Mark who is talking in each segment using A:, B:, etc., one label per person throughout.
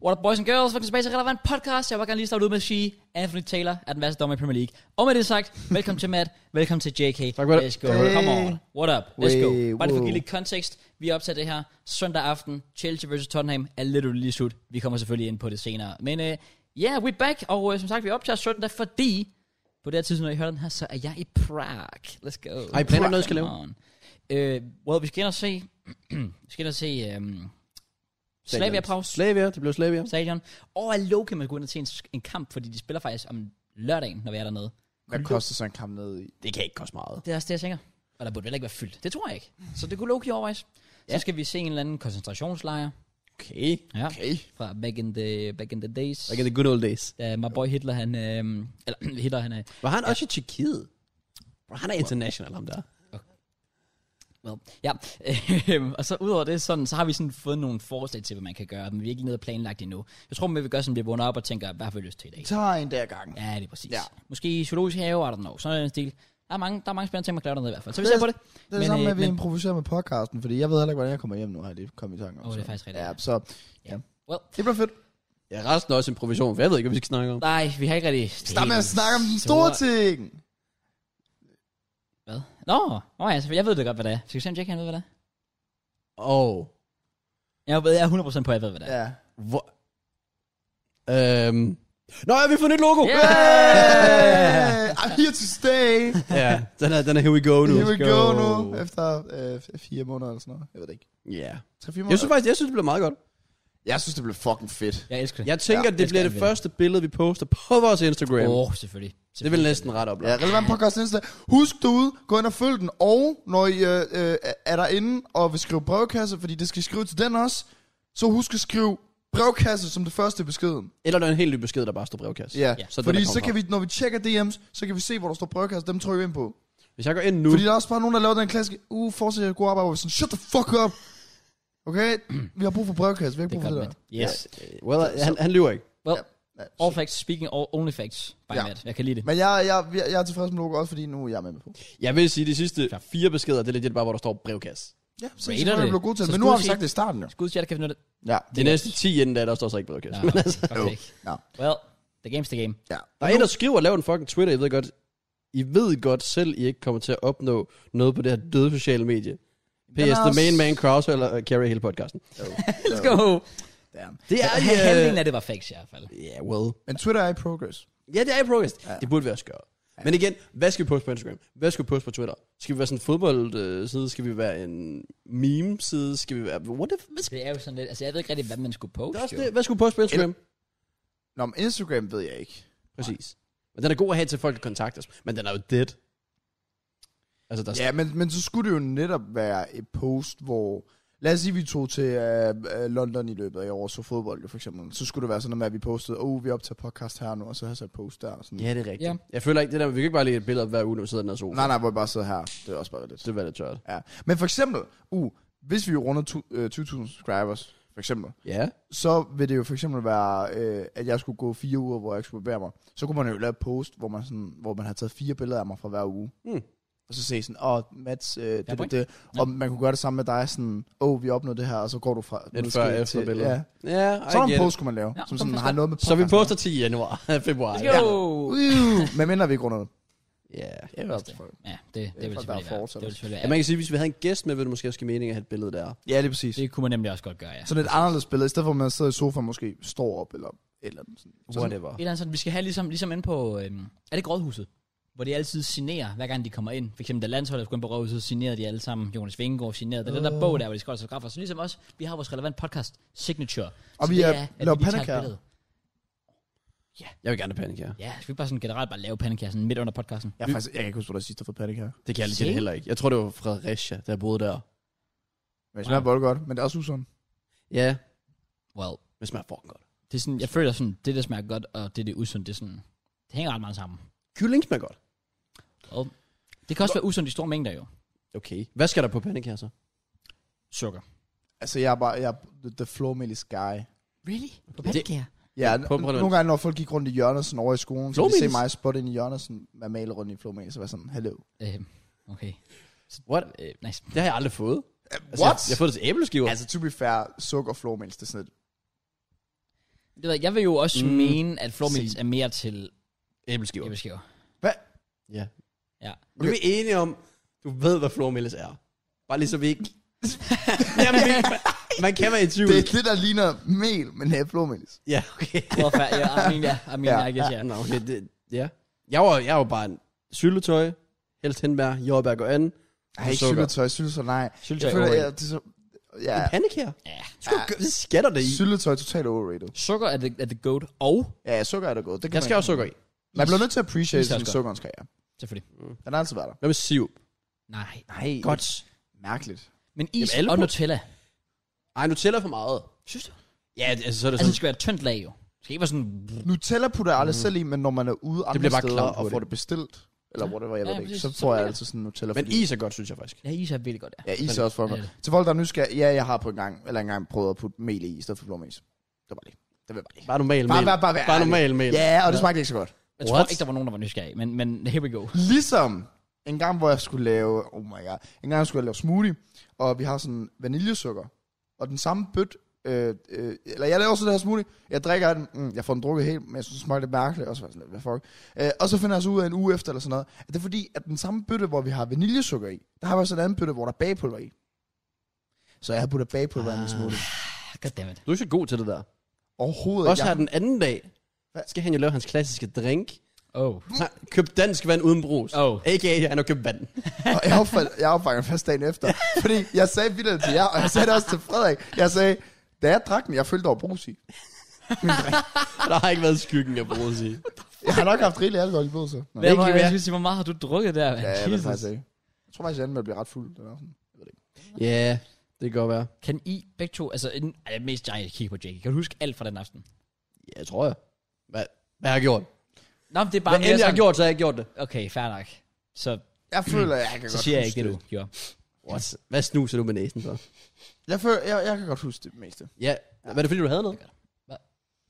A: What up boys and girls, velkommen tilbage til Relevant Podcast. Jeg vil gerne lige starte ud med at sige, Anthony Taylor er den værste dommer i Premier League. Og med det sagt, velkommen til Matt, velkommen til JK.
B: Tak for det.
A: Let's go.
B: Hey.
A: Come on. What up? Let's
B: Hey,
A: go. Bare lige for at
B: wow.
A: give lidt kontekst. Vi optager det her søndag aften. Chelsea vs. Tottenham er lidt lige slut. Vi kommer selvfølgelig ind på det senere. Men ja, uh, yeah, we're back. Og uh, som sagt, vi optager søndag, fordi på det her tidspunkt, når I hører den her, så er jeg i Prag. Let's go.
B: Har I planer om noget, I skal
A: Come
B: lave?
A: on. Øh, well, vi skal ind og se... vi skal ind og se... Um, Slavia Prag.
B: Slavia, det blev Slavia.
A: Stadion. Og er low kan man gå ind og se en, en kamp, fordi de spiller faktisk om lørdagen, når vi er dernede.
C: Hvad koster sådan en kamp ned i?
B: Det kan ikke koste meget.
A: Det er også det, jeg tænker. Og der burde heller ikke være fyldt. Det tror jeg ikke. Så det kunne Loki overvejes. Ja. Så
B: Ja.
A: skal vi se en eller anden koncentrationslejr
B: Okay.
A: ja,
C: Okay.
A: fra back in the, back in the days.
B: Like the good old days.
A: Da my boy Hitler, han... Øh, eller Hitler, han er...
B: Var han også i Tjekkiet? Bro, han er international, ham der.
A: Well, ja. Øhm, og så udover det, sådan, så har vi sådan fået nogle forslag til, hvad man kan gøre, men vi er ikke noget planlagt endnu. Jeg tror, vi vil gøre sådan, at vi vågner op og tænker, hvad har vi lyst til i dag?
C: Tager en der gang.
A: Ja, det er præcis. Ja.
C: Ja.
A: Måske zoologisk have, I don't know, sådan en stil. Der er mange, der er mange spændende ting, man kan lave dernede i hvert fald. Så vi ser på det.
C: Det er
A: Men,
C: det samme
A: øh,
C: med, at vi
A: men-
C: improviserer med podcasten, fordi jeg ved heller ikke, hvordan jeg kommer hjem nu, har jeg lige kommet i tanke om.
A: Åh, det er
C: så.
A: faktisk rigtigt,
C: Ja,
A: ja.
C: så
A: Ja.
C: ja.
A: Well.
C: Well. Det bliver fedt.
B: Ja, resten er også improvisation, for jeg ved ikke, hvad vi skal snakke om.
A: Nej, vi har ikke rigtig...
C: Start med at snakke om den store ting.
A: Hvad? Nå, nå ja, selvfølgelig. jeg ved det godt, hvad det er. Skal vi se, om Jack han ved, hvad det er?
B: Og...
A: Jeg ved, jeg er 100% på, at jeg ved, hvad det er.
C: Ja.
B: Hvor... Øhm... Nå, ja, vi har fundet et logo!
A: Yeah!
C: Hey! I'm here to stay.
B: ja, den er, den er here we go nu.
C: Here we go nu, efter øh, f- fire måneder eller sådan noget. Jeg ved det ikke.
B: Ja.
C: Tre, fire
B: Jeg
C: måneder?
B: synes faktisk, jeg synes, det bliver meget godt.
C: jeg synes, det blev fucking fedt.
A: Jeg elsker det.
B: Jeg
A: Ja,
B: tænker, det
A: jeg
B: bliver
A: skal
B: det
A: anvende.
B: første billede, vi poster på vores Instagram.
A: Åh, oh, selvfølgelig.
B: Det vil næsten ret op.
C: Ja, relevant podcast Insta. Husk derude, gå ind og følg den, og når I øh, øh, er derinde og vil skrive brevkasse, fordi det skal I skrive til den også, så husk at skrive brevkasse som det første i beskeden.
B: Eller der er en helt ny besked, der bare står brevkasse.
C: Ja,
A: Ja.
C: ja.
B: Så
C: Så
B: den,
C: fordi
B: der kommer
C: så kan vi, når vi tjekker DM's, så kan vi se, hvor der står brevkasse, dem trykker vi ind på.
B: Hvis jeg går ind nu...
C: Fordi der er også bare nogen, der laver den klassiske, uh, fortsæt et god arbejde, hvor vi sådan, shut the fuck up. Okay, vi har brug for brevkasse, vi har
A: Det
C: ikke
A: er
C: brug for
A: godt,
C: det
A: Matt.
C: der.
A: Yes.
B: Well, han, han lyver ikke.
A: Well,
C: Ja,
A: all facts, speaking all, only facts by
C: Ja.
A: Matt. Jeg kan lide det.
C: Men jeg, jeg, jeg, jeg er tilfreds med logo også, fordi nu er jeg med på.
B: Jeg vil sige, de sidste fire beskeder, det er lidt bare, hvor der står brevkasse.
C: Ja, så
A: Rater
C: jeg tror,
A: det.
C: jeg blev god til
A: Så
C: det. Men nu
A: skulle
C: har
A: du
C: vi
A: sige-
C: sagt det i starten jo.
A: Skud til jer, der kan finde ud af det.
C: Ja.
B: De næste 10 inden da, der står så ikke brevkasse.
A: Nå,
B: Men altså,
A: godt væk.
C: Nå.
A: Well, the game's the game.
C: Ja.
B: der er en, der skriver, lav en fucking Twitter, I ved godt, I ved godt selv, I ikke kommer til at opnå noget på det her døde sociale medie. PS,
C: er
B: the
C: også-
B: main man crowds, eller uh, carry hele podcasten.
A: Let's go.
C: Damn.
B: Det er øh,
A: Ja, Halvdelen af det var facts i hvert fald.
B: Ja, well.
C: Men Twitter er i progress.
B: Ja, det er i progress. Ja. Det burde vi også gøre. Ja. Men igen, hvad skal vi poste på Instagram? Hvad skal vi poste på Twitter? Skal vi være sådan en fodboldside? Skal vi være en meme-side? Skal vi være... What the... Hvad skal...
A: Det er jo sådan lidt... Altså, jeg ved ikke rigtig, hvad man skulle poste.
B: Det er også
A: jo.
B: det. Hvad skal vi poste på Instagram?
C: Nå, men Instagram ved jeg ikke.
B: Præcis. Men den er god at have til folk, der kontakter os. Men den er jo dead. Altså, der er
C: Ja, men, men så skulle det jo netop være et post, hvor... Lad os sige, vi tog til øh, øh, London i løbet af i år, så fodbold jo for eksempel. Så skulle det være sådan noget med, at vi postede, åh, oh, vi optager podcast her nu, og så har jeg sat post der. og Sådan.
B: Ja, det er rigtigt.
A: Ja.
B: Ja. Jeg føler ikke det der, vi kan ikke bare lægge et billede hver uge, når vi sidder i den her sofa.
C: Nej, nej, hvor vi bare sidder her. Det er også bare lidt.
B: Det var lidt tørt.
C: Ja. Men for eksempel, uh, hvis vi jo runder tu- øh, 20.000 subscribers, for eksempel,
B: Ja.
C: så vil det jo for eksempel være, øh, at jeg skulle gå fire uger, hvor jeg ikke skulle bevæge mig. Så kunne man jo lave et post, hvor man, sådan, hvor man har taget fire billeder af mig fra hver uge.
B: Mm.
C: Og så se sådan, åh, oh, Mats, øh, det,
A: point.
C: det, det. Og man kunne gøre det samme med dig, sådan, åh, oh, vi opnåede det her, og så går du fra...
B: Et
C: ned-
B: før
C: til-
B: efter billede.
C: Ja.
B: Ja,
C: Sådan en
B: en
C: post kunne man lave,
A: Ja,
C: ja,
A: sådan
C: som sådan
A: forstår
C: har noget med
B: Så vi
C: podcasten.
B: poster 10 i januar, februar.
A: Let's
B: Ja.
A: go.
C: Uh, men mindre vi går ned.
B: Ja.
A: Ja,
C: Ja,
A: det, det vil
C: folk, der
A: selvfølgelig
C: er
A: være.
C: fortsat.
A: Det vil selvfølgelig
B: ja. Man kan sige, hvis vi havde en gæst med, ville det måske også give mening at have et billede der.
C: ja, lige præcis.
A: Det kunne man nemlig også godt gøre, ja.
C: Sådan et anderledes billede, i stedet for at man sidder i sofaen måske står op, eller et eller andet. Sådan. Så sådan
B: Whatever.
A: Et eller andet sådan, vi skal have ligesom, ligesom ind på, øhm, er det ikke Rådhuset? Hvor de altid signerer, hver gang de kommer ind. For eksempel, da landsholdet skulle ind på Rådhuset, signerede de alle sammen. Jonas Vingegaard signerede. Det er den
C: Øh.
A: der bog der, hvor de skal holde autografer. Så ligesom også, vi har vores relevant podcast, Signature.
C: Og
A: Så
C: vi
A: det
C: er-
A: at
C: laver
A: lige tager et
C: pandekager.
A: billede.
B: Jeg vil gerne have panik her.
A: Ja, skal vi ikke bare sådan generelt bare lave pandekager sådan midt under podcasten?
C: Jeg, er faktisk, jeg kan ikke huske, hvor der sidst har fået panik her.
B: Det kan jeg lige
A: Se.
B: heller ikke. Jeg tror, det var Fredericia, der boede der.
C: Men det smager
A: Wow.
C: vold godt, men det er også usundt.
B: Ja.
A: Well,
B: Det smager fucking godt.
A: det er sådan, jeg føler sådan, det der smager godt, og det der er usundt, det er sådan, det hænger ret meget sammen.
B: Kylling smager godt.
A: Og det kan også være usundt i store mængder jo.
B: Okay. Hvad skal der på panik her så?
A: Sukker.
C: Altså, jeg er bare, jeg er the- the flow melis guy.
A: Really? På
B: Det-
A: pandekager?
C: Ja,
B: prøv at prøve det.
C: nogle gange, når folk gik rundt i Jørgensen over i skolen, så kunne de se
B: Flormelis?
C: mig spotte ind i Jørgensen, være malet rundt i flowmelis, så var jeg sådan, hello.
A: Øhm, okay.
B: What?
A: Øh, nice.
B: Det har jeg aldrig fået.
C: Uh,
B: Altså, Jeg, jeg har fået det til æbleskiver.
C: Altså, to be fair, sukker flormelis, det er sådan et...
A: Det ved jeg, jeg vil jo også
B: Mm.
A: mm. mene, at flormelis
B: Se.
A: er mere til
B: Æbleskiver.
A: æbleskiver.
B: Ja.
A: Ja.
B: Nu er vi enige om, du ved, hvad flormelis er. Bare lige så vi ikke... Jamen, vi- man kan være i tvivl.
C: Det er det, der ligner mel, men her er flormelis.
B: Ja, okay.
A: Hvorfor? Ja, I mean, ja. I mean,
C: Ja,
A: ja, I guess, ja.
B: Ja, nå, okay. Det, ja. Jeg var, jeg var bare en syltetøj, helst henbær, jordbær går an.
C: Ej, ikke syltetøj, syltetøj, nej.
A: Syltetøj
C: Jeg føler,
A: overrated.
C: ja, det er så... Ja,
B: En pandekær?
A: Ja.
B: Sku, ja. Det skatter det i.
C: syltetøj er totalt overrated.
A: Sukker er the, er the goat, og
C: Ja, sukker er der godt. Det kan
B: Jeg skal
C: man-
B: også sukker i.
C: Man bliver nødt til at appreciate
A: Is er
C: sin
A: også godt.
C: sukkerens karriere.
A: selvfølgelig.
C: Den har altid været der.
B: Hvad med sirup?
A: Nej.
C: Nej. Godt.
B: Godt.
C: Mærkeligt.
A: Men is
B: Jamen, alle
A: og
B: på-
A: Nutella. Altså,
B: Ej, nu tæller for meget.
A: Synes du?
B: Ja, det- altså, så er
A: Altså,
B: det
A: det
B: sådan.
A: skal være et tyndt lag, jo. Det skal ikke være sådan...
C: Nutella putter jeg aldrig selv i, men når man er ude andre
B: Mhm. bliver bare
C: steder
B: klamt på
C: og får
B: det.
C: det bestilt, eller whatever, jeg
A: Ja,
C: ved det ikke,
A: præcis.
C: så
A: Så
C: får jeg
A: bliver-
C: altid sådan Nutella.
B: Men
C: fordi-
B: is er godt, synes jeg faktisk.
A: Ja, is er virkelig godt, ja.
C: Ja, is er også for mig.
A: Ja, det
C: Til folk, der er nysgerrige, ja, jeg har på en gang, eller engang prøvet at putte mel i, i stedet for blåmæs. Det var det. Det vil jeg bare lige.
B: Bare normal
C: Bare,
B: mel.
C: bare, bare, være
B: Bare
C: ærlig.
B: normal mel.
C: Ja, og det smagte ikke så godt.
A: Jeg tror
B: What?
A: ikke, der var nogen, der var nysgerrig, men, men here we go.
C: Ligesom en gang, hvor jeg skulle lave, oh my god, en gang jeg skulle lave smoothie, og vi har sådan vaniljesukker, og den samme bøt, øh, øh, eller jeg laver så det her smoothie, jeg drikker af den, mm, jeg får den drukket helt, men jeg synes, det smagte lidt mærkeligt, og så var jeg sådan, lidt, hvad fuck. Øh, og så finder jeg så ud af en uge efter, eller sådan noget, at det er fordi, at den samme bøtte, hvor vi har vaniljesukker i, der har vi også en anden bøtte, hvor der er bagpulver i. Så jeg har puttet bagpulver i min
B: Ah.
C: smoothie.
A: Goddammit.
B: Du er ikke så god til det der.
C: Overhovedet
B: Også
C: jeg-
B: her den anden dag,
C: Hvad?
B: skal han jo lave hans klassiske drink.
A: Oh.
B: Han købt dansk vand uden brus.
A: Oh.
B: A.k.a. han har købt vand.
C: Og jeg opfald, jeg opfanger først dagen efter. Fordi jeg sagde vildt til jer, og jeg sagde det også til Frederik. Jeg sagde, da jeg drak den, jeg følte over brus i.
B: Der har ikke været skyggen af brus i.
C: Jeg har nok haft rigeligt alkohol i blodet, så. Nå.
A: Hvad
B: Virkelig,
A: var
B: ja.
A: jeg skulle sige, hvor meget har du drukket der?
C: Ja, jeg ved det faktisk ikke. Jeg tror faktisk, jeg endte med at blive ret fuld. den aften.
B: Ja, det kan godt være.
A: Kan I begge to, altså, en, ej, det er mest jeg kigger på Jake. Kan du huske alt fra den aften?
B: Ja, tror jeg. Hvad, hvad har jeg gjort?
A: Nå, men det er
B: Hvad
A: bare
B: end jeg har gjort, så har jeg gjort det.
A: Okay, fair nok. Så,
C: Jeg føler, jeg kan
A: så
C: godt
A: siger jeg
C: huske
A: ikke det, du gjorde.
B: What? Hvad snuser du med næsen så?
C: Jeg, føler, jeg, jeg kan godt huske det meste.
B: Ja, var det fordi, du havde noget?
A: Hvad?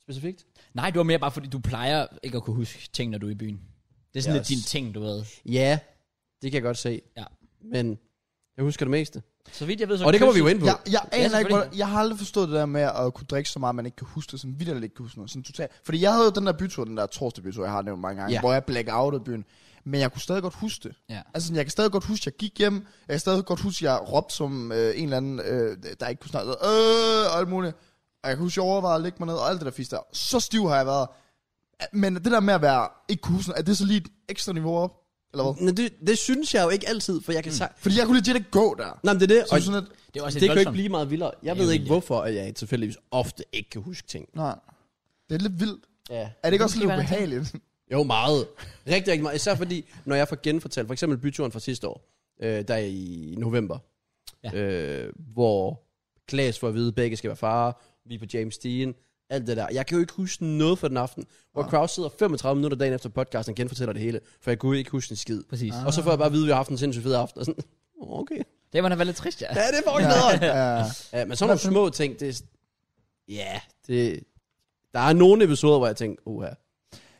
B: Specifikt?
A: Nej, det var mere bare fordi, du plejer ikke at kunne huske ting, når du er i byen. Det er sådan
B: Yes.
A: lidt din ting, du ved.
B: Ja, det kan jeg godt se.
A: Ja.
B: Men jeg husker det meste.
A: Så vidt jeg ved, så...
B: Og det kommer vi jo ind på.
C: Jeg, jeg, aner ikke,
A: selvfølgelig.
C: hvordan, jeg har aldrig forstået det der med at kunne drikke så meget, man ikke kan huske det, sådan vildt ikke kan huske noget. Sådan totalt. Fordi jeg havde jo den der bytur, den der torsdag bytur, jeg har nævnt mange gange,
B: Ja.
C: ja. hvor jeg blackoutede byen. Men jeg kunne stadig godt huske det.
A: Ja.
C: Altså, sådan, jeg kan stadig godt huske, jeg gik hjem. Jeg kan stadig godt huske, jeg råbte som øh, en eller anden, øh, der ikke kunne snakke. Øh, og alt muligt. Og jeg kan huske, jeg overvejede at lægge mig ned, og alt det der fisk der. Så stiv har jeg været. Men det der med at være ikke kunne huske, noget, er det så lige et ekstra niveau op? Eller hvad?
B: Men det, det synes jeg jo ikke altid, for jeg kan mm.
C: Fordi jeg kunne legit ikke gå der.
B: Nej, men det er det.
C: Så
B: Og
C: sådan lidt,
A: Det er også
B: det
A: lidt
B: kan jo ikke
A: voldsomt.
B: blive meget vildere. Jeg
A: Ja,
B: ved
A: jo,
B: ikke,
A: ja.
B: hvorfor at jeg tilfældigvis ofte ikke kan huske ting.
C: nej. Det er lidt vildt.
B: Ja.
C: Er det ikke også
A: Måske var
C: lidt
A: det sådan.
C: ubehageligt?
B: Jo, meget. Rigtig, rigtig meget. Især fordi, når jeg får genfortalt, for eksempel byturen fra sidste år, øh, der i november,
A: Ja.
B: ja. øh, hvor Klaas får at vide, at begge skal være far, vi er på James Dean, alt det der. Jeg kan jo ikke huske noget fra den aften, hvor ja. Kraus sidder 35 minutter dagen efter podcasten og genfortæller det hele, for jeg kunne ikke huske en skid.
A: Præcis.
B: Og så får jeg bare at vide, at vi har haft en sindssygt fed aften, og sådan, "Åh, okay.
A: Det må da være lidt trist, ja.
B: Ja, det er fucking bedre.
C: Ja.
B: Ja, men sådan nogle små ting, det er... Ja, det... Der er nogle episoder, hvor jeg tænker, uha,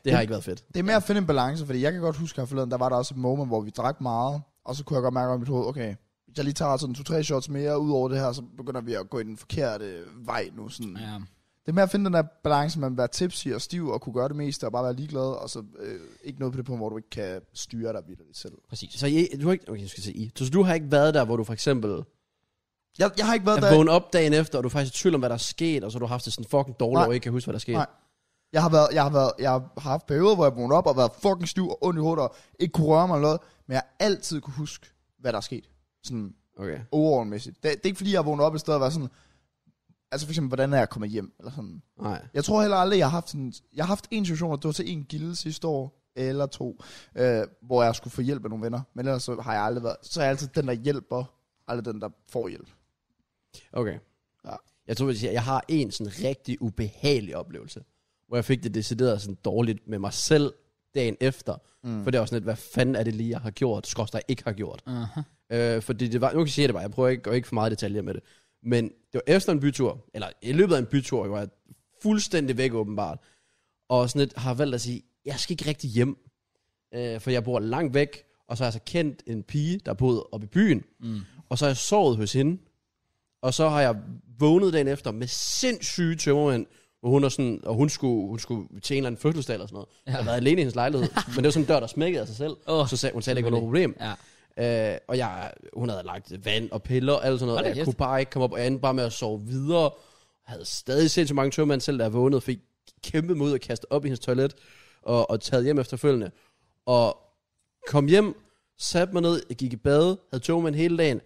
B: det har ikke været fedt.
C: Det er med at finde en balance, fordi jeg kan godt huske her forleden, der var der også et moment, hvor vi drak meget, og så kunne jeg godt mærke om mit hoved, okay, hvis jeg lige tager sådan to-tre shots mere ud over det her, så begynder vi at gå i den forkerte vej nu. Sådan. Ja.
A: ja.
C: Det er med at finde den der balance, man være tipsy og stiv og kunne gøre det meste og bare være ligeglad, og så øh, ikke noget på det punkt, hvor du ikke kan styre dig videre selv.
A: Præcis.
B: Så I, du har ikke... Okay, jeg skal sige I. Så du har ikke været der, hvor du for eksempel
C: Jeg, jeg har ikke været
B: er
C: der.
B: vågnet op dagen efter, og du er faktisk i tvivl om, hvad der er sket, og så har du haft det sådan fucking dårligt,
C: Nej.
B: og ikke kan huske, hvad der er sket.
C: Nej. Jeg har, været, jeg, har været, jeg har haft perioder, hvor jeg vågnede op og været fucking stiv og ondt i hovedet og ikke kunne røre mig eller noget, men jeg har altid kunne huske, hvad der er sket. Sådan,
B: Okay.
C: overordentligt. Det, det er ikke fordi, jeg vågner op et sted og var sådan, altså for eksempel, hvordan er jeg kommet hjem, eller sådan.
B: Nej.
C: Jeg tror heller aldrig, jeg har haft en, jeg har haft en situation, og det var til en gilde sidste år, eller to, øh, hvor jeg skulle få hjælp af nogle venner, men ellers så har jeg aldrig været, så er jeg altid den, der hjælper, aldrig den, der får hjælp.
B: Okay.
C: Ja.
B: Jeg tror, jeg, siger, jeg har en sådan rigtig ubehagelig oplevelse, hvor jeg fik det decideret sådan dårligt med mig selv dagen efter. Mm. For det var sådan lidt, hvad fanden er det lige, jeg har gjort, skrås, der ikke har gjort.
A: Aha.
B: Øh, fordi det var, nu kan jeg sige det bare, jeg prøver ikke, går ikke for meget i detaljer med det. Men det var efter en bytur, eller i løbet af en bytur, hvor jeg fuldstændig væk åbenbart, og sådan lidt har valgt at sige, jeg skal ikke rigtig hjem, øh, for jeg bor langt væk, og så har jeg så kendt en pige, der boede oppe i byen, mm. og så har jeg sovet hos hende, og så har jeg vågnet dagen efter med sindssyge tømmermænd, hvor hun, er sådan, og hun skulle, hun skulle til en eller anden fødselsdag eller sådan noget.
A: Ja.
B: Ja. Jeg har været alene i hendes lejlighed, men det var sådan en dør, der smækkede af sig selv.
A: Åh,
B: Oh, så sagde, hun sagde, at det ikke var noget problem.
A: Ja.
B: Øh, og jeg, hun havde lagt vand og piller og alt sådan noget.
A: Hold da
B: Og
A: kæft.
B: jeg kunne bare ikke komme op og andet, bare med at sove videre. Jeg havde stadig set så mange tørmænd selv, der vågnede, fik kæmpet mod at kaste op i hendes toilet og, og taget hjem efterfølgende. Og kom hjem, satte mig ned, jeg gik i bad, havde tørmænd hele dagen,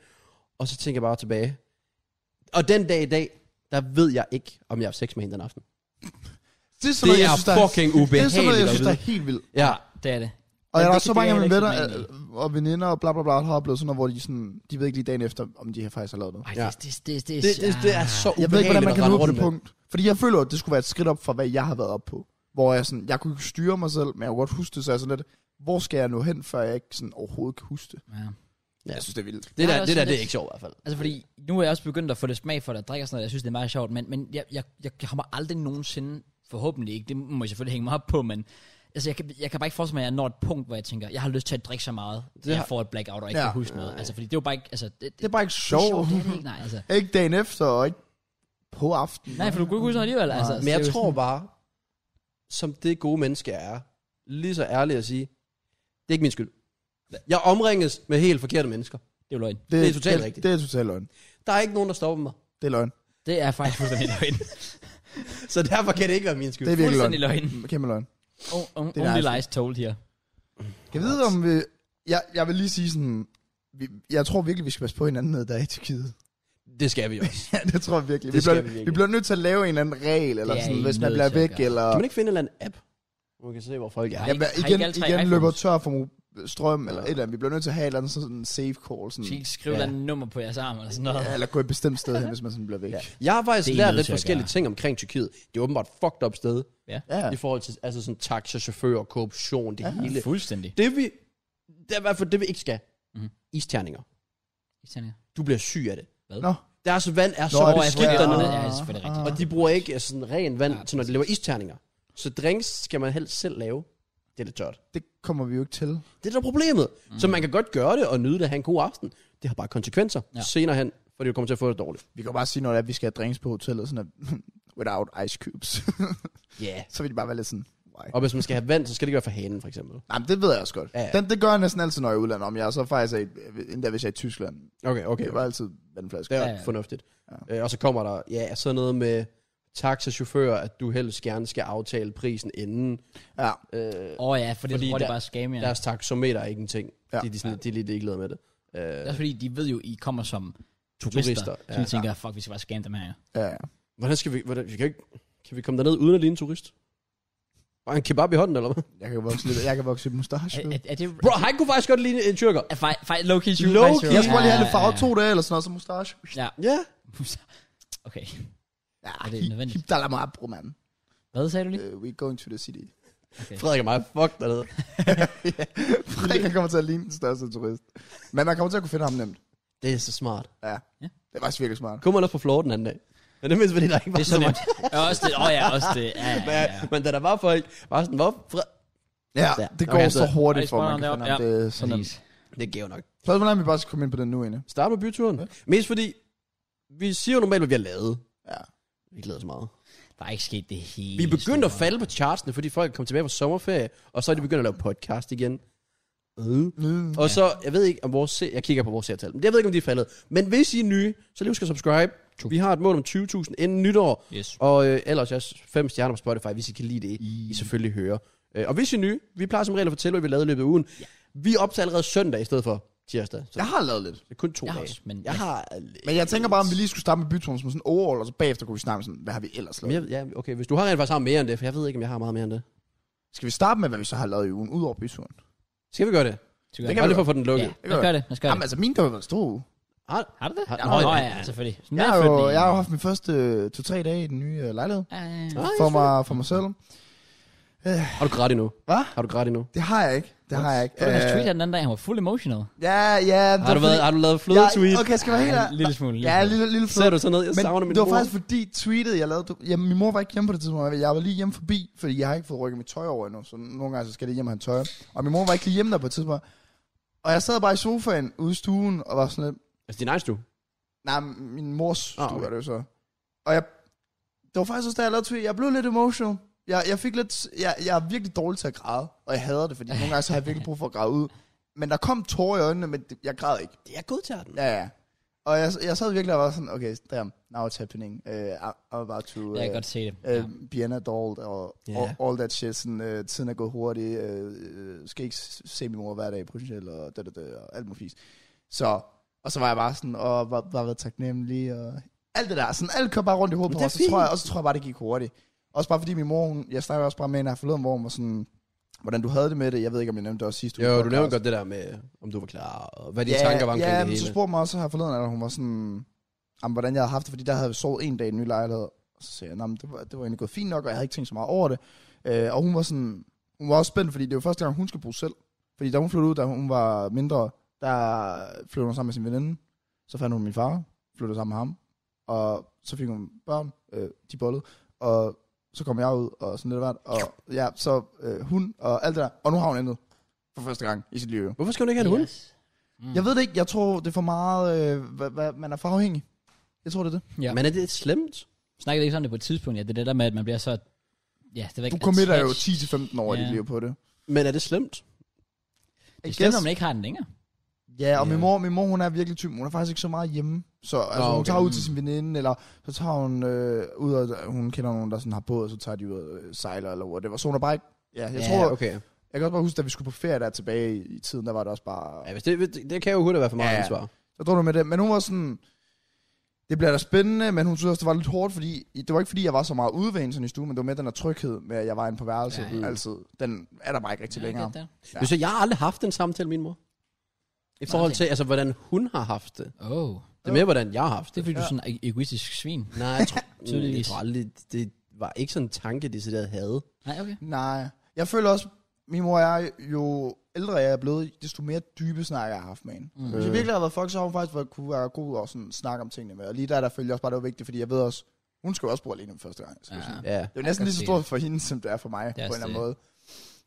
B: og så tænkte jeg bare tilbage. Og den dag i dag, der ved jeg ikke, om jeg har sex med hende den aften.
C: Det er,
B: Det er fucking
C: Det er sådan noget,
B: ubehageligt
C: jeg
B: at
C: synes, der
B: vide.
C: er helt vildt.
B: Ja,
A: Det er det.
C: Og
A: Ja,
C: jeg
A: det
C: har også så
A: kan- det
C: mange af
A: er
C: mine
A: jeg
C: venner
A: heller ikke så
C: øh, og veninder og bla bla bla, har oplevet sådan noget, hvor de, sådan, de ved ikke lige dagen efter, om de har faktisk har lavet noget.
A: Ej,
B: Ja.
A: det, det, det, det,
B: det, det, det er så ubehageligt
C: Jeg ved ikke, hvordan man
B: at
C: kan
B: rende
C: nå på
B: rundt
C: det
B: med.
C: punkt. Fordi jeg føler, at det skulle være et skridt op fra, hvad jeg har været op på. Hvor jeg sådan, jeg kunne ikke styre mig selv, men jeg kunne godt huske det, så jeg er sådan lidt, hvor skal jeg nå hen, før jeg ikke sådan overhovedet kan huske det?
A: Ja.
B: Ja.
C: Jeg synes, det er vildt.
B: Det
A: Jeg
B: der,
A: er
B: det, der
A: også
B: det er
A: lidt-
B: ikke sjovt i hvert fald.
A: Altså fordi, nu er jeg også begyndt at få det smag for det, at drikke og sådan noget, jeg synes, det er meget sjovt, men, men jeg, jeg, jeg kommer aldrig nogensinde, forhåbentlig ikke, det må jeg selvfølgelig hænge mig op på, men altså jeg kan, jeg kan bare ikke forestille mig, at jeg når et punkt, hvor jeg tænker, jeg har lyst til at drikke så meget, at jeg
B: har-
A: får et blackout og ikke
C: Ja.
A: ja. kan huske noget. Altså fordi det er jo bare ikke, altså det, det,
C: Det er bare ikke
A: det er
C: sjovt.
A: det er det ikke, nej, altså.
C: Ikke dagen efter, og ikke på aftenen.
A: Nej, for du kunne ikke huske noget alligevel, altså.
B: Men jeg tror bare, som det gode menneske jeg er, lige så ærlig at sige, det er ikke min skyld. Jeg omringes med helt forkerte mennesker.
A: Det er jo løgn.
B: det er totalt rigtigt.
C: Det er totalt løgn.
B: Der er ikke nogen, der stopper mig.
C: Det er løgn.
A: Det er faktisk fuldstændig løgn.
B: Så derfor kan det ikke være min skyld.
C: Det er virkelig
A: Fuldstændig
C: løgn.
A: løgn.
C: Kæmpe løgn.
A: Oh, on,
C: er
A: only
B: altså.
C: nice.
A: lies told her.
B: Mm.
C: Kan vi vide, om vi... Jeg, jeg vil lige sige sådan... Vi, jeg tror virkelig, vi skal passe på hinanden, når der er i Tyrkiet.
B: Det skal vi også.
C: Ja, det tror jeg virkelig.
B: Det
C: vi,
B: skal
C: bliver,
B: vi virkelig.
C: vi bliver nødt til at lave en eller anden regel, eller
A: Det er
C: sådan,
A: I
C: hvis man
A: nødt
C: bliver
A: til at
C: væk,
A: gøre.
C: eller...
B: Kan man ikke finde en eller anden app, hvor man kan se, hvor folk er?
A: Ja.
C: Jamen,
A: ikke- har I
C: igen,
A: ikke alle tre
C: igen
A: iPhones?
C: løber tør for mo- strøm, eller
B: Ja.
C: et eller andet. Vi bliver nødt til at have et eller andet sådan en safe call, sådan...
A: Ikke skrive
B: Ja.
A: ja. et nummer på jeres arm eller sådan noget.
C: Ja, eller gå et bestemt sted hen, hvis man sådan bliver væk.
B: Ja. Jeg har faktisk
A: Det er I
B: lært
A: nødt
B: lidt
A: til at
B: forskellige ting omkring Tyrkiet. Det er åbenbart et fucked up sted.
C: Ja.
B: I forhold til altså sådan taxa, chauffører, korruption, det hele.
A: Fuldstændig.
B: Det vi, det er i hvert fald det, vi ikke skal.
A: Mhm.
B: Isterninger.
A: Italien.
B: Du bliver syg af det.
C: Nå.
B: Deres vand er så
C: er det
B: beskidt
A: svært?
B: dernede.
A: Ja, ja, selvfølgelig rigtigt.
B: Og de bruger ikke øh, sådan ren vand,
A: Ja,
B: ja, til når de laver isterninger. Så drinks skal man helst selv lave. Det er lidt tørt.
C: Det kommer vi jo ikke til.
B: Det er der problemet. Mm. Så man kan godt gøre det og nyde det og have en god aften. Det har bare konsekvenser
A: Ja.
B: ja. senere hen, fordi du kommer til at få det dårligt.
C: Vi kan jo bare sige, når det er, at vi skal have drinks på hotellet, sådan at, without ice cubes.
B: Ja. Yeah.
C: så vil de bare være lidt sådan, why?
B: Og hvis man skal have vand, så skal det ikke være for hanen, for eksempel.
C: Nej, men det ved jeg også godt.
B: Ja, ja.
C: Den, det gør jeg næsten altid, når jeg er i udlandet. Om jeg er så faktisk er i, endda hvis jeg er i Tyskland.
B: Okay, okay.
C: Okay. Det
B: okay.
C: var altid vandflaske.
B: Det er
A: Ja,
B: ja,
A: ja.
B: ja. fornuftigt. Ja. Øh, og så kommer der ja, sådan noget med taxachauffører, at du helst gerne skal aftale prisen inden.
C: Ja.
B: Øh,
A: Åh oh, ja, for det
B: Fordi
A: tror de
B: der-
A: bare at skamme jer.
B: ja. Deres taxometer er ikke en ting.
C: Ja.
B: Ja. De, er sådan, ja. de er lidt ligeglade med det. Øh,
A: Det er også fordi, de ved jo, I kommer som turister. turister
B: Turister,
A: ja.
B: ja.
A: Så de tænker, fuck, vi skal bare scanne dem her.
C: Ja, ja.
B: Hvordan skal vi... Hvordan, vi kan, ikke, kan vi komme derned uden at ligne en turist? Bare en kebab i hånden, eller hvad?
C: Jeg kan vokse lidt, jeg kan vokse lidt mustache.
A: Er,
C: ud.
A: er, er det...
B: Bro, han kunne faktisk godt ligne en tyrker.
A: Er fej, fej, low key,
B: Low
A: faktisk,
B: key.
A: jo.
C: Jeg skal bare lige have
A: Ja,
C: lidt farve
A: ja, ja.
C: to dage, eller sådan noget, så mustache.
B: Ja.
A: Okay.
C: Ja,
A: Er det
C: hip-
A: nødvendigt?
C: Ah, hip dalam ab, bro, man.
A: Hvad sagde du lige?
C: Uh, we going to the city.
B: Frederik og mig, fuck dernede.
C: Frederik han kommer til at ligne den største turist. Men man kommer til at kunne finde ham nemt.
B: Det er så smart.
C: Ja.
A: Ja.
C: Det er faktisk virkelig smart.
B: Kunne man også på floor den anden dag? Men det mindst, fordi der ikke var
A: Det er så
B: så
A: nemt. Ja, også det. Åh oh, ja, også det. Ja, ja,
B: Ja,
A: ja. ja.
B: Men da der var folk, var sådan, hvor Fre-
C: Ja,
B: Ja.
C: det går
B: Okay,
C: så
B: så-
C: hurtigt
A: Ej,
C: for, at man
A: spoileren deroppe,
C: kan finde ham. Det er sådan
A: Præcis.
C: nemt.
B: Det er gav nok.
C: Så hvordan vi bare skal komme ind på den nu, egentlig?
B: Start med byturen. Ja. Mest fordi, vi siger jo normalt, hvad vi har lavet.
C: Ja.
B: Vi ikke lavet så meget.
A: Der er ikke sket det hele.
B: Vi er begyndt at
A: store.
B: falde på chartsene, fordi folk kom tilbage fra sommerferie, og så er de begyndt at lave podcast igen. Øh.
C: Mm.
B: Og så, jeg ved ikke om vores se- jeg kigger på vores seertal, men jeg ved ikke, om de er faldet. Men hvis I er nye, så lige husk at subscribe. Vi har et mål om 20.000 inden nytår,
A: Yes.
B: og øh, ellers også fem stjerner på Spotify, hvis I kan lide det, I selvfølgelig hører. Øh, og hvis I er nye, vi plejer som regel at fortælle, hvad vi lavede i løbet af ugen.
A: Ja.
B: Vi optager allerede søndag i stedet for tirsdag, så
C: Jeg har lavet lidt.
B: det er kun to
A: Jeg har
B: dage.
A: også, men-
B: jeg har...
C: Men jeg tænker bare, om vi lige skulle starte med byturen som sådan en overall, og så bagefter kunne vi snakke om sådan, hvad har vi ellers
B: Men
C: lavet?
B: jeg, ja, okay, hvis du har rent faktisk har mere end det, for jeg ved ikke, om jeg har meget mere end det.
C: Skal vi starte med, hvad vi så har lavet i ugen, udover byturen?
B: Skal vi gøre det?
A: Så gør
B: Det
A: det
B: kan vi
C: vi
B: lige for at få den
A: Ja,
B: lukket. Ah, Ja.
A: lad os gøre det. Lad os gøre
C: Jamen
A: det.
C: altså, min der har været stor uge.
B: Har,
A: Har du det?
B: Har-
A: Nå,
B: Nå,
A: Nå
B: ja.
A: ja, selvfølgelig. Sådan
C: Jeg
A: er
C: har, jo,
A: flytningen.
C: jeg har jo haft min første øh, to-tre dage i den nye øh, lejlighed.
A: Ja, ja, ja.
B: Ej,
C: For
B: fedt.
C: mig, for mig selv.
B: har du grædt endnu?
C: Hvad?
B: Har du grædt endnu?
C: Det har jeg ikke. Det har jeg ikke.
A: Det var hans
C: Øh,
A: tweet her den anden dag, han var full emotional.
C: Ja, ja. det
B: Har
C: var
B: du, været,
C: fordi-
B: har du lavet flødetweet?
C: Ja, Okay, skal jeg være helt
A: Ja,
C: ærlig?
A: en lille smule, en lille
C: Ja, en
A: smule.
C: lille, lille
B: Ser
C: fløde.
B: du sådan noget? Jeg
C: Men
B: savner min
C: det var
B: mor.
C: faktisk fordi tweetet, jeg lavede... Ja, min mor var ikke hjemme på det tidspunkt. Jeg var lige hjemme forbi, fordi jeg har ikke fået rykket mit tøj over endnu. Så nogle gange så skal det hjem og have tøj. Og min mor var ikke lige hjemme der på et tidspunkt. Og jeg sad bare i sofaen ude i stuen og var sådan lidt...
B: Altså, din egen stue.
C: Nej, min mors
B: Ah,
C: stue ah, okay.
B: okay.
C: er det jo så. Og jeg Det var faktisk også, da jeg lavede tweet. Jeg blev lidt emotional. Jeg, jeg, fik lidt, jeg, jeg er virkelig dårlig til at græde, og jeg hader det, fordi nogle gange så har jeg virkelig brug for at græde ud. Men der kom tårer i øjnene, men det- jeg græd ikke.
B: Det er god til den.
C: Ja, ja. Og jeg, jeg sad virkelig og var sådan, okay, damn, now it's happening. Uh, I'm about to...
A: Jeg kan
C: øh,
A: godt se det.
C: Øh,
A: Ja.
C: Bianna Dolt og
B: Ja.
C: yeah. all, all that shit. Sådan, øh, tiden er gået hurtigt. Øh, øh, skal ikke s- se min mor hver dag potentielt og, da, da, da, og alt muligt fisk. Så, og så var jeg bare sådan, og var, var været taknemmelig og alt det der. Sådan, alt kom bare rundt i hovedet
B: Men
C: på
B: det er
C: mig, og så tror
B: fint.
C: jeg, og så tror jeg bare, det gik hurtigt. Også bare fordi min mor, hun, jeg snakker også bare med hende her forleden, hvor hun var sådan, hvordan du havde det med det. Jeg ved ikke, om jeg nævnte det også sidste uge. i
B: Jo, du
C: podcast.
B: nævner godt det der med, om du var klar, og hvad dine tanker var omkring
C: ja,
B: det
C: men
B: hele.
C: så spurgte hun mig også her forleden, at hun var sådan, om, hvordan jeg havde haft det, fordi der havde jeg sovet en dag i en ny lejlighed. Og så sagde jeg, "Nå, men det var, det var egentlig gået fint nok, og jeg havde ikke tænkt så meget over det. Øh, og hun var sådan, hun var også spændt, fordi det var første gang, hun skulle bo selv. Fordi da hun flyttede ud, da hun var mindre, der flyttede hun sammen med sin veninde. Så fandt hun min far, flyttede sammen med ham. Og så fik hun børn, øh, de bollede. Og så kom jeg ud, og sådan lidt af hvert. Og ja, så øh, hun og alt det der. Og nu har hun endet for første gang i sit liv. jo.
B: Hvorfor skal hun ikke have en hund?
A: Yes.
C: Mm. Jeg ved det ikke. Jeg tror, det er for meget, øh, hvad, hvad, man er for afhængig. Jeg tror, det er det.
A: Ja.
B: Men er det slemt?
A: Snakkede ikke om det på et tidspunkt, ja. Det er det der med, at man bliver så... Ja, det var
C: Du
A: ikke... Altså,
C: committer jo
A: attached.
C: 10-15 år i
A: Ja.
C: dit liv på det.
B: Men er det slemt?
A: Det
C: I
A: er slemt,
C: guess.
A: når man ikke har den længere.
C: Ja, og min
B: Ja.
C: mor, min mor, hun er virkelig typen. Hun er faktisk ikke så meget hjemme. Så altså,
B: Nå,
C: hun
B: okay.
C: tager ud
A: Mm.
C: til sin veninde, eller så tager hun øh, ud, og hun kender nogen, der sådan har båd, og så tager de ud og øh, sejler, eller whatever. Så hun er bare ikke... Ja, jeg
A: Ja,
C: tror...
B: Okay.
C: Jeg kan også bare huske, da vi skulle på ferie der tilbage i, i tiden, der var det også bare...
B: Ja, hvis det, det, det kan jo hurtigt være for meget
C: Ja.
B: ansvar.
C: Så drog du med det. Men hun var sådan... Det bliver da spændende, men hun synes også, det var lidt hårdt, fordi det var ikke fordi, jeg var så meget udvendt sådan i stuen, men det var med den der tryghed med, at jeg var inde på værelset
A: Ja,
C: ja,
A: ja.
C: ja. altid. Den er der bare ikke rigtig ja, længere.
A: det er det.
B: Ja. Så jeg har aldrig haft en samtale med min mor. I forhold til, altså, hvordan hun har haft det.
A: Oh.
B: Det er mere, hvordan jeg har haft
A: Det er
B: det.
A: fordi, du er
C: Ja.
A: sådan en egoistisk svin.
B: Nej, jeg tror,
A: Tydeligvis.
B: jeg tror aldrig, det var ikke sådan en tanke, de sidder havde.
A: Nej, okay.
C: Nej. Jeg føler også, min mor og jeg, jo ældre jeg er blevet, desto mere dybe snakker jeg har haft med hende.
A: Øh.
C: Mm. Hvis jeg virkelig har været folk, så har hun faktisk været, kunne være god og sådan, snakke om tingene med. Og lige der, der følte jeg også bare, det var vigtigt, fordi jeg ved også, hun skal jo også bo alene den første gang. Så ja.
A: Ja.
B: Ja.
C: Det er jo næsten
A: kan
C: lige så
A: se
C: stort for hende, som det er for mig,
A: Det er
C: på en
A: også
C: eller anden måde.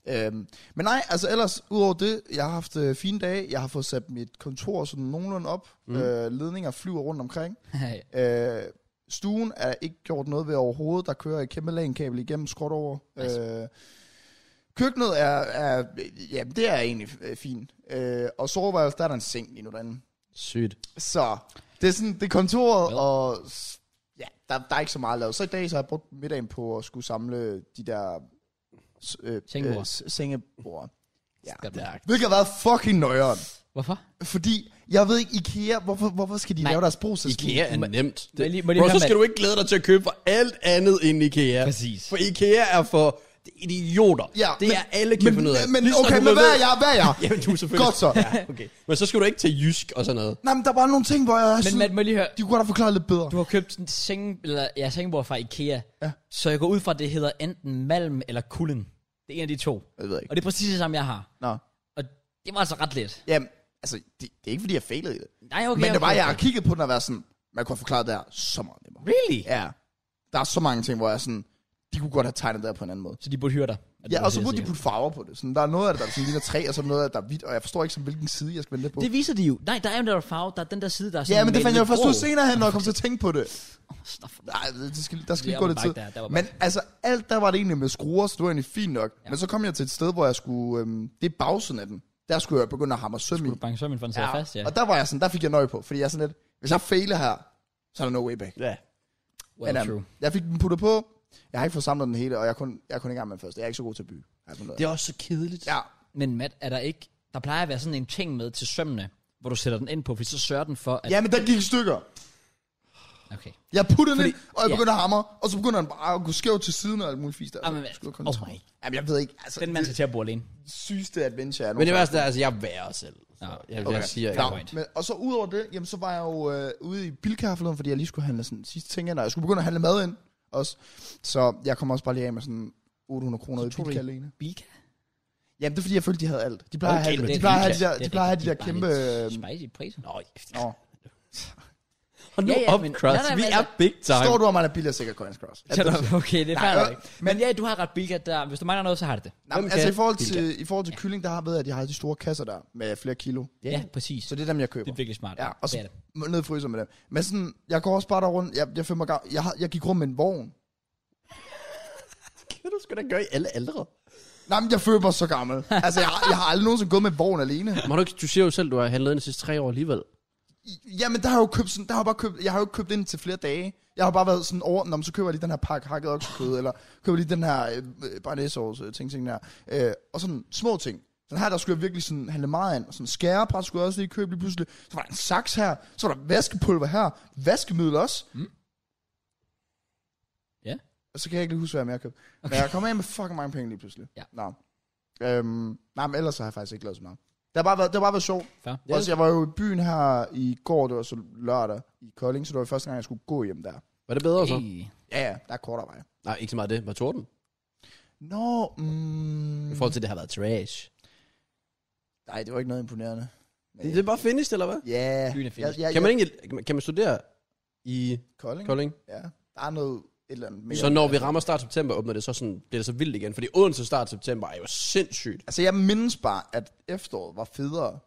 C: Øhm, men nej, altså ellers, udover det, jeg har haft øh, fine dage, jeg har fået sat mit kontor sådan nogenlunde op, mm. øh, ledninger flyver rundt omkring, øh, stuen er ikke gjort noget ved overhovedet, der kører et kæmpe lankabel igennem skråt over.
A: Nice.
C: Øh, køkkenet er, er, ja, det er egentlig øh, fint, øh, og soveværelset, der er der en seng lige nu derinde.
B: Sygt.
C: Så det er sådan, det er kontoret,
A: Well.
C: well. og s- ja, der, der er ikke så meget lavet. Så i dag så har jeg brugt middagen på at skulle samle de der s- øh,
A: Sengebord.
C: øh, s- sengebord. Ja.
A: Ja.
C: Hvilket har været fucking nøjeren.
A: Hvorfor?
C: Fordi, jeg ved ikke, IKEA, hvorfor, hvorfor skal de
A: Nej.
C: Nej. lave deres brugsæske?
B: IKEA er nemt.
A: må jeg lige- må jeg lige
B: Bro,
A: høre,
B: så skal
A: Mads?
B: du ikke glæde dig til at købe for alt andet end IKEA.
A: Præcis.
B: For IKEA er for idioter.
C: Ja,
B: det
C: men-
B: er alle kan
C: men,
B: finde ud af.
C: Men
B: Lige snart
C: okay,
B: du
C: men hvad
B: ved-
C: er jeg? Hvad er jeg?
B: Jamen, du er selvfølgelig.
C: Godt så.
B: Ja, okay. Men så skal du ikke til Jysk og sådan noget.
C: Nej, men der er bare nogle ting, hvor jeg er
A: Men
C: sådan,
A: Matt, må jeg lige høre.
C: de kunne godt have forklaret lidt bedre.
A: Du har købt en seng, eller, ja, sengebord fra Ikea. Ja. Så jeg går ud fra, at det hedder enten Malm eller Kullen. Det er en af de to.
C: Jeg ved
A: Og det er præcis det samme, jeg har.
C: Nå.
A: Og det var altså ret let.
C: Jamen, altså, det, det, er ikke, fordi jeg failede i det.
A: Nej, okay.
C: Men det
A: okay,
C: var, jeg har
A: okay.
C: kigget på den og været sådan, man kunne have forklaret det her så meget nemmere.
A: Really?
C: Ja. Der er så mange ting, hvor jeg er sådan, de kunne godt have tegnet det her på en anden måde.
A: Så de burde hyre dig. Er det,
C: Ja,
A: du
C: og så
A: siger,
C: burde de
A: sikkert?
C: putte farver på det. Sådan, der er noget af det, der er sådan ligner træ, og så er der noget af det, der er hvidt, og jeg forstår ikke, sådan, hvilken side jeg skal vende det på.
A: Det viser de jo. Nej, der er jo den der farve. Der er den der side, der er sådan
C: ja, men det
A: malet
C: fandt jeg jo først
A: grå.
C: ud senere hen, når jeg kom til at tænke på det.
A: Stop.
C: Nej, det det skal, der skal
A: Det
C: lige
A: er
C: gå
A: bare
C: lidt tid.
A: ikke der, der var bare
C: men altså, alt der var det egentlig med skruer, så det var egentlig fint nok. Ja. Men så kom jeg til et sted, hvor jeg skulle... Øhm, det er bagsiden af den. Der skulle jeg begynde at hamre søm i.
A: Du banker sømmen for, den sidder fast, ja.
C: Og der var jeg sådan, der fik jeg nøje på, fordi jeg er sådan lidt, hvis jeg fejler her, så er der no way back.
B: Ja.
A: Well,
C: øhm,
A: true.
C: jeg fik den puttet på, jeg har ikke fået samlet den hele, og jeg er kun, jeg er kun i gang med den første. Jeg er ikke så god til at bygge. har jeg fundet ud af.
B: Det er også så kedeligt.
C: Ja,
A: Men Matt, er der ikke... Der plejer at være sådan en ting med til sømmene, hvor du sætter den ind på, fordi så sørger den for, at...
C: ja, men den gik i stykker.
A: Okay.
C: Jeg puttede den
A: Fordi-
C: ind, og jeg
A: ja.
C: begynder at hamre, og så begynder den bare at gå skævt til siden og alt muligt fisk der.
A: Jamen,
C: Så skulle jeg
A: oh
C: koncentrere
A: my.
C: mig. Jamen, jeg ved ikke, altså,
A: Den mand skal til at bo alene.
C: det sygeste adventure, jeg
B: Men det værste er, altså, jeg er værre selv. Så jeg, okay. jeg siger ikke.
C: Nå,
A: point.
C: men, og så udover det, jamen, så var jeg jo øh, ude i Bilka her forleden, fordi jeg lige skulle handle sådan sidste ting ind, og jeg skulle begynde at handle mad ind også. Så jeg kom også bare lige af med sådan 800 kroner i
A: tog du
C: Bilka
A: i-
C: alene.
A: Bilka?
C: Jamen, det er fordi, jeg følte, de havde alt. De plejer
B: Okay, men
C: at have,
B: det
C: de
B: er
C: plejer at have
A: Bilka.
C: de der,
A: Det
C: de
A: er
C: plejer at have de
A: rigtigt.
C: der
A: er
C: kæmpe...
A: lidt
C: øh,
A: Spicy priser.
B: Nå,
C: Nå.
B: Hold nu
A: Ja, ja,
B: op,
A: men-
B: Cross.
A: Nej, nej,
B: Vi
A: men
B: er
A: altså-
B: big time.
C: Står du om, man er billigere sikkert Coins Cross?
A: Ja, okay, det er
C: Nej,
A: fair
C: øh,
A: nok. Men ja, du har ret Bilka der. Hvis du mangler noget, så har det det.
C: Nej, men
B: Hvem
C: altså,
B: kan
C: i forhold,
B: Bilka?
C: til, i forhold til kylling, der har ved jeg, at de har de store kasser der med flere kilo.
A: Ja, ja præcis.
C: Så det er dem, jeg køber.
A: Det er virkelig smart.
C: Ja, og så
A: det er det.
C: ned i fryser med dem. Men sådan, jeg går også bare der rundt, jeg, jeg, føler mig, ga- jeg, har- jeg gik rundt med en vogn,
B: kan du sgu da gøre i alle aldre.
C: Nej, men jeg føler mig så gammel. Altså, jeg, har- jeg har aldrig nogensinde gået med vogn alene.
B: Men har du, ikke- du siger jo selv, du har handlet ind de sidste tre år alligevel.
C: I- Jamen, der har jeg jo købt sådan, der har jeg bare købt, jeg har jo ikke købt ind til flere dage. Jeg har bare været sådan over, når så køber jeg lige den her pakke hakket oksekød, eller køber lige den her øh, barnæssauce, ting, ting der. Øh, og sådan små ting. Sådan her, der skulle jeg virkelig sådan handle meget ind. Og sådan skærebræt skulle jeg også lige købe lige pludselig. Så var der en saks her, så var der vaskepulver her, vaskemiddel også.
A: Mm. Ja.
C: Og så kan jeg ikke lige huske, hvad jeg mere købte. Okay. Men jeg kommer af med fucking mange penge lige pludselig.
A: Ja.
C: Nå. Øhm, nej, men ellers så har jeg faktisk ikke lavet så meget. Det har bare været, det har bare været sjovt.
A: Fair.
C: Ja. Også, jeg var jo i byen her i går, det var så lørdag i Kolding, så det var første gang, jeg skulle gå hjem der.
B: Var det bedre så?
A: Hey.
C: Ja, ja, der er kortere vej.
B: Nej, ikke så meget det. Var torden?
C: Nå, mm,
B: I forhold til, at det har været trash.
C: nej, det var ikke noget imponerende.
B: Det er bare finished, eller hvad?
C: Ja,
A: Byen er finished.
C: ja, ja,
B: Kan man, ikke, kan man studere i
C: Kolding?
B: Kolding?
C: Ja, der er noget et eller andet mere.
B: Så når vi rammer start september, åbner det så sådan, bliver det så vildt igen. Fordi Odense start september er jo sindssygt.
C: Altså, jeg mindes bare, at efteråret var federe.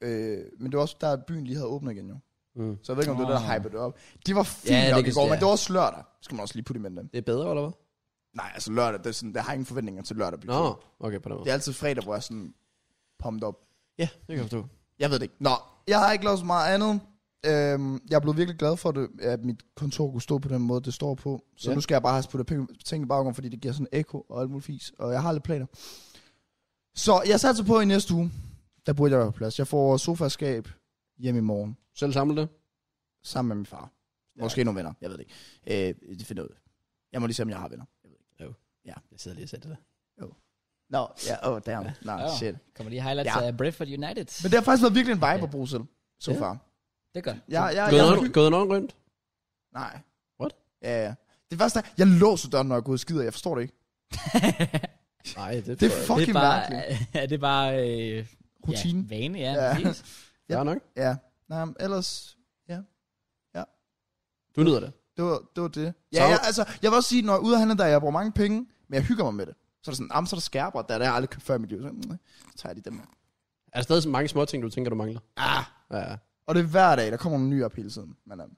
C: Øh, men det var også der, at byen lige havde åbnet igen jo.
B: Mm.
C: Så jeg ved ikke, om det er det, der hypede det op. Det var fint
B: Ja,
C: ja,
B: det
C: nok
B: kan-
C: i går,
B: ja.
C: men det var også lørdag. Det skal man også lige putte i mente.
B: Det er bedre, eller hvad?
C: Nej, altså lørdag, det er sådan, der har jeg ingen forventninger til lørdag.
B: Nå, okay, på den måde.
C: Det er altid fredag, hvor jeg er sådan pumped op.
B: Ja, det kan jeg forstå.
C: Jeg ved det ikke. Nå, jeg har ikke lavet så meget andet. Øhm, jeg er blevet virkelig glad for, det, at mit kontor kunne stå på den måde, det står på. Så
B: Ja.
C: ja. nu skal jeg bare have puttet ting i baggrunden, fordi det giver sådan eko og alt muligt fis. Og jeg har lidt planer. Så jeg satser på i næste uge. Der burde jeg være på plads. Jeg får sofaskab hjem i morgen.
B: Selv samle det.
C: Sammen med min far. Måske nogle venner. Jeg ved det ikke. Øh, det finder jeg ud. af. Jeg må lige se, om jeg har venner.
B: Jeg sidder lige og sætter det.
C: Nå, ja, åh, oh, damn. Nej,
A: Ja.
C: shit.
A: Kommer lige highlights
C: Ja.
A: af Brentford United.
C: Men det har faktisk været virkelig en vibe
A: Ja.
C: at bruge selv. Så
B: Ja.
C: far. Jeg,
A: Det gør.
C: jeg, jeg,
B: Gået
C: jeg,
B: nogen- Gået nogen rundt?
C: Nej.
B: What?
C: Ja, ja. Det første er, jeg låser døren, når jeg går ud og skider. Jeg forstår det ikke.
B: Nej, det,
C: Det
B: det
C: er
B: er
A: Det
C: fucking
A: er bare,
C: mærkeligt.
A: er det bare øh,
C: Rutine.
A: Ja, vane, ja.
C: Ja.
A: præcis.
B: ja. nok.
C: Ja. ja. Nej, men ellers...
B: Du nyder det.
C: Det var det. Var det.
B: Så-
C: Ja, ja, altså, jeg vil også sige, når jeg er ude og handle der, jeg bruger mange penge, men jeg hygger mig med det. Så er der sådan, jamen, så er der skærper, der er der, jeg aldrig købt før i mit liv. Så, mm, så tager jeg lige dem her.
B: Er der stadig så mange små ting, du tænker, du mangler?
C: Ah.
B: Ja, ja.
C: Og det er hver dag, der kommer nogle nye op hele tiden. Men, um,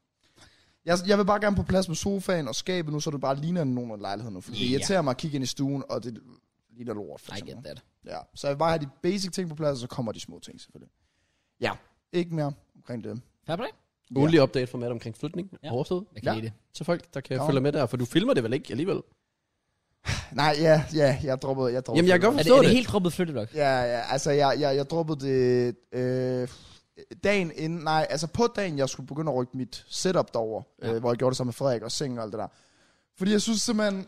C: jeg, jeg vil bare gerne på plads med sofaen og skabet nu, så det bare ligner nogen af lejligheden nu. Fordi
A: Ja.
C: det irriterer mig at kigge ind i stuen, og det ligner lort. For
A: I
C: eksempel.
A: get that.
C: Ja, så jeg vil bare have de basic ting på plads, og så kommer de små ting selvfølgelig. Ja, ikke mere omkring det.
A: Fair play.
B: Ugenlig update for Matt omkring flytning.
A: Ja.
B: Ja. Oversted.
A: Jeg kan
C: Ja.
A: lide det.
B: Til folk, der kan
C: Nå.
B: følge med der. For du filmer det vel ikke alligevel?
C: Nej, ja, ja, jeg droppede, jeg droppede.
B: Jamen, jeg kan
A: Er
B: godt
A: det,
B: forstå
A: er det
B: det.
A: helt droppet flytteblok?
C: Ja, ja, altså jeg, jeg, jeg droppede det øh, dagen inden, nej, altså på dagen, jeg skulle begynde at rykke mit setup derover,
A: Ja.
C: ja. øh, hvor jeg gjorde det sammen med Frederik og seng og alt det der. Fordi jeg synes simpelthen,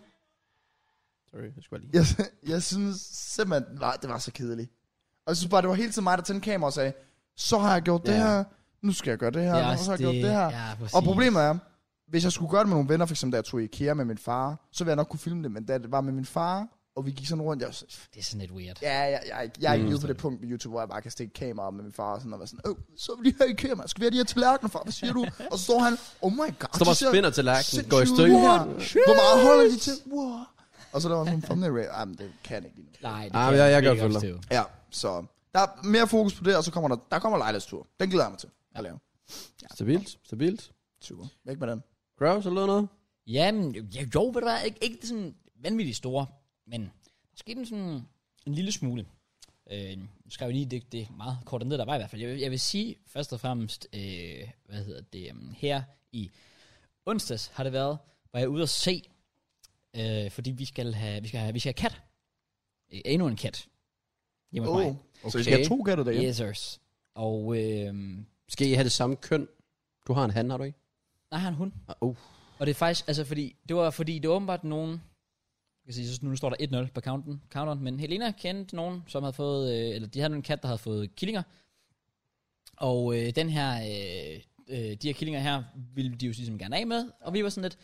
B: Sorry, jeg skulle bare lige.
C: jeg, jeg synes simpelthen, nej, det var så kedeligt. Og jeg synes bare, det var hele tiden mig, der tændte kamera og sagde, så har jeg gjort det
B: Ja.
C: her, nu skal jeg gøre det her,
A: Det er
C: nu
A: også
C: har jeg gjort det her.
A: Ja, præcis.
C: Og problemet er, hvis jeg skulle gøre det med nogle venner, for eksempel da jeg tog i IKEA med min far, så ville jeg nok kunne filme det, men da det var med min far, og vi gik sådan rundt, jeg, var sådan,
A: Det er sådan lidt weird.
C: ja, jeg, jeg, er ikke- jeg er ikke ude på det punkt på YouTube, hvor jeg bare kan stikke kamera op med min far, og, sådan, og være sådan, øh, så er vi lige her i IKEA, man. skal vi have de her tallerkener, far, hvad siger du? Og så står han, oh my god,
B: Står
C: de
B: bare
C: ser
B: spænder til lærken,
C: sindssygt
B: går i
C: ud.
B: stykker.
C: Wow, Hvor meget holder de til? Wow. Og så laver han sådan en thumbnail, ray. Ej, men det kan jeg ikke lige nu.
A: Nej, det
B: Ah,
A: kan
B: men jeg- jeg
A: virkelig
B: kan godt
A: forstå.
C: Ja, så der er mere fokus på det, og så kommer der, der kommer lejlighedstur. Den glæder jeg mig til at lave.
B: Stabilt, stabilt.
C: Super. Væk med den.
B: Grouse eller noget?
A: Jamen, jo, ja, jo, ved du hvad, ikke, ikke sådan vanvittigt store, men der skete en sådan en lille smule. Øh, nu skrev jeg lige, det, det er meget kort ned, der var i hvert fald. Jeg, vil- jeg vil sige først og fremmest, øh, hvad hedder det, um, her i onsdags har det været, var jeg ude at se, øh, fordi vi skal have, vi skal have, vi skal have kat. Øh, endnu en kat. Hjemme hos
C: Oh.
A: mig.
C: Så I skal have to katter derhjemme?
A: Yes, sirs. Og øh,
B: Skal I have det samme køn? Du har en han, har du ikke?
A: nej, han hun.
B: Ah, uh.
A: Og det er faktisk, altså fordi, det var fordi, det var åbenbart nogen, jeg kan sige, så nu står der 1-0 på counten, counteren, men Helena kendte nogen, som havde fået, øh, eller de havde en kat, der havde fået killinger, og øh, den her, øh, øh, de her killinger her, ville de jo ligesom gerne af med, og vi var sådan lidt,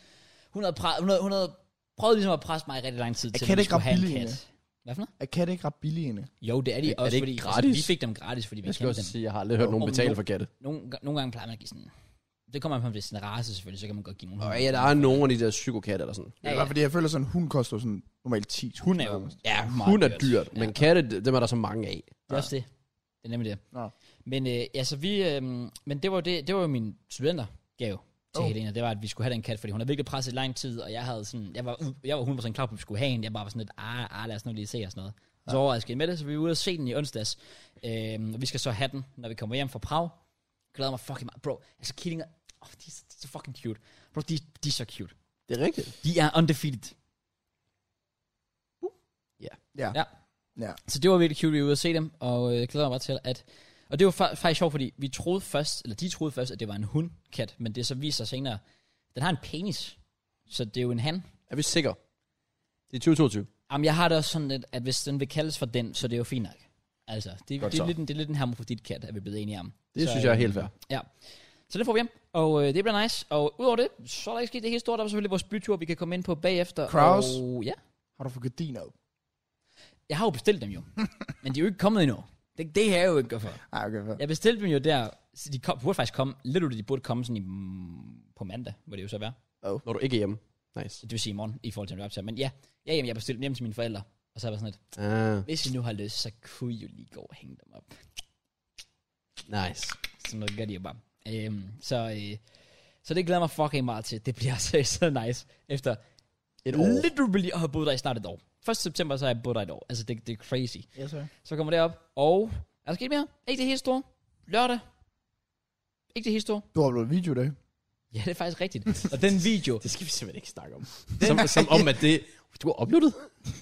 A: hun havde, præ, hun havde, hun havde prøvet ligesom at presse mig i rigtig lang tid til,
C: katte
A: at vi
C: ikke
A: skulle have en
C: rabillige?
A: kat. Hvad for noget?
C: Er katte ikke ret billige egentlig?
A: Jo, det er de
B: Er- er
A: også,
B: det ikke
A: fordi altså,
B: gratis?
A: vi fik dem gratis, fordi vi
B: Jeg skal
A: kendte
B: også
A: dem.
B: sige, at jeg har aldrig hørt nogen
A: om
B: betale
A: nogen-
B: for katte.
A: Nogle, nogle gange plejer man at give sådan, det kommer man på, hvis det er en race selvfølgelig, så kan man godt give nogen.
B: Og ja, der er nogen af de der psykokatte eller sådan.
C: Ja, ja. Fordi jeg føler sådan, hun koster sådan normalt 10.
A: Hun er jo ja, meget
B: Hun er dyrt, men katte, dem er der så mange af.
A: Det er også det. Det er nemlig det.
C: Nå.
A: øhm, Men øh, altså vi, øh, men det var jo det, det var jo min studentergave til
C: Oh.
A: oh. Helena, det var, at vi skulle have den kat, fordi hun havde virkelig presset i lang tid, og jeg havde sådan, jeg var, jeg var 100% klar på, at vi skulle have en. Jeg bare var sådan lidt, ah, ah lad os nu lige se og sådan noget. Så overraskede jeg med det, så vi var ude og se den i onsdags. Øhm, og vi skal så have den, når vi kommer hjem fra Prag. Glæder mig fucking meget. Bro, altså killinger, oh, de, er så- de, er så fucking cute. Bro, de, de er så cute.
B: Det er rigtigt.
A: De er undefeated.
C: Uh. Ja.
A: Ja.
C: ja.
A: Så det var virkelig cute, vi var ude at se dem, og øh, jeg glæder mig bare til, at... Og det var fa- faktisk sjovt, fordi vi troede først, eller de troede først, at det var en hundkat, men det så viste sig senere, den har en penis, så det er jo en han.
B: Er vi sikre? Det er 2022.
A: Jamen, jeg har det også sådan lidt, at hvis den vil kaldes for den, så det er jo fint nok. Altså, det,
C: Godt
A: det, er,
C: så.
A: lidt, en- det er lidt en hermofrodit-kat, er vi blevet enige om.
B: Det
A: Så,
B: synes jeg er
A: øh,
B: helt fair.
A: Ja. Så det får vi hjem, og øh, det bliver nice. Og udover det, så er der ikke sket det helt store. Der var selvfølgelig vores bytur, vi kan komme ind på bagefter.
C: Kraus.
A: Og, ja.
C: Har du fået gardiner op?
A: Jeg har jo bestilt dem jo, men de er jo ikke kommet endnu. Det, det har jeg jo ikke gjort for.
C: Nej, okay. fair.
A: Jeg bestilte dem jo der, så de kom, burde faktisk komme, lidt ud, de burde komme sådan i, mm, på mandag, må det jo så være.
B: Når du ikke er hjemme. Nice.
A: Det vil sige i morgen, i forhold til, når vi optager. Men ja, ja jamen, jeg bestilte dem hjem til mine forældre, og så var jeg sådan lidt,
B: Ah,
A: hvis I nu har lyst, så kunne I jo lige gå og hænge dem op.
B: nice.
A: Sådan noget gør de jo bare. Øhm, så, øh, så det glæder jeg mig fucking meget til. Det bliver altså så nice, efter
B: Et år.
A: literally at have boet der i snart et år. 1. september, så har jeg boet der et år. Altså, det, det er crazy.
C: Yes, sir.
A: Så kommer det op, og er der sket mere? Ikke det helt store. Lørdag. Ikke det helt store.
C: Du har uploadet video i dag.
A: Ja, det er faktisk rigtigt. Og den video,
B: Det skal vi simpelthen ikke snakke om. Som, som om, at det... Du har uploadet?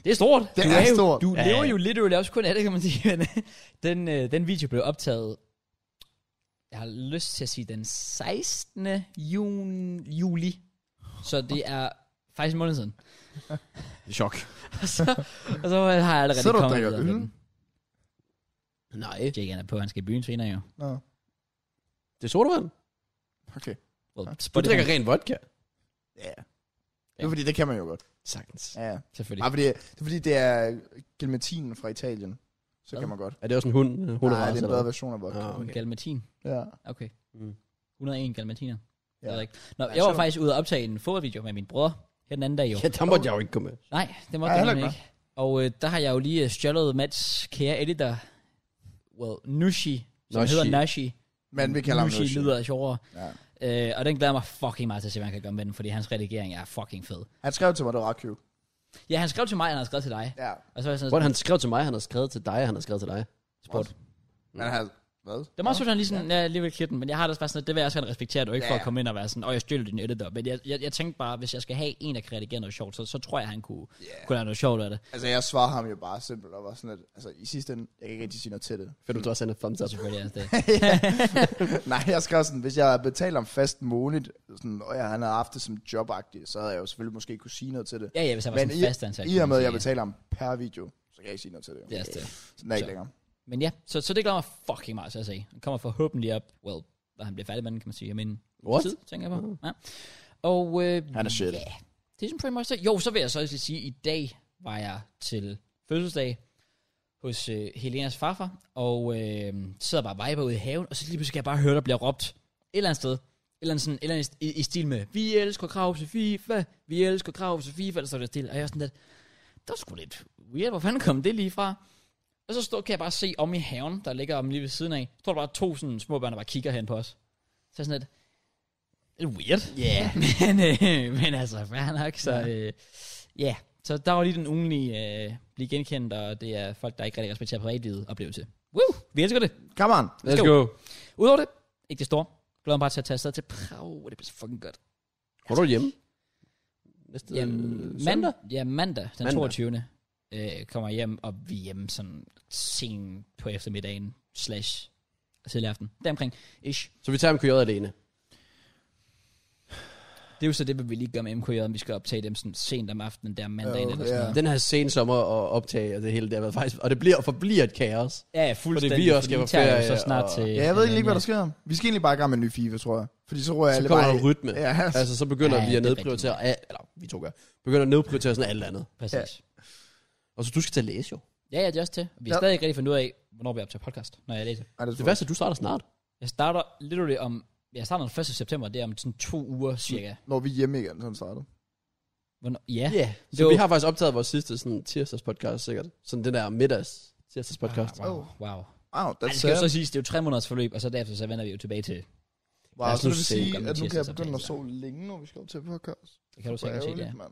A: Det er stort.
C: Det
A: du
C: er
A: jo,
C: stort.
A: Du
B: Ja,
A: lever
B: ja.
A: jo lidt også kun af det, kan man sige. Men, den, øh, den video blev optaget, jeg har lyst til at sige den 16. Jun, juli. Så det er faktisk en måned siden.
B: Chok.
A: og, så, og så har jeg allerede
C: Sidder du og
A: kommet
C: drikker
A: videre med
C: øl?
A: den.
B: Nej.
A: Jake han er på, han skal i byen senere jo.
C: Nå,
B: Det er sodavand.
C: okay.
A: Well,
B: Du
A: Spotify,
B: drikker ren vodka.
C: Ja. Yeah. Det er fordi, det kan man jo godt.
B: Sagtens.
C: Ja, ja.
A: selvfølgelig.
C: Ej, fordi, det er fordi, det er gelmatinen fra Italien. Så
A: Hvad?
C: kan man godt.
B: Er det også en hund? øh, Hunderace,
C: Nej, det er en
B: eller
C: bedre
B: hvad?
C: version af vodka.
B: Ah,
A: Okay.
B: okay.
A: Galmatin.
C: Ja.
A: Okay.
B: Mm.
A: 101 galmatiner. Ja. Det er
C: Ja.
A: rigtigt. Nå,
C: Ja,
A: jeg var
C: så-
A: faktisk ude og optage en fodvideo med min bror her den anden dag jo.
B: Ja, der måtte jeg jo ikke komme med.
A: Nej, det
C: Nej,
A: måtte jeg
C: heller
A: ikke. Og øh, der har jeg jo lige øh, stjålet Mads kære editor, well, Nushi, som
B: Nushi.
A: Nushi. hedder Nashi.
C: Men vi kalder ham
A: Nushi.
C: Nushi.
A: lyder sjovere.
C: Ja.
A: Øh, og den glæder mig fucking meget til at se, hvad han kan gøre med den, fordi hans redigering er fucking fed.
C: Han skrev til mig, det var ret cute.
A: Ja, han skrev til mig, og han har skrevet til dig.
C: Ja.
A: Og så var jeg sådan,
B: Hvor han skrev til mig, han har skrevet til dig, han har skrevet til dig.
A: spurgt.
C: Men han hvad?
A: Det var meget sødt, at han lige sådan, ja, jeg lige vil klippe den, men jeg har det også bare sådan, at det vil jeg også gerne respektere, at du ikke ja.
C: Ja.
A: får at komme ind og være sådan, åh, jeg stjæler din editor. Men jeg, jeg, jeg, tænkte bare, hvis jeg skal have en, der kan redigere noget sjovt, så, så tror jeg, han kunne,
C: Ja.
A: yeah. kunne lave noget sjovt af det.
C: Altså, jeg svarer ham jo bare simpelt og var sådan, at altså, i sidste ende, jeg kan ikke rigtig sige noget til det.
B: Fedt, du også sender thumbs
A: Så
B: up.
A: selvfølgelig er det.
C: Nej, jeg skrev sådan, hvis jeg betaler ham fast månedligt, sådan, og jeg, han havde haft det som jobagtigt, så havde jeg jo selvfølgelig måske kunne sige noget til det.
A: Ja, ja, hvis han var
C: Men
A: sådan
C: i-
A: fastansat.
C: I og
A: kan
C: med,
A: man
C: at jeg
A: sige.
C: betaler ham per video, så kan jeg ikke sige noget til det.
A: Det er også det.
C: Sådan er jeg ikke
A: Så.
C: længere.
A: Men ja, så, så det glæder mig fucking meget til at se. Han kommer forhåbentlig op, well, da han bliver færdig med den, kan man sige. Jeg mener,
B: What?
A: tid, tænker jeg på. Ja. Og øh,
C: Han er shit.
A: Ja, det er sådan pretty much det. Jo, så vil jeg så også lige sige, at i dag var jeg til fødselsdag hos øh, Helenas farfar, og øh, sidder bare og viber ude i haven, og så lige pludselig kan jeg bare høre, der bliver råbt et eller andet sted. Et eller andet sådan, et eller andet i, i stil med, vi elsker Krav til FIFA, vi elsker Krav til FIFA, eller så er det stil. Og jeg er sådan lidt, det var sgu lidt weird, hvor fanden kom det lige fra? Og så står, kan jeg bare se om i haven, der ligger om lige ved siden af, står der bare to sådan små børn, der bare kigger hen på os. Så er jeg sådan lidt, det er weird.
B: Yeah.
A: Men, øh, men altså, fair nok, så ja. Øh, yeah. Så der var lige den ugenlige øh, blive genkendt, og det er folk, der ikke rigtig respekterer privatlivet, oplevelse. Woo! Vi elsker det.
C: Come on.
B: Let's
A: Let's
B: go.
A: Udover det, ikke det store. Glæder mig bare til at tage afsted til Prag, det bliver så fucking godt.
B: Hvor er du hjemme? Næste
A: Jamen,
B: øh,
A: mand, ja, mandag, den
B: Mandag.
A: 22. Øh, kommer jeg hjem, og vi er hjemme sådan sent på eftermiddagen, slash tidlig aften. Deromkring, ish.
B: Så vi tager MKJ alene.
A: Det er jo så det, vi lige gør med MKJ, om vi skal optage dem sådan sent om aftenen, der mandagen
C: Jo,
A: eller sådan
C: ja.
A: noget.
B: Den her sen sommer og optage og det hele, det har været faktisk... Og det bliver og forbliver et kaos.
A: Ja, ja, fuldstændig.
B: Fordi vi også skal
A: fordi
B: på
A: I tager jo
B: ferie,
A: så snart
B: og-
A: til...
C: Ja, jeg ved ikke lige, hvad der sker. Vi skal egentlig bare i gang med en ny FIFA, tror jeg. Fordi så rører jeg
B: Så
C: alle
B: kommer
C: bare...
B: der en rytme.
C: Ja, altså.
B: Altså, så begynder
A: Ja,
B: ja, vi at
A: det er
B: nedprioritere... Ja, eller, vi to gør. Begynder at nedprioritere sådan alt andet.
A: Præcis.
B: Og så du skal til at læse jo.
A: Ja, ja, det er også til. Vi har
C: Ja.
A: stadig ikke rigtig fundet ud af, hvornår vi optager podcast, når jeg læser.
C: Ej, det,
B: Det værste er, at du starter snart.
A: Jeg starter literally om... Jeg starter den 1. september, det er om sådan to uger cirka.
C: Når vi er hjemme igen, sådan startede.
A: Hvornår, ja.
B: Ja. Så
A: Det var-
B: vi har faktisk optaget vores sidste sådan, tirsdags podcast, sikkert. Sådan den der middags tirsdags podcast.
A: Ah, wow, wow.
C: Wow,
A: Ej,
C: that's
A: det skal jo
C: sad.
A: så siges, det er jo tre måneders forløb, og så derefter så vender vi jo tilbage til
C: Wow,
B: Lad os
C: så
B: nu
C: vil det
B: se,
A: om
C: sige, at nu kan jeg
A: tirsdags
C: begynde at
A: opdagelser.
C: sove længe, når vi skal op til podcast.
A: Det kan du sikkert se, ja.
C: mand.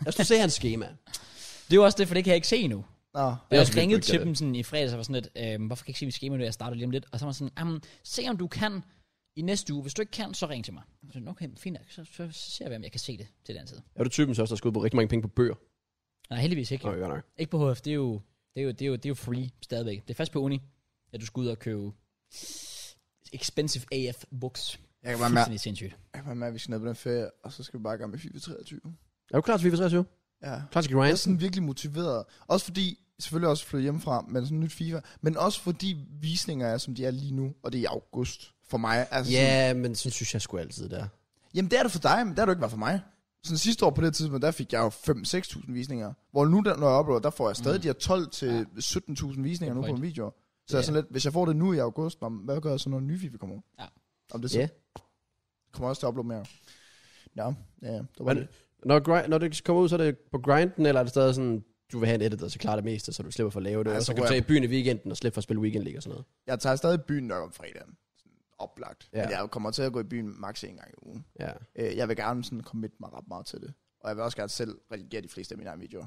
B: Lad os nu se Altså, hans schema.
A: Det er jo også det, for det kan jeg ikke se endnu.
C: Nå,
A: Jeg har
B: også
A: også ringet
B: lidt
A: til
B: af
A: dem sådan i fredags og var sådan lidt, øhm, hvorfor kan jeg ikke se mit schema nu, jeg starter lige om lidt. Og så var jeg sådan, jamen, se om du kan i næste uge. Hvis du ikke kan, så ring til mig. Så sådan, okay, fint nok. Så, så, så ser vi, om jeg kan se det til den tid.
B: Er du typen så også, der har skudt på rigtig mange penge på bøger?
A: Nej, heldigvis ikke.
B: Nå,
A: Okay.
B: jo, nej.
A: Ikke på HF, det er, jo, det, er jo, det, er jo, det er jo free stadigvæk. Det er fast på uni, at du skal ud og købe expensive AF books.
C: jeg kan, være med,
A: Fuldstændig sindssygt.
C: jeg kan være med, at vi skal ned på den ferie, og så skal vi bare i gang med FIFA 23.
B: Er du klar til FIFA 23?
C: Ja.
B: Klar til
C: Jeg
B: grind?
C: er sådan virkelig motiveret. Også fordi, selvfølgelig også flyttet hjemmefra, men sådan nyt FIFA. Men også fordi visninger er, som de er lige nu, og det er i august for mig. Altså sådan,
B: Ja, men sådan synes jeg sgu altid, det er.
C: jamen det er det for dig, men det har det ikke været for mig. Sådan sidste år på det tidspunkt, der fik jeg jo 5-6.000 visninger. Hvor nu, der, når jeg uploader, der får jeg stadig mm. de her 12-17.000
A: Good
C: visninger nu på
A: point.
C: en video. Så jeg er sådan lidt, hvis jeg får det nu i august, nå, men hvad gør jeg så, når den nye FIFA kommer ud?
A: Ja.
C: Om det så
B: Ja.
C: yeah. kommer jeg også til at uploade mere. Nå, ja, ja. Det var
B: Men,
C: det.
B: når, grind, når det kommer ud, så er det på grinden, eller er det stadig sådan, du vil have en editor, så klarer det meste, så du slipper for at lave det,
C: Ja,
B: og
C: så
B: så kan du
C: rører
B: tage
C: jeg-
B: i byen i weekenden og slippe for at spille weekend League og sådan noget.
C: Jeg tager stadig i byen nok om fredagen. Sådan Oplagt.
B: Ja.
C: Ja. Men jeg kommer til at gå i byen maks en gang i ugen.
B: Ja.
C: Øh, jeg vil gerne sådan commit mig ret meget til det. Og jeg vil også gerne selv redigere de fleste af mine egne videoer.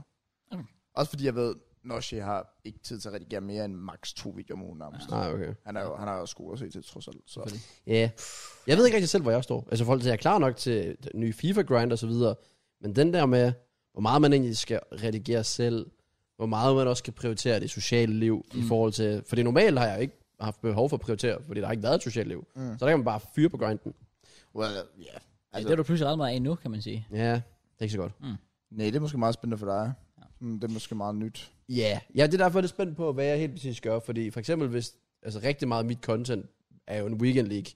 A: Okay.
C: Okay. Også fordi jeg ved, Noshi har ikke tid til at redigere mere end maks to videoer om ugen nærmest. Ja.
B: Nej, ah, okay.
C: Han er jo han har jo skole at se til, trods alt. Så.
A: Selvfølgelig.
B: Ja. Jeg ved ikke rigtig selv, hvor jeg står. Altså, i forhold til, at jeg er klar nok til den nye FIFA-grind og så videre, men den der med, hvor meget man egentlig skal redigere selv, hvor meget man også kan prioritere det sociale liv mm. i forhold til... For det normalt har jeg ikke haft behov for at prioritere, fordi der har ikke været et socialt liv. Mm. Så der kan man bare fyre på grinden.
C: Well, yeah.
A: Altså,
C: Altså-
A: det er du pludselig ret meget af nu, kan man sige.
B: Ja, det er ikke så godt.
C: Nej, det er måske meget spændende for dig. Mm, Det er måske meget nyt.
B: Ja, yeah. ja, det er derfor, jeg er lidt spændt på, hvad jeg helt præcis gør, fordi for eksempel hvis, altså rigtig meget af mit content er jo en weekend league,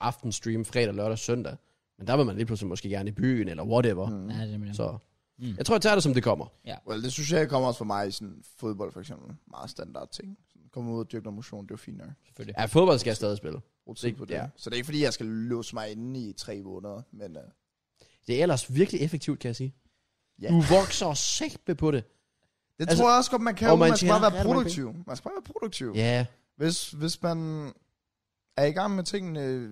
B: aftenstream, fredag, lørdag, søndag, men der vil man lige pludselig måske gerne i byen, eller whatever, mm.
A: Mm. Ja, det er nemlig-
B: så
A: Mm.
B: mm. jeg tror, jeg tager det, som det kommer.
C: Well, det sociale kommer også for mig i sådan fodbold for eksempel. Meget standard ting. Sådan, Komme ud og dyrke noget motion, det er jo fint nok.
A: selvfølgelig.
B: Ja, fodbold skal jeg stadig spille.
C: Brug tid
B: Det-
C: på det.
B: ja.
C: Så det er ikke fordi, jeg skal låse mig inde i tre måneder, men uh,
B: Det er ellers virkelig effektivt, kan jeg sige.
C: Ja.
B: Du vokser sækbe på det.
C: det
B: Altså-
C: altså, tror jeg også godt, man kan.
B: Og
C: jo.
B: man
C: Man skal
B: tjener
C: bare være
B: rigtig mange
C: produktiv. Man skal bare være produktiv.
B: Ja,
C: Hvis, hvis man er i gang med tingene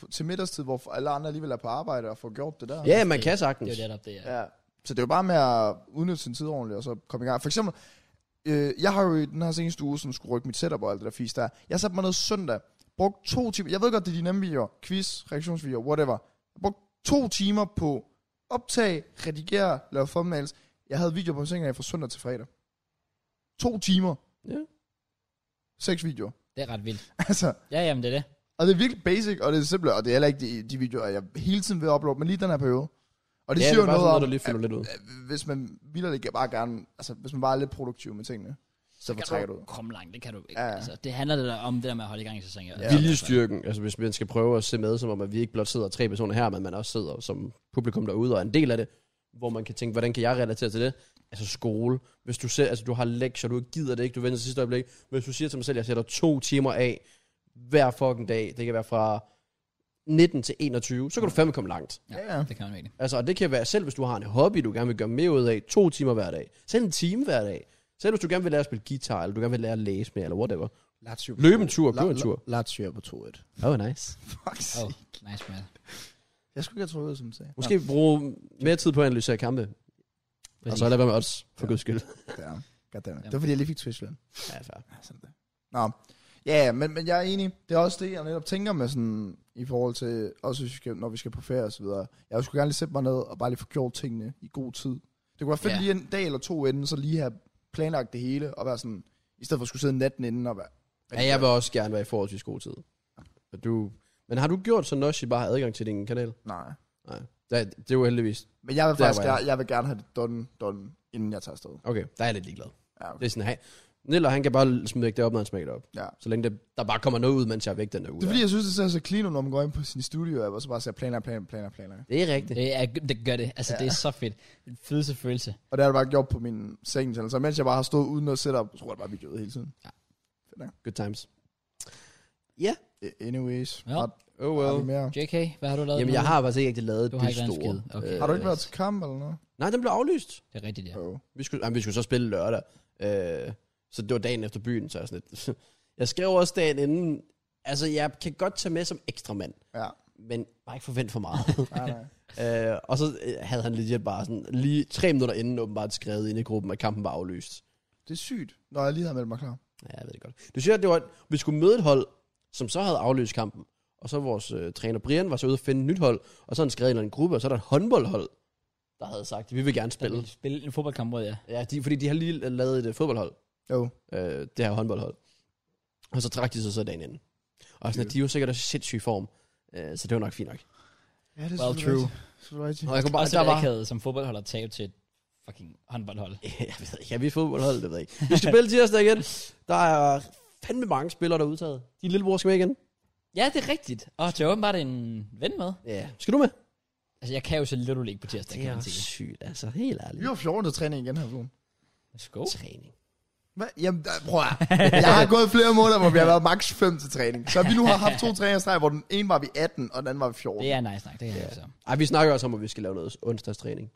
C: på- til middagstid, hvor alle andre alligevel er på arbejde og får gjort det der.
B: ja man kan
A: Det
B: sagtens.
A: er jo netop det, ja.
C: ja. Så det er jo bare med at udnytte sin tid ordentligt, og så komme i gang. For eksempel, øh, jeg har jo i den her seneste uge, sådan skulle rykke mit setup og alt det der fisk der. Jeg satte mig ned søndag, brugte to timer. Jeg ved godt, det er de nemme videoer, quiz, reaktionsvideoer, whatever. Jeg brugte to timer på optag, redigere, lave thumbnails. Jeg havde videoer på sengen af fra søndag til fredag. To timer.
B: Ja.
C: Seks videoer.
A: Det er ret vildt.
C: Altså,
A: Ja, jamen det er det.
C: og det er virkelig basic, og det er simpelt, og det er heller ikke de, de videoer, jeg hele tiden vil uploade, men lige den her periode. Og det
B: ja,
C: ja,
B: det
C: siger
B: er
C: jo
B: bare
C: noget
B: sådan
C: om,
B: noget, der lige fylder lidt ud.
C: øh, hvis man vil det bare gerne, altså hvis man bare er lidt produktiv med tingene, så fortrækker du ud.
A: Kom langt, det kan du ikke.
C: Ja,
A: Ja.
C: ja.
A: Altså, det handler det der om det der med at holde i gang i sæsonen.
C: Ja.
B: Viljestyrken, altså hvis man skal prøve at se med, som om at vi ikke blot sidder tre personer her, men man også sidder som publikum derude og er en del af det, hvor man kan tænke, hvordan kan jeg relatere til det? Altså skole. Hvis du ser, altså du har lektier, du gider det ikke, du venter til sidste øjeblik. Hvis du siger til mig selv, jeg sætter to timer af hver fucking dag, det kan være fra 19 til 21, så kan du fandme komme langt.
C: Ja, ja.
A: Det kan man virkelig.
B: Altså, og det kan være, selv hvis du har en hobby, du gerne vil gøre mere ud af, to timer hver dag, selv en time hver dag, selv hvis du gerne vil lære at spille guitar, eller du gerne vil lære at læse mere, eller whatever.
C: Lazio
B: Løb en tur, gå en tur.
C: Lazio på 2-1.
B: Oh, nice.
C: Fuck
A: Oh,
C: oh.
A: nice man.
C: Jeg skulle ikke have troet, som du sagde.
B: Måske bruge mere tid på at analysere kampe, og
A: Præcis.
B: så lade være med odds, for
C: Ja.
B: guds skyld.
C: Ja, goddammit. Det var fordi, jeg lige fik twitch løn.
B: Ja, fair.
C: Ja, sådan Altså, det. Nå, ja, ja, men, men jeg er enig. Det er også det, jeg netop tænker med sådan, i forhold til, også hvis vi skal, når vi skal på ferie og så videre. Jeg skulle gerne lige sætte mig ned og bare lige få gjort tingene i god tid. Det kunne være fedt
A: Ja.
C: ja. lige en dag eller to inden, så lige have planlagt det hele, og være sådan, i stedet for at skulle sidde natten inden og være...
B: Ja, jeg vil også gerne være i forholdsvis god tid. Og du... Men har du gjort så Noshi bare har adgang til din kanal?
C: Nej.
B: Nej. Det, er- det er jo heldigvis...
C: Men jeg vil
B: Der
C: faktisk
B: var jeg.
C: gerne, jeg vil gerne have det done, done, inden jeg tager afsted.
B: Okay, der er jeg lidt ligeglad.
C: Ja, okay.
B: Det er sådan, hey, Niller, han kan bare smide det op, når han smækker det op.
C: ja.
B: Så længe det, der bare kommer noget ud, mens jeg er væk den der uge.
C: Det er fordi, jeg synes, det ser så clean ud, når man går ind på sin studio, og så bare ser planer, planer, planer, planer.
B: det er rigtigt.
A: Det, er, det gør det. Altså, ja. det er så fedt. Den fedeste følelse.
C: Og det har jeg bare gjort på min seng, så mens jeg bare har stået uden at sætte op, så tror jeg bare, vi gjorde hele tiden.
B: Good times.
C: Eh, Anyways.
A: Ja.
C: Har,
B: Oh
C: har, vi mere?
A: JK, hvad har du lavet?
B: Jamen, jeg har faktisk ikke rigtig lavet
A: Du har
B: det
A: ikke lavet en
B: store.
A: skid. Okay.
B: Øh,
C: har du ikke været til kamp eller noget?
B: Nej, den blev aflyst.
A: Det er rigtigt, ja.
C: Jo. Oh.
B: Vi skulle, jamen, vi skulle så spille lørdag. Øh, så det var dagen efter byen, så jeg sådan lidt. jeg skrev også dagen inden. Altså, jeg kan godt tage med som ekstra mand.
C: Ja.
B: men bare ikke forvent for meget.
C: Nej, nej.
B: øh, og så øh, havde han lige bare sådan, lige tre minutter inden åbenbart skrevet ind i gruppen, at kampen var aflyst.
C: Det er sygt, når jeg lige havde meldt mig klar.
B: Ja, jeg ved det godt. Du siger, at det var, at vi skulle møde et hold, som så havde aflyst kampen. Og så vores øh, træner Brian var så ude at finde et nyt hold, og så havde han skrevet en eller anden gruppe, og så er der et håndboldhold, der havde sagt, vi vil gerne spille.
A: Spille. spille en fodboldkamp mod jer.
B: Ja, de, fordi de har lige øh, lavet et øh, fodboldhold,
C: Jo.
B: øh, det her håndboldhold. Og så trak de sig så dagen inden. Og sådan, at de er jo sikkert også i sindssyg form, øh, så det var nok fint nok.
C: Ja, det er
A: Well,
C: selvfølgelig
A: true.
C: rigtigt. Selvfølgelig rigtigt.
B: Og jeg kunne bare,
A: Bare, også
B: der
A: der
B: var...
A: var... som fodboldholder at tabe til et fucking håndboldhold.
B: Jeg ved ikke, ja, vi er fodboldhold, det ved jeg ikke. Vi skal spille tirsdag igen. Der er fandme mange spillere, der er udtaget. Din lillebror skal med igen.
A: Ja, det er rigtigt. Og det er åbenbart en ven med.
B: Ja. Skal du med?
A: Altså, jeg kan jo så lidt ikke på tirsdag, kan man sige.
B: sygt, altså. Helt ærligt.
C: Vi var 14. træning igen her ugen.
A: Let's go.
B: Træning.
C: Hvad? Jamen, der, prøv at. Jeg har gået flere måneder, hvor vi har været maks 5 til træning. Så vi nu har haft to træningsstreger, hvor den ene var vi 18, og den anden var vi 14.
A: Det er nice nok, det er
B: Ja.
A: yeah. så.
B: Ej, vi snakker også om, at vi skal lave noget onsdagstræning.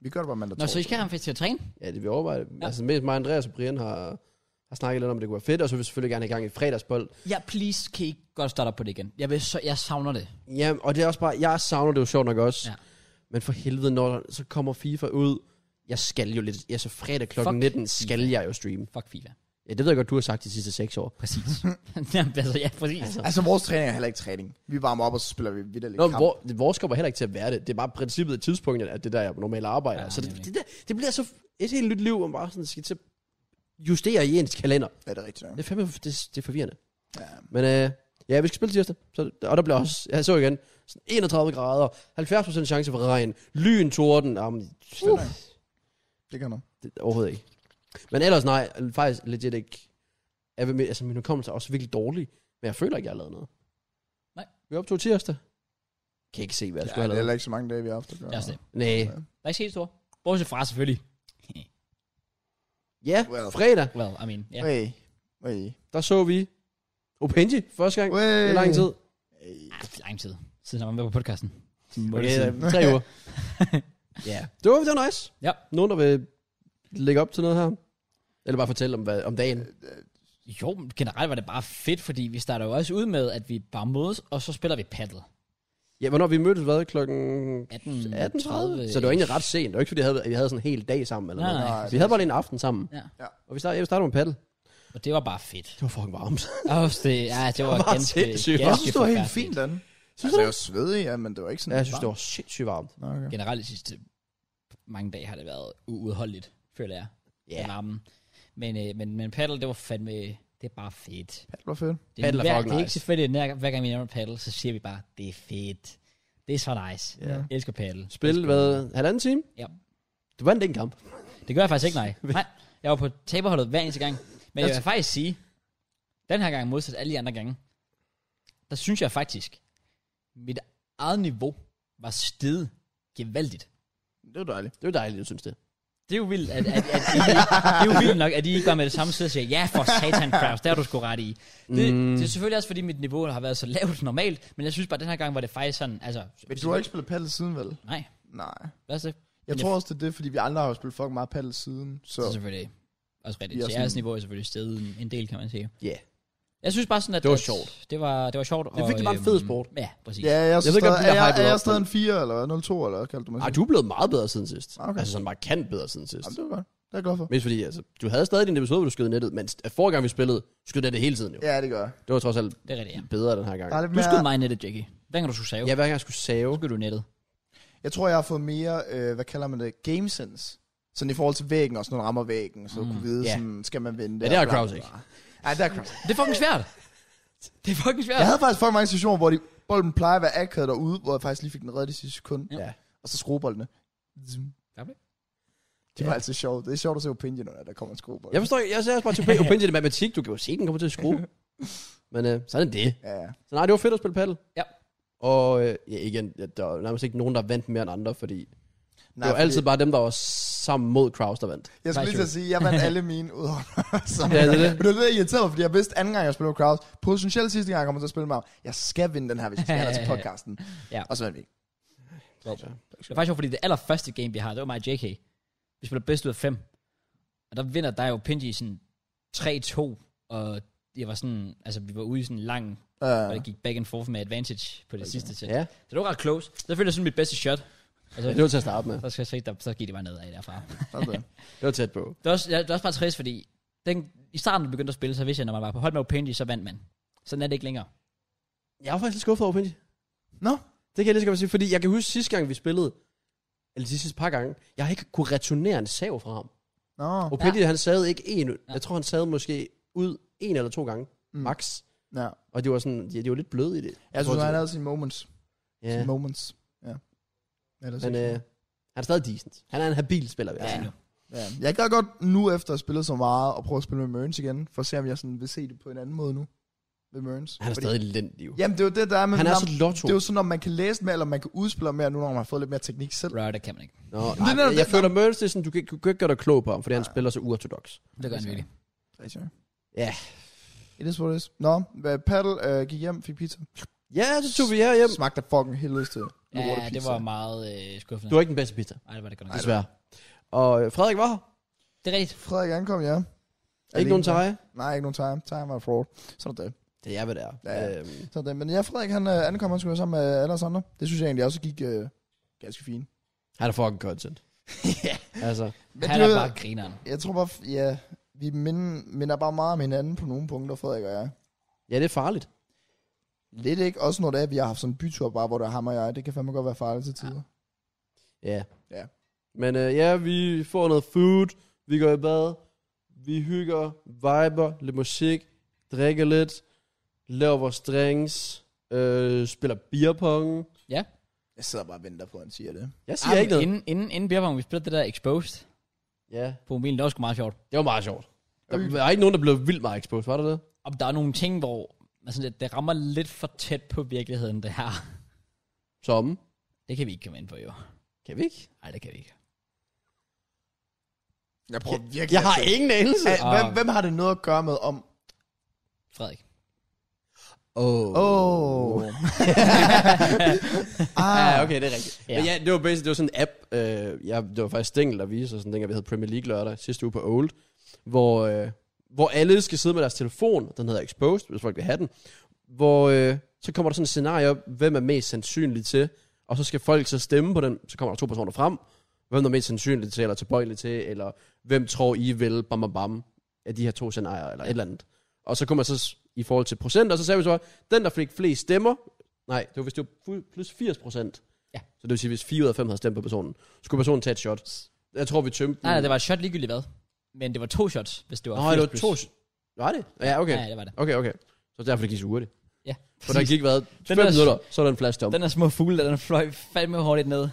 C: Vi gør det bare mandag
A: Nå, så I
C: torsdag.
A: skal have ham faktisk til at træne?
B: Ja, det vi overvejer.
A: Ja.
B: Ja. Altså, mest mig, Andreas og Brian har, har snakket lidt om, at det kunne være fedt, og så vil vi selvfølgelig gerne i gang i fredagsbold.
A: Ja, please, kan I ikke godt starte op på det igen? Jeg, vil så, jeg savner det.
B: Ja, og det er også bare, jeg savner det jo sjovt nok også.
A: Ja.
B: Ja. Men for helvede, når der, så kommer FIFA ud, jeg skal jo lidt, altså fredag kl.
A: Fuck
B: 19 skal jeg jo streame.
A: Fuck FIFA.
B: Ja, det ved jeg godt, du har sagt de sidste seks år.
A: Præcis. Jamen, altså, ja, præcis. Altså.
C: Altså, vores træning er heller ikke træning. Vi varmer op, og så spiller vi videre lidt
B: Nå,
C: kamp.
B: hvor, vores kommer heller ikke til at være det. Det er bare princippet og tidspunktet, at det der, jeg normalt arbejder.
A: Ja,
B: Ja, så det,
A: nemlig.
B: det, der, det, bliver så et helt nyt liv, hvor man bare sådan skal til at justere i ens kalender.
C: Ja, det er rigtigt. nok.
B: Det er fandme det, det er forvirrende.
C: Ja.
B: Men øh, ja, vi skal spille tirsdag. Så, og der bliver også, jeg så igen, sådan 31 grader, 70% chance for regn, lyn, torden. Jamen, uh.
C: Det kan noget.
B: det, overhovedet ikke. Men ellers nej, faktisk legit ikke. Jeg vil, altså, min hukommelse er også virkelig dårlig, men jeg føler ikke, jeg har lavet noget.
A: Nej.
B: Vi optog tirsdag. Kan ikke se, hvad jeg
C: Ja,
B: skulle
C: det er
B: have lavet.
C: heller ikke så mange dage, vi har haft at gøre.
A: Det er også det.
B: Nej.
A: Der er ikke helt store. Bortset fra, selvfølgelig.
B: Ja,
C: Well.
B: fredag,
A: Well, I mean, ja. Yeah.
C: Hey. Hey.
B: der så vi Openji første gang.
C: Hey.
B: Det er lang tid.
C: Hey.
A: Ah, det er lang tid, siden han var med på podcasten.
B: Okay,
A: Okay,
B: øh, tre uger. ja. Det var, det var nice.
A: Ja.
B: Nogen, der vil lægge op til noget her? Eller bare fortælle om, hvad, om dagen?
A: jo, men generelt var det bare fedt, fordi vi starter jo også ud med, at vi bare mødes, og så spiller vi paddle.
B: Ja, hvornår vi mødtes, hvad? Klokken
A: 18.30.
B: 18.30. Så det var egentlig ret sent. Det var ikke, fordi jeg havde, vi havde sådan en hel dag sammen. Eller
A: Nej,
B: noget.
A: nej.
B: Vi havde bare lige en aften sammen.
A: Ja.
C: Ja.
B: Og vi startede, jeg startede med paddle.
A: Og det var bare fedt.
B: Det var fucking varmt.
A: Åh, det, ja, det var,
B: var
A: ganske,
B: sindssygt.
C: Jeg
A: ganske
C: synes, det var helt fint,
A: forfærdeligt.
C: den. Altså, jeg var svedig, ja, men det var ikke sådan...
B: ja, jeg synes, det var sindssygt varmt.
C: Nå, okay.
A: Generelt de sidste mange dage har det været uudholdeligt, føler jeg.
B: Ja.
A: Yeah. Varmen. Men, øh, men, men paddle, det var fandme... Det er bare fedt.
C: Ja, det var fedt.
A: Det er,
B: Paddle er
A: hver,
B: fucking
A: det er ikke
B: nice.
A: selvfølgelig, hver, hver gang vi nævner paddle, så siger vi bare, det er fedt. Det er så nice.
B: Ja.
A: Jeg elsker paddle.
B: Spille, hvad? Halvanden time?
A: Ja.
B: Du vandt ikke en kamp.
A: Det gør jeg faktisk ikke, nej. nej. Jeg var på taberholdet hver eneste gang. Men jeg vil faktisk sige, den her gang modsat alle de andre gange, der synes jeg faktisk, mit eget niveau var steget gevaldigt.
C: Det var dejligt.
B: Det var dejligt, du synes det.
A: Det er jo vildt, at, at, at I, det er jo vildt nok, at I ikke bare med det samme sted og siger, ja for satan Kraus, der er du sgu ret i. Det, mm.
B: Mm.
A: det, er selvfølgelig også, fordi mit niveau har været så lavt normalt, men jeg synes bare, at den her gang var det faktisk sådan, altså...
C: Men du har ikke spillet paddle siden, vel?
A: Nej,
C: Nej.
A: hvad er det?
C: Jeg
A: Men
C: tror også, det er det, fordi vi andre har jo spillet fucking meget paddle siden. Så
A: Det er selvfølgelig også rigtigt.
C: Vi er
A: Så
C: sådan-
A: jeres niveau er selvfølgelig steget en, en del, kan man sige.
B: Ja.
A: Jeg synes bare sådan, at...
B: Det var
A: at
B: sjovt.
A: Det var, det var sjovt. øhm,
B: Det er virkelig bare en fed sport.
A: Ja, præcis.
C: ja, jeg, jeg,
B: ved
C: stadig,
B: godt,
C: godt,
B: de der
C: er, jeg,
B: hypede
C: er
B: op,
C: jeg stadig en 4 eller 02, eller hvad kaldte du mig?
B: Ej, Ah, du er blevet meget bedre siden sidst.
C: Okay.
B: Altså sådan markant bedre siden sidst.
C: Jamen, det var godt. Det er jeg glad for.
B: Mest fordi, altså, du havde stadig din episode, hvor du skød nettet, men st- forrige gang vi spillede, skød nettet hele tiden jo. Ja.
C: Ja, det gør jeg.
B: Det var trods alt
A: Det er rigtigt, ja.
B: bedre den her gang.
C: Der er lidt
A: Du skød
C: mere,
A: mig i nettet, Jackie. Den kan du skulle save.
B: Ja, hver gang jeg skulle
A: Så
B: save.
A: skød du i nettet.
C: jeg tror, jeg har fået mere, øh, hvad kalder man det, game sense. Sådan i forhold til væggen, og sådan når man rammer væggen, så mm, kunne vide,
B: ja.
C: sådan, skal man vende
B: Ja, det har
C: og bla,
B: Kraus
C: bla,
B: ikke.
C: bla. Nej, det er Kraus.
A: Det er fucking svært. Det er fucking svært.
C: Jeg havde faktisk fucking mange situationer, hvor de, bolden plejer at være akavet derude, hvor jeg faktisk lige fik den reddet i sidste sekund.
A: Ja.
C: Og så skrueboldene. Zoom.
A: Fairplay.
C: Det var altså sjovt. Det er sjovt at se opinion, når der kommer en skruebold.
B: Jeg forstår ikke, jeg ser også bare til opinion i matematik, du kan jo se, den kommer til at skrue. Men øh, sådan er det.
C: Ja, ja.
B: Så nej, det var fedt at spille paddle.
A: Ja.
B: Og øh, ja, igen, ja, der var nærmest ikke nogen, der vandt mere end andre, fordi Nej, det
C: Nej,
B: var
C: fordi-
B: altid bare dem, der var sammen mod Kraus, der vandt.
C: Jeg skulle lige til at sige, jeg vandt alle mine ud over så.
B: Ja, det er det.
C: Men det var det, jeg irriterede mig, fordi jeg vidste anden gang, jeg spillede Kraus. Potentielt sidste gang, jeg kommer til at spille med ham. Jeg skal vinde den her, hvis jeg skal have dig til podcasten.
A: Ja.
C: Og så vandt vi ikke.
A: Det var faktisk sjovt, fordi det allerførste game, vi har, det var mig og JK. Vi spiller bedst ud af fem. Og der vinder der jo Pinji sådan 3-2. Og jeg var sådan, altså vi var ude i sådan en lang og
C: Øh,
A: det gik back and forth med advantage på det sidste set.
B: Ja.
A: Så det var ret close. Så følte jeg sådan mit bedste shot. Altså, Og
B: Det
A: så,
B: var til at starte med.
A: så, skal jeg se, der, så gik det bare nedad derfra.
C: sådan der.
B: Det var tæt på.
A: Det er også, ja, det er også bare trist, fordi den, i starten, da vi begyndte at spille, så vidste jeg, når man var på hold med Opendi, så vandt man. Sådan er det ikke længere.
B: Jeg var faktisk lidt skuffet over Pindy.
C: Nå.
B: Det kan jeg lige så godt sige, fordi jeg kan huske sidste gang, vi spillede, eller de sidste par gange, jeg har ikke kunne returnere en sav fra ham.
C: Nå.
B: Og Pindy, han savede ikke en, jeg tror, han savede måske ud en eller to gange,
C: Mm.
B: max.
C: Ja.
B: Og de var sådan, ja, de var lidt bløde i det.
C: Jeg synes, han havde sine moments.
B: Ja,
C: Sine moments. Ja. Ellers
B: men
C: ikke.
B: øh, han er stadig decent. Han er en habil spiller, vil jeg
A: Ja.
B: sige.
C: Ja, jeg gad godt nu, efter at have spillet så meget, og prøve at spille med Mørns igen, for at se, om jeg sådan vil se det på en anden måde nu. Med Mørns.
B: Han er
C: Fordi-
B: stadig lidt liv.
C: Jamen, det er jo det, der er med...
B: Han er
C: ham.
B: så lotto.
C: det er jo sådan, om man kan læse mere, eller man kan udspille mere nu, når man har fået lidt mere teknik selv.
A: Right, det kan man ikke.
B: Nå,
C: er
B: nej,
C: netop
B: jeg,
C: det.
B: jeg føler Mertens, det er sådan, du kan, ikke- du kan ikke gøre dig klog på ham, fordi han
C: Nej.
B: spiller så uortodox.
A: Det gør han virkelig.
B: Ja.
C: It is what it is. Nå, hvad, paddle øh, gik hjem, fik pizza.
B: Ja, så tog vi her hjem.
C: Smagte af fucking helvedes til.
A: Ja, det var meget øh, skuffende.
B: Du var ikke den bedste pizza,
A: Ej, det var det godt nok.
B: desværre. Og øh, Frederik var her.
A: Det er rigtigt.
C: Frederik ankom, ja.
B: Ikke
C: Alene.
B: nogen teje.
C: Nej, ikke nogen time. Time var fraud. Sådan er det.
B: Det er, hvad det er.
C: Ja.
B: Øhm,
C: Sådan er det. Men ja, Frederik, han øh, ankom, han skulle være sammen med alle os andre. Det synes jeg egentlig også gik øh, ganske fint.
B: han er fucking content. Altså,
C: Men
A: Han
C: det
A: er
C: var-
A: bare grineren.
C: Jeg tror bare, f- ja, vi minder, minder bare meget om hinanden på nogle punkter, Frederik og jeg.
B: ja, det er farligt.
C: Lidt ikke, også når det er, at vi har haft sådan en bytur bare, hvor der er ham og jeg. Det kan fandme godt være farligt til tider.
B: Ja.
C: Ja.
B: Men øh, ja, vi får noget food, vi går i bad, vi hygger, viber, lidt musik, drikker lidt, laver vores drinks, øh, spiller beerpong.
C: Jeg sidder bare og venter på, at han siger det.
B: Jeg
A: Ej,
B: siger ikke
A: men
B: noget.
A: inden, inden, inden Bjergvang, vi spillede det der Exposed
B: Ja,
A: på mobilen, det var sgu meget sjovt.
B: det var meget sjovt. Der var ikke nogen, der blev vildt meget exposed, var der det?
A: Og der er nogle ting, hvor altså, det, det rammer lidt for tæt på virkeligheden, det her.
B: Som?
A: Det kan vi ikke komme ind på, jo.
B: Kan vi ikke?
A: Nej, det kan vi ikke.
C: Jeg prøver virkelig
B: Jeg har ingen anelse.
C: Æh, hvem, hvem har det noget at gøre med om...
A: Frederik.
B: Åh.
C: Åh... Oh. ah,
B: Ja, okay, det er rigtigt.
A: Ja.
B: Ja. Men ja, det var basically, det var sådan en app, øh, jeg, det var faktisk Stengel, der viste os, sådan, dengang vi havde Premier League lørdag sidste uge på Old, hvor, øh, hvor alle skal sidde med deres telefon, den hedder Exposed, hvis folk vil have den, hvor øh, så kommer der sådan et scenarie op, hvem er mest sandsynlig til, og så skal folk så stemme på den, så kommer der to personer frem, hvem der er mest sandsynlig til, eller tilbøjelig til, eller hvem tror I vil, bam bam bam, af de her to scenarier, eller et eller andet. Og så kunne man så, s- i forhold til procent, og så sagde vi så, den der fik flest stemmer, nej, det var hvis det var fu- plus 80 procent, så det vil sige, hvis 4 ud af 5 havde stemt på personen, skulle personen tage et shot. Jeg tror, vi tømte
A: Nej, nej, det var et shot ligegyldigt hvad. Men det var to shots, hvis det var
B: Nå,
A: 80
B: det var
A: plus.
B: to... Var det? Ja, okay.
A: Ja, det var det.
B: Okay, okay. Så derfor det gik så hurtigt.
A: Ja.
B: For der gik, hvad? 5
A: der-
B: minutter, så er der en flash dump.
A: Den der små fugle, der den fløj fandme hurtigt ned.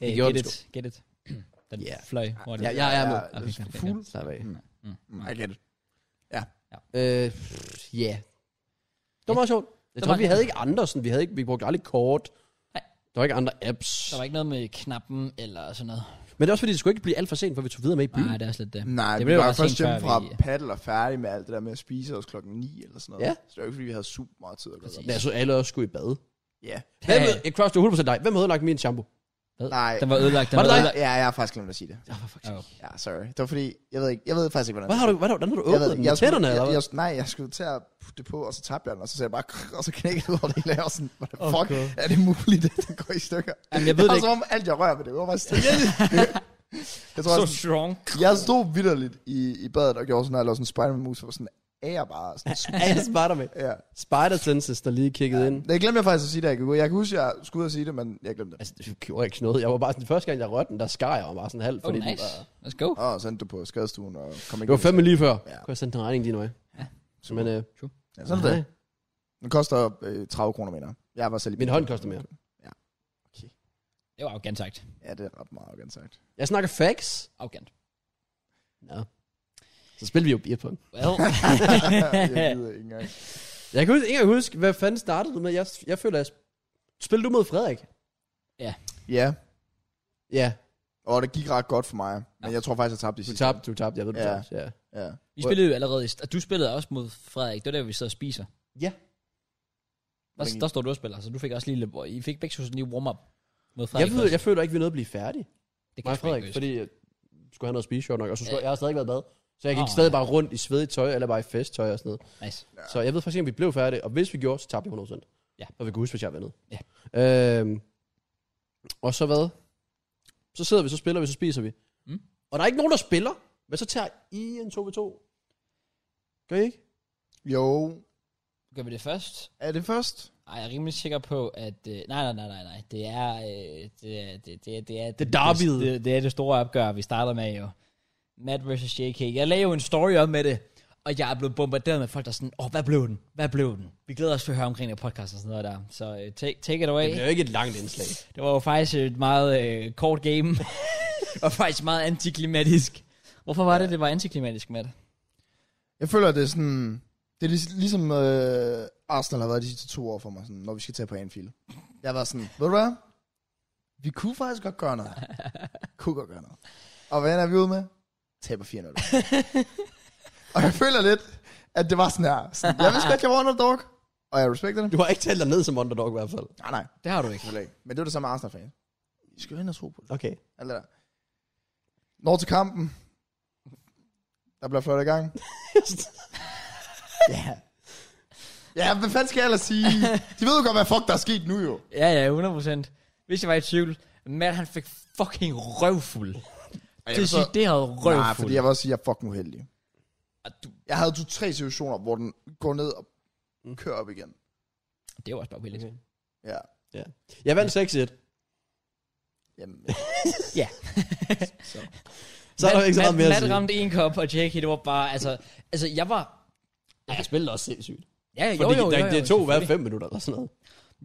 A: Hey,
B: gjorde
A: get
B: den
A: it, get it. Den
B: Ja.
A: fløj hurtigt.
B: Ja, ja, ja. med.
A: Okay, okay, okay.
C: Fugl.
B: Slap af.
A: Mm.
C: I get it.
B: Øh, pff, ja. Det var meget sjovt. Jeg
A: Det
B: tror,
A: var-
B: vi havde ikke andre sådan. Vi, havde ikke, vi brugte aldrig kort.
A: Nej.
B: Der var ikke andre apps.
A: Der var ikke noget med knappen eller sådan noget.
B: Men det er også fordi, det skulle ikke blive alt for sent, for vi tog videre med i byen.
A: Nej, det er også lidt det.
C: Nej,
A: Det
C: det
A: blev
C: vi var
A: også
C: først
A: sent,
C: hjemme
A: før
C: fra
A: vi-
C: paddle og færdig med alt det der med at spise os klokken 9 eller sådan noget.
B: Ja.
C: Så det var ikke, fordi vi havde super meget tid at gå
A: Præcis.
B: Men jeg så alle også skulle i bad.
C: Ja.
B: Hvem,
A: Ja.
B: jeg crossed 100% dig. Hvem havde lagt min shampoo?
C: Nej.
A: Den var ødelagt. Den var,
B: Var det dig?
A: ødelagt.
C: Ja, jeg har faktisk glemt at sige det.
B: Oh, fuck.
A: Oh.
C: Ja, sorry. Det var fordi, jeg ved, ikke, jeg ved faktisk ikke, hvordan
B: Hvad har du, hvad, hvordan har du
C: jeg ved,
B: åbnet
C: ikke.
B: den?
C: jeg,
B: Med tænderne,
C: jeg,
B: eller
C: jeg,
B: hvad?
C: jeg, nej, jeg skulle til at putte det på, og så tabte jeg den, og så sagde jeg bare, krr, og så knækkede det over det hele, og jeg var sådan, what the fuck,
A: God.
C: er det muligt, at det går i stykker?
A: Jamen, jeg ved det
C: og
A: ikke.
C: som om alt, jeg rører ved, det var bare sådan. jeg tror,
A: So
C: også,
A: strong.
C: jeg stod vidderligt i, i badet og gjorde sådan, at jeg lavede sådan en Spider-Man-mus, og var sådan, er jeg bare sådan,
B: Ja, jeg sparter med.
C: ja.
B: Spider Senses, der lige kiggede ja. ind.
C: Det glemte jeg faktisk at sige, da jeg gik ud. Jeg kan huske, jeg skulle ud og sige det, men jeg glemte det.
B: Altså, det gjorde ikke noget. Jeg var bare sådan, første gang jeg rørte den, der skar jeg mig bare sådan halvt.
A: Oh,
B: fordi den
A: nice.
B: var-
A: Let's go.
C: Og sendte det på skadestuen og kom ikke.
B: Det var fandme lige før.
C: Ja.
B: Ja. Kunne jeg sende en regning din vej. Ja. Men øh,
C: Ja, sådan er det. Den koster øh, 30 kroner, mener jeg. jeg. var selv i
B: min hånd koster mere.
A: Det var arrogant sagt.
C: Ja, det er ret meget arrogant sagt.
B: Jeg snakker facts.
A: Arrogant.
B: Nå. Så spiller vi jo beer pong.
A: Well.
C: jeg gider ikke engang.
B: Jeg kan huske, ikke engang huske, hvad fanden startede det med. Jeg, jeg føler, at spillede du mod Frederik?
C: Ja,
B: Ja,
C: og det gik ret godt for mig. Men jeg tror faktisk, jeg tabte de
B: du
C: sidste.
B: tabte, du tabte, jeg ved, du
C: Ja.
B: tabte. Ja.
C: Ja.
A: vi spillede jo allerede, i st- og du spillede også mod Frederik. Det var der, vi sidder og spiser.
B: Ja.
A: Der, der står du og spiller, så du fik også lige, lidt- I fik begge to sådan lige warm-up mod Frederik.
B: Jeg, føler,
A: først.
B: jeg føler ikke, vi nåede at blive færdige.
A: det
B: Mig og
A: sgu
B: Frederik,
A: ikke løse.
B: fordi jeg skulle have noget at spise, sjovt nok. Og så skulle,
A: Ja.
B: jeg har stadig ikke været i bad. Så jeg gik
A: Åh,
B: oh, stadig bare rundt i svedigt tøj, eller bare i festtøj og sådan noget.
A: Nice.
B: Ja. Så jeg ved faktisk ikke, om vi blev færdige, og hvis vi gjorde, så tabte vi 100%.
A: Ja.
B: Og vi kunne huske, hvis jeg vandet. Ja. Øhm, og så hvad? Så sidder vi, så spiller vi, så spiser vi.
A: Mm.
B: Og der er ikke nogen, der spiller, men så tager I en 2v2. Gør I ikke?
C: Jo.
A: Gør vi det først?
C: Er det først?
A: Ej, jeg er rimelig sikker på, at... Øh, nej, nej, nej, nej, nej. Det er... Øh, det, er det, det, er- det er...
B: Det er derbyet.
A: Det, det er det store opgør, vi starter med jo. Matt vs. JK. Jeg lagde jo en story op med det, og jeg er blevet bombarderet med folk, der er sådan, åh, oh, hvad blev den? Hvad blev den? Vi glæder os til at høre omkring det podcast og sådan noget der. Så øh, take, take it away.
B: Det er jo ikke et langt indslag.
A: Det var jo faktisk et meget øh, kort game. og faktisk meget antiklimatisk. Hvorfor var det, det var antiklimatisk, Matt?
C: Jeg føler, det er sådan... Det er lig- ligesom øh, Arsenal har været de sidste to år for mig, sådan, når vi skal tage på Anfield. Jeg var sådan, ved du hvad? Vi kunne faktisk godt gøre noget. kunne godt gøre noget. Og hvad er vi ude med? Taber 4-0. og jeg føler lidt, at det var sådan her. Sådan, jeg vidste godt, jeg var underdog, og jeg respekter det.
B: Du har ikke talt dig ned som underdog i hvert fald.
C: Nej, nej,
A: Det har du ikke.
C: selvfølgelig ikke. Men det var det samme med Arsenal-fan. I skal jo ind og tro på det.
B: Okay.
C: Alt det der. Når til kampen. Der bliver flot i gang. Ja. Yeah. Ja, hvad fanden skal jeg ellers sige? De ved jo godt, hvad fuck der er sket nu jo.
A: Ja, ja, 100%. Hvis jeg var i tvivl, Matt han fik fucking røvfuld.
C: jeg vil så-
A: Decideret røvfuld.
C: Nej, fordi jeg vil også sige, at jeg er fucking uheldig.
A: Og du,
C: Jeg havde to-tre situationer, hvor den går ned og kører op igen.
A: det var også bare vildt.
B: Okay.
C: Ja.
B: Jeg vandt 6-1.
C: Jamen,
A: Ja.
C: så.
B: Så er der jo ikke så meget mere at
A: Matt
B: sige.
A: ramte en kop, og Jackie, det var bare, altså, altså jeg var,
B: Ja, jeg spillede også sindssygt.
A: ja, jo,
B: Fordi
A: jo, jo,
B: der,
A: jo,
B: det er to hver
A: selvfølgelig.
B: fem minutter eller sådan noget.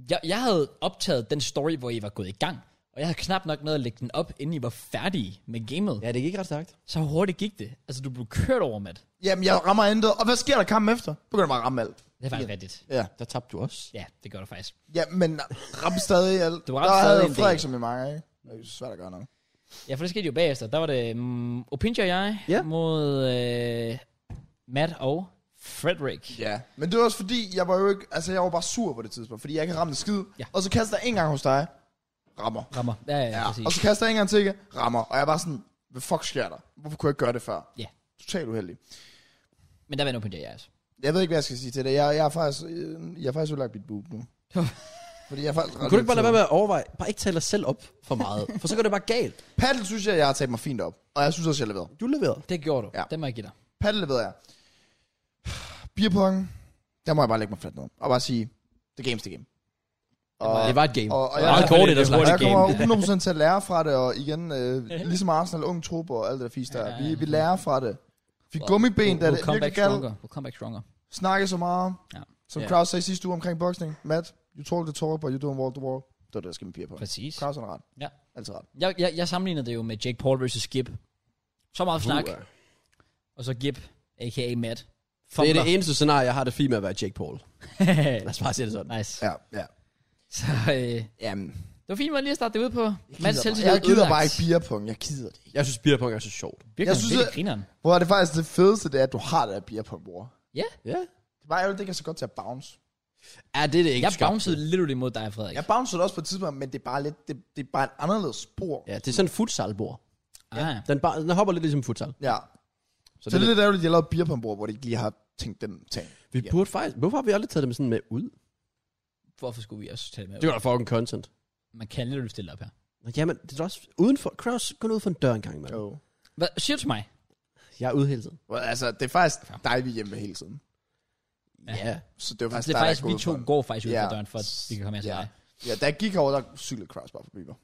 A: Jeg, jeg havde optaget den story, hvor I var gået i gang, og jeg havde knap nok noget at lægge den op, inden I var færdige med gamet. Ja.
B: det gik ret stærkt.
A: Så hurtigt gik det. Altså, du blev kørt over, Matt.
C: Jamen, jeg rammer intet. Og hvad sker der kampen efter? Du kan bare at ramme alt.
A: Det er faktisk ja. rigtigt.
C: Ja.
B: Der tabte du også.
A: Ja, det gør du faktisk.
C: Ja, men ramte stadig alt.
A: Du ramte
C: der
A: stadig
C: havde
A: en del.
C: Frederik som i mange, ikke? Det er jo svært at gøre noget.
A: Ja, for det skete jo bagefter. Der var det um, Opinja og jeg
B: Ja.
A: mod øh, Matt og Frederik.
C: Ja, men det var også fordi, jeg var jo ikke, altså jeg var bare sur på det tidspunkt, fordi jeg ikke ramte en skid.
A: Ja.
C: Ja. Og så kaster jeg en gang hos dig, rammer.
A: Rammer. Ja, ja, ja.
C: Ja,
A: præcis.
C: og så kaster jeg en gang til, igen, rammer. Og jeg er bare sådan, hvad fuck sker der? Hvorfor kunne jeg ikke gøre det før?
A: Ja.
C: Totalt uheldig.
A: Men der vandt Opinja og jeg altså.
C: Jeg ved ikke, hvad jeg skal sige til det. Jeg, jeg er faktisk, øh, jeg er faktisk udlagt mit boob nu. fordi jeg er faktisk...
B: Kunne du ikke bare lade være med at overveje, bare ikke tale dig selv op for meget, for så går det bare galt.
C: Paddle synes jeg, jeg har taget mig fint op. Og jeg synes også, jeg leverede.
B: Du leverede.
A: Det gjorde du. Ja.
C: Ja.
A: Den må jeg give dig.
C: Paddle leverede jeg. Beerpong, der må jeg bare lægge mig fladt ned. Og bare sige, the game's the game. Og,
B: det var et game.
C: og, og
B: det
C: jeg,
B: var et kort,
A: Det
B: det
A: var
B: der
A: et
B: slag.
C: Og jeg
A: game.
C: kommer 100% til at lære fra det, og igen, øh, ligesom Arsenal, ung truppe og alt det der fisk der.
A: Ja,
C: Ja,
A: ja.
C: Vi, vi lærer fra det. Fik gummiben, da det
A: We'll come back
C: virkelig galt.
A: stronger. We'll come back stronger.
C: Snakke så meget.
A: Ja.
C: Ja. Som
B: Ja.
C: ja. Kraus sagde sidste uge omkring boksning. Matt, you talk the talk, but you don't walk the walk. Det var det, der skal man pige på.
A: Præcis.
C: Kraus har ret.
A: Ja.
C: Altid ret.
A: Jeg, jeg, jeg sammenligner det jo med Jake Paul versus Gib. Så meget snak,
B: Uh,
A: og så Gib, a.k.a. Matt.
B: Det er
A: Fumbler.
B: det eneste scenarie, jeg har det fint med at være Jake Paul. Lad os bare sige det sådan.
A: nice.
C: Ja, ja.
A: Så øh,
C: Jamen,
A: det var fint, at lige at starte det ud på.
C: jeg
A: Mads
C: gider,
A: selvtillid
C: bare, jeg gider
A: ødelagt.
C: bare ikke beerpong. Jeg gider det ikke.
B: Jeg synes, beerpong er så sjovt.
A: Virkelig,
C: Jeg
A: jeg
C: synes,
A: synes,
C: at-
A: grineren.
C: Hvor er det faktisk det fedeste, det er, at du har det der beerpong, bror.
B: Ja.
C: Det er bare ærgerligt, det ikke er så godt til at bounce.
B: Ja, det er det ikke
A: Jeg
B: skabt
A: bouncede
B: til.
A: literally mod dig, Frederik.
C: Jeg bouncede også på et tidspunkt, men det er bare lidt, det, det er bare et anderledes spor.
B: Ja, det er sådan en futsalbord.
A: Ah,
B: Den, bar, den hopper lidt ligesom futsal.
C: ja.
B: Så
C: Så,
B: det,
C: det er
B: det,
C: lidt ærgerligt, at jeg lavede bier på en bord, hvor de ikke lige har tænkt den ting.
B: vi burde faktisk... Hvorfor har vi aldrig taget dem sådan med ud?
A: hvorfor skulle vi også tage det med?
B: Det var da fucking content.
A: Man kan literally stille op her.
B: Nå, Jamen, det er da også udenfor... Cross, gå nu ud for en dør en gang, mand.
C: Jo.
A: Hvad siger du til mig?
B: Jeg er ude hele tiden.
C: Well, altså, det er faktisk dig, vi er hjemme ved hele tiden.
A: Ja.
B: Ja.
C: Så det var
A: Altså,
C: faktisk,
A: det er
C: dig,
A: faktisk,
C: der
A: vi
C: gik
A: to
C: ud for den.
A: går faktisk ud
C: Ja.
A: af døren, for at vi kan komme her til
C: Ja.
A: dig.
C: Ja, da jeg gik over, der cyklede Kraus bare forbi mig.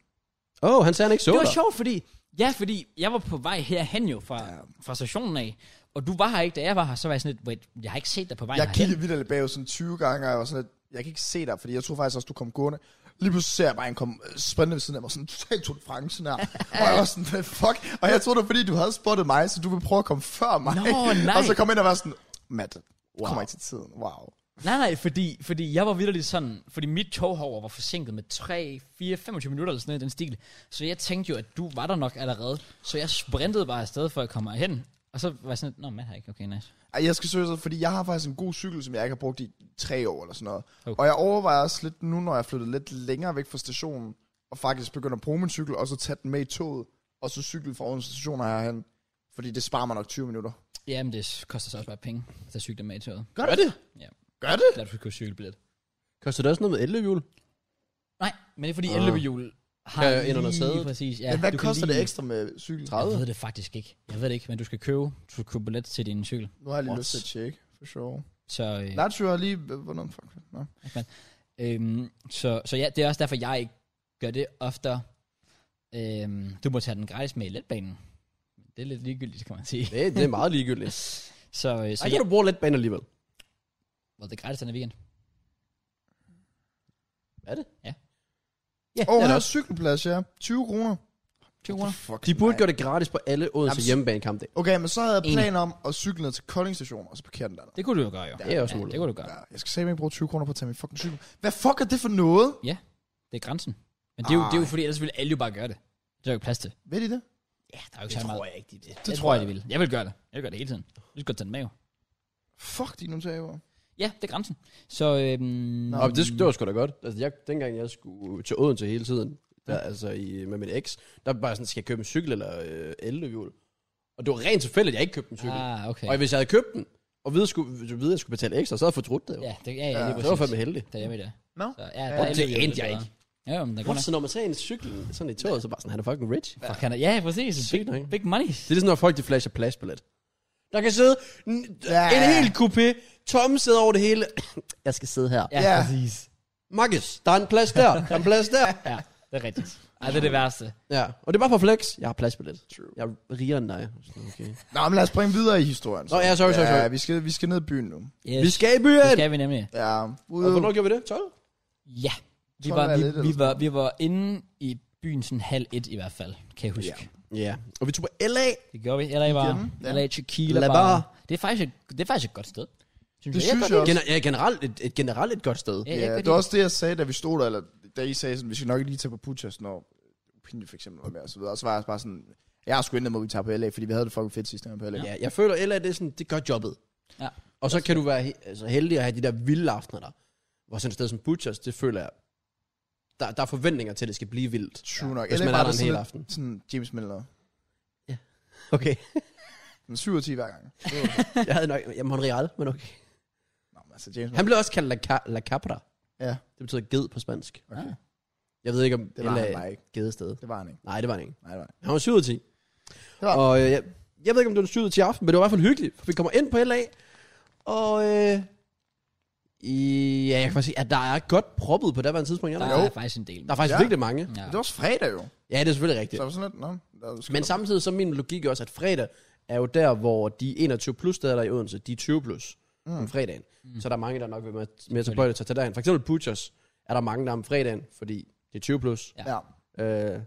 B: Åh, oh, han sagde, han ikke så
A: Det var
B: dig.
A: sjovt, fordi... Ja, fordi jeg var på vej herhen jo fra, ja.
C: Ja.
A: fra stationen af, og du var her ikke, da jeg var her, så var jeg sådan lidt, wait, jeg har ikke set dig på vej
C: Jeg
A: herhen.
C: kiggede vildt lidt bagud sådan 20 gange, og jeg var sådan lidt, jeg kan ikke se dig, fordi jeg troede faktisk også, du kom gående. Lige pludselig ser jeg bare en kom øh, spændende ved siden af mig, sådan totalt Tour de France her. og jeg var sådan, hvad fuck? Og jeg troede, det var fordi, du havde spottet mig, så du ville prøve at komme før mig.
A: Nå, nej.
C: og så kom jeg ind og var sådan, Matt, wow.
B: Wow.
C: kommer ikke til tiden. Wow.
A: Nej, nej, fordi, fordi jeg var vidderligt sådan, fordi mit tog herover var forsinket med 3, 4, 25 minutter eller sådan noget i den stil. Så jeg tænkte jo, at du var der nok allerede, så jeg sprintede bare afsted for at komme herhen. Og så var jeg sådan, lidt, nå, man har ikke, okay, nice.
C: Ej, jeg skal søge, fordi jeg har faktisk en god cykel, som jeg ikke har brugt i tre år eller sådan noget.
A: Okay.
C: Okay. Og jeg overvejer også lidt nu, når jeg er flyttet lidt længere væk fra stationen, og faktisk begynder at bruge min cykel, og så tage den med i toget, og så cykle fra Odense station og herhen. Fordi det sparer mig nok 20 minutter.
A: Jamen, det koster så også bare penge. at tage cykler med i toget.
B: Gør det?
C: Gør det?
A: Lad os købe cykelbillet.
B: Koster det også noget med elløbehjul?
A: Nej, men det er fordi
B: Ah.
A: ah. elløbehjul har
B: Kan jeg ind under
A: lige
B: sædet?
A: Præcis, ja.
C: Ja, men hvad
A: du kan
C: koster
A: lige-
C: det ekstra med cykel?
B: 30?
A: Jeg ved det faktisk ikke. Jeg ved det ikke, men du skal købe, du skal købe billet til din cykel.
C: Nu har jeg lige
B: What?
C: lyst til at tjekke, for sure.
A: Så, øh,
C: Lazio har lige... Hvornår? Fuck. Nå.
A: øhm, så, så ja, det er også derfor, jeg ikke gør det oftere. Øhm, du må tage den gratis med i letbanen. Det er lidt ligegyldigt, kan man sige.
B: Det, det er meget ligegyldigt.
A: Så, øh,
B: Så
A: så ja,
B: Ej, kan du bruge letbanen alligevel.
A: well, det er gratis den her weekend.
B: Er det?
A: Ja.
B: Ja,
C: Åh,
B: det er
C: her
B: det
C: er
B: også.
C: cykelplads, ja. 20 kroner.
A: 20 kroner.
C: Fuck,
B: De burde gøre det gratis på alle Odense
C: Jamen,
B: hjemmebanekampdag.
C: Okay, men så havde jeg
A: Enig.
C: planer om at cykle ned til Kolding Station, og så parkere den der.
A: Det kunne du jo gøre, jo.
B: Det er også
A: Ja,
B: muligt.
A: det kunne du gøre.
C: Ja, jeg skal simpelthen ikke bruge 20 kroner på at tage min fucking cykel. Hvad fuck er det for noget?
A: Det er grænsen. Men det er, jo,
B: Ah.
A: det er jo
C: Ej.
A: fordi, ellers ville alle jo bare gøre det. Det er jo ikke plads til.
C: Ved de det?
A: Ja, der er jo ikke så meget.
B: jeg ikke, de vil.
A: Det tror jeg, de vil. Jeg vil gøre det. Jeg vil gøre det hele tiden. Du skal tage den med jo.
C: Fuck de notaber.
A: Ja, det er grænsen. Så øhm,
B: Nå, men det, det var sgu da godt. Altså, jeg, dengang jeg skulle til Odense hele tiden, der, ja. altså i, med min eks, der var bare sådan, skal jeg købe en cykel eller øh, elløbehjul? Og det var rent tilfældigt, at jeg ikke købte en cykel. Ah,
A: Ah, okay.
B: okay. Og hvis jeg havde købt den, og vide, skulle, vide, at jeg skulle betale ekstra, så havde jeg fortrudt det. jo.
A: Ja, det, ja, ja,
C: Ja,
A: lige
C: det
A: præcis.
B: det var fandme heldigt.
A: Det er jeg med det.
C: Nå.
A: Så, ja,
C: Ja.
A: der er
B: Det
A: lidt-
B: endte jeg
A: lidt
B: ikke.
A: bedre. Ja, men der er
B: What,
A: godt
B: så når man tager en cykel sådan i toget, så bare sådan, han er fucking rich.
A: nok. Fuck, han er, ja, præcis. Big,
B: Sygt nok.
A: big money.
B: Det er ligesom, når folk de flasher pladsbillet. Der kan sidde n-
C: Ja.
B: en hel coupé, tomme sidder over det hele. jeg skal sidde her.
A: Ja,
C: Ja.
A: præcis.
B: Markus, der er en plads der, der er en plads der.
A: Ja, det er rigtigt. Ej, det er det værste.
B: Ja, og det er bare for flex. Jeg har pladsbillet.
C: True.
B: Jeg er rigere end dig. Sådan, Okay.
C: Nå, men lad os springe videre i historien.
B: Nå, ja, sorry, sorry, sorry.
C: Ja, vi skal, vi skal ned i byen nu.
A: Yes.
B: Vi skal i byen!
A: Det skal vi nemlig.
C: Ja.
B: Og hvornår gjorde vi det? 12?
A: Ja. Vi
C: Tror,
A: var,
C: det er
A: vi,
C: lidt
A: vi,
C: eller
A: var, vi var inde i byen sådan halv et i hvert fald, kan jeg huske.
C: Ja.
B: Ja. Og vi tog på LA.
A: Det gjorde vi. LA var,
C: Igen, ja.
A: LA Tequila
B: La
A: Bar.
B: Bar.
A: Det er faktisk et, det er faktisk et godt sted. Synes
C: Det
A: jeg.
C: synes jeg også.
B: Gener- ja, generelt et, et, generelt et godt sted.
A: Ja, jeg
C: Ja,
A: kan
C: det var
A: lide-
C: også det, jeg sagde, da vi stod der, eller da I sagde sådan, vi skal nok lige tage på Puchas, når Pinje for eksempel var med, og så videre. Og så var jeg bare sådan, jeg har sgu endet med, at vi tager på LA, fordi vi havde det fucking fedt sidste gang på LA. Ja.
B: Ja, jeg føler LA, det er sådan, det gør jobbet.
A: Ja.
B: Og så kan du være he- altså, heldig at have de der vilde aftener der. Hvor sådan et sted som Butchers, det føler jeg, der, der er forventninger til, at det skal blive vildt.
C: True nok.
B: Hvis
C: LA
B: man
C: var
B: er
C: der
B: der en
C: sådan
B: hel
C: lidt-
B: aften.
C: Sådan James Miller.
B: Okay.
C: Den 7 ud af 10 hver gang. Det var-
B: jeg havde nok, ja, Monreal, men okay.
C: Nå, men altså James Miller.
B: Han blev også kaldt La, Ca- La Capra.
C: Ja.
B: Det betyder ged på spansk.
C: Okay.
B: Jeg ved ikke, om
C: Det var
B: LA
C: han bare ikke.
B: gedested.
C: Det var han ikke.
B: Nej, det var han ikke.
C: Nej, det var han ikke.
B: Han var 7 ud af 10.
C: var-
B: Og øh, jeg, jeg ved ikke, om det var 7 ud af 10 i aften, men det var i hvert fald hyggeligt, for vi kommer ind på LA, og øh, i, ja, jeg kan faktisk sige, at der er godt proppet på daværende tidspunkt. Ja,
A: Der
B: der,
A: er
B: er,
A: faktisk en del.
B: der er faktisk ja.
C: Ja.
B: virkelig mange.
A: Ja.
C: Men Det var også fredag jo.
B: Ja, det er selvfølgelig
C: Så
B: rigtigt.
C: jeg var sådan lidt, nå. Der er sgu-
B: Men samtidig så er min logik også, at fredag er jo der, hvor de 21 plus steder, der er i Odense, de er 20 plus mm. om fredagen. Mm. Så der er mange, der nok vil med, med til pløjde til derhen. For eksempel Butchers er der mange, der er om fredagen, fordi det er 20 plus.
A: Ja.
C: Ja.
B: Øh,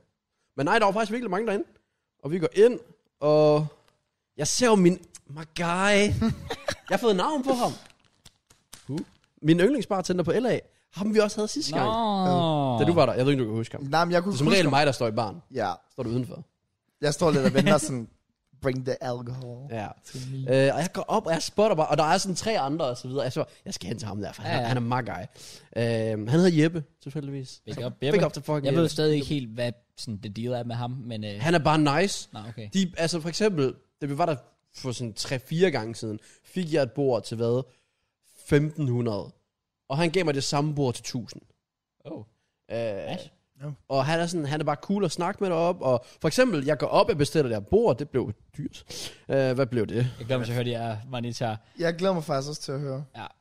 B: men nej, der var faktisk virkelig mange derinde. Og vi går ind, og jeg ser jo min... My guy. jeg har fået navn på ham. Who? Min yndlingsbartender på LA. Ham vi også havde sidste
A: Nå.
B: gang. Da du var der. Jeg ved ikke, om du kan huske ham. Det
C: Nej, men jeg kunne
B: er som
C: huske-
B: regel mig, der står i baren.
C: Ja.
B: Står du udenfor.
C: Jeg står lidt og venter sådan, bring the alcohol.
B: Ja. Øh, og jeg går op, og jeg spotter bare, og der er sådan tre andre og så videre. Jeg så, jeg skal hen til ham der, for han,
A: Ja,
B: ja,
A: ja.
B: ja. han er my guy. Øh, han hedder Jeppe, tilfældigvis.
A: Big up,
B: Big up til fucking
A: Jeg
B: Jeppe.
A: ved stadig ikke helt, hvad sådan, det deal er med ham, men... Øh,
B: Han er bare nice.
A: nej, okay.
B: De, altså for eksempel, da vi var der for sådan 3-4 gange siden, fik jeg et bord til hvad? 1500. Og han gav mig det samme bord til 1000.
A: Oh.
B: Øh,
A: Nice.
C: Ja.
B: og han er, sådan, han er bare cool at snakke med op. Og for eksempel, jeg går op og bestiller det her bord, det blev dyrt. Øh, hvad blev det?
A: Jeg glemmer så hørte jeg, var lige tager.
C: Jeg glæder mig faktisk også til at høre.
A: Ja. Også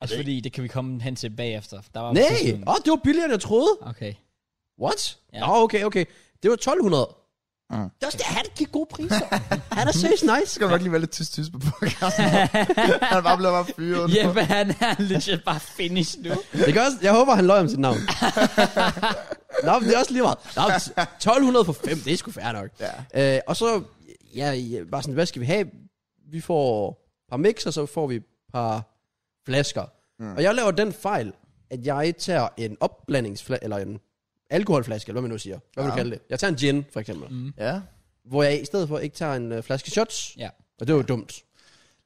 A: Altså, fordi, det kan vi komme hen til bagefter. Der var
B: Nej,
A: sådan-
B: åh, det var billigere end jeg troede.
A: Okay.
B: What?
A: Ja.
B: Ja. Nå, okay, okay. Det var 1200.
C: Mm.
B: Mm. Det er også det, han giver gode priser. han er seriøst
C: Så
B: nice.
C: kan du nok lige være lidt tyst-tyst på podcasten. han er bare blevet bare fyret.
A: Jeppe, han er legit bare finished nu.
B: Det gør også, jeg håber, han løj om sit navn. Nå, men det er også lige meget. Nå, men 1200 for 5, det er sgu fair nok.
C: Ja.
B: Øh, og så, ja, ja, bare sådan, hvad skal vi have? Vi får et par mix, og så får vi et par flasker. Mm. Og jeg laver den fejl, at jeg tager en opblandingsflaske, eller en alkoholflaske, eller hvad man nu siger. Hvad vil du
C: Ja.
B: kalde det? Jeg tager en gin, for eksempel. Mm.
C: Ja.
B: Hvor jeg i stedet for ikke tager en øh, flaske shots.
A: Ja.
B: Og det var jo dumt.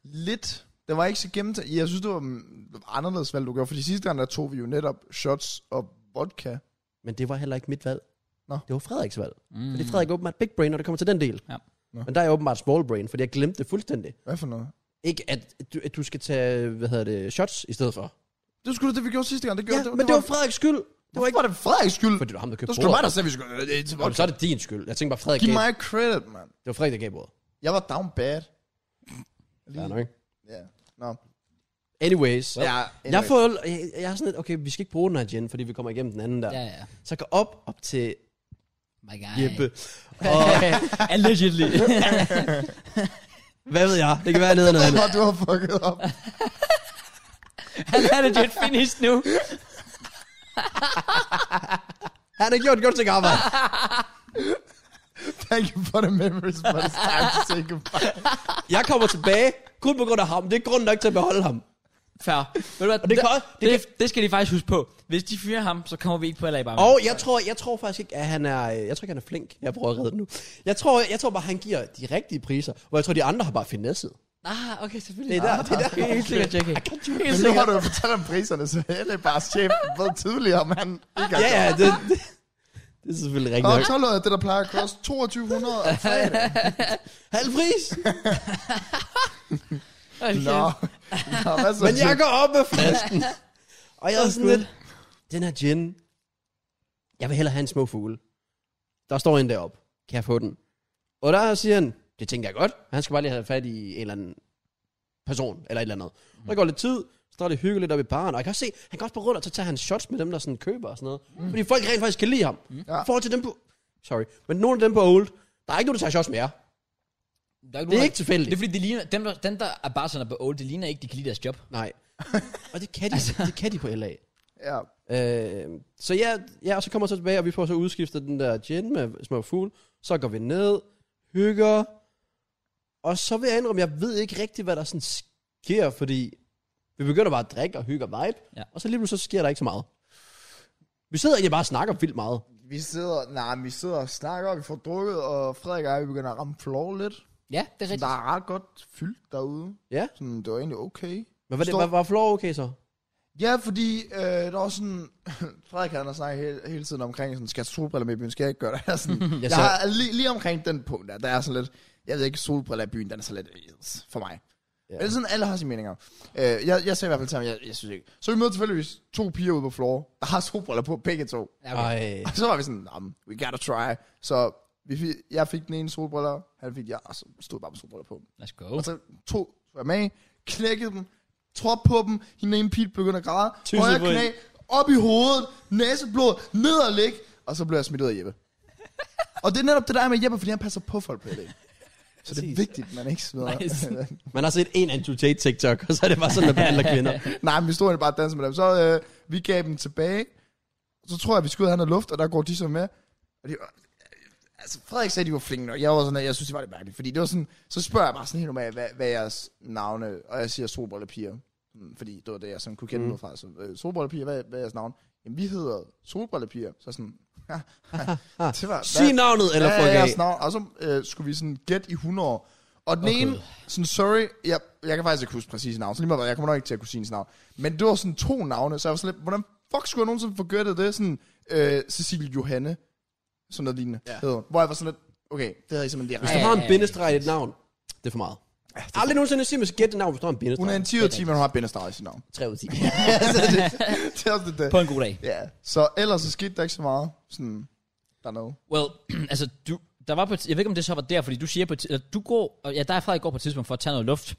C: Lidt. Det var ikke så gennemtænkt. Jeg synes, det var mm, anderledes valg, du gjorde. Fordi sidste gang, der tog vi jo netop shots og vodka.
B: Men det var heller ikke mit valg.
C: Nå.
B: Det var Frederiks valg. Mm. Fordi Frederik er åbenbart big brain, når det kommer til den del.
A: Mm. Ja.
C: Nå.
B: Men der er jeg åbenbart small brain, fordi jeg glemte det fuldstændig.
C: Hvad for noget?
B: Ikke at du, at du skal tage, hvad hedder det, shots i stedet for.
C: Det skulle det, vi gjorde sidste gang. Det gjorde,
B: Ja, men det var Frederiks skyld.
C: det var ikke var det Frederiks skyld.
B: Fordi det var ham, der købte
C: Det skulle mig,
B: bordet.
C: der sagde, vi skulle... Øh, det er til
B: Jamen, så er det din skyld. Jeg tænker bare, Frederik
C: Giv
B: gav,
C: mig credit, mand.
B: det var Frederik, der gav bordet.
C: Jeg var down bad.
B: Ja, nok.
C: Ja. Nå.
B: Anyways.
C: Ja,
B: Jeg, får, jeg, jeg, er sådan lidt, okay, vi skal ikke bruge den her gen, fordi vi kommer igennem den anden der.
A: Ja, ja.
B: Så jeg går op, op til
A: My guy.
B: Jeppe. Og
A: Allegedly.
B: hvad ved jeg? Det kan være noget andet.
C: Åh, du har fucket op.
A: Han er legit finished nu.
B: Han har gjort et godt stykke arbejde.
C: Thank you for the memories, but it's time to say goodbye.
B: Jeg kommer tilbage, kun på grund af ham. Det er grund nok til at beholde ham.
A: Fair. Ved du hvad,
B: Og det kan- det
A: det, det, det, skal de faktisk huske på. Hvis de fyrer ham, så kommer vi ikke på LA bare.
B: Og jeg tror, jeg tror faktisk ikke, at han er, øh, jeg tror ikke, han er flink. Jeg prøver at redde den nu. Jeg tror, jeg tror bare, han giver de rigtige priser, hvor jeg tror, de andre har bare finesset.
A: Ah, okay, selvfølgelig.
B: Det er der, det er der.
A: Okay, Ah, helt sikkert, Jackie. Helt
C: Men nu har
A: sikkert.
C: du jo fortalt om priserne, så hele bare chef ved tidligere, mand. Ikke
B: Ja, ja, det, det, det er selvfølgelig
C: Nå,
B: rigtigt nok.
C: 12 det, der plejer at koste 2200 om fredag.
B: Halv pris!
A: Okay.
C: Nå. Nå, hvad så?
B: Men jeg går op med flasken. Og jeg er sådan lidt, den her gin, jeg vil hellere have en små fugle. Der står en deroppe. Kan jeg få den? Og der siger han, det tænker jeg godt. Han skal bare lige have fat i en eller anden person, eller et eller andet. Mm. Der går lidt tid, så står det hyggeligt op i baren, og jeg kan også se, han går også på rundt, og så tager han shots med dem, der sådan køber og sådan noget. Mm. Fordi folk rent faktisk kan lide ham. Mm. I
C: Ja.
B: forhold til dem på... Sorry. Men nogle af dem på Old, der er ikke nogen, der tager shots med jer.
A: Der ikke
B: Det er
A: nogen,
B: ikke tilfældigt.
A: Det er fordi, de ligner, dem, der, dem, der er bare sådan på old, det ligner ikke, de kan lide deres job.
B: Nej. og det kan de, det kan de på LA.
C: Ja.
B: Øh, så ja, ja, og så kommer jeg så tilbage, og vi får så udskiftet den der gin med små fugl. Så går vi ned, hygger, og så vil jeg indrømme, jeg ved ikke rigtig, hvad der sådan sker, fordi vi begynder bare at drikke og hygge og vibe,
A: Ja.
B: og så lige pludselig så sker der ikke så meget. Vi sidder egentlig bare og snakker vildt meget.
C: Vi sidder, nej, men vi sidder og snakker, vi får drukket, og Frederik og jeg, vi begynder at ramme floor lidt.
A: Ja, det er
C: Så
A: rigtigt.
C: der er ret godt fyldt derude.
B: Ja,
C: Sådan, det var egentlig okay.
B: men var, det,
C: Står-
B: var, var floor okay så?
C: Ja, fordi øh, der var sådan... Frederik han har snakket hele, hele tiden omkring, sådan, skal jeg tage solbriller med i byen, skal jeg ikke gøre det? Jeg er sådan, jeg
B: så-
C: har, lige, lige omkring den punkt, der, der er sådan lidt... Jeg ved ikke, solbriller i byen, den er så lidt øh, for mig.
B: Ja.
C: Ja. Men det er sådan, alle har sine meninger. Øh, jeg, jeg sagde i hvert fald til ham, jeg, jeg synes ikke. Så vi mødte tilfældigvis to piger ude på floor, der har solbriller på, begge to.
A: Ja, okay.
B: Ej,
C: Og så var vi sådan, nah, we gotta try. Så vi, fik- jeg fik den ene solbriller, han fik jeg, og så stod jeg bare med solbriller på.
A: Let's go.
C: Og så to var jeg med, knækkede dem, trådte på dem, hende ene pil begyndte at græde,
B: Tusind
C: højre
B: point.
C: knæ, op i hovedet, næseblod, ned og ligge, og så blev jeg smidt ud af Jeppe. og det er netop det der er med Jeppe, fordi han passer på folk på det. Så det er
B: Præcis.
C: vigtigt, man ikke smider.
A: Nice.
B: man har set en Andrew Tate TikTok, og så er det bare sådan, at behandler kvinder.
C: Nej, men vi stod egentlig bare og dansede med dem. Så øh, vi gav dem tilbage. Så tror jeg, vi skulle ud og have noget luft, og der går de så med. Og de, var- altså, Frederik sagde, de var flinke nok. Jeg var sådan, at jeg synes, det var lidt mærkeligt. Fordi det var sådan, så spørger jeg bare sådan helt normalt, hvad, hvad er jeres navne? Og jeg siger solbrillepiger. Mm, Fordi det var det, jeg sådan kunne kende mm. noget fra. Så, øh, solbrillepiger, hvad, hvad er jeres navn? Jamen, vi hedder solbrillepiger. Så sådan, ja, det var,
B: Sig navnet, eller
C: ja,
B: fuck
C: ja,
B: af.
C: jeres navn. Og så øh, skulle vi sådan gætte i 100 år. Og den
A: Åh,
C: okay. ene,
A: Gud.
C: sådan sorry, jeg, jeg kan faktisk ikke huske præcis navn, så lige meget, jeg kommer nok ikke til at kunne sige hendes navn. Men det var sådan to navne, så jeg var sådan lidt, hvordan fuck skulle jeg nogensinde få gættet det? Sådan, øh, Cecilie Johanne, sådan noget lignende, ja. hedder hun. Hvor jeg var sådan lidt, okay, det havde jeg simpelthen
B: Hvis
C: lige
B: du
A: Ja,
B: har
A: ja,
B: en
A: ja,
B: bindestreg i dit navn, det er for meget. Aldrig nogensinde sige, at man skal gætte et navn, hvis du har en bindestreg.
C: Hun er en 10 ud af 10, men hun har bindestreg i sit navn.
B: 3 ud af 10.
C: altså, det, det, er også lidt det.
A: På en god dag.
C: Ja, så ellers så skete der ikke så meget. Sådan, dernede.
A: Well, altså, du, der var på, et- jeg ved ikke, om det så var der, fordi du siger på, et ti- eller du går, og ja, der er Frederik går på et tidspunkt for at tage noget luft.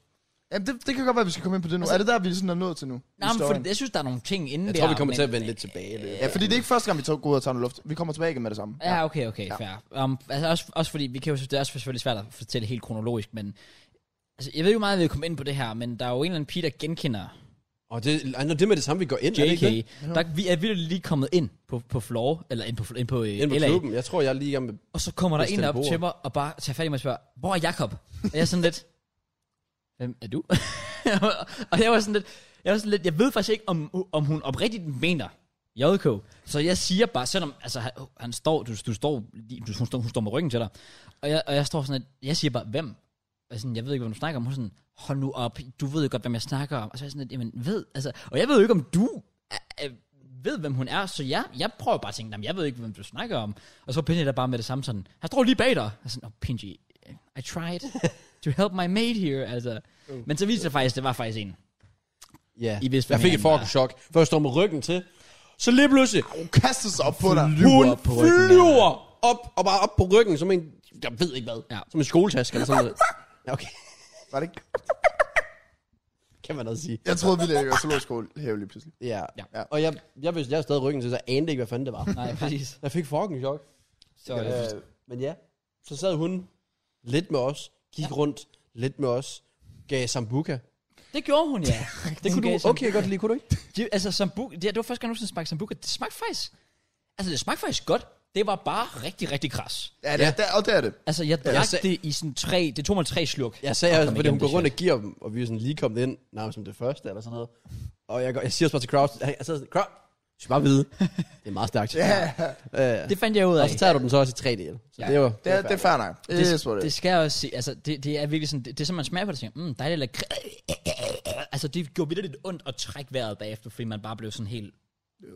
C: Jamen, det, det kan godt være, at vi skal komme ind på det nu. Altså, er det der, vi sådan er nået til nu?
A: Nej, men
C: Historien?
A: for, jeg synes, der er nogle ting inden
B: Jeg
A: der.
B: tror, vi kommer
A: men- øh,
B: til at vende lidt tilbage. Det.
C: Ja, fordi det er ikke første gang, vi tog, går ud og tager noget luft. Vi kommer tilbage igen med det samme.
A: Ja, okay, okay, fair. Um, altså også, også fordi, vi kan jo, det er også selvfølgelig svært at fortælle helt kronologisk, men altså, jeg ved jo meget, at vi vil komme ind på det her, men der er jo en eller anden pige, der genkender
B: Og det, ej, nå, det er med det samme, vi går ind, er det
A: JK.
B: ikke det?
A: Der, vi er vildt lige kommet ind på, på floor, eller ind på, ind på, øh,
B: Ind på
A: LA,
B: klubben. Jeg tror, jeg er lige i gang med...
A: og så kommer der en
B: Bestil
A: op
B: bordet.
A: til mig, og bare tager fat i mig og spørger, hvor er Jakob? Og jeg er sådan lidt, hvem er du? og jeg var sådan lidt, jeg var sådan lidt, jeg ved faktisk ikke, om, om hun oprigtigt mener JK. Så jeg siger bare, selvom altså, han, han står, du, du står, lige- du, hun, står, hun står med ryggen til dig, og jeg, og jeg står sådan lidt, jeg siger bare, hvem? Og jeg sådan, jeg ved ikke, hvad du snakker om. Hun er sådan, hold nu op, du ved jo godt, hvem jeg snakker om. Og så er jeg sådan lidt, jamen ved, altså, og jeg ved jo ikke, om du er, er, ved, hvem hun er, så jeg, jeg prøver bare at tænke, jamen jeg ved ikke, hvem du snakker om. Og så Pinji der bare med det samme sådan, han står lige bag dig. Og sådan, oh, Pinji, I tried to help my mate here, altså.
B: Uh.
A: Men så viste det faktisk, det var faktisk en.
B: Ja.
A: I vidste,
B: jeg
A: hvem
B: fik
A: han
B: et fucking
A: var.
B: chok. Først står med ryggen til. Så lige pludselig,
C: Hun kaster sig op på dig.
B: hun
A: op på ryggen,
B: flyver op, og bare op på ryggen, som en, jeg ved ikke hvad,
A: Ja.
B: som en skoletaske eller sådan noget. Ja, okay,
C: Var det ikke?
B: kan man også sige.
C: Jeg troede, vi lavede zoologisk have lige pludselig.
B: Ja.
A: Ja.
B: ja. Og jeg, jeg vidste, jeg stadig ryggen til, så jeg anede ikke, hvad fanden det var.
A: Nej, præcis.
B: Jeg fik fucking chok.
A: Så, øh,
B: Øh, men ja, så sad hun lidt med os, gik ja. rundt lidt med os, gav sambuca.
A: det gjorde hun, ja.
B: Det
A: Hun
B: kunne
A: gav
B: du okay godt lide, kunne du ikke?
A: Det, altså, sambuca, det, det var første gang, jeg nogensinde smagte sambuca. Det smagte faktisk... Altså, det smagte faktisk godt. Det var bare rigtig, rigtig kras.
C: Ja, det,
B: Ja.
C: Der, og det er det.
A: Altså, jeg drak
B: så-
A: det i sådan tre... Det tog mig tre sluk.
B: Jeg sagde også,
A: kom
B: fordi
A: igennem
B: hun går
A: det
B: rundt og giver dem, og vi er sådan lige kommet ind, nærmest som det første eller sådan noget. Og jeg, går, jeg siger også bare til Kraus, jeg sidder sådan, Kraus, du skal bare vide, det er meget stærkt.
C: Ja,
B: Øh,
A: Det fandt jeg ud af.
B: og så tager du den så også i tre dele. Så
A: Ja.
B: det var
C: det er, det er fair nok. Det, det, det,
A: det, det skal jeg også sige. Altså, det, det er virkelig sådan... Det, det er som man smager på det, og tænker, mm, dejligt eller... Altså, det gjorde vildt lidt ondt at trække vejret bagefter, fordi man bare blev sådan helt...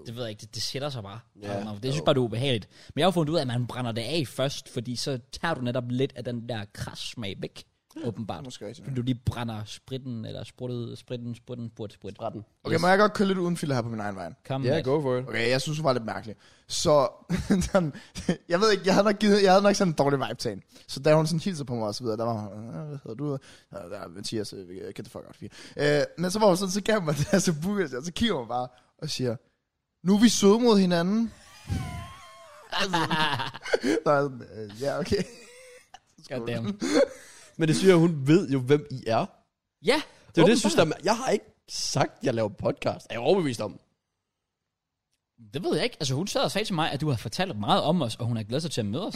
A: Det ved jeg ikke, det, det sætter sig bare.
B: Ja.
A: Yeah. Det synes jeg bare, det er ubehageligt. Men jeg har jo fundet ud af, at man brænder det af først, fordi så tager du netop lidt af den der kras smag væk, åbenbart.
C: er måske rigtigt.
A: Fordi du lige brænder spritten, eller spruttet, spritten, spritten, spurt, sprit.
B: retten.
C: Okay, må jeg godt køre lidt uden filter her på min egen vej?
A: Kom
B: Ja,
A: med.
B: go for it.
C: Okay, jeg synes, hun var lidt mærkelig. Så, sådan, jeg ved ikke, jeg havde nok, givet, jeg havde nok sådan en dårlig vibe til hende. Så da hun sådan hilsede på mig og så videre, der var hun, "Øh, hvad hedder du? Ja, Der er Mathias, øh, get the fuck out of here. Øh, men så var hun sådan, så gav hun mig det her sambuca, og så kigger hun bare og siger, nu er vi søde mod hinanden. altså, der er sådan, øh, ja, okay.
A: God damn.
B: Men det siger, hun ved jo, hvem I er.
A: Ja,
B: Det er jo det, jeg
A: åbenbart.
B: synes, der, er- jeg har ikke sagt, at jeg laver podcast. Er jeg overbevist om?
A: Det ved jeg ikke. Altså, hun sad og sagde til mig, at du har fortalt meget om os, og hun har glædet sig til at møde os.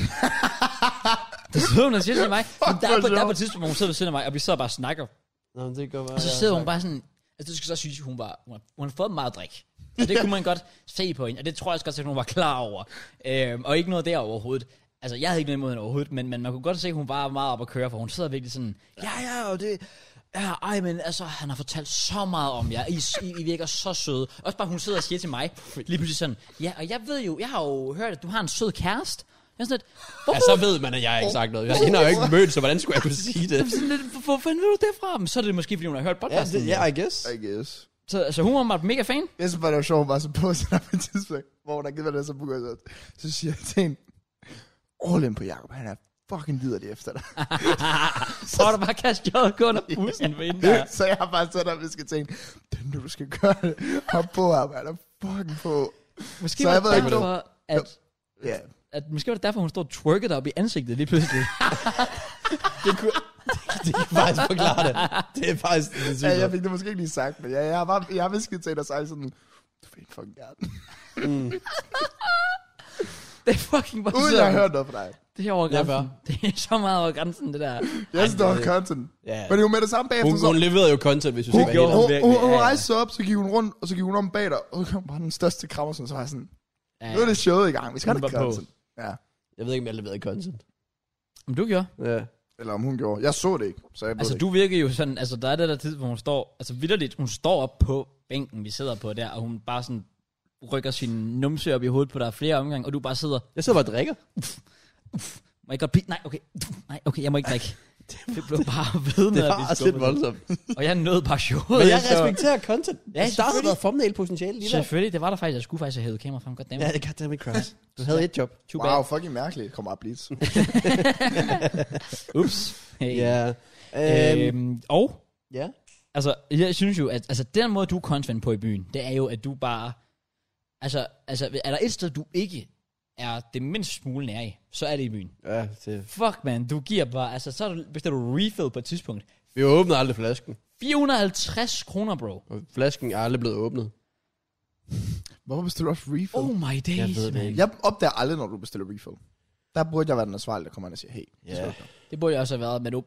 A: det sidder hun og siger til mig. Men der, er på,
C: hvor
A: der er på
C: sjovt.
A: et tidspunkt, hvor hun sidder ved siden af mig, og vi sidder og bare snakker.
B: Nå, men det går bare,
A: Og så sidder hun bare sådan... Altså, det skal så synes, hun var... Hun har, hun har fået meget drik. Og det kunne man godt se på hende. Og det tror jeg også godt, at hun var klar over. Øhm, og ikke noget der overhovedet. Altså, jeg havde ikke noget imod hende overhovedet, men, men man kunne godt se, at hun var meget op at køre, for hun sidder virkelig sådan, ja, ja, og det, ja, ej, men altså, han har fortalt så meget om jer, I, I, I virker så søde. Også bare, hun sidder og siger til mig, lige pludselig sådan, ja, og jeg ved jo, jeg har jo hørt, at du har en sød kæreste. Jeg er sådan lidt,
B: Ja,
A: hvorfor
B: så ved man, at jeg har ikke sagt noget. Jeg hende har jo ikke mødt, så hvordan skulle jeg kunne sige det?
A: sådan lidt, hvor, hvor fanden ved du det fra? Men så er det måske, fordi hun har hørt
B: Ja,
A: podcasten.
B: det, yeah, I guess.
C: I guess.
A: Så, altså, hun var meget mega fan.
C: Jeg synes bare, det var sjovt, hun var så på sig på et tidspunkt, hvor hun har givet mig det, så begynder jeg så- så siger jeg til hende, all in på Jacob, han er fucking liderlig efter dig.
A: Så var der bare kastet JK under bussen ved hende der.
C: Ja. Så jeg har bare sat op, vi skal tænke, det er nu, du skal gøre det. Hop på, arbejder fucking på.
A: Måske
C: Så
A: var
C: jeg
A: det
C: ved ikke,
A: derfor, at,
C: Ja.
A: at, måske var det derfor, hun stod og twerkede dig op i ansigtet lige pludselig.
B: Det kunne, det kan faktisk forklare det. Det er faktisk... Det synes
C: ja.
B: jeg.
C: jeg fik det måske ikke lige sagt, men ja, jeg har, bare, jeg har visket til dig og sagt sådan, du fik fucking gerne.
A: det er fucking bare
C: Uden
A: så-
C: at jeg har hørt noget fra dig.
A: Det er over
B: Ja,
A: grænsen.
B: fair.
A: det er så meget over grænsen, det der.
C: Jeg synes, det var
B: det-
C: content.
B: Ja.
C: Men det var med det samme bagefter,
B: Hun,
C: så
B: hun leverede jo content, hvis du
C: hun,
B: skal være
A: gjorde
B: helt
A: hun
C: hun,
A: virkelig,
C: hun, hun
A: ja, ja.
C: rejste sig op, så gik hun rundt, og så gik hun om bag dig, og så kom bare den største krammer, sådan, så var jeg sådan,
A: Ja.
C: nu er det showet i gang, vi skal
A: Hun
C: have det
A: var på.
C: content. Ja.
B: ærlig. Jeg ved ikke, om jeg leverede content.
A: Men du gjorde.
B: Ja.
C: Eller om hun gjorde. Jeg så det ikke, så jeg ved
A: Altså,
C: det
A: du virker jo sådan, altså, der er det der tid, hvor hun står, altså vidderligt, hun står op på bænken, vi sidder på der, og hun bare sådan rykker sin numse op i hovedet på dig flere omgange, og du bare sidder,
B: Jeg sidder bare og drikker.
A: må jeg godt blive, nej, okay, nej, okay, jeg må ikke drikke. Det blev bare ved med
B: Det
A: at
B: var
A: blive
B: også lidt
A: skubbet.
B: voldsomt.
A: Og jeg nåede bare showet.
B: Men jeg
A: så-
B: respekterer content. Ja,
A: startede
B: jeg startede
A: selvfølgelig.
B: været thumbnail potentiale lige der.
A: Selvfølgelig, det var der faktisk. Jeg skulle faktisk have hævet kamera frem. Goddammit.
B: Ja,
A: Ja.
B: det kan det Cross. Du havde et job.
A: Too
C: ikke. Wow, fucking mærkeligt. Kom op, Blitz.
A: bad. Ups. Hey.
B: Ja. Øhm,
A: Øhm, og,
B: Ja.
A: altså, jeg synes jo, at altså, den måde, du er content på i byen, det er jo, at du bare... Altså, altså er der et sted, du ikke er det mindst smule nær i, så er det i byen.
B: Ja, det.
A: Fuck, man, du giver bare... Altså, så er du- bestiller du refill på et tidspunkt.
B: Vi åbnede aldrig flasken.
A: 450 kroner, bro.
B: Og flasken er aldrig blevet åbnet.
C: Hvorfor bestiller du også refill?
A: Oh my days,
B: ved det
A: man.
B: ikke.
C: Jeg opdager aldrig, når du bestiller refill. Der burde jeg være den ansvarlige, der kommer ind og siger, hey,
B: Ja.
A: Det burde jeg også have været, men du,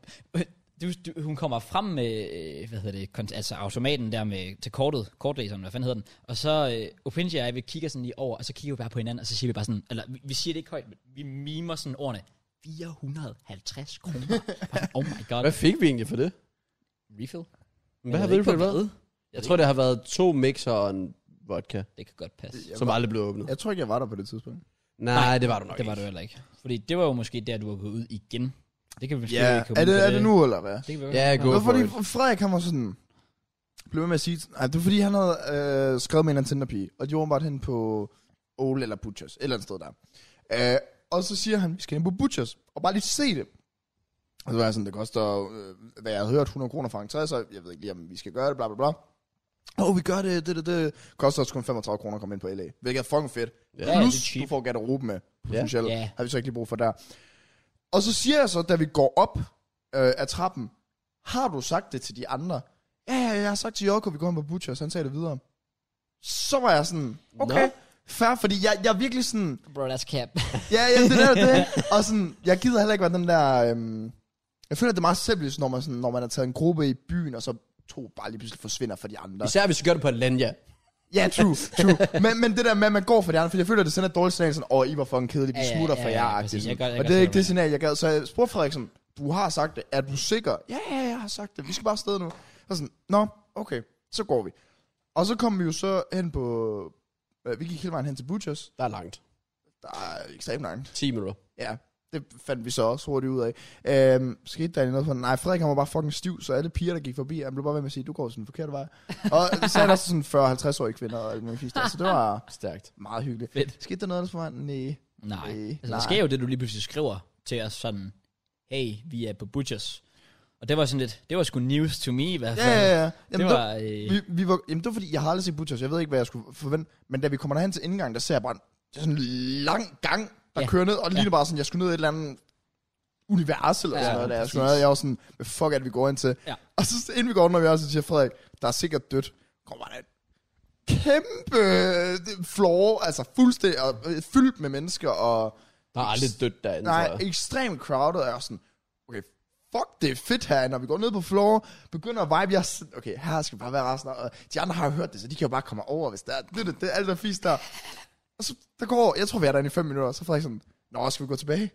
A: du, du, hun kommer frem med, øh, hvad hedder det, kont- altså automaten der med, til kortet, kortlæseren, hvad fanden hedder den, og så øh, Opinji og jeg, vi kigger sådan lige over, og så kigger vi bare på hinanden, og så siger vi bare sådan, eller vi, vi siger det ikke højt, men vi mimer sådan ordene, 450 kroner. Bare sådan, oh my god.
B: Hvad fik vi egentlig for det?
A: Refill?
B: Hvad har
A: ved
B: vi
A: ikke,
B: for
A: hvad
B: hvad? Jeg tror, det har været to mixer og en vodka,
A: Det kan godt passe.
C: Jeg
B: som
C: var-
B: aldrig blev åbnet.
C: Jeg tror ikke, jeg var der på det tidspunkt.
B: Nej, det var du nok
A: Det var du
B: ikke.
A: heller ikke. Fordi det var jo måske der, du var gået ud igen. Det kan vi måske
C: Ja,
A: ikke komme
C: er
A: ud på
C: det, er det nu, eller hvad?
A: Det kan vi
B: Ja,
A: godt.
B: go
C: Og
B: for
C: fordi
B: it.
C: Frederik, han var sådan... Blev ved med at sige... Nej, det var fordi, han havde øh, skrevet med en anden Tinder-pige. Og de var åbenbart hen på Ole eller Butchers. Et eller andet sted der. Øh, og så siger han, vi skal hen på Butchers. Og bare lige se det. Og så var jeg sådan, det koster, øh, hvad jeg havde hørt, 100 kroner for entré, så jeg ved ikke lige, om vi skal gøre det, bla bla bla. Åh, oh, vi gør det, det, det, det. Koster også kun 35 kroner at komme ind på LA. Hvilket er fucking fedt.
A: Ja, det er
C: Plus,
A: cheap.
C: du får garderobe med, potentielt.
A: Ja.
C: Har vi så ikke lige brug for der. Og så siger jeg så, da vi går op øh, af trappen, har du sagt det til de andre? Ja, ja, jeg har sagt til Jokko, vi går ind på Butcher, så han sagde det videre. Så var jeg sådan, okay,
B: Nå.
C: no. fair, fordi jeg, jeg er virkelig sådan,
A: Bro, that's cap.
C: ja, ja, det der, det. Og sådan, jeg gider heller ikke være den der, øhm, jeg føler, det er meget simpelt, når man, sådan, når man har taget en gruppe i byen, og så to bare lige pludselig forsvinder for de andre.
B: Især hvis du gør det på et land, ja.
C: Ja, true, true. men, men det der med, at man går for de andre, for jeg føler, det sender et dårligt signal, sådan, åh, I var fucking kedelige, vi
A: Ja, ja,
C: smutter
A: ja,
C: for
A: ja,
C: jer,
A: præcis.
C: agtigt, sådan.
A: Jeg gør- jeg
C: og
A: gør
C: det er
A: selv
C: ikke det
A: det.
C: signal, jeg gad. Så jeg spurgte Frederik sådan, du har sagt det, er du sikker? Ja, ja, jeg har sagt det, vi skal bare afsted nu. Og sådan, nå, okay, så går vi. Og så kom vi jo så hen på, øh, vi gik hele vejen hen til Butchers,
B: Der er langt.
C: der er ekstremt langt.
B: 10 minutter.
C: Ja, det fandt vi så også hurtigt ud af. Øhm, skete der egentlig noget for Nej, Frederik han var bare fucking stiv, så alle piger, der gik forbi, han blev bare ved med at sige, du går sådan en forkert vej. Og så er der sådan 40-50-årige kvinder og alt muligt fisk der, så det var
B: Stærkt.
C: meget hyggeligt.
A: Fedt.
C: Skete der noget ellers for mig? Nej.
A: Nej.
C: Øh,
A: Altså,
C: nej.
A: der sker jo det, du lige pludselig skriver til os sådan, hey, vi er på Butchers. Og det var sådan lidt, det var sgu news to me i hvert
C: Ja,
A: fald.
C: ja, ja.
A: Det
C: Jamen, det
A: var, øh,
C: vi, vi var, jamen, det var fordi, jeg har aldrig set Butchers, jeg ved ikke, hvad jeg skulle forvente, men da vi kommer derhen til indgangen, der ser jeg bare, en- det er sådan en lang gang,
A: Ja.
C: der ja. kører ned, og det ligner bare sådan, jeg skulle ned i et eller andet univers, eller
A: Ja,
C: ja, sådan noget, der. jeg
A: præcis.
C: skulle ned, jeg var sådan, hvad fuck er det, vi går ind til?
A: Ja.
C: Og så inden vi går ind, når vi også siger, Frederik, der er sikkert dødt, kommer der en kæmpe øh, floor, altså fuldstændig, og, øh, fyldt med mennesker, og
B: Der er aldrig dødt derinde, tror
C: Nej,
B: jeg.
C: ekstremt crowded, og jeg er sådan, okay, fuck, det er fedt her, når vi går ned på floor, begynder at vibe, jeg er sådan, okay, her skal bare være resten, af- og de andre har jo hørt det, så de kan jo bare komme over, hvis der er, det, det, det er alt der fisk der. Og så, der går, jeg tror, vi er derinde i fem minutter, og så er Frederik sådan, nå, skal vi gå tilbage?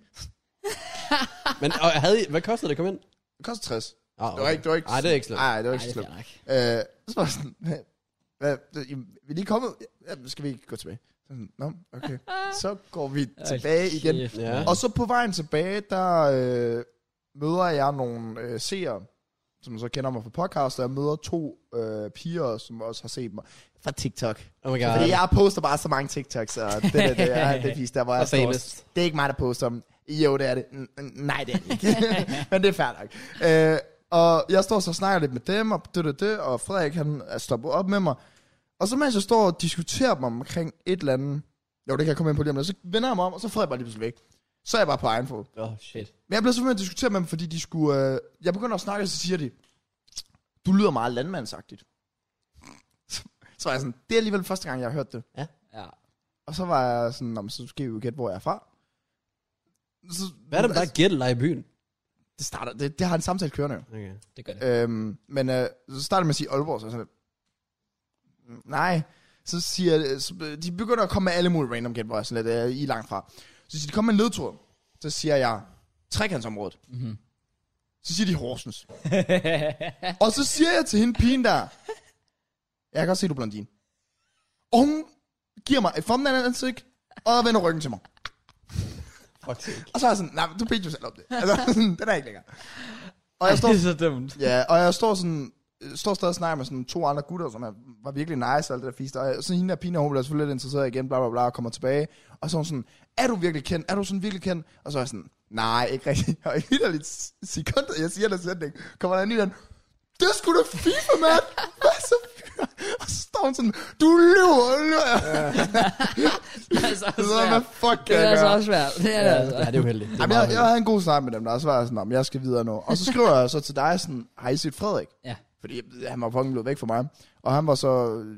B: Men og havde I, hvad kostede det at komme ind?
C: Det koster 60.
B: Ah,
C: Det var ikke, det var ikke,
B: Nej, det er ikke slemt.
C: Nej, det var
A: nej,
C: ikke
A: det
C: slemt.
A: er nok.
C: Øh, så var jeg sådan, hvad, hvad, det- jamen, vi er lige kommet, ja, skal vi ikke gå tilbage? Så sådan, Nå, okay. Så går vi tilbage igen.
A: Kæft,
B: Ja.
A: mand.
C: Og så på vejen tilbage, der øh, møder jeg nogle øh, seere, som så kender mig fra podcast, og jeg møder to øh, piger, som også har set mig fra TikTok.
B: Oh my god.
C: Fordi jeg poster bare så mange TikToks, og det, det, det, er, det er fisk, der, hvor jeg
B: Og
C: står.
B: famous.
C: Det er ikke mig, der poster dem. Jo, det er det. N- n- nej, det er det ikke. Men det er fair nok. Øh, og jeg står så og snakker lidt med dem, og det, det, det, og Frederik, han er stoppet op med mig. Og så mens jeg står og diskuterer dem omkring et eller andet, jo, det kan jeg komme ind på lige om lidt, så vender jeg mig om, og så er Frederik bare lige pludselig væk. Så er jeg bare på egen fod.
B: Åh, oh, shit.
C: Men jeg blev simpelthen diskuteret med dem, fordi de skulle... Øh, jeg begynder at snakke, og så siger de, du lyder meget landmandsagtigt. Så var jeg sådan, det er alligevel første gang, jeg har hørt det.
A: Ja.
C: Og så var jeg sådan, "Nå, men så skal vi jo gætte, hvor jeg er fra. Så, altså,
B: Hvad er det, der er gættelej i byen?
C: Det, starter, det, det har en samtale kørende jo.
B: Okay.
A: Det gør det.
C: Øhm, men øh, så starter man med at sige Aalborg, så er jeg sådan, lidt, "Mm, nej. Så siger jeg- så, øh, de begynder at komme med alle mulige random gæt, hvor jeg er sådan lidt, øh, I er langt fra. Så siger de, kom med en ledtur. Så siger jeg, trekantsområdet.
A: Mhm.
C: Så siger de Horsens. Og så siger jeg til hende, pigen der, jeg kan godt se, du er blondine. Og hun giver mig et formandet ansigt, og vender ryggen til mig.
B: Fuck sake.
C: Og så er jeg sådan, nej, men du bedte jo selv om det. Altså, sådan, den er ikke længere. Og jeg står,
A: det er så dumt.
C: ja, og jeg står sådan, øh, står stadig og snakker med sådan to andre gutter, som er, var virkelig nice og alt det der fisk. Og jeg- så hende der pige, hun bliver selvfølgelig lidt interesseret igen, bla bla bla, og kommer tilbage. Og så er hun sådan, er du virkelig kendt? Er du sådan virkelig kendt? Og så er jeg sådan, nej, ikke rigtigt. Og i lidt sekund, jeg siger den sætning, kommer der en ny den, det er sgu da FIFA, mand! Hvad så? Og så står hun sådan, du lyver, du lyver.
A: Det er så
C: Altså, Så er jeg, hvad
A: svært.
C: fuck
A: Det
C: kan jeg
A: er altså
C: gøre?
A: også svært. Det er det altså.
B: Ja, det er jo heldigt. Det er
C: Jamen,
B: meget
C: jeg, jeg havde en god snak med dem, der og så var jeg sådan, om jeg skal videre nu. Og så skriver jeg så til dig sådan, har I set Frederik?
A: Ja.
C: Fordi øh, han var fucking blevet væk fra mig. Og han var så... øh,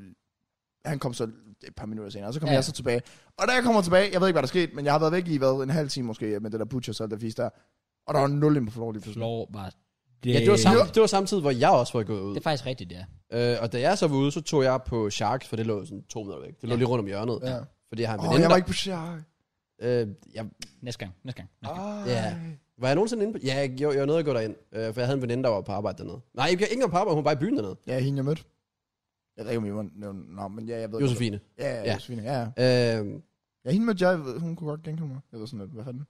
C: Han kom så et par minutter senere, og så kom
A: Ja.
C: ja. jeg så tilbage. Og da jeg kommer tilbage, jeg ved ikke, hvad der skete, men jeg har været væk i hvad, en halv time måske, med det der butcher og det fisk der. Og der var nul ind på floor lige pludselig.
A: Slår bare.
B: Ja, det var, samme, det var samtidig, hvor jeg også var gået ud.
A: Det er faktisk rigtigt, ja.
B: Øh, og da jeg så var ude, så tog jeg på Sharks, for det lå sådan to minutter væk. Det
A: Ja.
B: lå lige rundt om hjørnet.
C: Ja.
B: Fordi jeg har en
C: Åh,
B: veninde,
C: jeg var ikke på sjak.
B: der- øh, jeg,
A: Næste gang. Næste gang. Næste gang.
C: Ej.
B: Ja. var jeg nogensinde inde på... Ja, jeg, jo, jeg var nødt til at gå derind, øh, for jeg havde en veninde, der var på arbejde dernede. Nej, ikke, ikke engang på arbejde, hun var bare i byen dernede.
C: Ja, hende jeg mødte. Jeg ved ikke, om I var nævnt navn, men ja, jeg ved ikke,
B: Josefine.
C: hvad- Ja, ja,
B: Ja.
C: Josefine, ja. ja.
B: Øh,
C: Ja, hende mødte jeg, jeg ved- hun kunne godt genkende mig. Jeg ved sådan lidt, hvad fanden?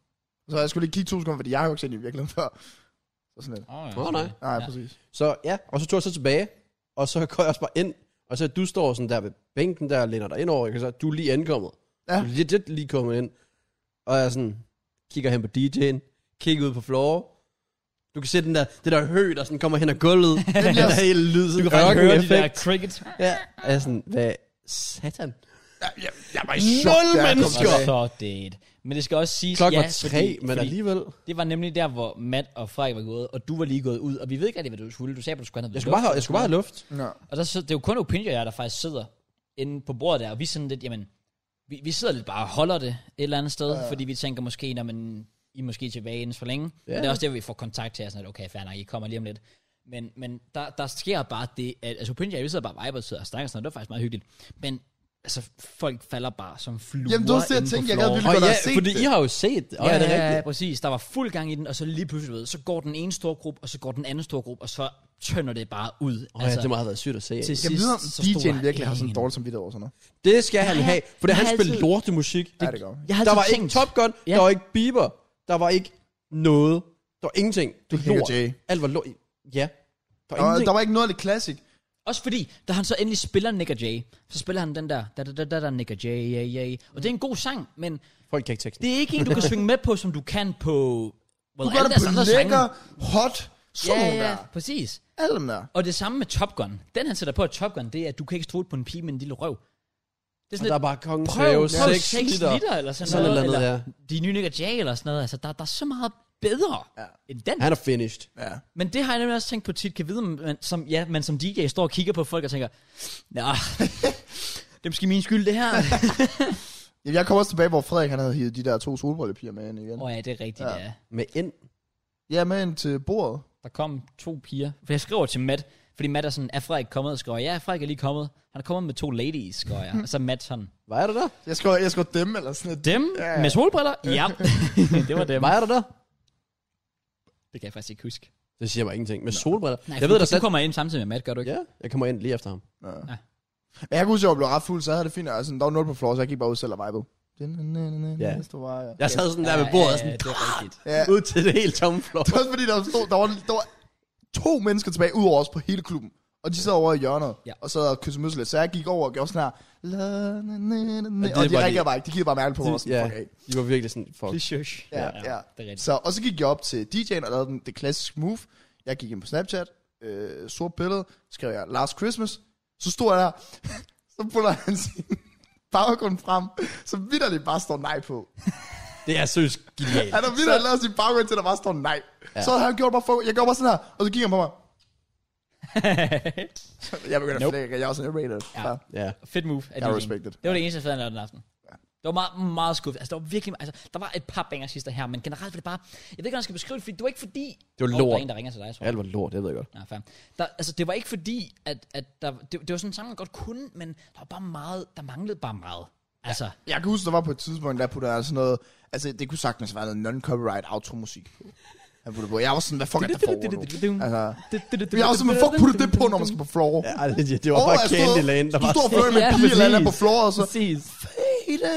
C: Så jeg skulle lige kigge to sekunder, fordi jeg har jo ikke set den i virkeligheden før. Så sådan lidt.
A: Åh, oh,
B: Åh, nej.
C: Nej,
A: Ja.
C: ja. præcis.
B: Så ja, og så tog jeg så tilbage, og så går jeg også bare ind, og så du står sådan der ved bænken der, og læner dig ind over, ikke? Og så du er lige ankommet.
C: Ja.
B: Du er legit lige kommet ind. Og jeg sådan, kigger hen på DJ'en, kigger ud på floor. Du kan se den der, det der hø, der sådan kommer hen ad gulvet. den
C: bliver-
B: der hele lyd, sådan
A: Du kan faktisk høre de der
B: ørkeneffekt.
A: cricket.
B: Ja, og jeg er sådan, hvad satan?
C: Jeg, jeg, jeg var i
B: Nul
C: da jeg kom
B: mennesker!
C: tilbage.
A: Så dead. Men det skal også siges,
B: Klokken
A: ja,
B: var tre,
A: fordi,
B: men
A: fordi
B: alligevel.
A: det var nemlig der, hvor Matt og Frederik var gået, og du var lige gået ud, og vi ved ikke rigtig, hvad du skulle. Du sagde, at du skulle have noget
B: Jeg skulle bare have, jeg skulle bare have luft.
C: Nå.
A: Og der, sidder- det er jo kun Opinion og jeg, der faktisk sidder inde på bordet der, og vi er sådan lidt, jamen, vi, vi sidder lidt bare og holder det et eller andet sted, ja. fordi vi tænker måske, når man, I er måske tilbage inden for længe. Ja.
B: Ja.
A: Men det er også der, hvor vi får kontakt til jer, sådan at, okay, fair nok, I kommer lige om lidt. Men, men der, der sker bare det, at altså, Opinion og jeg, vi sidder bare og viber og sidder og snakker sådan noget, det var faktisk meget hyggeligt. Men altså, folk falder bare som fluer
C: Jamen, det var også det, jeg
A: inde på
C: tænkte, jeg gad
A: floor.
C: vildt
B: Og
C: godt
B: ja,
C: have set
B: fordi
C: det.
B: I har jo set det. Og
A: Ja,
B: er det
A: ja, ja,
B: rigtigt?
A: præcis. Der var fuld gang i den, og så lige pludselig, du ved, så går den ene store gruppe, og så går den anden store gruppe, og så tønder det bare ud. Altså,
B: Åh ja, det må have været sygt at se.
A: til
C: Jeg
A: sidst,
C: ved, om
A: så stod
C: DJ'en
A: der
C: virkelig har sådan
A: ingen.
C: en dårlig samvittighed over sådan noget.
B: Det skal han have, for
A: jeg
B: han
A: har
B: spillede
A: altid-
B: lortemusik.
C: Ja, det gør jeg.
A: Jeg har
B: Der
A: altid
B: var
A: tænkt,
B: ikke Top Gun,
A: Ja.
B: ja. der var ikke Bieber, der var ikke noget, der var ingenting. Det var
C: Nick
B: lort.
C: og Jay.
B: Alt var lort. Ja, der var
C: Og
B: ingenting.
C: der var ikke noget af det classic.
A: Også fordi, da han så endelig spiller Nick og Jay, så spiller han den der, da da da da, da Nick og Jay, ja, ja. Og det er en god sang, men
B: Folk kan ikke teksten.
A: det er ikke en, du kan synge med på, som du kan på... Well,
C: Du gør
A: alle
C: det
A: deres
C: på
A: andre sange.
C: lækker, hot, sådan
A: Ja,
C: nogle
A: ja,
C: der.
A: præcis.
C: Alle dem der.
A: Og det samme med Top Gun. Den han sætter på at Top Gun, det er, at du kan ikke stole på en pige med en lille røv. Det er
B: Og
A: sådan
B: der
A: lidt,
B: var kongen
A: prøv, prøv
B: Save,
A: 6
B: 6
A: liter,
B: liter.
A: eller sådan,
B: Sådan
A: noget.
B: et eller andet,
A: eller de nye Nick og Jay, eller sådan noget. Altså, der, der er så meget bedre ja. end den.
B: Han er finished.
C: Ja.
A: Men det har jeg nemlig også tænkt på tit, kan vide, men som, ja, men som DJ står og kigger på folk og tænker, Nå, det er måske min skyld, det her. Åh
C: Jamen, Jeg kom også tilbage, hvor Frederik han havde hivet de der to solbrillepiger med ind igen.
A: oh, ja, det er rigtigt, ja. ja.
B: Med ind.
C: Ja, med ind til bordet.
A: Der kom to piger. For jeg skriver til Matt, fordi Matt er sådan, er Frederik kommet? Og skriver, jeg, ja, Frederik er lige kommet. Han er kommet med to ladies, skriver jeg. Og så Matt sådan,
B: Var jeg der der?
C: Jeg skrev, jeg skrev dem eller sådan noget.
A: dem
C: Ja.
A: med solbriller? Ja, det var dem.
B: Var jeg der der?
A: Det kan jeg faktisk ikke huske.
B: Det siger mig ingenting. Med solbriller.
A: Nej,
B: jeg ved da
A: du, du
B: slet...
A: kommer ind samtidig med Matt, gør du ikke?
B: Ja, jeg kommer ind lige efter ham.
C: Ja.
A: Ja.
C: Men Jeg kan huske, at jeg blev ret fuld, så jeg havde det fint. Altså, der var nul på floor, så jeg gik bare ud selv og vibede.
B: Ja.
C: Ja. Næste var, ja.
B: Jeg sad sådan der ved bordet og sådan...
A: det er rigtigt.
C: ja.
B: Ud til det helt tomme floor.
C: Det var også fordi, der stod, der var, der var to mennesker tilbage, udover os på hele klubben. Og de sad over i hjørnet,
A: Ja.
C: ja. og så og kyssede muslet. Så jeg gik over og gjorde sådan her. La, na, na, na, na.
B: det
C: Og
B: er
C: de
B: bare
C: reagerede
B: det.
C: bare ikke. De kiggede bare mærke på mig. og Sådan,
B: Ja,
C: fuck af.
B: de var virkelig sådan... Fuck.
A: Please shush.
C: Ja, ja.
A: Det er rigtigt.
C: Så, og så gik jeg op til DJ'en og lavede den, det klassiske move. Jeg gik ind på Snapchat, øh, sort billede, skrev jeg Last Christmas. Så stod jeg der, så putter han sin baggrund frem, som vidderligt bare står nej på.
B: Det er seriøst genialt.
C: Han har vidderligt lavet sin baggrund til, der bare står nej. Ja. Så han gjort bare, for, jeg gjorde bare sådan her, og så gik han på mig. Jeg begyndte nope.
A: Nope.
C: at flække, jeg er også en rated.
A: Ja.
C: Ja.
B: Ja.
A: Fedt move. af
C: Jeg
A: DJ'en.
C: respect it.
A: Det var det eneste, jeg fandt den aften. Det var meget, meget skuffet. Altså, der var virkelig, altså, der var et par banger sidste her, men generelt var det bare, jeg ved ikke, hvordan jeg skal beskrive det, fordi det var ikke fordi...
B: Det var
A: Åh,
B: lort.
A: Der er en, der ringer til dig, tror jeg.
B: Alt var lort, det ved jeg godt.
A: Ja, fair. Der, altså, det var ikke fordi, at, at der, det, det, var sådan en sang, man godt kunne, men der var bare meget, der manglede bare meget. Altså,
C: Jeg kan huske, der var på et tidspunkt, der puttede han sådan noget, altså det kunne sagtens være noget non-copyright outro-musik. Han puttede på. Jeg var sådan, hvad fuck er der for nu? Altså, jeg var sådan, hvad fuck puttede det på, når man skal på floor?
B: Ja, det, det var bare
C: jeg stod-
B: Candyland, der
C: Du
B: var...
C: står og fløj med
A: Ja,
C: en pige eller andet
A: præcis.
C: på floor, og så...
A: Præcis.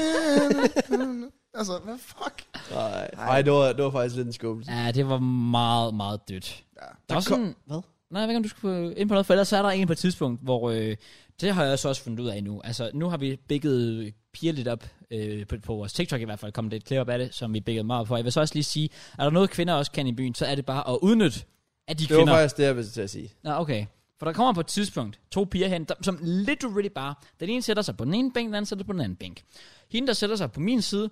C: altså, hvad fuck?
B: Nej, Ej, det var, det var faktisk lidt en skuffelse.
A: Ja, det var meget, meget dødt. Ja. Der
C: Altså,
A: var sådan...
B: Hvad?
A: Nej, jeg ved ikke, om du skulle ind på noget, for ellers er der en på et tidspunkt, hvor... Øh, det har jeg så også fundet ud af nu. Altså, nu har vi bigget piger lidt op øh, på, på, vores TikTok i hvert fald, kommet et klip op af det, som vi biggede meget op for. Jeg vil så også lige sige, er der noget, kvinder også kan i byen, så er det bare at udnytte, at de
B: Det var
A: kvinder...
B: faktisk det, jeg ville til at sige.
A: Nå, okay. For der kommer på et tidspunkt to piger hen, der, som literally bare, den ene sætter sig på den ene bænk, den anden sætter sig på den anden bænk. Hende, der sætter sig på min side,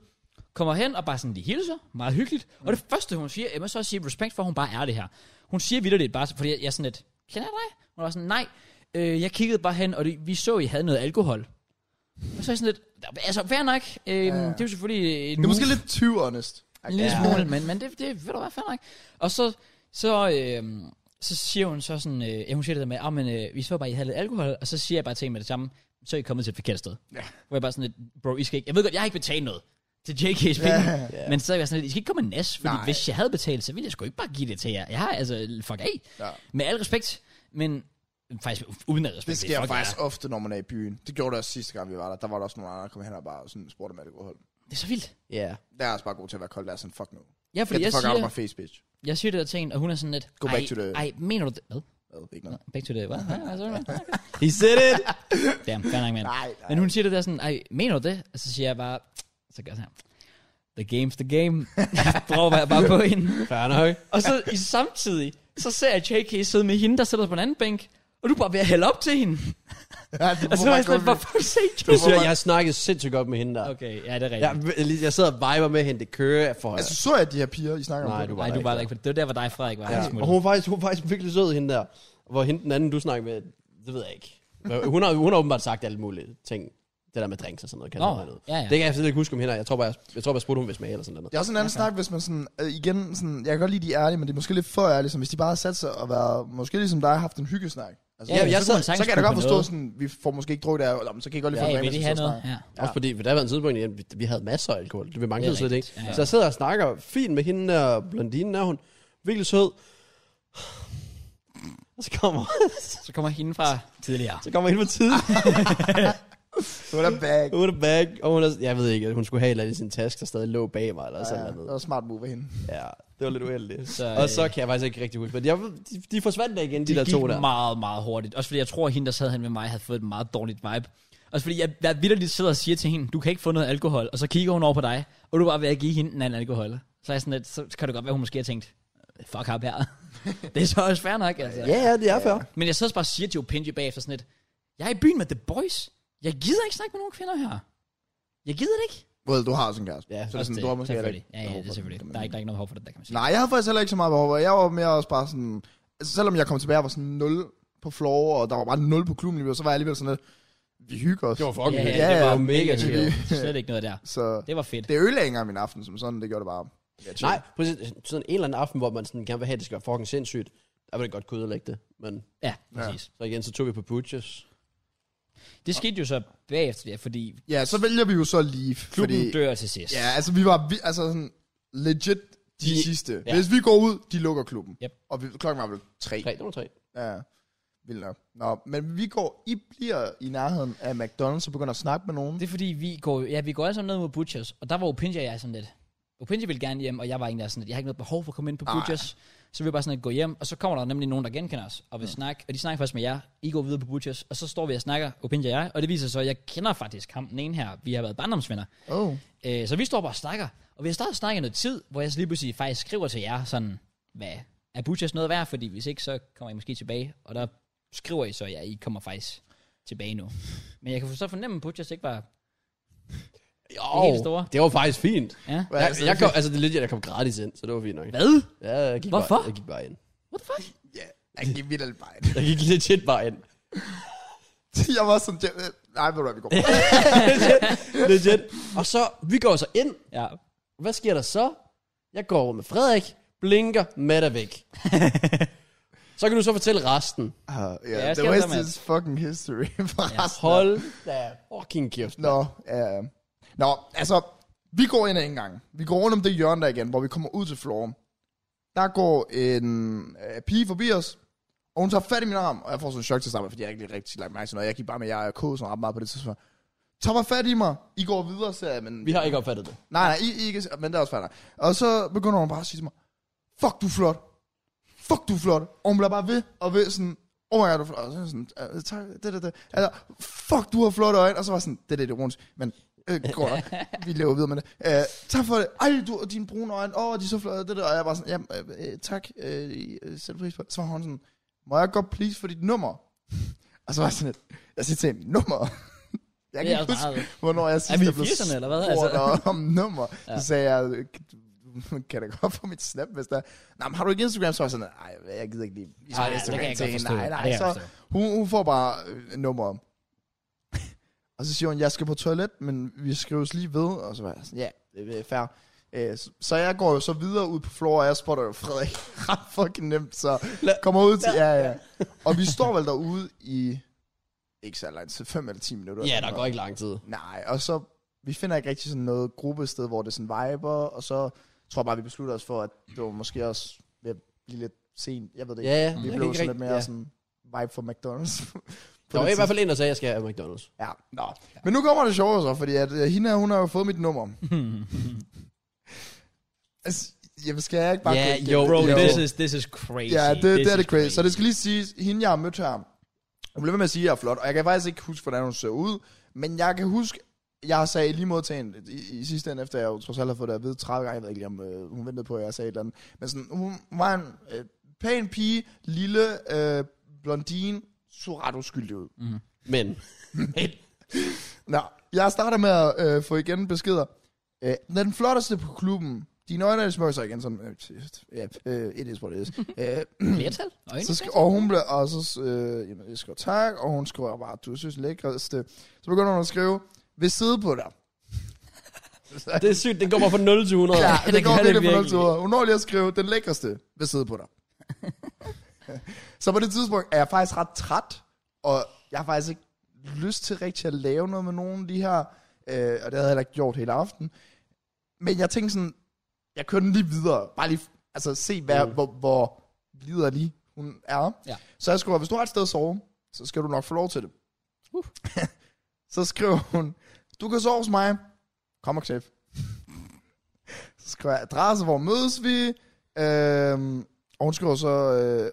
A: kommer hen og bare sådan, de hilser, meget hyggeligt. Og det første, hun siger, jeg må så også sige respekt for, at hun bare er det her. Hun siger vitterligt bare, fordi jeg, jeg er sådan lidt, kender jeg dig? Hun var sådan, nej, øh, jeg kiggede bare hen, og det, vi så, I havde noget alkohol. Og så er jeg sådan lidt, altså fair nok, øh, ja. det er jo selvfølgelig en
C: Det er måske lidt too honest.
A: en lille smule, men, men det, det ved du hvad, fair nok. Og så, så, øh, så siger hun så sådan, øh, ja, hun siger det der med, oh, men øh, vi så bare, I havde lidt alkohol, og så siger jeg bare til hende med det samme, så er I kommet til et forkert sted. Ja. Hvor jeg bare sådan lidt, bro, I skal ikke, jeg ved godt, jeg har ikke betalt noget til JK's penge, ja, ja. men så er jeg sådan lidt, I skal ikke komme med nas, fordi Nej.
C: Nej.
A: hvis jeg havde betalt, så ville jeg sgu ikke bare give det til jer. Jeg har altså, fuck af, ja.
C: Ja.
A: med al respekt, men faktisk uden at respekt.
C: Det sker
A: fuck
C: faktisk
A: jer.
C: ofte, når man er i byen. Det gjorde det også sidste gang, vi var der. Der var der også nogle andre, der kom hen og bare sådan spurgte, om jeg ville gå hold.
A: Det er så vildt.
B: Ja.
C: Der er også bare god til at være kold. Der er sådan, fuck nu.
A: Ja, fordi
C: Get the
A: jeg
C: fuck out of
A: siger,
C: my face, bitch.
A: jeg siger det der til hende, og hun er sådan lidt...
C: Go back
A: "Ej,
C: to the-
A: Ej, mener du det? Hvad?
C: Hvad, det er ikke noget.
A: Back to the... Hvad? Ja, altså, hvad?
B: He said it!
A: Damn, fair nok, mand.
C: Nej, nej.
A: Men hun siger det der sådan, ej, mener du det? Og så siger jeg bare, så gør jeg sådan her. The game's the game. Prøver jeg bare på hende.
B: Fair nok.
A: Og så i samtidig, så ser jeg JK sidde med hende, der sidder på en anden bænk. Og du er bare ved at hælde op til hende.
C: Ja, Altså, du
A: Og så Altså, er
C: må bare
A: jeg sådan,
C: gå-
A: hvorfor sagde
B: Det
A: JK?
B: siger, jeg, jeg snakkede sindssygt godt med hende der.
A: Okay, ja, det er rigtigt.
B: Jeg, jeg sidder og viber med hende, det kører for
C: Altså, så jeg de her piger, I snakker om
B: Nej,
C: det?
B: du var
A: Nej, du
B: der
A: var der
B: ikke.
A: ikke, for det var der, hvor dig, Frederik, var.
B: Ja.
A: Ja.
B: Og hun var, faktisk, hun var faktisk virkelig sød, hende der. Hvor hende den anden, du snakker med, det ved jeg ikke. Men Hun har, hun har åbenbart sagt alle mulige ting. Det der med drinks og sådan noget. Kan
A: Nå,
B: jeg noget.
A: ja, ja.
B: Det kan jeg slet ikke huske om hende. og Jeg tror bare, jeg, jeg, tror bare, jeg spurgte, hun vil smage eller sådan noget.
C: Det er også en anden snak, hvis man sådan, øh, igen, sådan, jeg kan godt lide, de er ærlige, men det er måske lidt for ærlige, som hvis de bare har sat sig og været, måske ligesom dig, haft en hyggesnak. Altså,
A: Ja,
B: Ja,
A: men
B: jeg
A: så
B: sad-
A: kunne man sagtens
C: så kan jeg da godt
A: finde på
C: forstå,
A: noget.
C: sådan, vi får måske ikke drukket der, eller, men så kan jeg godt lige få
A: Ja,
C: en
A: vil de
C: drink,
A: have
C: så
A: noget?
C: snakker.
A: Ja.
B: Også fordi, for der var en tidspunkt, at vi, vi havde masser af alkohol. Det var mange
A: Det er
B: tid siden, ikke?
A: rigtigt, ja.
B: Så jeg sidder og snakker fint med hende der, blondinen der, hun virkelig sød. Og så kommer,
A: Så kommer hende fra tidligere.
B: så kommer hende på tiden.
A: Ah.
C: Så er der bag.
B: Hun er back, og hun er, jeg ved ikke, at hun skulle have et eller andet i sin taske, der stadig lå bag mig, eller sådan
C: Ja,
B: noget.
C: det var smart move af hende.
B: Ja, det var lidt uheldigt.
A: Ah, Så,
B: så, og så
A: øh,
B: kan jeg faktisk ikke rigtig huske, men jeg, de, de forsvandt der igen, de,
A: Det
B: der
A: gik
B: to der.
A: meget, meget hurtigt. Også fordi jeg tror, at hende, der sad hen med mig, havde fået et meget dårligt vibe. Også fordi jeg, jeg vidderligt sidder og siger til hende, du kan ikke få noget alkohol. Og så kigger hun over på dig, og du er bare ved at give hende en anden alkohol. Så er jeg sådan lidt, så kan det godt være, hun måske har tænkt, fuck up her. det er så også fair nok, altså.
B: Ja, ja, det er før.
A: Men jeg så også bare og siger til Opinji bagefter sådan lidt, jeg er i byen med The Boys. Jeg gider ikke snakke med nogen kvinder her. Jeg gider det ikke.
C: Well, du har også en kæreste.
B: Ja,
C: så det er sådan, du har måske heller
A: selvfølgelig.
C: ikke.
A: Ja, ja, det er selvfølgelig. Der er ikke, der er ikke noget behov for det, der kan man sige.
C: Nej, jeg havde faktisk heller ikke så meget behov for. Jeg var mere også bare sådan... Altså, selvom jeg kom tilbage, jeg var sådan 0 på floor, og der var bare 0 på klubben, lige ved, så var jeg alligevel sådan lidt... Vi hygger os.
B: Det var fucking
A: Ja,
B: ja,
A: ja,
B: det var
C: ja,
B: jo mega
A: Mega
B: hyggeligt.
A: chill. Slet ikke noget der.
C: Så
A: Det var fedt.
C: det ødelagde ikke engang min aften som sådan, det gjorde det bare... Ja, chill.
B: Nej, præcis, sådan en eller anden aften, hvor man sådan gerne vil have, at det skal være fucking sindssygt, der vil det godt kunne ødelægge det. Men
A: Ja, præcis.
B: så igen, så tog vi på Butchers.
A: Det skete jo så bagefter, ja, fordi
C: Ja, så vælger vi jo så leave,
A: klubben
C: fordi...
A: Fordi... dør til sidst.
C: Ja, altså vi var vi, altså sådan legit de,
B: De-
C: de sidste.
A: ja.
C: Ja. Hvis vi går ud, de lukker klubben.
A: Yep.
C: Og vi, klokken var vel tre.
B: Tre, nummer tre.
C: Ja, vildt nok. Nå, men vi går, I bliver i nærheden af McDonald's og begynder at snakke med nogen.
A: Det er fordi, vi går, ja, vi går alle sammen ned mod Butchers, og der var Opinja og jeg sådan lidt. Opinja ville gerne hjem, og jeg var egentlig også sådan lidt, jeg har ikke noget behov for at komme ind på
C: Nej.
A: Butchers. Så vi bare sådan lidt gå hjem, og så kommer der nemlig nogen, der genkender os, og vil
C: Mm.
A: snakke, og de snakker først med jer. I går videre på Butchers, og så står vi og snakker, Opinja og jeg, og det viser sig så, at jeg kender faktisk ham, den ene her, vi har været barndomsvenner.
C: Oh.
A: Øh, så vi står bare og snakker, og vi har startet at snakke i noget tid, hvor jeg så lige pludselig faktisk skriver til jer sådan, hvad er Butchers noget værd, fordi hvis ikke, så kommer I måske tilbage, og der skriver I så, ja, I kommer faktisk tilbage nu. Men jeg kan så fornemme, at Butchers ikke var
B: Jo,
A: helt store.
B: det var faktisk fint.
A: Ja.
C: Hvad,
B: Jeg,
C: altså,
B: jeg kom, altså, det er legit, jeg kom gratis ind, så det var fint nok.
A: Hvad?
B: Ja, jeg gik
A: Hvorfor?
B: Bare, jeg gik bare ind.
A: What the fuck?
C: Ja, jeg gik vildt alt bare.
B: Jeg gik legit bare ind.
C: jeg var sådan, jeg, nej, ved du hvad, vi går. Uh,
B: legit. Og så, vi går så ind,
A: Ja.
B: Hvad sker der så? Jeg går over med Frederik, blinker, Matt er væk. så kan du så fortælle resten.
C: Uh,
A: Ja,
C: yeah,
A: skal
C: the
A: jeg
C: rest
A: så, Mads?
C: is fucking history. Forresten.
B: Hold da fucking kæft.
C: Nå, ja. Nå, altså, vi går ind ad en gang. Vi går rundt om det hjørne der igen, hvor vi kommer ud til floor. Der går en øh, pige forbi os, og hun tager fat i min arm, og jeg får sådan en chok til sammen, fordi jeg ikke lige rigtig lagt mærke til noget. Jeg gik bare med jer og kode sådan ret meget på det tidspunkt. Tag mig fat i mig. I går videre, siger jeg, men...
B: Vi har ikke opfattet det.
C: Nej, nej, I, I ikke... Men det er også færdigt. Og så begynder hun bare at sige til mig, fuck, du er flot. Fuck, du er flot. Og hun bliver bare ved og ved sådan, oh my god, du er flot. Og så er jeg sådan, "Øh, tak, det, det, det. Altså, fuck, du har flotte øjne. Og så var jeg sådan, det, det, det er rundt. Men øh, det går nok. Vi lever videre med det. Øh, tak for det. Ej, du og dine brune øjne. Åh, oh, de er så flotte. Det, der. Og jeg var sådan, jamen, øh, øh, tak. Øh, I, øh, sætter pris på det. Så var hun sådan, må jeg godt please for dit nummer? Og så var jeg sådan, lidt, jeg siger til hende, nummer. Jeg
A: Det er
C: kan ikke
A: også
C: huske,
A: meget-
C: hvornår jeg sidst
A: vi
C: er
A: i
C: blevet
A: 80'erne, eller hvad?
C: spurgt
A: Altså-
C: om nummer. Ja. Så sagde jeg, "Kan- kan jeg da godt få mit snap, hvis der er-" Nej, men har du ikke Instagram? Så var jeg sådan, nej, jeg gider ikke lige. vise
A: Ej,
C: min
A: det kan jeg
C: til
A: godt
C: hende."
A: forstå.
C: Nej,
A: Det kan
C: nej,
A: jeg godt
C: så hun, hun får bare øh, nummer. og så siger hun, jeg skal på toilet, men vi skrives lige ved. Og så var jeg sådan, ja, det er fair. Øh, så- Så jeg går jo så videre ud på floor, og jeg spotter jo Frederik ret fucking nemt, så kommer ud til, ja, ja. Og vi står vel derude i, ikke så langt, 5 eller 10 minutter.
B: Ja, der går ikke lang tid.
C: Nej, og så, vi finder ikke rigtig sådan noget gruppested, hvor det sådan viber, og så tror jeg bare, vi beslutter os for, at det var måske også ved at blive lidt sent, jeg ved det ikke.
B: Ja, ja.
C: vi
B: Jeg
C: blev
B: kan
C: sådan
B: ikke
C: lidt
B: rigtig-
C: mere
B: ja.
C: sådan vibe for McDonald's. På
B: Der
C: det
B: var i hvert
C: tidspunkt.
B: fald en, der sagde, at jeg skal have McDonald's.
C: Ja, nå. Men nu kommer det sjove så, fordi at øh, hende her, hun har jo fået mit nummer. altså, Jamen skal jeg ikke bare
B: Ja,
C: klikke
B: jo,
A: Bro,
B: Jo.
A: this is, this is crazy.
C: Ja, det, det,
A: This
C: er
A: is
C: det crazy. Så det skal lige siges, hende jeg har mødt her, hun blev ved med at sige, at jeg er flot, og jeg kan faktisk ikke huske, hvordan hun ser ud, men jeg kan huske, jeg sagde lige mod til hende i, i sidste ende, efter jeg jo trods alt havde fået det at vide 30 gange, jeg ved ikke lige, om øh, hun ventede på, at jeg sagde et eller andet, men sådan, hun var en øh, pæn pige, lille øh, blondine, så ret uskyldig ud.
B: Men,
C: Nå, jeg starter med at øh, få igen beskeder. Øh, den flotteste på klubben, dine øjne er smukke, så igen sådan, øh, ja, øh, it is what it is. Øh,
A: Flertal? Øjne,
C: så sk- og hun bliver, og så, øh, jamen, jeg skriver tak, og hun skriver bare, du synes lækreste. Så begynder hun at skrive, vil sidde på dig.
B: det er sygt, det går bare fra 0 til 100.
C: Ja,
B: Ja.
C: det,
A: det
C: det går
A: gør det
C: virkelig på
A: virkelig.
C: noget Hun når lige at skrive, den lækreste vil sidde på dig. så på det tidspunkt er jeg faktisk ret træt, og jeg har faktisk ikke lyst til rigtig at lave noget med nogen af de her, øh, og det havde jeg heller ikke gjort hele aften. Men jeg tænkte sådan, jeg kører den lige videre, bare lige, altså se, hvad, mm. hvor, hvor liderlig hun er.
A: Ja.
C: Så jeg skriver, hvis du har et sted at sove, så skal du nok få lov til det.
A: Uh.
C: så skriver hun, du kan sove hos mig. Kom og knæf. Så skriver jeg adresse, hvor mødes vi? Øhm, og hun skriver så, øh,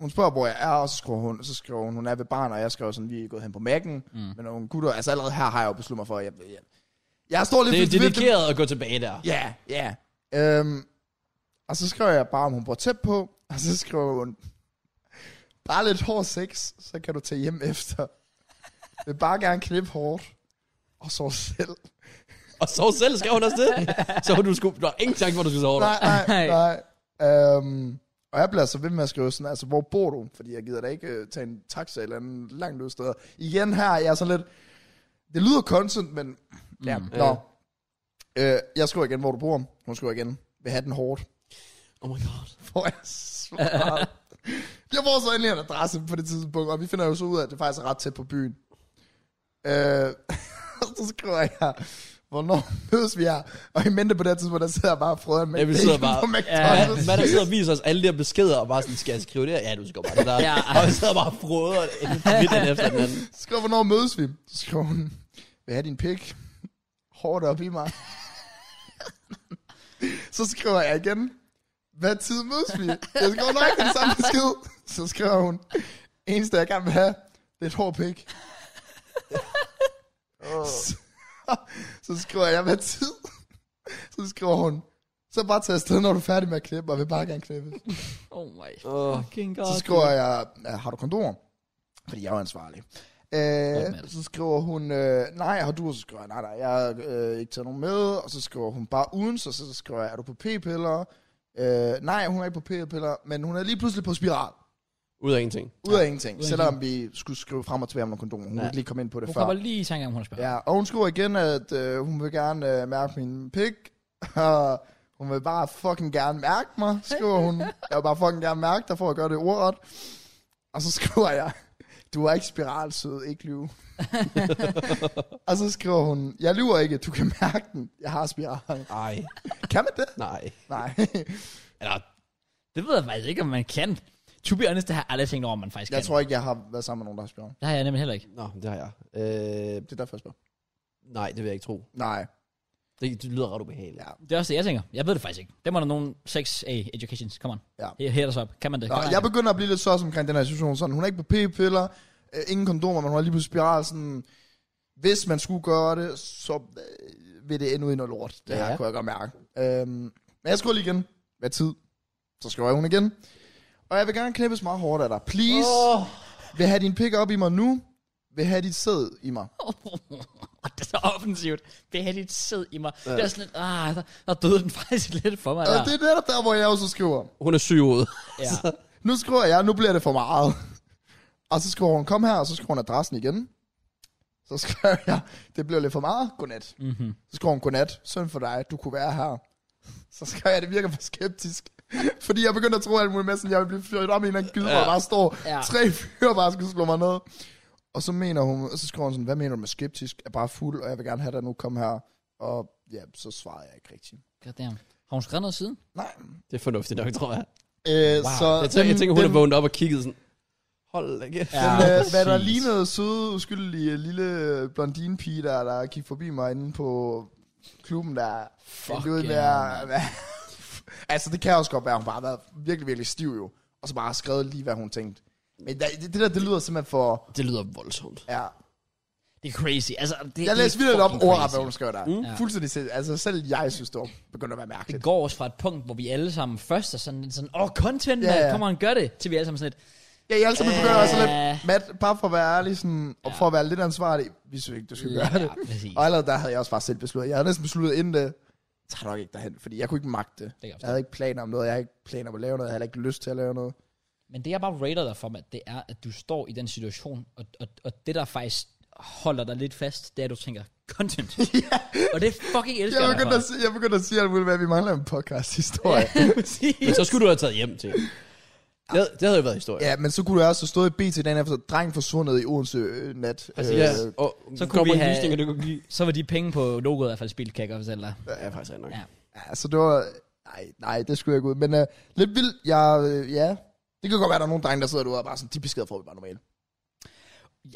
C: hun spørger, hvor jeg er, og så skriver hun, så skriver hun, hun er ved barn, og jeg skriver sådan, vi er gået hen på mærken. Mm. Men nogle gutter, altså allerede her har jeg jo besluttet mig for, at jeg, jeg, jeg står lidt
B: Det er
C: ved- ved-
B: dedikeret at gå tilbage der.
C: Ja, ja. Øhm, og så skrev jeg bare, om hun bor tæt på, og så skrev hun, bare lidt hård sex, så kan du tage hjem efter. Vil bare gerne knippe hårdt, og så selv.
B: Og så selv skrev hun også det. Så du, skulle, du har ingen tanke, hvor du skulle sove dig.
C: Nej, nej, nej. Øhm, og jeg bliver så ved med at skrive sådan, altså, hvor bor du? Fordi jeg gider da ikke øh, tage en taxa eller en langt ud sted. Igen her, jeg er sådan lidt, det lyder constant, men ja, mm, nå. Øh, jeg skriver igen, hvor du bor. Hun skriver igen, vil have den hårdt.
B: Oh my god.
C: får jeg svaret. jeg får så endelig en adresse på det tidspunkt, og vi finder jo så ud af, at det faktisk er ret tæt på byen. Øh, så skriver jeg, hvornår mødes vi her? Og i mente på det her tidspunkt, der sidder jeg bare og frøder med
B: Ja, vi sidder bare-
C: på
B: Hvad,
C: McDonald's.
B: hvad der sidder og viser os alle de her beskeder, og bare sådan, skal jeg skrive det her? Ja, du skal bare det der.
A: Ja.
B: Og vi sidder bare og froder midt den efter den anden.
C: Så skriver, hvornår mødes vi? Så skriver hun, vil have din pik? Hårdt op i mig. så skriver jeg igen, hvad tid mødes vi? Jeg skriver nok den samme besked. Så skriver hun, eneste jeg gerne vil have, det er et hårdt pik. så, så skriver jeg, hvad tid? Så skriver hun, så bare tag afsted, når du er færdig med at klippe, og vil bare gerne klippe.
A: Oh my
B: Åh.
A: fucking god.
C: Så skriver jeg, "Ja, har du kondomer? Fordi jeg er jo ansvarlig.
A: Godt,
C: Øh,
A: Mads.
C: så skriver hun, øh, nej, har du? Og så skriver jeg, nej, nej, jeg har øh, ikke taget nogen med. Og så skriver hun bare uden, så, så skriver jeg, er du på p-piller? Øh, nej, hun er ikke på p-piller, men hun er lige pludselig på spiral.
B: Ud af ingenting.
C: Ud af ingenting.
A: af
C: Selvom vi skulle skrive frem og tilbage om nogle kondomer. Hun
B: Ja.
C: ja. ville ikke lige komme ind på det
A: Hun
C: før.
A: kommer lige i tanke om, hun har spørget.
C: Ja, og hun skriver igen, at øh, hun vil gerne øh, mærke min pik. Og hun vil bare fucking gerne mærke mig, skriver hun. Jeg vil bare fucking gerne mærke dig, for at gøre det ordret. Og så skriver jeg, du er ikke spiralsød, ikke lyve. og så skriver hun, jeg lyver ikke, du kan mærke den. Jeg har spiral.
B: Ej,
C: Kan man det?
B: nej.
C: Nej.
B: Eller,
A: Det ved jeg faktisk ikke, om man kan. To be honest, det har jeg aldrig tænkt over, om man faktisk
C: jeg
A: kan.
C: tror ikke, jeg har været sammen med nogen, der har spiral.
A: Det har jeg nemlig heller ikke.
B: nå, det har jeg. Øh,
C: Det er derfor, jeg spørger.
B: nej, det vil jeg ikke tro.
C: Nej.
B: Det, det lyder ret ubehageligt.
C: Ja.
A: Det er også det, jeg tænker. Jeg ved det faktisk ikke. Det må der nogen 6A educations. Come on.
C: Ja.
A: Her, her er så op. Kan man det?
C: Nå,
A: Kan man
C: jeg
A: det?
C: begynder at blive lidt sås omkring den her situation. Sådan, hun er ikke på p-piller, øh, ingen kondomer, men hun er lige på spiral. Sådan, hvis man skulle gøre det, så øh, vil det ende ud i noget lort. Det ja. her
B: Ja.
C: kunne jeg godt mærke. Øhm, men jeg skriver lige igen. Hvad tid? Så skriver hun igen. Og jeg vil gerne knippes meget hårdt af dig. Please.
B: Åh.
C: Oh. Vil have din pik op i mig nu. Vil have dit sæd i mig.
A: det er så offensivt. Det er lidt sød i mig. Det er sådan lidt, ah, der, der døde den faktisk lidt for mig.
C: Og
A: Der.
C: det er netop der, hvor jeg også skriver.
B: Hun er syg ud.
A: Ja.
C: Nu skriver jeg, nu bliver det for meget. Og så skriver hun, kom her, og så skriver hun adressen igen. Så skriver jeg, det bliver lidt for meget, godnat.
B: Mhm.
C: Mm-hmm. Så skriver hun, godnat, synd for dig, du kunne være her. Så skriver jeg, det virker for skeptisk. Fordi jeg begyndte at tro alt muligt med, sådan, jeg ville blive fyret op i en eller anden gyde, ja. hvor der bare står
A: Ja.
C: ja. tre fyre bare skulle slå mig ned. Og så mener hun, og så skriver hun sådan, hvad mener du med skeptisk? Jeg er bare fuld, og jeg vil gerne have dig nu, kom her. Og ja, så svarede jeg ikke rigtigt.
A: Goddamn. Har hun skrevet noget siden?
C: Nej.
B: Det er fornuftigt nok, tror jeg.
C: Øh, wow. så
B: Jeg tænker, jeg tænker hun
C: den-
B: er vågnet op og kigget sådan, hold da kæft.
A: Ja.
C: Den, øh, hvad der
A: præcis.
C: lignede søde, uskyldige lille øh, blondinepige, der, der gik forbi mig inde på klubben, der
A: Fuck
C: ud med
A: yeah,
C: at være Altså, det kan også godt være, at hun bare har været virkelig, virkelig stiv jo. Og så bare har skrevet lige, hvad hun tænkte. Men der- det, det der, det lyder simpelthen for...
B: Det lyder voldsomt.
C: Ja.
A: Det er crazy. Altså, det
C: Jeg
A: er
C: læste vildt op
A: fucking
C: over,
A: crazy.
C: hvad hun skrev der. Mm. Fuldstændig selv. Altså, selv jeg synes, det var begyndt at være
A: Det
C: mærkeligt.
A: går også fra et punkt, hvor vi alle sammen først er sådan, sådan åh, content,
C: Ja,
A: yeah,
C: ja.
A: yeah. kom on, gør det, til vi alle sammen sådan lidt,
C: Ja, jeg er altid begyndt også
A: Øh.
C: lidt... Matt, bare for at være ærlig, sådan, og for at være lidt ansvarlig, vi synes ikke, du skal gøre det.
A: ja, præcis.
C: Og allerede der havde jeg også bare selv besluttet. Jeg havde næsten besluttet inden det. Jeg tager nok ikke derhen, fordi jeg kunne ikke magte det.
A: kan jeg
C: Jeg havde ikke planer om noget. Jeg havde ikke planer om at lave noget. Jeg havde heller ikke lyst til at lave noget.
A: Men det jeg bare rater dig for, Matt, det er, at du står i den situation, og, og, og det der faktisk holder dig lidt fast, det er, at du tænker, content. Og det fucking elsker jeg
C: Jeg
A: dig
C: begyndte, at
A: for.
C: sige, jeg begyndte at sige alt muligt, hvad vi mangler en podcast-historie.
B: Men så skulle du have taget hjem til. Det, havde- det havde jo været historie.
C: ja, men så kunne du også have stået i BT dagen efter, dreng forsvundet i Odense øh, nat.
A: Præcis.
B: ja.
C: Øh,
B: Og
A: Så
B: så
A: kunne
B: kommer
A: vi
B: vi
A: have-
B: have... lysninger, du kunne give.
A: Så var de penge på logoet i hvert fald spildt, kan jeg godt fortælle dig.
B: Ja, faktisk er nok.
A: Ja.
B: Ja.
C: altså, det var... Nej, nej, det skulle jeg ikke ud. Men øh, lidt vildt, jeg... Øh, ja, det kan godt være, at der er nogle drenge, der sidder derude og bare sådan, de beskeder får vi bare normalt.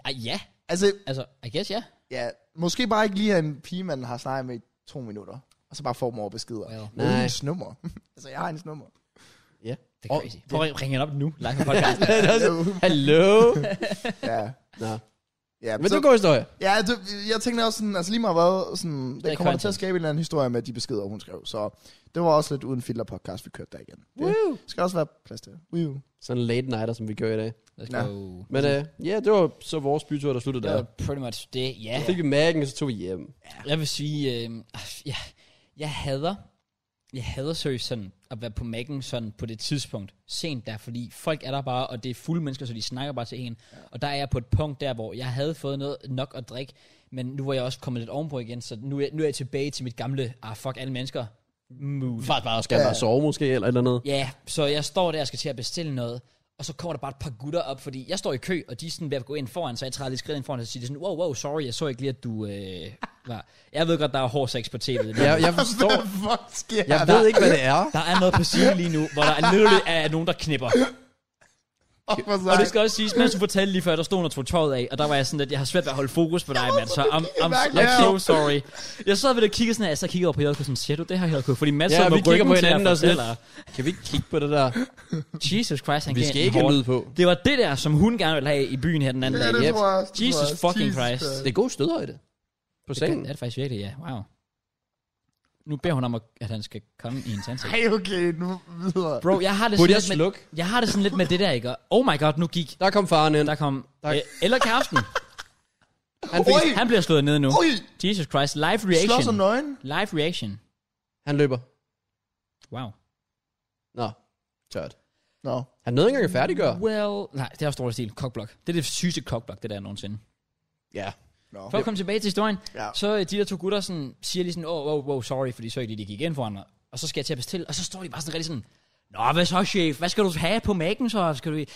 A: Ja, ja.
C: Altså,
A: altså, I guess ja.
C: ja, måske bare ikke lige at en pige, man har snakket med i to minutter. Og så bare får dem over beskeder.
A: Well,
C: Uden
B: Nej.
C: hendes nummer. altså, jeg har hendes nummer.
B: ja.
A: det er
B: Og-
A: crazy. Prøv at ringe hende op nu, live på podcast.
B: Hallo?
C: ja.
B: Nå.
C: Ja,
B: Men
C: så,
B: du går historie.
C: ja det, jeg tænkte også sådan, altså lige meget hvad, sådan,
A: er
C: det kommer der til
A: content.
C: at skabe en eller anden historie med de beskeder, hun skrev. Så det var også lidt uden filter podcast, vi kørte der igen. Det
B: Woo!
C: skal også være plads til. Woo.
B: Sådan en late nighter, som vi gør i dag.
A: Let's
C: Nå.
A: go.
B: Men øh, ja, det var så vores bytur, der sluttede
A: Det
B: der.
A: var pretty much det, ja.
B: Så fik vi mærken, og så tog vi hjem.
A: Jeg vil sige, øh, jeg, jeg hader, jeg hader seriøst sådan at være på Mac'en sådan på det tidspunkt, sent der, fordi folk er der bare, og det er fulde mennesker, så de snakker bare til en. Ja. Og der er jeg på et punkt der, hvor jeg havde fået noget nok at drikke, men nu var jeg også kommet lidt ovenpå igen, så nu er, jeg- nu er jeg tilbage til mit gamle, ah fuck alle mennesker, mood.
B: Faktisk bare skal ja. bare sove måske, eller et eller andet.
A: Ja, så jeg står der og skal til at bestille noget, og så kommer der bare et par gutter op, fordi jeg står i kø, og de er sådan ved at gå ind foran, så jeg træder lidt skridt ind foran, og så siger de sådan, wow, wow, sorry, jeg så ikke lige, at du øh, var... Jeg ved godt, der er hård sex på tv. Det der.
B: Jeg, jeg forstår.
C: Hvad fuck sker
B: Altså, Jeg
C: der?
B: ved ikke, hvad det er.
A: der er noget på siden lige nu, hvor der er literally er nogen, der knipper.
C: Fuck, hvor
A: Og
C: sejt.
A: det skal også siges, mens du fortalte lige før, der stod noget tog tøjet af, og der var jeg sådan, at jeg har svært ved at holde fokus på dig, Mads, så I'm, I'm,
C: mærke
A: I'm
C: det
A: so sorry. Jeg sad ved det og kiggede sådan, at jeg så kiggede over på Jelko sådan, siger du det her, Jelko? Fordi Mads
B: Ja,
A: sad med
B: vi kigger
A: ryggen
B: på
A: til, at
B: hinanden og sådan
A: fortæller.
B: Kan vi ikke kigge på det der?
A: Jesus Christ, han
B: Vi
A: gav
B: skal
A: den
B: ikke have
A: hårdt.
B: lyd på.
A: Det var det der, som hun gerne ville have i byen her den anden
C: Ja,
A: dag.
C: det
B: Yep.
C: tror jeg også, det tror
A: Jesus
C: jeg også.
A: fucking Christ.
C: Christ.
B: Det er gode støder i det. På sengen.
A: Det er det faktisk virkelig, ja. Wow. Nu beder hun om, at- at han skal komme i en tandsæt.
C: Ej, okay, nu videre.
A: Bro, jeg har det
B: Burde
A: sådan
B: jeg
A: lidt med,
B: slukke?
A: jeg har det sådan lidt med det der, ikke? Og- Oh my god, nu gik.
B: Der kom faren ind.
A: Der kom...
B: Tak.
A: Øh, eller kæresten.
B: Han, fik,
C: Oi!
A: Han bliver slået ned nu.
C: Ui,
A: Jesus Christ. Live
C: slår sig
A: reaction.
C: nøgen.
A: Live reaction.
B: han løber.
A: Wow.
B: Nå, tørt.
C: Nå.
B: Han nåede ikke engang at færdiggøre.
A: Well... Nej, det er også dårlig stil. Cockblock. Det er det sygeste cockblock, det der er nogensinde.
B: Ja.
C: Nå.
A: For at komme tilbage til historien,
C: Ja.
A: så øh, de der to gutter sådan, siger lige sådan, oh, oh, oh, sorry, fordi så ikke lige, de gik ind foran mig. Og så skal jeg til at bestille, og så står de bare sådan rigtig sådan, Nå, hvad så, chef? Hvad skal du have på mækken så? Skal du øh,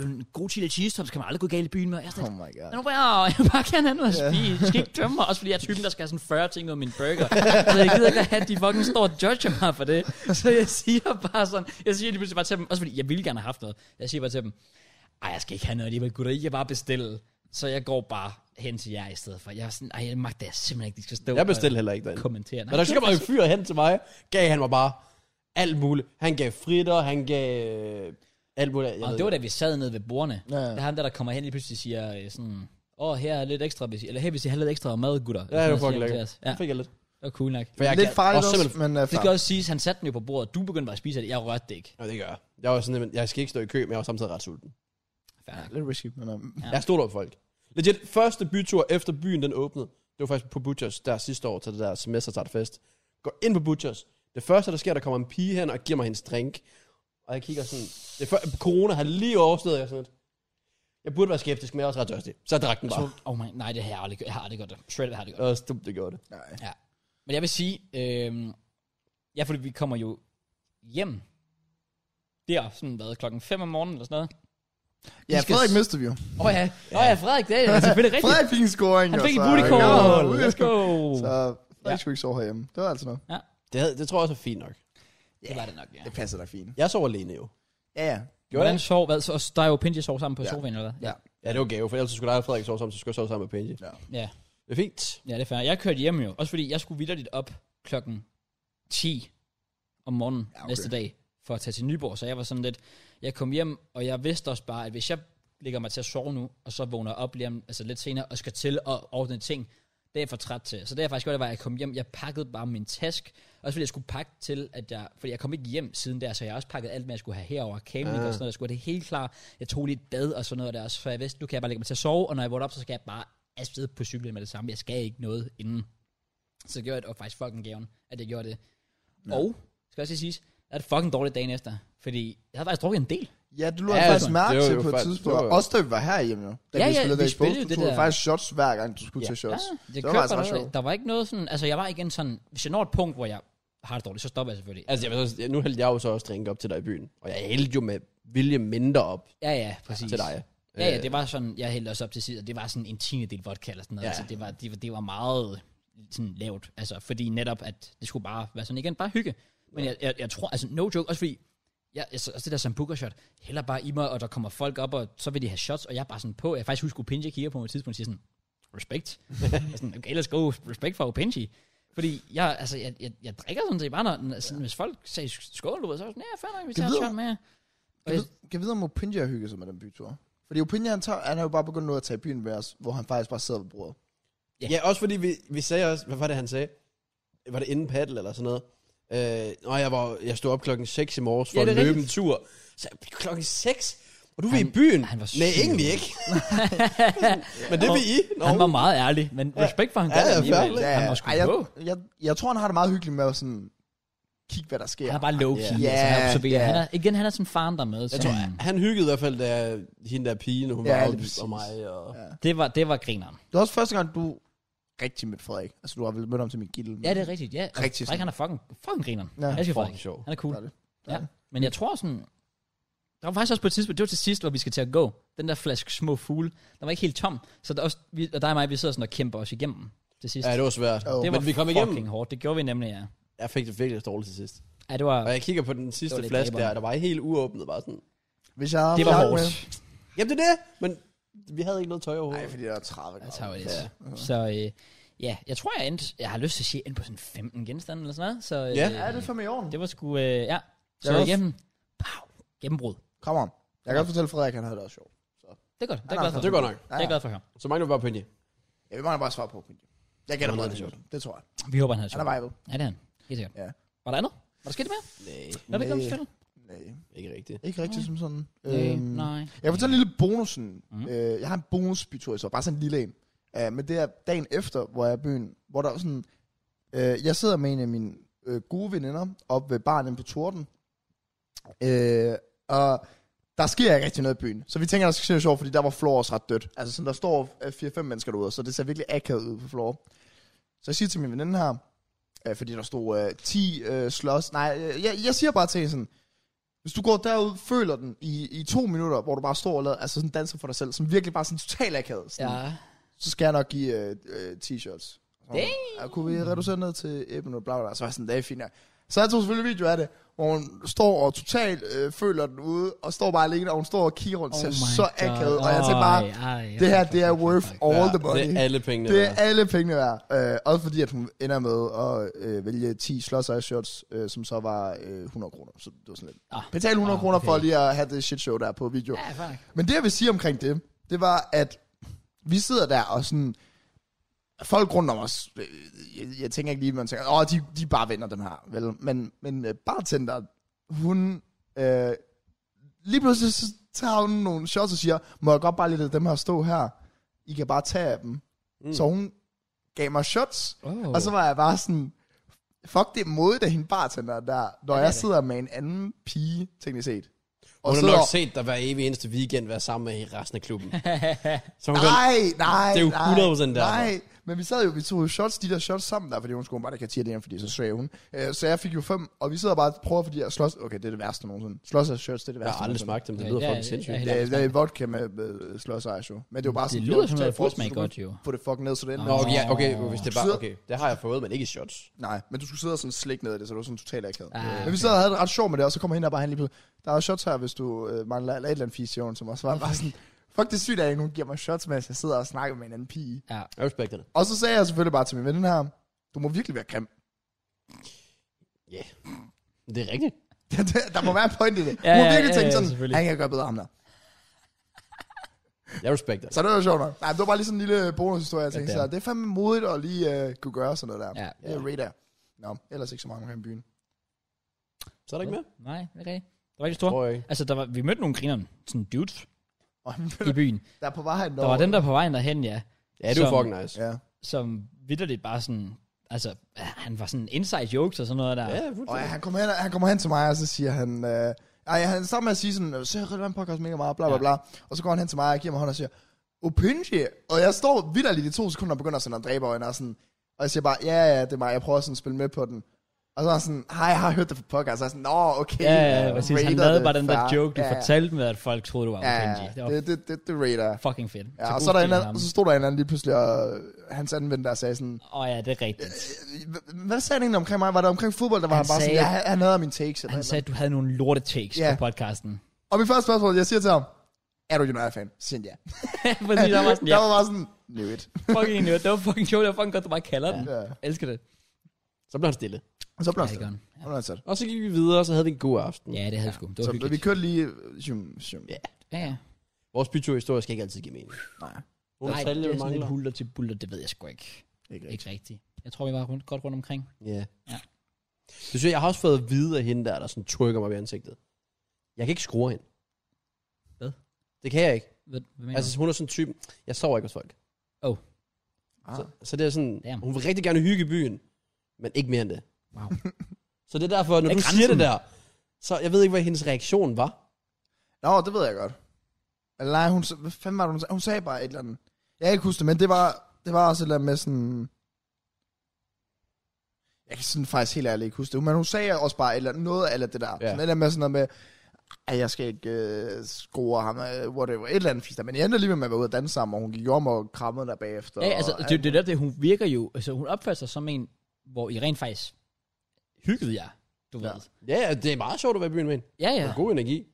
A: en god chili cheese tops? Kan man aldrig gå galt i byen med? Jeg er sådan,
C: Oh my god.
A: Men nu vil jeg jeg vil bare gerne have noget at spise. Jeg skal ikke dømme mig, også fordi jeg er typen, der skal have sådan 40 ting ud af min burger. Så jeg gider ikke at have, at de fucking står og judger mig for det. Så jeg siger bare sådan, jeg siger lige pludselig bare til dem, også fordi jeg ville gerne have haft noget. Jeg siger bare til dem, ej, jeg skal ikke have noget alligevel, gutter, I kan bare bestille. Så jeg går bare hen til jer i stedet for. Jeg er sådan, ej, jeg magter jeg simpelthen ikke, de skal stå
B: Jeg bestilte heller ikke
A: og
B: derinde.
A: kommentere.
B: Men der kommer en fyr hen til mig, gav han mig bare alt muligt. Han gav fritter, han gav øh, alt muligt. Jeg
A: Og
B: ved
A: det var
B: ikke.
A: da vi sad nede ved bordene. Ja.
C: Ja, ja.
A: Der er ham der, der kommer hen lige pludselig siger øh, sådan, åh, oh, her er lidt ekstra, hvis I, eller her hvis I har lidt ekstra mad, gutter.
B: Ja, det var fucking
A: Sådan noget, siger han til os.
B: lækkert. Ja.
A: Ja,
B: fik jeg lidt.
A: det var cool nok.
B: For jeg
C: Lidt
B: gav-
C: farligt
B: og
C: også,
B: simpelthen-
C: men uh,
A: Det skal også siges, han satte den jo på bordet, og du begyndte bare at spise det. Jeg rørte det ikke.
B: Ja, det gør jeg. Jeg var sådan, at jeg skal ikke stå i kø, men jeg var samtidig ret sulten.
A: Fair nok.
C: lidt risky, men... Um,
B: Ja. Jeg stod over folk. Legit, første bytur efter byen den åbnede, det var faktisk på Butchers der sidste år til det der semestertartfest. Går ind på Butchers. Det første, der sker, der kommer en pige hen og giver mig hendes drink. Og jeg kigger sådan... Det før, corona har lige overstået, og jeg er sådan lidt. Jeg burde være skeptisk, men jeg er også ret tørstig. Så jeg drak den bare.
A: Så, oh my, nej, det har jeg aldrig gjort. Jeg har aldrig gjort det. Shred har jeg aldrig
B: Det
A: gjort
B: var dumt, det gjorde det.
C: nej.
A: det. Ja. Men jeg vil sige, øh, ja, fordi vi kommer jo hjem. Det er sådan været klokken 5 om morgenen eller sådan noget.
C: Ja,
A: skal
C: Frederik
A: s-
C: mistede vi jo.
A: Åh oh, ja, åh oh, ja, Frederik, det er selvfølgelig rigtigt.
C: Frederik fik en scoring.
A: Han
C: jo,
A: fik et
C: så-
A: booty
C: Ja,
A: call.
C: ude.
A: Let's go.
C: Så
A: Ja.
C: Frederik skulle ikke sove herhjemme. Det var altså noget.
B: Det, havde, det tror jeg også er fint nok.
A: Det var det nok, ja.
C: Det passer dig fint.
B: Jeg sov alene jo.
C: Ja, ja.
B: Gjorde
A: Hvordan
B: jeg?
A: sov, hvad, så, der er jo Pinji sov sammen på sofaen, eller hvad?
C: Ja.
B: Ja, det var gave, for ellers så skulle dig og Frederik sove sammen, så skulle jeg sove sammen med Benji.
A: Ja.
B: Det er fint.
A: Ja, det er fair. Jeg kørte hjem jo, også fordi jeg skulle vidderligt op klokken 10. om morgenen ja, okay.
C: Ja, okay.
A: næste dag, for at tage til Nyborg. Så jeg var sådan lidt, jeg kom hjem, og jeg vidste også bare, at hvis jeg ligger mig til at sove nu, og så vågner jeg op lige om, altså lidt senere, og skal til at ordne ting, det er jeg for træt til. Så det er faktisk godt, at jeg kom hjem, jeg pakkede bare min task, også fordi jeg skulle pakke til, at jeg, fordi jeg kom ikke hjem siden der, så jeg har også pakket alt, med jeg skulle have herover, camping og sådan noget, jeg skulle have det helt klar. Jeg tog lige et bad og sådan noget der også, for jeg vidste, nu kan jeg bare lægge mig til at sove, og når jeg vågner op, så skal jeg bare afsted på cyklen med det samme. Jeg skal ikke noget inden. Så gjorde jeg det, og faktisk fucking gaven, at jeg gjorde det. Ja. Og, skal også lige siges, at det fucking dårligt dagen efter. Fordi jeg havde faktisk drukket en del.
C: Ja, det lå jeg
B: Ja,
C: faktisk
B: altså,
C: mærke
B: det var
C: til
B: jo
C: på et
B: faktisk-
C: tidspunkt.
B: det var-
C: Også da vi var herhjemme jo. Da
A: Ja, ja,
C: vi spillede
A: vi
C: der i
A: spillede jo
C: Exposed,
A: det
C: du tog
A: der-
C: faktisk shots hver gang, du skulle tage shots.
A: det
C: var
A: kørte
C: faktisk
A: bare
C: ret
A: derudad.
C: sjovt.
A: Der var ikke noget sådan, altså jeg var igen sådan, hvis jeg når et punkt, hvor jeg har det dårligt, så stopper jeg selvfølgelig.
B: Altså, jeg vil så, nu hældte jeg jo så også drink op til dig i byen. Og jeg hældte jo med vilje mindre op
A: Ja, ja, præcis.
B: til dig. Øh.
A: Ja, ja, det var sådan, jeg hældte også op til sidst, og det var sådan en tiende del vodka eller sådan noget. Ja.
B: Ja.
A: Altså, det var, det, var, det var meget sådan lavt, altså, fordi netop, at det skulle bare være sådan igen, bare hygge. Men jeg, jeg, jeg tror, altså no joke, også fordi, jeg, jeg, også det der sambuca shot hælder bare i mig, og der kommer folk op, og så vil de have shots, og jeg er bare sådan på. Jeg kan faktisk husker, Opinji kigger på mig på et tidspunkt og siger sådan, respekt. jeg er sådan, okay, let's go, respekt for Opinji. Fordi jeg, altså, jeg, jeg, jeg drikker sådan set bare, når, når, sådan, hvis folk sagde skål, du ved, så er jeg sådan, ja, fair nok, vi
C: Kan
A: tager
C: vide-
A: et shot med.
C: Kan jeg vide- kan jeg vide, om Opinja har hygget sig med den bytur? Fordi Opinja, han, tager, han har jo bare begyndt nu at tage i byen med os, hvor han faktisk bare sidder ved bordet.
B: Ja. ja, også fordi vi, vi sagde også, hvad var det, han sagde? Var det inden paddle eller sådan noget? Øh, nå, jeg, var, jeg stod op klokken 6 i morges for
A: Ja,
B: ja,
A: det er
B: at løbe
A: rigtigt.
B: en tur. Så jeg, klokken 6? Og du
A: Han-
B: vil i byen?
A: han var
B: Nej,
A: syg.
B: egentlig ikke. Men det
A: Han var-
B: vil I. Nå.
A: Han var meget ærlig, men respekt for, at han
B: Ja,
A: gør
B: ja,
A: det alligevel.
B: fair.
A: Han var sgu
C: Ej, jeg,
A: på.
C: jeg, jeg, tror, han har det meget hyggeligt med at sådan, kigge, hvad der sker.
A: Han er bare low-key,
B: Ja.
A: yeah. altså, han
C: Ja,
A: observerer.
C: ja.
A: Han er, igen, han er sådan faren der med. Så
B: Jeg tror, han hyggede i hvert fald, da hende der pige, når hun
C: Ja,
B: ja, var
C: lige
B: oppe
C: præcis.
B: og mig. Og...
C: Ja.
A: det, var, det var grineren.
C: Det er også første gang, du rigtig mødte Frederik. Altså, du har vel mødt ham til min gilde.
A: Ja, det er rigtigt, ja. Og
C: Rigtig
A: Frederik,
C: sådan.
A: han er fucking, fucking grineren.
C: Ja.
A: Ja. Jeg elsker
B: Fucking
A: Frederik.
B: sjov.
A: Han er cool.
C: Det er det. Det er
A: Ja.
C: det.
A: Men jeg tror sådan... Der var faktisk også på et tidspunkt, det var til sidst, hvor vi skal til at gå. Den der flaske små fugle, den var ikke helt tom. Så der, er også, vi, og dig og mig, vi sidder sådan og kæmper os igennem til sidst.
B: Ja, det var svært.
C: Jo.
B: Oh.
A: det var
B: Men vi kom
A: fucking
B: igennem.
A: hårdt. Det gjorde vi nemlig, ja.
B: Jeg fik det virkelig dårligt til sidst.
A: Ja, det var,
B: Og jeg kigger på den sidste
A: lidt
B: flaske der,
A: dræberen.
B: der var helt uåbnet. Bare sådan,
C: Hvis jeg havde
A: det var
C: haft
A: hårdt.
C: med-
B: Jamen det er det, men vi havde ikke noget tøj
C: Nej,
B: overhovedet.
C: fordi det er 30
A: That's how
C: grader.
A: it is. Altså, Så øh, ja, jeg tror, jeg endte, jeg har lyst til at sige, jeg endte på sådan 15 genstande eller sådan noget. Så, øh,
B: Ja.
C: Ja, det er fandme i orden.
A: Det var sgu, øh, ja. Så
C: Jeg er også-
A: igennem. Pow. Gennembrud.
C: Kom on. Jeg kan godt fortælle Frederik, han havde det også sjovt.
A: Det er godt. Det er
C: Nej,
A: jeg glad
C: nej,
A: for.
B: det er godt nok.
A: Det er jeg glad for at høre.
B: Så mangler vi bare Penny.
C: Jeg vil bare bare svare på. Opinja. Jeg gætter
B: Nå,
C: på,
B: det
C: at
B: er
C: det er sjovt. Det tror jeg.
A: Vi håber, han havde
C: Han er
A: sjovt.
C: vibet.
A: Ja, det er han. Helt sikkert.
C: Ja. Øh,
A: Var der andet? Var der sket mere?
B: Nej,
A: Nå, det kom
C: Nej.
A: selvfølgelig.
C: Nej,
B: ikke rigtigt.
C: ikke rigtigt som sådan. Øhm,
A: Nej.
C: Jeg kan fortælle en lille bonus.
A: Mhm.
C: Mm. Øh, jeg har en bonusbytur, så bare sådan en lille en. Øh, men det er dagen efter, hvor jeg er i byen, hvor der er sådan... Øh, jeg sidder med en af mine øh, gode veninder op ved baren inde på Torden. Øh, og der sker ikke rigtig noget i byen. Så vi tænker, der skal ske noget sjovt, fordi der var floor også ret dødt. Altså sådan, der står øh, 4-5 mennesker derude, så det ser virkelig akavet ud på floor. Så jeg siger til min veninde her, øh, fordi der stod øh, 10 øh, slås. Nej, øh, jeg, jeg siger bare til hende sådan, hvis du går derud, føler den i, i to minutter, hvor du bare står og lader, altså sådan danser for dig selv, som virkelig bare sådan total akavet. Sådan,
A: Ja.
C: ja. Så skal jeg nok give øh, øh, t-shirts. Og
A: Damn.
C: Jeg kunne vi reducere ned til æblen og bla bla, bla. Så var jeg sådan, det er fint. nok. Så jeg tog selvfølgelig video af det, hvor hun står og totalt øh, føler den ude, og står bare alene, og hun står og kigger rundt, oh
A: my
C: så
A: God.
C: akavet. Og jeg tænker bare,
A: Ej, ej,
C: det her,
A: fuck,
C: det er
A: fuck, fuck,
C: worth
A: fuck.
C: all
B: Ja,
C: the money.
B: Det er alle pengene.
C: Det er
B: værd.
C: alle pengene værd. Øh, også fordi, at hun ender med at øh, vælge 10 slåsøj shirts, øh, som så var øh, 100 kroner. Så det var sådan lidt.
A: Ah.
C: Ah, Betal 100
A: Ah,
C: kroner for
A: okay.
C: lige at have det shit show der på video.
A: Ja, fuck.
C: Men det, jeg vil sige omkring det, det var, at vi sidder der og sådan... Folk rundt om os, øh, jeg, jeg tænker ikke lige, man tænker, åh, de, de er bare venner dem her, vel? Men, men øh, bartender, hun... Øh, lige pludselig så tager hun nogle shots og siger, må jeg godt bare lade dem her stå her? I kan bare tage af dem. Mm. Så hun gav mig shots,
A: Oh.
C: og så var jeg bare sådan, fuck det modigt af hende bartender der, når
A: Ja, det er
C: jeg
A: det.
C: sidder med en anden pige, teknisk set. Og
B: Hun har
C: sidder-
B: nok set dig hver evig eneste weekend være sammen med resten af klubben. Så hun kan,
C: Nej, nej,
B: Det er jo
C: nej,
B: 100% derfor.
C: Nej, men vi sad jo, vi tog jo shots, de der shots sammen der, fordi hun skulle bare, der kan tire det her, fordi så svag hun. Øh, Så jeg fik jo fem, og vi sidder og bare og prøver, fordi jeg slås, okay, det er det værste nogensinde. Slås af shots, det er det
B: jeg
C: værste
B: har aldrig smagt dem, det lyder
A: Ja,
B: fucking
A: ja,
B: sindssygt.
A: ja,
C: Det er, det er vodka med, med øh, slås af, jo. Men det er jo bare
A: Det
C: sådan,
A: lyder som
C: det er
A: noget
C: frokost, så
A: frostsmag
C: du
A: godt,
C: kan
A: jo.
C: Få det fucking ned, så det ender.
B: Nå, okay, ja, okay, hvis det er bare,
C: Sidder-
B: okay, det har jeg fået, men ikke i shots.
C: Nej, men du skulle sidde og sådan slik ned af det, så det var sådan totalt akavet.
A: Ah,
C: Ah,
A: okay.
C: Men vi sad og havde det ret sjovt med det, og så kommer hende og bare han lige pludselig, der er jo shots her, hvis du øh, mangler eller et eller andet fisk, siger hun til mig. Så var jeg bare sådan, fuck det er sygt af, at hun giver mig shots, mens jeg sidder og snakker med en anden pige.
A: Ja.
B: Jeg respekter det.
C: Og så sagde jeg selvfølgelig bare til min ven her, du må virkelig være grim.
B: Ja. Det er rigtigt.
C: der, der må være en point i det.
A: Ja,
C: Ja, hun
A: ja,
C: har virkelig
A: ja,
C: tænkt
A: ja,
C: sådan,
A: selvfølgelig.
C: han kan gøre bedre ham der.
B: Jeg respekter det.
C: Så det var jo sjovt nok. Nej, det var bare lige sådan en lille bonushistorie, jeg tænkte,
B: Ja, det er.
C: så det er fandme modigt at lige uh, kunne gøre sådan noget der.
A: Ja.
C: Det er radar. Nå, ellers ikke så meget omkring byen.
B: Så er der ikke mere?
A: Nej, okay. Der var ikke det store.
B: Tror jeg ikke.
A: Altså, der var, vi mødte nogle grinerne, sådan dudes
C: Og
A: i byen.
C: der er på vej
A: Der var dem, der på vejen derhen, ja,
B: Ja, det er jo
A: Som-
B: fucking nice.
C: Ja.
A: som vidderligt bare sådan, altså, ah, han var sådan inside jokes og sådan noget der.
B: Ja,
C: Og ja,
B: fuldstændig.
C: han, kommer hen, han kommer hen til mig, og så siger han... Øh, ej, han starter med at sige sådan, så jeg relevant podcast mega meget, bla bla bla. Og så går han hen til mig og giver mig hånd og siger, Opinji! Og jeg står vidderligt i to sekunder og begynder sådan at dræbe øjnene og sådan... Og jeg siger bare, ja, ja, det er mig, jeg prøver sådan at spille med på den. Og så er han sådan, hej, jeg har hørt det på podcast. Og jeg er sådan, nå, okay.
A: Ja, ja, ja,
C: jeg
A: præcis. Han
C: rater
A: lavede
C: det,
A: bare den der
C: fair."
A: joke, du
C: Ja, ja.
A: fortalte med, at folk troede, du var
C: Ja,
A: Kenji. Det var
C: det, det, det, det rater jeg.
A: fucking fedt.
C: Ja, og
A: god
C: så, er der en
A: stil af
C: eller anden,
A: ham.
C: og så stod der en eller anden lige pludselig, og øh, hans anden ven der sagde sådan,
A: Åh ja, det er rigtigt.
C: "Hva- hvad sagde han egentlig omkring mig? Var det omkring fodbold, der var
A: Han
C: han, bare
A: sagde-
C: sådan, ja, han- han havde mine takes. Eller
A: Han sagde, at du havde nogle lorte takes
C: Ja.
A: yeah. på podcasten.
C: Og mit første spørgsmål, jeg siger til ham, er du United-fan? Så siger han ja.
A: Præcis, der var sådan, ja,
C: Der var bare sådan, knew it.
A: fucking idiot. Det var fucking sjovt, det var fucking godt, du bare kalder den.
C: Ja.
A: Jeg elsker det.
B: Så blev han stille.
C: Og så blev han
A: Ja, det gør
C: stille.
A: han.
C: Og blev han sat.
B: Og så gik vi videre, og så havde vi en god aften.
A: Ja, det havde vi sgu. Det var
C: Så vi
A: hyggeligt.
C: kørte lige... øh, Zoom, zoom.
B: Ja.
A: Ja, ja.
B: Vores byturhistorie skal ikke altid give mening.
C: Nej,
B: Nogle
A: Nej,
B: detaljer,
A: det
B: vi
A: er sådan lidt
B: mangler.
A: hulter til bulter, det ved jeg sgu ikke.
C: ikke rigtigt.
A: Ikke rigtigt. Jeg tror, vi var rundt, godt rundt omkring.
B: Ja.
A: Ja.
B: Det synes jeg, jeg har også fået at vide af hende der, der sådan trykker mig ved ansigtet. Jeg kan ikke skrue hende.
A: Hvad?
B: Det kan jeg ikke.
A: Hvad, hvad mener altså,
B: Altså, hun er sådan en type, jeg sover ikke hos folk.
C: Ah.
B: Så, så det er sådan,
A: Damn.
B: hun vil rigtig gerne hygge i byen, men ikke mere end det.
A: Wow.
B: så det er derfor, når
A: Er
B: du
A: grænsen?
B: siger det der, så jeg ved ikke, hvad hendes reaktion var.
C: Nå, det ved jeg godt. Eller nej, hun, s- hvad fanden var det, hun sagde? Hun sagde bare et eller andet. Jeg kan ikke huske det, men det var, det var også et eller andet med sådan... Jeg kan sådan faktisk helt ærligt ikke huske det, men hun sagde også bare et eller andet, noget af det der. Sådan et eller andet med sådan noget med, at jeg skal ikke øh, skrue ham, øh, whatever, et eller andet fisk der. Men jeg endte alligevel med at være ude og danse sammen, og hun gik om og krammede der bagefter.
A: ja, altså,
C: og
A: det, det er der, det, hun virker jo, altså hun opfører sig som en, hvor I rent faktisk hyggede jer, du
C: Ja.
A: ved.
B: Ja, det er meget sjovt at være i byen med hende.
A: Ja,
B: Ja.
A: ja.
B: Og god energi.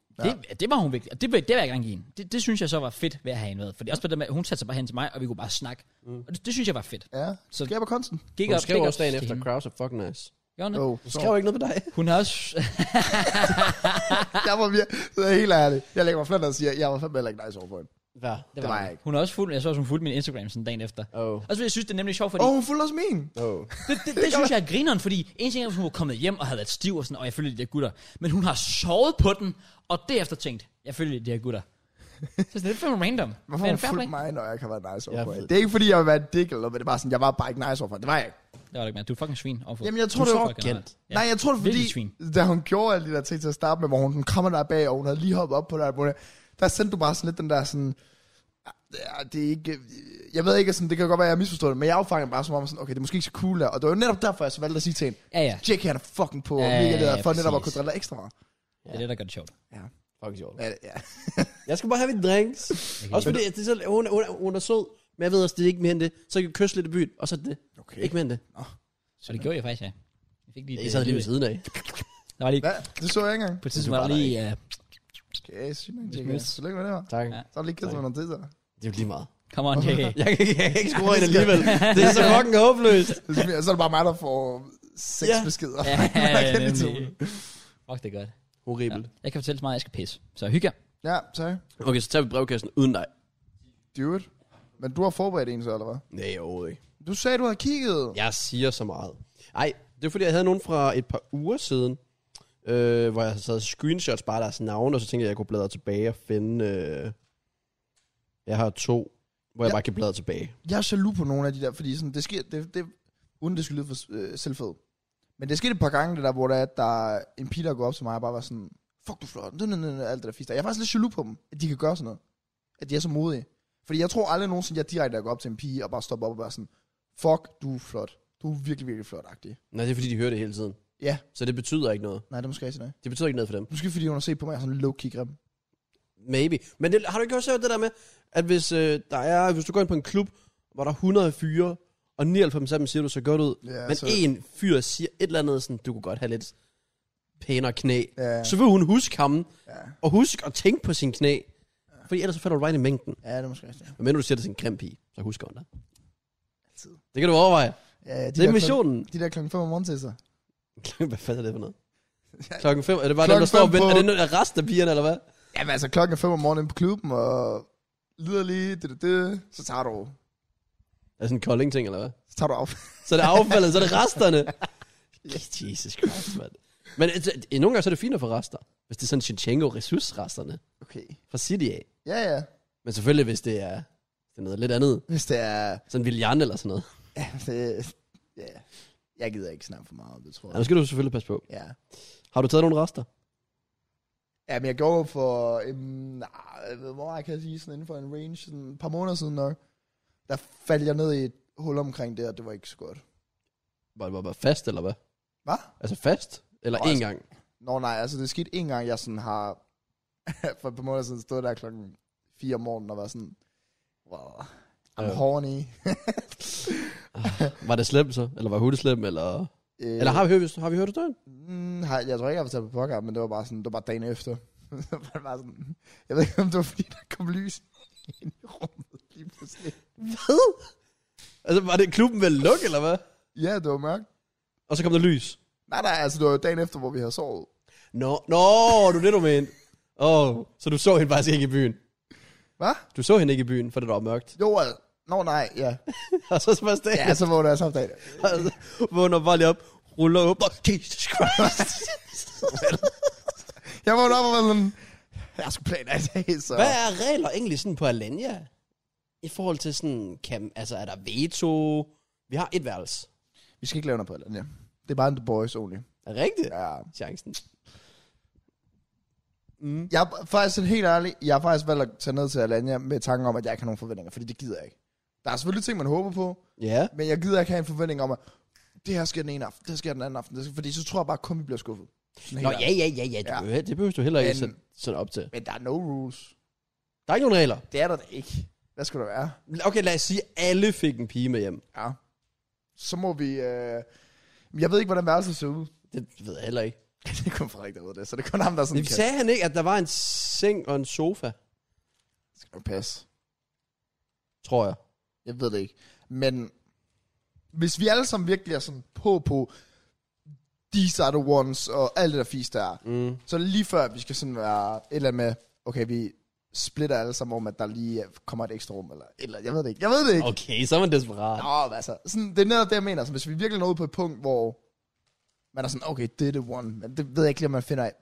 A: Det, det var hun virkelig, og det, vil- det vil jeg gerne give hende. Det, det synes jeg så var fedt ved at have hende med. Fordi også på det med, at hun satte sig bare hen til mig, og vi kunne bare snakke. Mm. Og det, det, synes jeg var fedt.
C: Ja,
A: Så-
C: så skaber kunsten.
A: Gik
B: Hun
A: op,
B: skrev
A: gik
B: også dagen
A: til
B: efter, Oh.
A: hende.
B: crowds are fucking nice.
A: Gjorde hun det?
C: Jo,
B: Hun skrev ikke noget på dig.
A: Hun har også...
C: jeg var virkelig, det er helt ærlig. Jeg lægger mig flat og siger, jeg var fandme heller ikke nice overfor hende.
B: Hvad?
A: det
C: var
A: var,
C: jeg
A: hun.
C: ikke.
A: hun har også fulgt, jeg så også, hun fulgte min Instagram sådan dagen efter.
B: Oh.
A: Og så jeg synes, det er nemlig sjovt, fordi
C: Åh,
A: oh.
C: oh, hun fulgte også min.
B: Oh.
A: det, det, det, synes jeg er grineren, fordi en ting er, hvis hun var kommet hjem og havde været stiv og sådan, og jeg følte de der gutter, men hun har sovet på den, og derefter tænkt, jeg følte de her gutter. så sådan, det er fandme random.
C: Hvorfor
A: Men
C: har hun
A: fair play.
C: fulgt mig, når jeg kan være nice overfor
B: Jeg ved
C: hende? Det er ikke, fordi jeg vil være en dick eller noget, men det er bare sådan, jeg var bare ikke nice overfor hende. Det var jeg ikke.
A: Det var det ikke mere. Du er fucking svin. Overfor.
C: Jamen, jeg tror,
A: Du
C: det
A: er
C: var
A: fucking generelt.
C: Ja. Nej, jeg tror det, er
A: Virkelig
C: fordi,
A: svin.
C: da hun gjorde alle de der ting til at starte med, hvor hun sådan kommer der bag, og hun havde lige hoppet op på dig, hvor det- der sendte du bare sådan lidt den der sådan, ja, det er ikke, jeg ved ikke, sådan, det kan godt være, jeg har misforstået det, men jeg opfanger det bare som om, sådan, okay, det er måske ikke så cool der, og det var jo netop derfor, jeg så valgte at sige til hende,
A: Ja, ja.
C: Jake han er fucking på,
A: Ja,
C: ja,
A: ja,
C: mega leder,
A: ja,
C: for netop at kunne
A: præcis.
C: drille dig ekstra meget.
A: Det er det, der gør det sjovt.
C: Ja.
B: Fucking sjovt.
C: Ja, ja.
B: Jeg skal bare have mit drinks. også fordi, at det er så, hun, hun, hun, er sød, men jeg ved også, det er ikke mere end det. Så kan vi kysse lidt i byen, og så er det det.
C: Okay.
B: Ikke mere end det.
A: Så det gjorde jeg faktisk, ja. Jeg fik lige
B: Jeg sad lige ved siden af.
A: Der var lige...
C: Hvad? Det så jeg ikke engang.
A: På et tidspunkt
B: Du
A: var
B: var
A: der
B: der
A: lige... Uh,
C: Okay, sygt nok,
A: Det
C: Jake.
A: smides.
C: Tillykke med det her.
B: Tak.
A: Ja.
C: Så har du lige kæft med nogle tidser.
B: Det er jo lige meget.
A: uh, come on, JK.
B: Jeg kan, ikke- jeg kan ikke score
C: Ej,
B: ind
C: det skal-
B: alligevel. Det er så fucking håbløst.
C: Så er det bare mig, der får seks
B: Ja.
C: beskeder.
A: ja,
C: Jeg kan ikke
A: nemlig.
C: tåle det.
A: Fuck, det er godt. Ja.
B: Horribelt.
A: Jeg kan fortælle så meget, at jeg skal pisse. Så hygge jer.
C: Ja, tak.
B: Okay, så tager vi brevkassen uden dig.
C: Do it. Men du har forberedt en så, eller hvad?
B: Nej, overhovedet ikke.
C: Du sagde, du havde kigget.
B: Jeg siger så meget. Nej, det er fordi, jeg havde nogen fra et par uger siden, øh, hvor jeg havde taget screenshots bare af deres navn, og så tænkte jeg, at jeg kunne bladre tilbage og finde... Øh, jeg har to, hvor jeg
C: Ja.
B: bare kan bladre tilbage.
C: Jeg er jaloux på nogle af de der, fordi sådan, det sker, det, det, uden det skulle lyde for øh, selvfed. Men det skete et par gange, det der, hvor der er, at der er en pige, der går op til mig og bare var sådan, fuck du er flot, nø, nø, nø, nø, alt det der fisk der. Jeg er faktisk lidt jaloux på dem, at de kan gøre sådan noget. At de er så modige. Fordi jeg tror aldrig nogensinde, jeg direkte går op til en pige og bare stopper op og bare sådan, fuck du er flot. Du er virkelig, virkelig flot-agtig.
B: Nej, det er fordi, de hører det hele tiden.
C: Ja.
B: Så det betyder ikke noget.
C: Nej, det er måske ikke sådan noget.
B: Det betyder ikke noget for dem.
C: Måske fordi hun har set på mig jeg er sådan low-key grim.
B: Maybe. Men det, har du ikke også hørt det der med, at hvis, øh, der er, hvis du går ind på en klub, hvor der er 100 fyre, og 99 af dem siger, du så godt ud,
C: Ja, altså,
B: Men
C: så-
B: en fyr siger et eller andet sådan, du kunne godt have lidt pænere knæ.
C: Ja.
B: Så vil hun huske ham,
C: Ja.
B: og huske at tænke på sin knæ. Fordi ellers så falder du right i mængden.
C: Ja, det er måske ikke sådan
B: Men når du siger det til en grim pige, så husker hun dig.
C: Altid.
B: Det kan du overveje.
C: Ja, de
B: Det er
C: der
B: missionen.
C: Klokken, de der klokken 5 om morgenen til sig.
B: Hvad fanden er det for noget? Klokken fem? Er det bare
C: Klokken
B: dem, der står og
C: fem
B: venter?
C: på-
B: Er det noget af resten af pigerne, eller hvad?
C: Jamen altså, klokken er fem om morgenen inde på klubben, og lider lige, det, det, det, så tager du,
B: Er det sådan en kolding-ting, eller hvad?
C: så tager du af.
B: Så er det affaldet, så er det resterne. Jesus Christ, mand. Men altså, nogle gange så er det fint at få rester. Hvis det er sådan Shinchenko resurseresterne
C: Okay.
B: fra City af.
C: Ja, ja.
B: Men selvfølgelig, hvis det er, det er noget lidt andet.
C: Hvis det er...
B: Sådan Viljan eller sådan noget.
C: Ja, det, ja. Jeg gider ikke snakke for meget om det, tror
B: Ja, nu
C: jeg.
B: skal du selvfølgelig passe på.
C: Ja.
B: Har du taget nogle rester?
C: Ja, men jeg gjorde for, øhm, nej, hvor meget kan jeg sige, sådan inden for en range, sådan et par måneder siden nok, der faldt jeg ned i et hul omkring det, og det var ikke så godt.
B: Var det bare fast, eller hvad?
C: Hvad?
B: Altså fast? Eller
C: Nå,
B: én
C: altså-
B: gang?
C: Nå nej, altså det skete en gang, jeg sådan har, for et par måneder siden, stod der klokken 4 om morgenen og var sådan, wow, I'm
B: Ja.
C: horny.
B: Øh, Var det slemt så? Eller var hovedet slemt? Eller,
C: Øh,
B: eller har, vi hørt, har vi hørt det døren?
C: Mm, har, jeg tror ikke, jeg har fortalt på podcast, men det var bare sådan, det var bare dagen efter. det var bare sådan, jeg ved ikke, om det var fordi, der kom lys ind i rummet lige pludselig.
B: Hvad? Altså var det klubben ved luk, eller hvad?
C: Ja, det var mørkt.
B: Og så kom der lys.
C: Nej, nej, altså det var dagen efter, hvor vi havde sovet.
B: Nå, nå, du er det, du mente. Åh, oh, så du så hende faktisk ikke i byen.
C: Hvad?
B: Du så hende ikke i byen, for det var mørkt.
C: Jo, altså, nå nej, ja.
B: Og så spørges det.
C: Ja, så vågnede jeg samme dag.
B: Altså, vågner bare lige op, ruller op, og Jesus Christ.
C: Jeg vågnede op og var sådan, jeg skulle planer i dag, så...
B: Hvad er regler egentlig sådan på Alanya? I forhold til sådan, kan, altså er der veto? Vi har et værelse.
C: Vi skal ikke lave noget på eller ja. Det er bare en The Boys only.
B: Er det rigtigt?
C: Ja.
B: Chancen. Mm.
C: Jeg er faktisk sådan helt ærlig, jeg har faktisk valgt at tage ned til Alanya med tanken om, at jeg ikke har nogen forventninger, fordi det gider jeg ikke. Der er selvfølgelig ting, man håber på,
B: Ja.
C: Men jeg gider ikke have en forvendning om, at det her sker den ene aften, det her sker den anden aften, det skal, fordi så tror jeg bare kun, vi bliver skuffet. Sådan helt
B: Nå,
C: ærligt.
B: ja, ja, ja, ja.
C: Ja.
B: Du, ja. Det behøver du heller ikke
C: Men-
B: sætte sådan op til.
C: Men der er no rules.
B: Der er ikke nogen regler.
C: Det er der da ikke. Hvad skal der være?
B: Okay, lad os sige, at alle fik en pige med hjem.
C: Ja. Så må vi... Øh... Jeg ved ikke, hvordan værelset ser ud.
B: Det ved jeg heller ikke.
C: det er kun Frederik, der ved det, så det er kun ham, der er sådan...
B: Det sagde han ikke, at der var en seng og en sofa,
C: Det skal nok passe.
B: tror jeg.
C: Jeg ved det ikke. Men hvis vi alle sammen virkelig er sådan på på these are the ones og alt det der fisk der er,
B: Mm.
C: så er det lige før, at vi skal sådan være et eller andet med, okay, vi splitter alle sammen om, at der lige kommer et ekstra rum, eller, et eller jeg ved det ikke. Jeg ved det ikke.
B: Okay, så er man desperat.
C: Nå, men altså, sådan, det er netop det, jeg mener. Så hvis vi virkelig nåede på et punkt, hvor man er sådan, okay, det er the one, men det ved jeg ikke lige, om man finder af.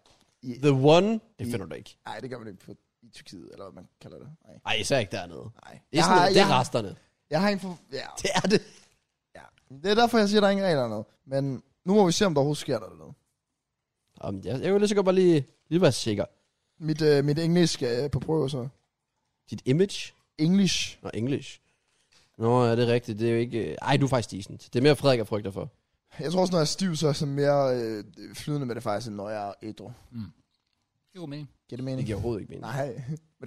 B: The One, det finder du ikke.
C: Nej, det gør man ikke på, i Tyrkiet, eller hvad man kalder det. Nej.
B: Ej, især ikke dernede.
C: Nej.
B: Det er, sådan, noget, det er resterne.
C: jeg har en for, ja,
B: Det er det.
C: ja. Det er derfor, jeg siger, at der er ingen regler eller noget. Men nu må vi se, om der overhovedet sker der noget.
B: Jamen, jeg, jeg vil lige så godt bare lige, lige være sikker.
C: Mit, øh, mit engelsk er øh, på prøve, så.
B: Dit image
C: English.
B: og engelsk. Nå, ja, det er rigtigt. Det er jo ikke... øh, Ej, du er faktisk decent. Det er mere Frederik, jeg frygter for.
C: Jeg tror også, når jeg er stiv, så er jeg sådan mere øh, flydende med det faktisk, end når jeg er ædru.
A: Det er god mening.
C: Giver det
B: Det
C: mening?
B: giver overhovedet ikke mening.
C: Nej, men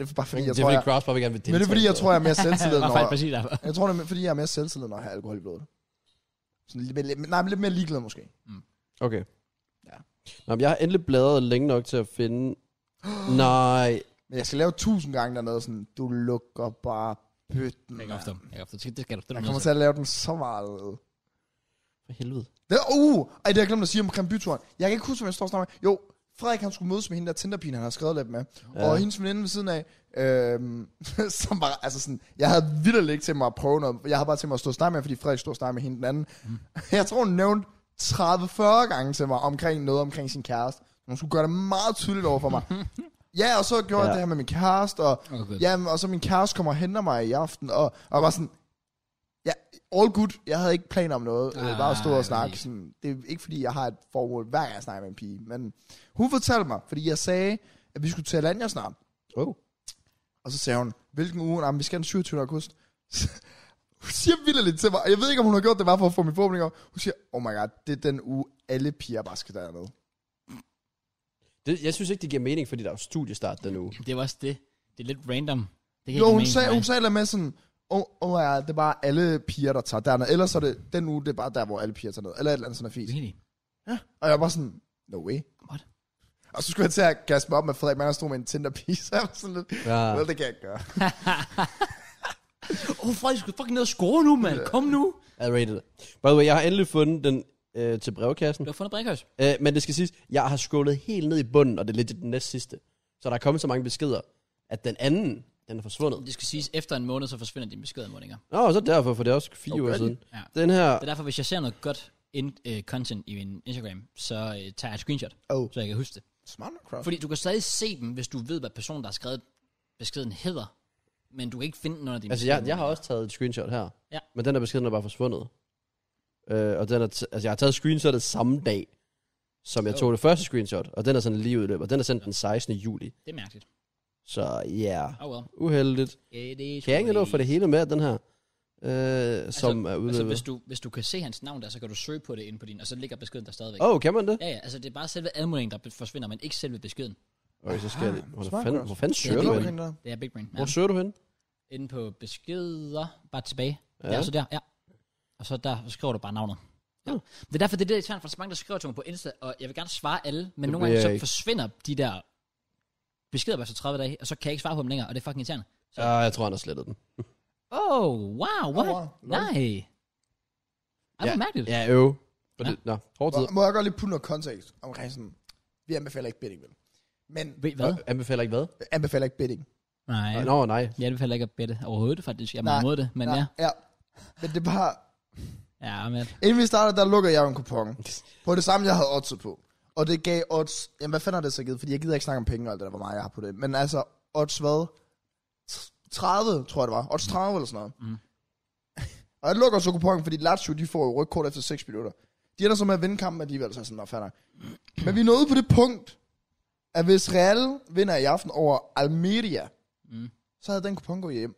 C: det er bare fordi,
B: det er
C: jeg tror,
B: fordi
C: jeg,
B: Crowds bare vil gerne vil
C: men det er fordi, jeg tror, jeg er mere
A: Det
C: selvtillid,
A: var
C: når
A: faktisk
C: jeg,
A: præcis derfor.
C: jeg tror, det er, fordi jeg er mere selvtillid, når jeg har alkohol i blodet. Sådan lidt, mere- lidt, nej, men lidt mere ligeglad måske.
B: Okay.
C: Ja.
B: Nå, men jeg har endelig bladret længe nok til at finde... Nej.
C: Men jeg skal lave tusind gange dernede, sådan, du lukker bare bøtten.
A: Jeg kan ofte
C: mand.
A: om. Jeg kan ofte om. Det skal du. Det er du
C: Jeg kommer
A: nødt
C: til at lave den så meget. dernede.
B: For helvede.
C: Det, uh, ej, det har jeg glemt at sige omkring byturen. Jeg kan ikke huske, hvad jeg står og snakker med. Jo, Frederik han skulle mødes med hende der Tinderpine, han har skrevet lidt med. Ja. Og hendes veninde ved siden af, øhm, som bare, altså sådan, jeg havde vildt ikke til mig at prøve noget. Jeg havde bare til mig at stå og snakke med hende, fordi Frederik stod og snakkede med hende den anden. Mm. Jeg tror, hun nævnte 30-40 gange til mig omkring noget omkring sin kæreste. Hun skulle gøre det meget tydeligt over for mig. ja, og så
B: Ja.
C: gjorde ja. jeg det her med min kæreste, og,
A: Oh, good.
C: jamen, og så min kæreste kommer og henter mig i aften, og, og bare sådan, ja, all good, jeg havde ikke planer om noget, ah, bare at stå
A: Ah,
C: og snakke.
A: præcis.
C: Sådan, det er ikke fordi, jeg har et formål, hver gang jeg snakker med en pige, men hun fortalte mig, fordi jeg sagde, at vi skulle til Alanya snart,
B: Oh.
C: og så sagde hun, hvilken uge? Jamen, vi skal den 27. august. hun siger vildt lidt til mig, og jeg ved ikke, om hun har gjort det bare for at få min forhåbning op. Hun siger, oh my god, det er den uge, alle piger bare skal dernede.
B: Det, jeg synes ikke, det giver mening, fordi der er jo studiestart den uge.
A: til. Det var også det. Det er lidt random. Det kan
C: Jo,
A: ikke
C: hun
A: mening
C: sagde,
A: for
C: hun
A: mig.
C: sagde lidt med sådan, oh, oh my god, det er bare alle piger, der tager dernede. Ellers er det den uge, det er bare der, hvor alle piger tager ned. Eller et eller andet sådan er fint.
A: Really?
C: Og jeg var sådan, no way.
A: What?
C: Og så skulle jeg til at kaste mig op med Frederik, men han stod med en Tinder-pige, så jeg var sådan lidt,
B: Ja.
C: well, det kan jeg ikke
A: Åh,
C: gøre.
A: oh, Frederik, du skal fucking ned og score nu, mand. Kom nu.
B: I rated it. By the way, jeg har endelig fundet den øh, til brevkassen.
A: Du har fundet Brinkhøjs.
B: Øh, men det skal siges, jeg har scrollet helt ned i bunden, og det er lidt den næst sidste. Så der er kommet så mange beskeder, at den anden, den er forsvundet.
A: Det skal siges, efter en måned, så forsvinder dine beskedmålinger.
B: Nå, så derfor, for det er også fire okay.
C: Okay.
B: uger siden.
A: Ja.
B: Den her,
A: Det er derfor, hvis jeg ser noget godt in, uh, content i min Instagram, så uh, tager jeg et screenshot,
C: Oh.
A: så jeg kan huske det.
C: Smart Minecraft.
A: Fordi du kan stadig se dem, hvis du ved, hvad personen, der har skrevet beskeden, hedder. Men du kan ikke finde den under din
B: altså jeg, jeg har også taget et screenshot her.
A: Ja.
B: Men den her besked, den er bare forsvundet. Øh, og den er t- altså jeg har taget screenshotet samme dag, som jeg
A: Oh.
B: tog det første screenshot. Og den er sådan lige udløb, og den er sendt den 16. juli.
A: Det er mærkeligt.
B: Så ja, yeah,
A: Oh well.
B: uheldigt.
A: It is
B: Kan jeg ikke nå
A: what
B: at få det hele med, den her, øh, som er
A: Altså,
B: udløbet?
A: hvis du, hvis du kan se hans navn der, så kan du søge på det inde på din, og så ligger beskeden der stadigvæk.
B: Åh, oh, kan man det?
A: Ja, ja, altså det er bare selve anmodningen, der be- forsvinder, men ikke selve beskeden.
B: Okay, så skal jeg lige... Hvor,
C: smart
B: fanden,
C: også.
B: hvor fanden
A: Ja,
B: søger
A: det
B: du
A: er
B: hen?
A: det. Det er Big Brain. Ja.
B: Hvor søger du hen?
A: Inde på beskeder, bare tilbage. Ja.
B: Ja.
A: Der, så der, ja. Og så der så skriver du bare navnet. Ja.
B: Ja.
A: Det er derfor, det er det, svært for så mange, der skriver til mig på Insta, og jeg vil gerne svare alle, men
B: Det
A: nogle
B: vil
A: gange
B: jeg
A: så
B: ikke.
A: forsvinder de der beskeder bare så 30 dage, og så kan jeg ikke svare på dem længere, og det er fucking irriterende. Så-
B: Ja, Ah, jeg tror, han har slettet den.
A: Oh, wow, what? Oh, wow.
C: wow.
A: Nej. Ej, hvor mærkeligt.
B: Ja, øv.
A: Ja.
B: Ja. Det, nå, hård tid.
C: Må, må jeg godt lige putte noget kontekst omkring sådan, vi anbefaler ikke bidding, vel? Men
A: Ved I hvad?
B: Og Anbefaler ikke hvad?
C: vi anbefaler ikke bidding.
A: Nej.
B: Ja. Nå, nej.
A: Jeg anbefaler ikke at bette overhovedet, faktisk. Jeg er
C: Nej,
A: imod det, men ja.
C: ja. Men det er bare,
A: Ja, men
C: inden vi startede, der lukkede jeg jo en kupon. På det samme, jeg havde oddset på. Og det gav odds, jamen hvad fanden har det så givet? Fordi jeg gider ikke snakke om penge og alt det der, hvor meget jeg har på det. Men altså, odds hvad? T- 30, tror jeg det var. Odds 30 eller sådan noget.
A: Mm.
C: Mm. og jeg lukker så kuponen, fordi Lazio, de får jo rødt kort efter 6 minutter. De ender så med at vinde kampen alligevel, så er jeg sådan, "Nå, fair nok." Men vi er nået på det punkt, at hvis Real vinder i aften over Almeria,
A: Mm.
C: mm. så havde den kupon gået hjem.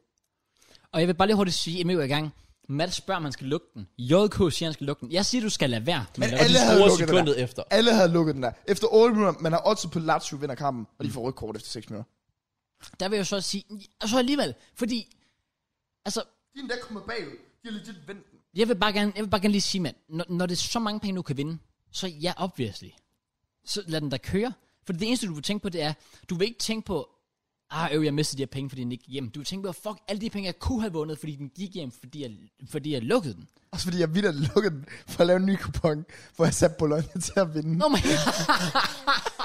A: Og jeg vil bare lige hurtigt sige, inden vi går i gang. Mads spørger, om han skal lukke den. JK siger, han skal lukke den. Jeg siger, du skal lade være. Men
C: Men
B: Og de
C: alle havde
B: scorer
C: lukket det
B: sekundet efter.
C: Alle havde lukket den der. Efter 8 minutter, man har oddset på at Lazio vinder kampen, og de får rødt kort efter 6 minutter.
A: der vil jeg så sige, og så alligevel, fordi, altså,
C: De er endda kommet bagud. De har legit vendt den.
A: jeg vil bare gerne, jeg vil bare gerne lige sige, mand, når, når det er så mange penge, du kan vinde, så ja, obviously. Så lad den der køre. For det eneste, du vil tænke på, det er, du vil ikke tænke på, ah, øv, jeg mistede de her penge, fordi den ikke gik hjem. Du vil tænke på, fuck, alle de penge, jeg kunne have vundet, fordi den gik hjem, fordi jeg, fordi jeg lukkede den.
C: Også fordi jeg vidt at lukke den for at lave en ny kupon, hvor jeg satte Bologna til at vinde.
A: Oh my god.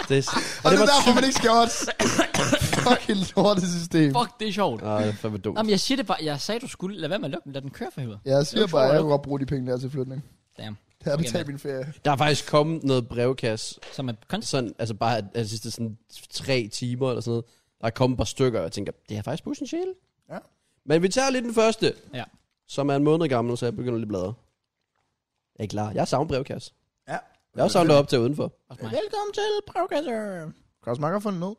B: Det, er-
C: og
B: og
C: det,
B: var
C: er derfor, man ikke skal odds. Fucking lortet system. Fuck.
A: Fuck, det er sjovt.
B: Nej, det er fandme dumt.
A: Jamen, jeg siger det bare. Jeg sagde, du skulle lade være med at lukke den. Lad den køre for helvede.
C: Jeg siger
A: Det er
C: bare,
A: sjovt,
C: at jeg
A: jo.
C: kunne godt bruge de penge der til flytning.
A: Damn.
C: Det har
A: Okay,
C: betalt
A: mand.
C: min ferie.
B: Der er faktisk kommet noget brevkasse,
A: Som er kunst.
B: sådan, altså bare at- altså, sidste sådan tre timer eller sådan noget. Der er kommet et par stykker, og jeg tænker, det er faktisk potentiale.
C: Ja.
B: Men vi tager lige den første,
A: Ja.
B: som er en måned gammel, så jeg begynder lige at bladre. Jeg er klar. Jeg savner brevkasse.
C: Ja.
B: Jeg har savnet op til udenfor.
A: Også mig.
C: Velkommen til brevkasse. Kraus Marker fundet noget.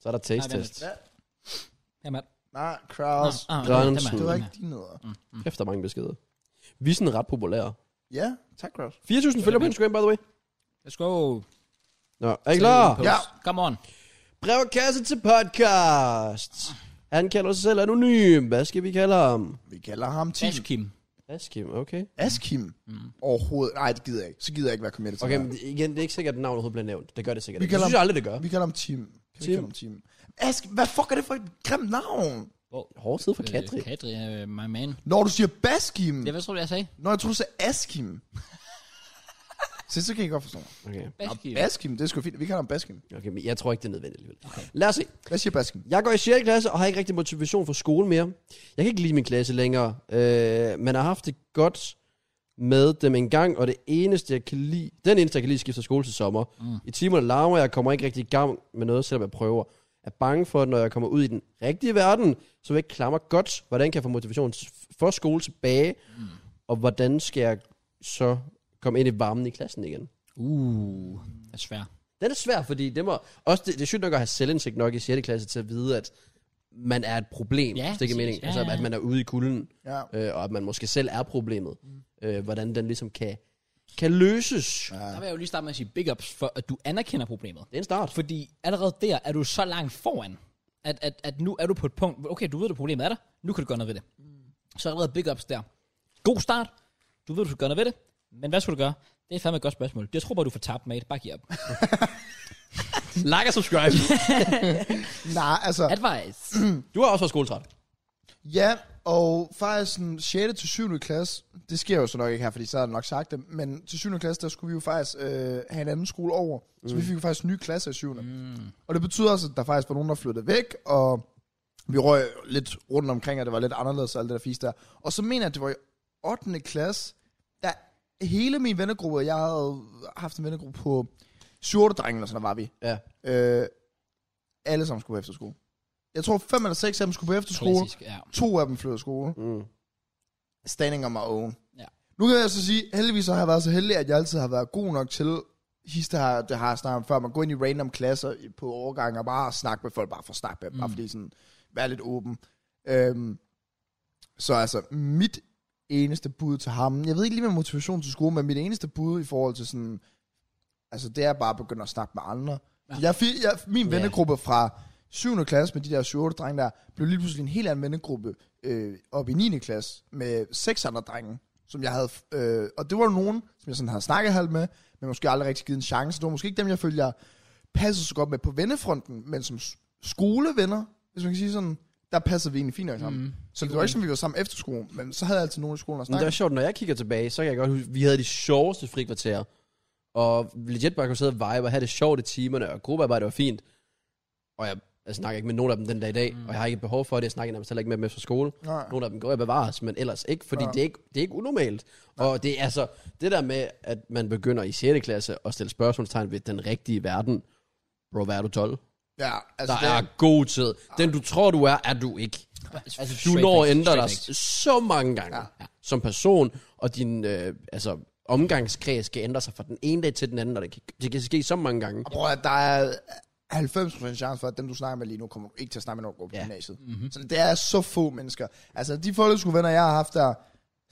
B: Så er der taste
A: Nej, vent
B: test.
A: lidt. Ja, mand.
C: Nej, Kraus.
A: Nå, ah,
B: Grønne
A: den er-
B: skud.
C: Det
A: den
C: var
A: er-
C: ikke din nødder.
B: Kæft, der er mange beskeder. Vi er sådan ret populære.
C: Ja, tak Kraus.
B: 4.000 følgere på Instagram, by the way.
A: Let's go.
B: Nå, er I klar?
A: Ja.
C: Ja.
A: Come on.
B: Brevkasse til podcast. Han kalder sig selv anonym. Hvad skal vi kalde ham?
C: Vi kalder ham Tim.
A: Ash Kim.
B: Askim, okay.
C: Askim.
A: Mm.
C: Overhovedet. Nej, det gider jeg ikke. Så gider jeg ikke være committed til
B: Okay,
C: det.
B: men igen, det er ikke sikkert, at navnet overhovedet bliver nævnt. Det gør det sikkert
C: Vi
B: ikke. Det
C: kalder
B: synes jeg aldrig, det gør.
C: Vi kalder ham Tim. Kan vi
B: Tim.
C: kalde ham Tim? Ask, hvad fuck er det for et grimt navn?
B: Hård tid for Katri.
A: Øh, Kadri, øh, my man.
C: Når du siger Baskim.
A: Det var, tror du, jeg sagde.
C: Når jeg tror, du sagde Askim. så, så kan jeg godt forstå mig.
B: Okay.
A: Ash Kim.
C: Baskim, det er sgu fint. Vi kalder ham Baskim.
B: okay, men jeg tror ikke, det er nødvendigt alligevel. Lad os se.
C: Hvad siger Baskim?
B: Jeg går i 6. klasse og har ikke rigtig motivation for skole mere. Jeg kan ikke lide min klasse længere, øh, men har haft det godt med dem en gang, og det eneste, jeg kan lide, den eneste, jeg kan lide, skifter skole til sommer. Mm. I timerne larmer jeg, og kommer ikke rigtig i gang med noget, selvom jeg prøver. Er bange for, at når jeg kommer ud i den rigtige verden, så vil jeg ikke klare mig godt. Hvordan kan jeg få motivation for skole tilbage? Mm. Og hvordan skal jeg så komme ind i varmen i klassen igen?
A: Uh, det er svært.
B: Den er svær, fordi det, må, også det, det er sygt nok at have selvindsigt nok i 6. klasse til at vide, at man er et problem,
A: Ja,
B: ja, hvis det ikke
A: præcis.
B: er mening.
A: Ja,
B: altså,
A: ja, ja.
B: at man er ude i kulden,
C: Ja.
B: øh, og at man måske selv er problemet.
A: Mm.
B: Øh, hvordan den ligesom kan, kan løses. Ja. Det
A: Der vil jeg jo lige starte med at sige big ups, for at du anerkender problemet.
B: er en start.
A: Fordi allerede der er du så langt foran, at, at, at nu er du på et punkt, hvor, okay, du ved, at problemet er der. Nu kan du gøre noget ved det. Så allerede big ups der. God start. Du ved, du skal gøre noget ved det. Men hvad skal du gøre? Det er fandme et godt spørgsmål. Jeg tror bare, du får tabt, mate. Bare giv op.
B: like og subscribe.
C: Nej, altså,
A: Advice.
B: du har også været skoletræt.
C: ja, Og faktisk sådan 6. til 7. klasse, det sker jo så nok ikke her, fordi så har jeg nok sagt det, men til 7. klasse, der skulle vi jo faktisk øh, have en anden skole over. Så vi fik jo faktisk en ny klasse i 7. Mm.
A: Mm.
C: Og det betyder også, at der faktisk var nogen, der flyttede væk, og vi røg lidt rundt omkring, og det var lidt anderledes og alt det der fisk der. Og så mener jeg, at det var i 8. klasse, der hele min vennegruppe, jeg havde haft en vennegruppe på 7 drenge, eller sådan der var vi.
B: Ja.
C: Øh, alle sammen skulle på efterskole. Jeg tror, fem eller seks af dem skulle på efterskole.
A: Klassisk, ja.
C: To af dem flyttede skole.
B: Mm.
C: Standing on my own.
A: Ja.
C: Nu kan jeg så sige, heldigvis så har jeg været så heldig, at jeg altid har været god nok til, hister har, det har jeg snakket om før, man går ind i random klasser i- på overgang og bare snakke med folk, bare for at snakke med dem, mm. bare fordi sådan, være lidt åben. Øhm, så altså, mit eneste bud til ham, jeg ved ikke lige med motivation til skole, men mit eneste bud i forhold til sådan, altså det er bare at begynde at snakke med andre. Ja. Jeg, fi- jeg, min
B: Ja.
C: vennegruppe fra 7. klasse med de der 7 drenge der, blev lige pludselig en helt anden vennegruppe øh, op i 9. klasse med seks andre drenge, som jeg havde, øh, og det var nogen, som jeg sådan havde snakket halvt med, men måske aldrig rigtig givet en chance. Det var måske ikke dem, jeg følte, jeg passede så godt med på vennefronten, men som s- skolevenner, hvis man kan sige sådan, der passede vi egentlig fint nok sammen. Mm. Så det var ikke som, vi var sammen efter skolen, men så havde jeg altid nogen i skolen at
B: Men det
C: snakke
B: er sjovt, når jeg kigger tilbage, så kan jeg godt huske, vi havde de sjoveste frikvarterer. Og legit bare kunne sidde og vibe og have det sjovt i timerne, og gruppearbejde var fint. Og jeg, jeg snakker ikke med nogen af dem den dag i dag, mm. og jeg har ikke et behov for det. Jeg snakker nærmest heller ikke med dem efter skole.
C: Nej.
B: Nogle af dem går jeg bevares, men ellers ikke, fordi
C: Ja.
B: det, er ikke, det er ikke unormalt. Og det er altså, det der med, at man begynder i 6. klasse at stille spørgsmålstegn ved den rigtige verden. Bro, hvad er du 12?
C: Ja, altså
B: Der
C: det,
B: er god tid. Den du tror, du er, er du ikke. Altså, du
A: Straight
B: når at
A: facts,
B: ændre dig
A: straight facts.
B: så mange gange ja. som person, og din øh, altså, omgangskreds skal ændre sig fra den ene dag til den anden, og det kan, det kan ske så mange gange.
C: Og prøv at der er 90% chance for, at dem, du snakker med lige nu, kommer du ikke til at snakke med, når du går på
B: Ja.
C: ja. gymnasiet. Mm-hmm. Så det er så få mennesker. Altså, de folkeskolevenner, jeg har haft, der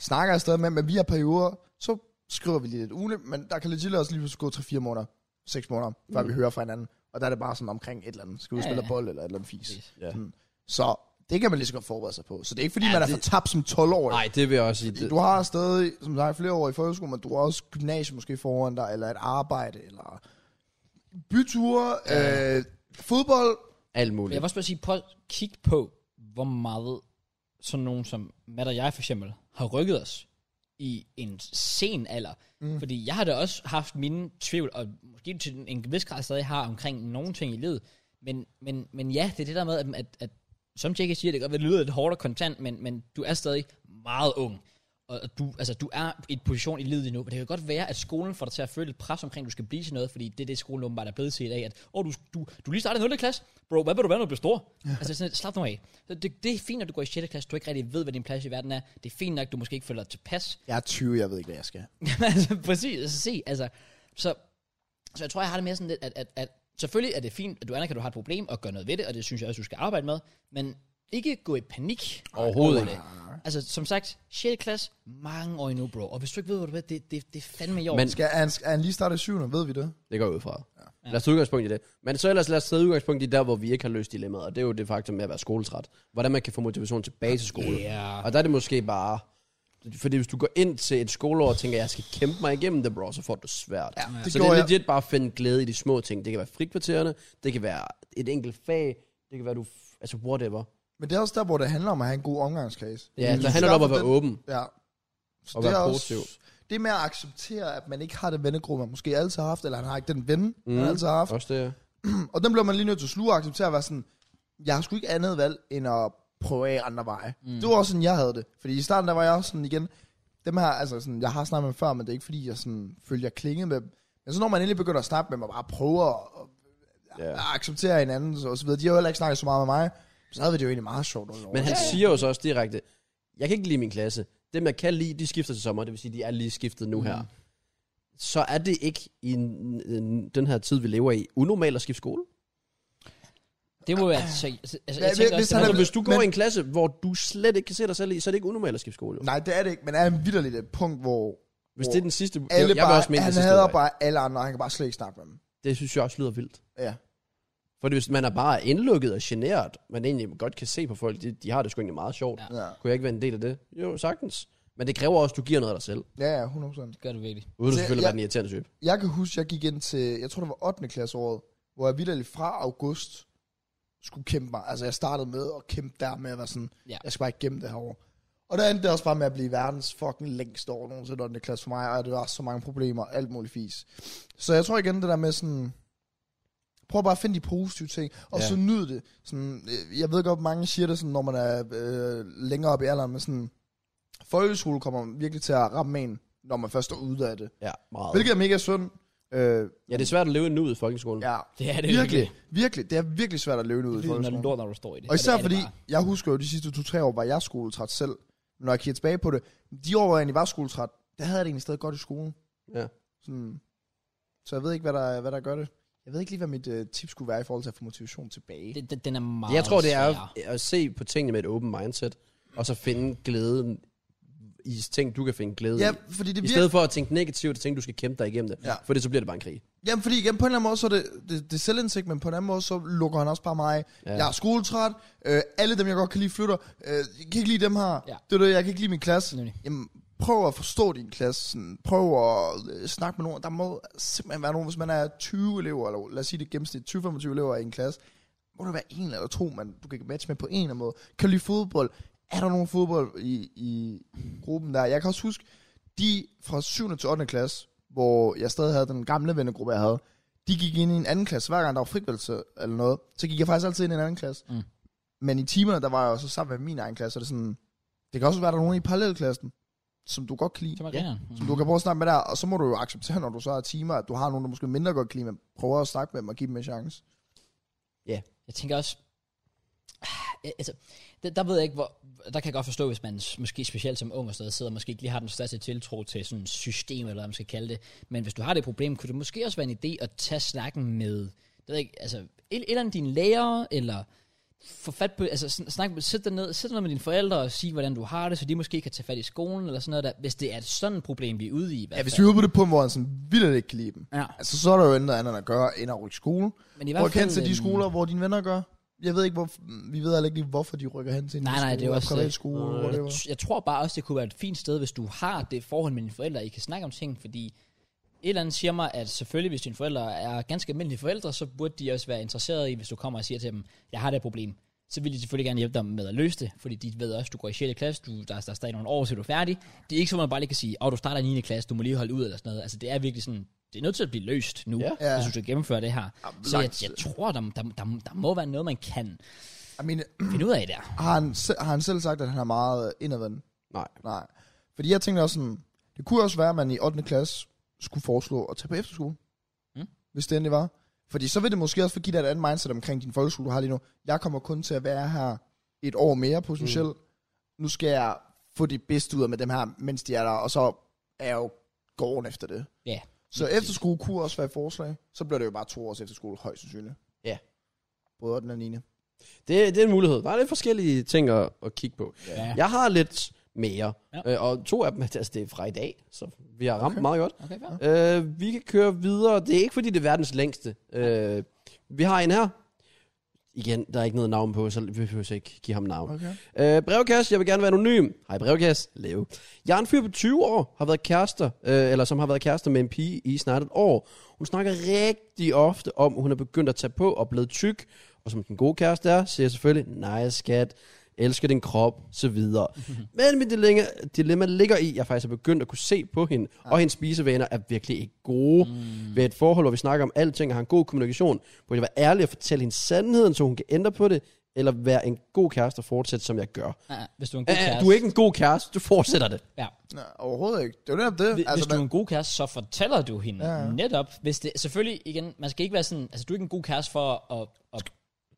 C: snakker jeg stadig med, men vi har perioder, så skriver vi lige lidt ugenligt, men der kan legit også lige pludselig gå 3-4 måneder, 6 måneder, før mm. vi hører fra hinanden. Og der er det bare sådan omkring et eller andet. Skal vi
A: Ja,
C: spille
A: ja.
C: bold eller et eller andet fis?
A: Præcis.
B: Ja.
C: Sådan. Så det kan man lige så godt forberede sig på. Så det er ikke, fordi
B: Ja,
C: ja, man er
B: det-
C: fortabt som 12-årig.
B: Nej, det vil jeg også sige. Det,
C: Du har stadig, som sagt, flere år i folkeskolen, men du har også gymnasiet måske foran dig, eller et arbejde, eller byture, ja. øh, fodbold.
B: alt
A: Men jeg
B: muligt.
A: vil også bare sige, prøv at kigge på, hvor meget sådan nogen som Matt og jeg for eksempel, har rykket os i en sen alder. Mm. Fordi jeg har da også haft mine tvivl, og måske til en vis grad stadig har omkring nogle ting i livet. Men, men, men ja, det er det der med, at, at, at som JK siger, det kan godt være, det lyder lidt hårdt og kontant, men, men du er stadig meget ung. Og og du, altså, du er i en position i livet lige nu, men det kan godt være, at skolen får dig til at føle et pres omkring, at du skal blive til noget, fordi det er det, skolen åbenbart er blevet til i dag, at åh, du, du, du er lige startede i 0. klasse, bro, hvad vil du være, når du bliver stor? altså, sådan, slap nu af. Så det, det, er fint, at du går i 6. klasse, du ikke rigtig ved, hvad din plads i verden er. Det er fint nok, at du måske ikke føler dig tilpas.
C: Jeg er 20, jeg ved ikke, hvad jeg skal.
A: altså, præcis, altså, se, altså, så, så jeg tror, jeg har det mere sådan lidt, at, at, at selvfølgelig er det fint, at du anerkender, at du har et problem, og gør noget ved det, og det synes jeg også, du skal arbejde med, men ikke gå i panik
B: Overhovedet
A: over
B: ikke.
A: det. Altså, som sagt, 6. klasse, mange år endnu, bro. Og hvis du ikke ved, hvad du ved, det, det, det er fandme i år.
B: Men-
A: Men,
C: Skal er han, er han lige starte i 7. Ved vi det?
B: Det går jeg ud fra. Ja. Lad os tage udgangspunkt i det. Men så ellers lad os tage udgangspunkt i der, hvor vi ikke har løst dilemmaet, og det er jo det faktum med at være skoletræt. Hvordan man kan få motivation tilbage til skole.
A: Ja.
B: Og der er det måske bare... Fordi hvis du går ind til et skoleår og tænker, jeg skal kæmpe mig igennem det, bro, så får du det svært. Ja,
C: det
B: så det
C: gjorde
B: er
C: jeg.
B: legit bare at finde glæde i de små ting. Det kan være frikvartererne, det kan være et enkelt fag, det kan være du... f- Altså whatever.
C: Men det er også der, hvor det handler om at have en god omgangskreds.
B: Ja,
C: Du
B: der handler det om at
C: skaffer
B: være åben.
C: den- Ja. Så
B: Og
C: det
B: være
C: er
B: positiv.
C: Det er med at acceptere, at man ikke har den vennegruppe, man måske altid har haft, eller han har ikke den ven, mm. man altid har haft.
B: Også det.
C: Og den bliver man lige nødt til at sluge og acceptere at være sådan, jeg har sgu ikke andet valg, end at prøve af andre veje. Mm. Det var også sådan, jeg havde det. Fordi i starten, der var jeg også sådan igen, dem her, altså sådan, jeg har snakket med dem før, men det er ikke fordi, jeg sådan, følte, jeg klingede med dem. Men så når man endelig begynder at snakke med dem, og bare prøver at,
B: Ja.
C: at acceptere hinanden, så, og så videre. De har jo heller ikke snakket så meget med mig, så havde vi det jo egentlig meget sjovt. under
B: Men
C: året.
B: han siger jo så også direkte, jeg kan ikke lide min klasse. Dem, jeg kan lide, de skifter til sommer, det vil sige, de er lige skiftet nu mm. her. Så er det ikke i en- en- den her tid, vi lever i, unormalt at skifte skole?
A: det må være... Så, altså, jeg
C: Hvad-
A: tænker
C: hvis
A: også,
C: han
A: det
B: Altså,
A: er,
C: er-
B: hvis du går
C: men-
B: men... i en klasse, hvor du slet ikke kan se dig selv i, så er det ikke unormalt at skifte skole. Jo.
C: Nej, det er det ikke, men er han vidderligt et punkt, hvor
B: Hvis det er den sidste...
C: alle
B: jeg, jeg vil
C: bare,
B: også mene,
C: han
B: det sidste
C: hader
B: udvej.
C: bare alle andre, og han kan bare slet ikke snakke med dem.
B: Det synes jeg også lyder vildt.
C: Ja.
B: Fordi hvis man er bare indlukket og generet, man egentlig godt kan se på folk, de, de har det sgu egentlig meget sjovt.
A: Ja.
B: Ja.
C: Ja,
B: Kunne jeg ikke være en del af det? Jo, sagtens. Men det kræver også, at du giver noget af dig selv.
C: ja, ja 100%.
A: gør det virkelig.
B: Uden at selvfølgelig
C: Det- Altså, jeg-
B: være den irriterende type.
C: jeg kan huske, jeg gik ind til, jeg tror det var 8. klasseåret, hvor jeg vidderligt fra august skulle kæmpe mig. Altså, jeg startede med at kæmpe der med at være sådan,
A: Ja.
C: ja. jeg skal bare ikke gemme det her år. Og der endte det også bare med at blive verdens fucking længste år nogensinde 8. klasse for mig, og det var så mange problemer, alt muligt fis. Så jeg tror igen det der med sådan, prøv bare at finde de positive ting, og
B: Ja.
C: ja. så nyd det. Sådan, øh, jeg ved godt, mange siger det sådan, når man er øh, længere op i alderen, men sådan, folkeskole kommer virkelig til at ramme en, når man først er ude af det.
B: Ja, meget.
C: Hvilket er mega synd. Øh,
B: Ja, det er svært at leve nu ud i folkeskolen.
C: ja,
A: Det er det
C: virkelig, virkelig. Det er virkelig svært at leve det ud i
A: Det er
C: folkeskolen.
A: lort, når du står i det.
C: Og især
A: det er
C: fordi,
A: Det bare.
C: jeg husker jo de sidste to-tre år, var jeg skoletræt selv. Når jeg kigger tilbage på det, de år, hvor jeg egentlig var skoletræt, der havde jeg det egentlig stadig godt i skolen.
B: Ja.
C: Sådan. Så jeg ved ikke, hvad der, hvad der gør det. Jeg ved ikke lige, hvad mit øh, tip skulle være i forhold til at få motivation tilbage.
A: Det, det, den er meget
B: Ah, Jeg tror, det er
A: svær.
B: at, at se på tingene med et åbent mindset, og så finde glæden i ting, du kan finde glæde
C: ja,
B: i.
C: fordi det
B: I
C: virker...
B: stedet for at tænke negativt og tænke, du skal kæmpe dig igennem det.
C: Ja.
B: For det, så bliver det bare en krig.
C: Jamen, fordi igen, på en eller anden måde, så er det, det, det er selvindsigt, men på en anden måde, så lukker han også bare mig.
B: Ja.
C: Ja. Jeg er skoletræt. Øh, alle dem, jeg godt kan lide, flytter. Øh, jeg kan ikke lide dem her.
A: Ja.
C: Ja. Det er det, jeg kan ikke lide min klasse.
A: Nemlig.
C: Jamen, prøv at forstå din klasse. Sådan, prøv at øh, snakke med nogen. Der må simpelthen være nogen, hvis man er 20 elever, eller lad os sige det gennemsnit, 20-25 elever i en klasse, må der være en eller to, man du kan matche med på en eller anden måde. Kan du lide fodbold? Er der nogen fodbold i, i gruppen der? Jeg kan også huske, de fra 7. til 8. klasse, hvor jeg stadig havde den gamle vennegruppe, jeg havde, de gik ind i en anden klasse. Hver gang der var frikvældelse eller noget, så gik jeg faktisk altid ind i en anden klasse.
A: Mm.
C: Men i timerne, der var jeg jo så sammen med min egen klasse, og det er sådan, det kan også være, at der er nogen i parallelklassen, som du godt kan lide.
A: Så man
B: Ja.
A: griner.
C: Som du kan prøve at snakke med der, og så må du jo acceptere, når du så er timer, at du har nogen, der måske mindre godt kan lide, men prøver at snakke med dem og give dem en chance.
A: Jeg tænker også, Ah, altså, der, der ved jeg ikke, hvor, der kan jeg godt forstå, hvis man s- måske specielt som ung og sådan noget, sidder og måske ikke lige har den største tiltro til sådan et system, eller hvad man skal kalde det. Men hvis du har det problem, kunne det måske også være en idé at tage snakken med, det ved jeg ikke, altså, et, et af dine lærere, eller få fat på, altså sn- snak, sæt dig ned, sæt dig ned med dine forældre og sig, hvordan du har det, så de måske kan tage fat i skolen, eller sådan noget der, hvis det er sådan et problem, vi er ude i. i hvert
C: Ja, hvis vi
A: fald.
C: er ude på det punkt, hvor han sådan vildt ikke kan lide dem,
A: Ja.
C: altså, så er der jo intet andet at gøre, end at rykke skole.
A: Men i
C: Prøv at kende til
A: øhm,
C: de skoler, hvor dine venner gør. Jeg ved ikke, hvor, vi ved heller ikke lige, hvorfor de rykker hen til en
A: Nej,
C: ny
A: nej,
C: skole,
A: det er jo
C: og
A: også
C: privat
A: det.
C: skole,
B: Øh,
C: hvor det var.
A: Jeg tror bare også, det kunne være et fint sted, hvis du har det forhold med dine forældre, I kan snakke om ting, fordi et eller andet siger mig, at selvfølgelig, hvis dine forældre er ganske almindelige forældre, så burde de også være interesserede i, hvis du kommer og siger til dem, jeg har det her problem, så vil de selvfølgelig gerne hjælpe dig med at løse det, fordi de ved også, du går i 6. klasse, du, der, er- der er stadig nogle år, så er du færdig. Det er ikke så, man bare lige kan sige, åh, du starter i 9. klasse, du må lige holde ud eller sådan noget. Altså, det er virkelig sådan, det er nødt til at blive løst nu,
B: Ja.
A: ja. hvis du skal gennemføre det her. Så jeg,
C: langt.
A: jeg tror, der, der, der, der, må være noget, man kan
C: Jeg mener,
A: finde ud af der.
C: har han, se- har han selv sagt, at han er meget øh, indadvendt?
B: Nej.
C: Nej. Fordi jeg tænkte også sådan, det kunne også være, at man i 8. klasse skulle foreslå at tage på efterskole.
A: Mm.
C: Mm. Hvis det endelig var. Fordi så vil det måske også få give dig et andet mindset omkring din folkeskole, du har lige nu. Jeg kommer kun til at være her et år mere potentielt. Mm. Nu skal jeg få det bedste ud af med dem her, mens de er der, og så er jeg jo gården efter det.
A: Ja,
C: Så
A: lige præcis.
C: efterskole kunne også være et forslag. Så bliver det jo bare to års efterskole, højst sandsynligt.
B: Ja.
C: Både 8. og 9.
B: Det, det er en mulighed. Der er lidt forskellige ting at, at kigge på.
A: Ja.
B: Jeg har lidt mere,
A: Ja.
B: øh, og to af dem altså, det er fra i dag, så vi har ramt okay. meget godt.
A: Okay, fair.
B: Øh, vi kan køre videre. Det er ikke, fordi det er verdens længste. Øh, vi har en her. Igen, der er ikke noget navn på, så vi behøver ikke give ham navn.
C: Okay.
B: Øh, brevkasse, jeg vil gerne være anonym. Hej brevkasse, Leo. Jeg er en fyr på 20 år, har været kærester, øh, eller som har været kærester med en pige i snart et år. Hun snakker rigtig ofte om, at hun er begyndt at tage på og blevet tyk, og som den gode kæreste er, siger jeg selvfølgelig, nej skat, elsker din krop, så videre. Men mit dilemma, dilemma ligger i, at jeg faktisk er begyndt at kunne se på hende, og hendes spisevaner er virkelig ikke gode. Mm. Ved et forhold, hvor vi snakker om alting og har en god kommunikation, hvor jeg være ærlig og fortælle hende sandheden, så hun kan ændre på det, eller være en god kæreste og fortsætte, som jeg gør.
A: Ja, ja, hvis du er en god
B: Ja,
A: kæreste.
B: du er ikke en god kæreste, du fortsætter det.
A: Ja.
C: Nej, overhovedet ikke. Det er jo netop det.
A: Hvis, altså, hvis du
C: man-
A: er en god kæreste, så fortæller du hende ja,
C: Ja,
A: ja.
C: ja.
A: netop. Hvis det, selvfølgelig, igen, man skal ikke være sådan, altså du er ikke en god kæreste for at, at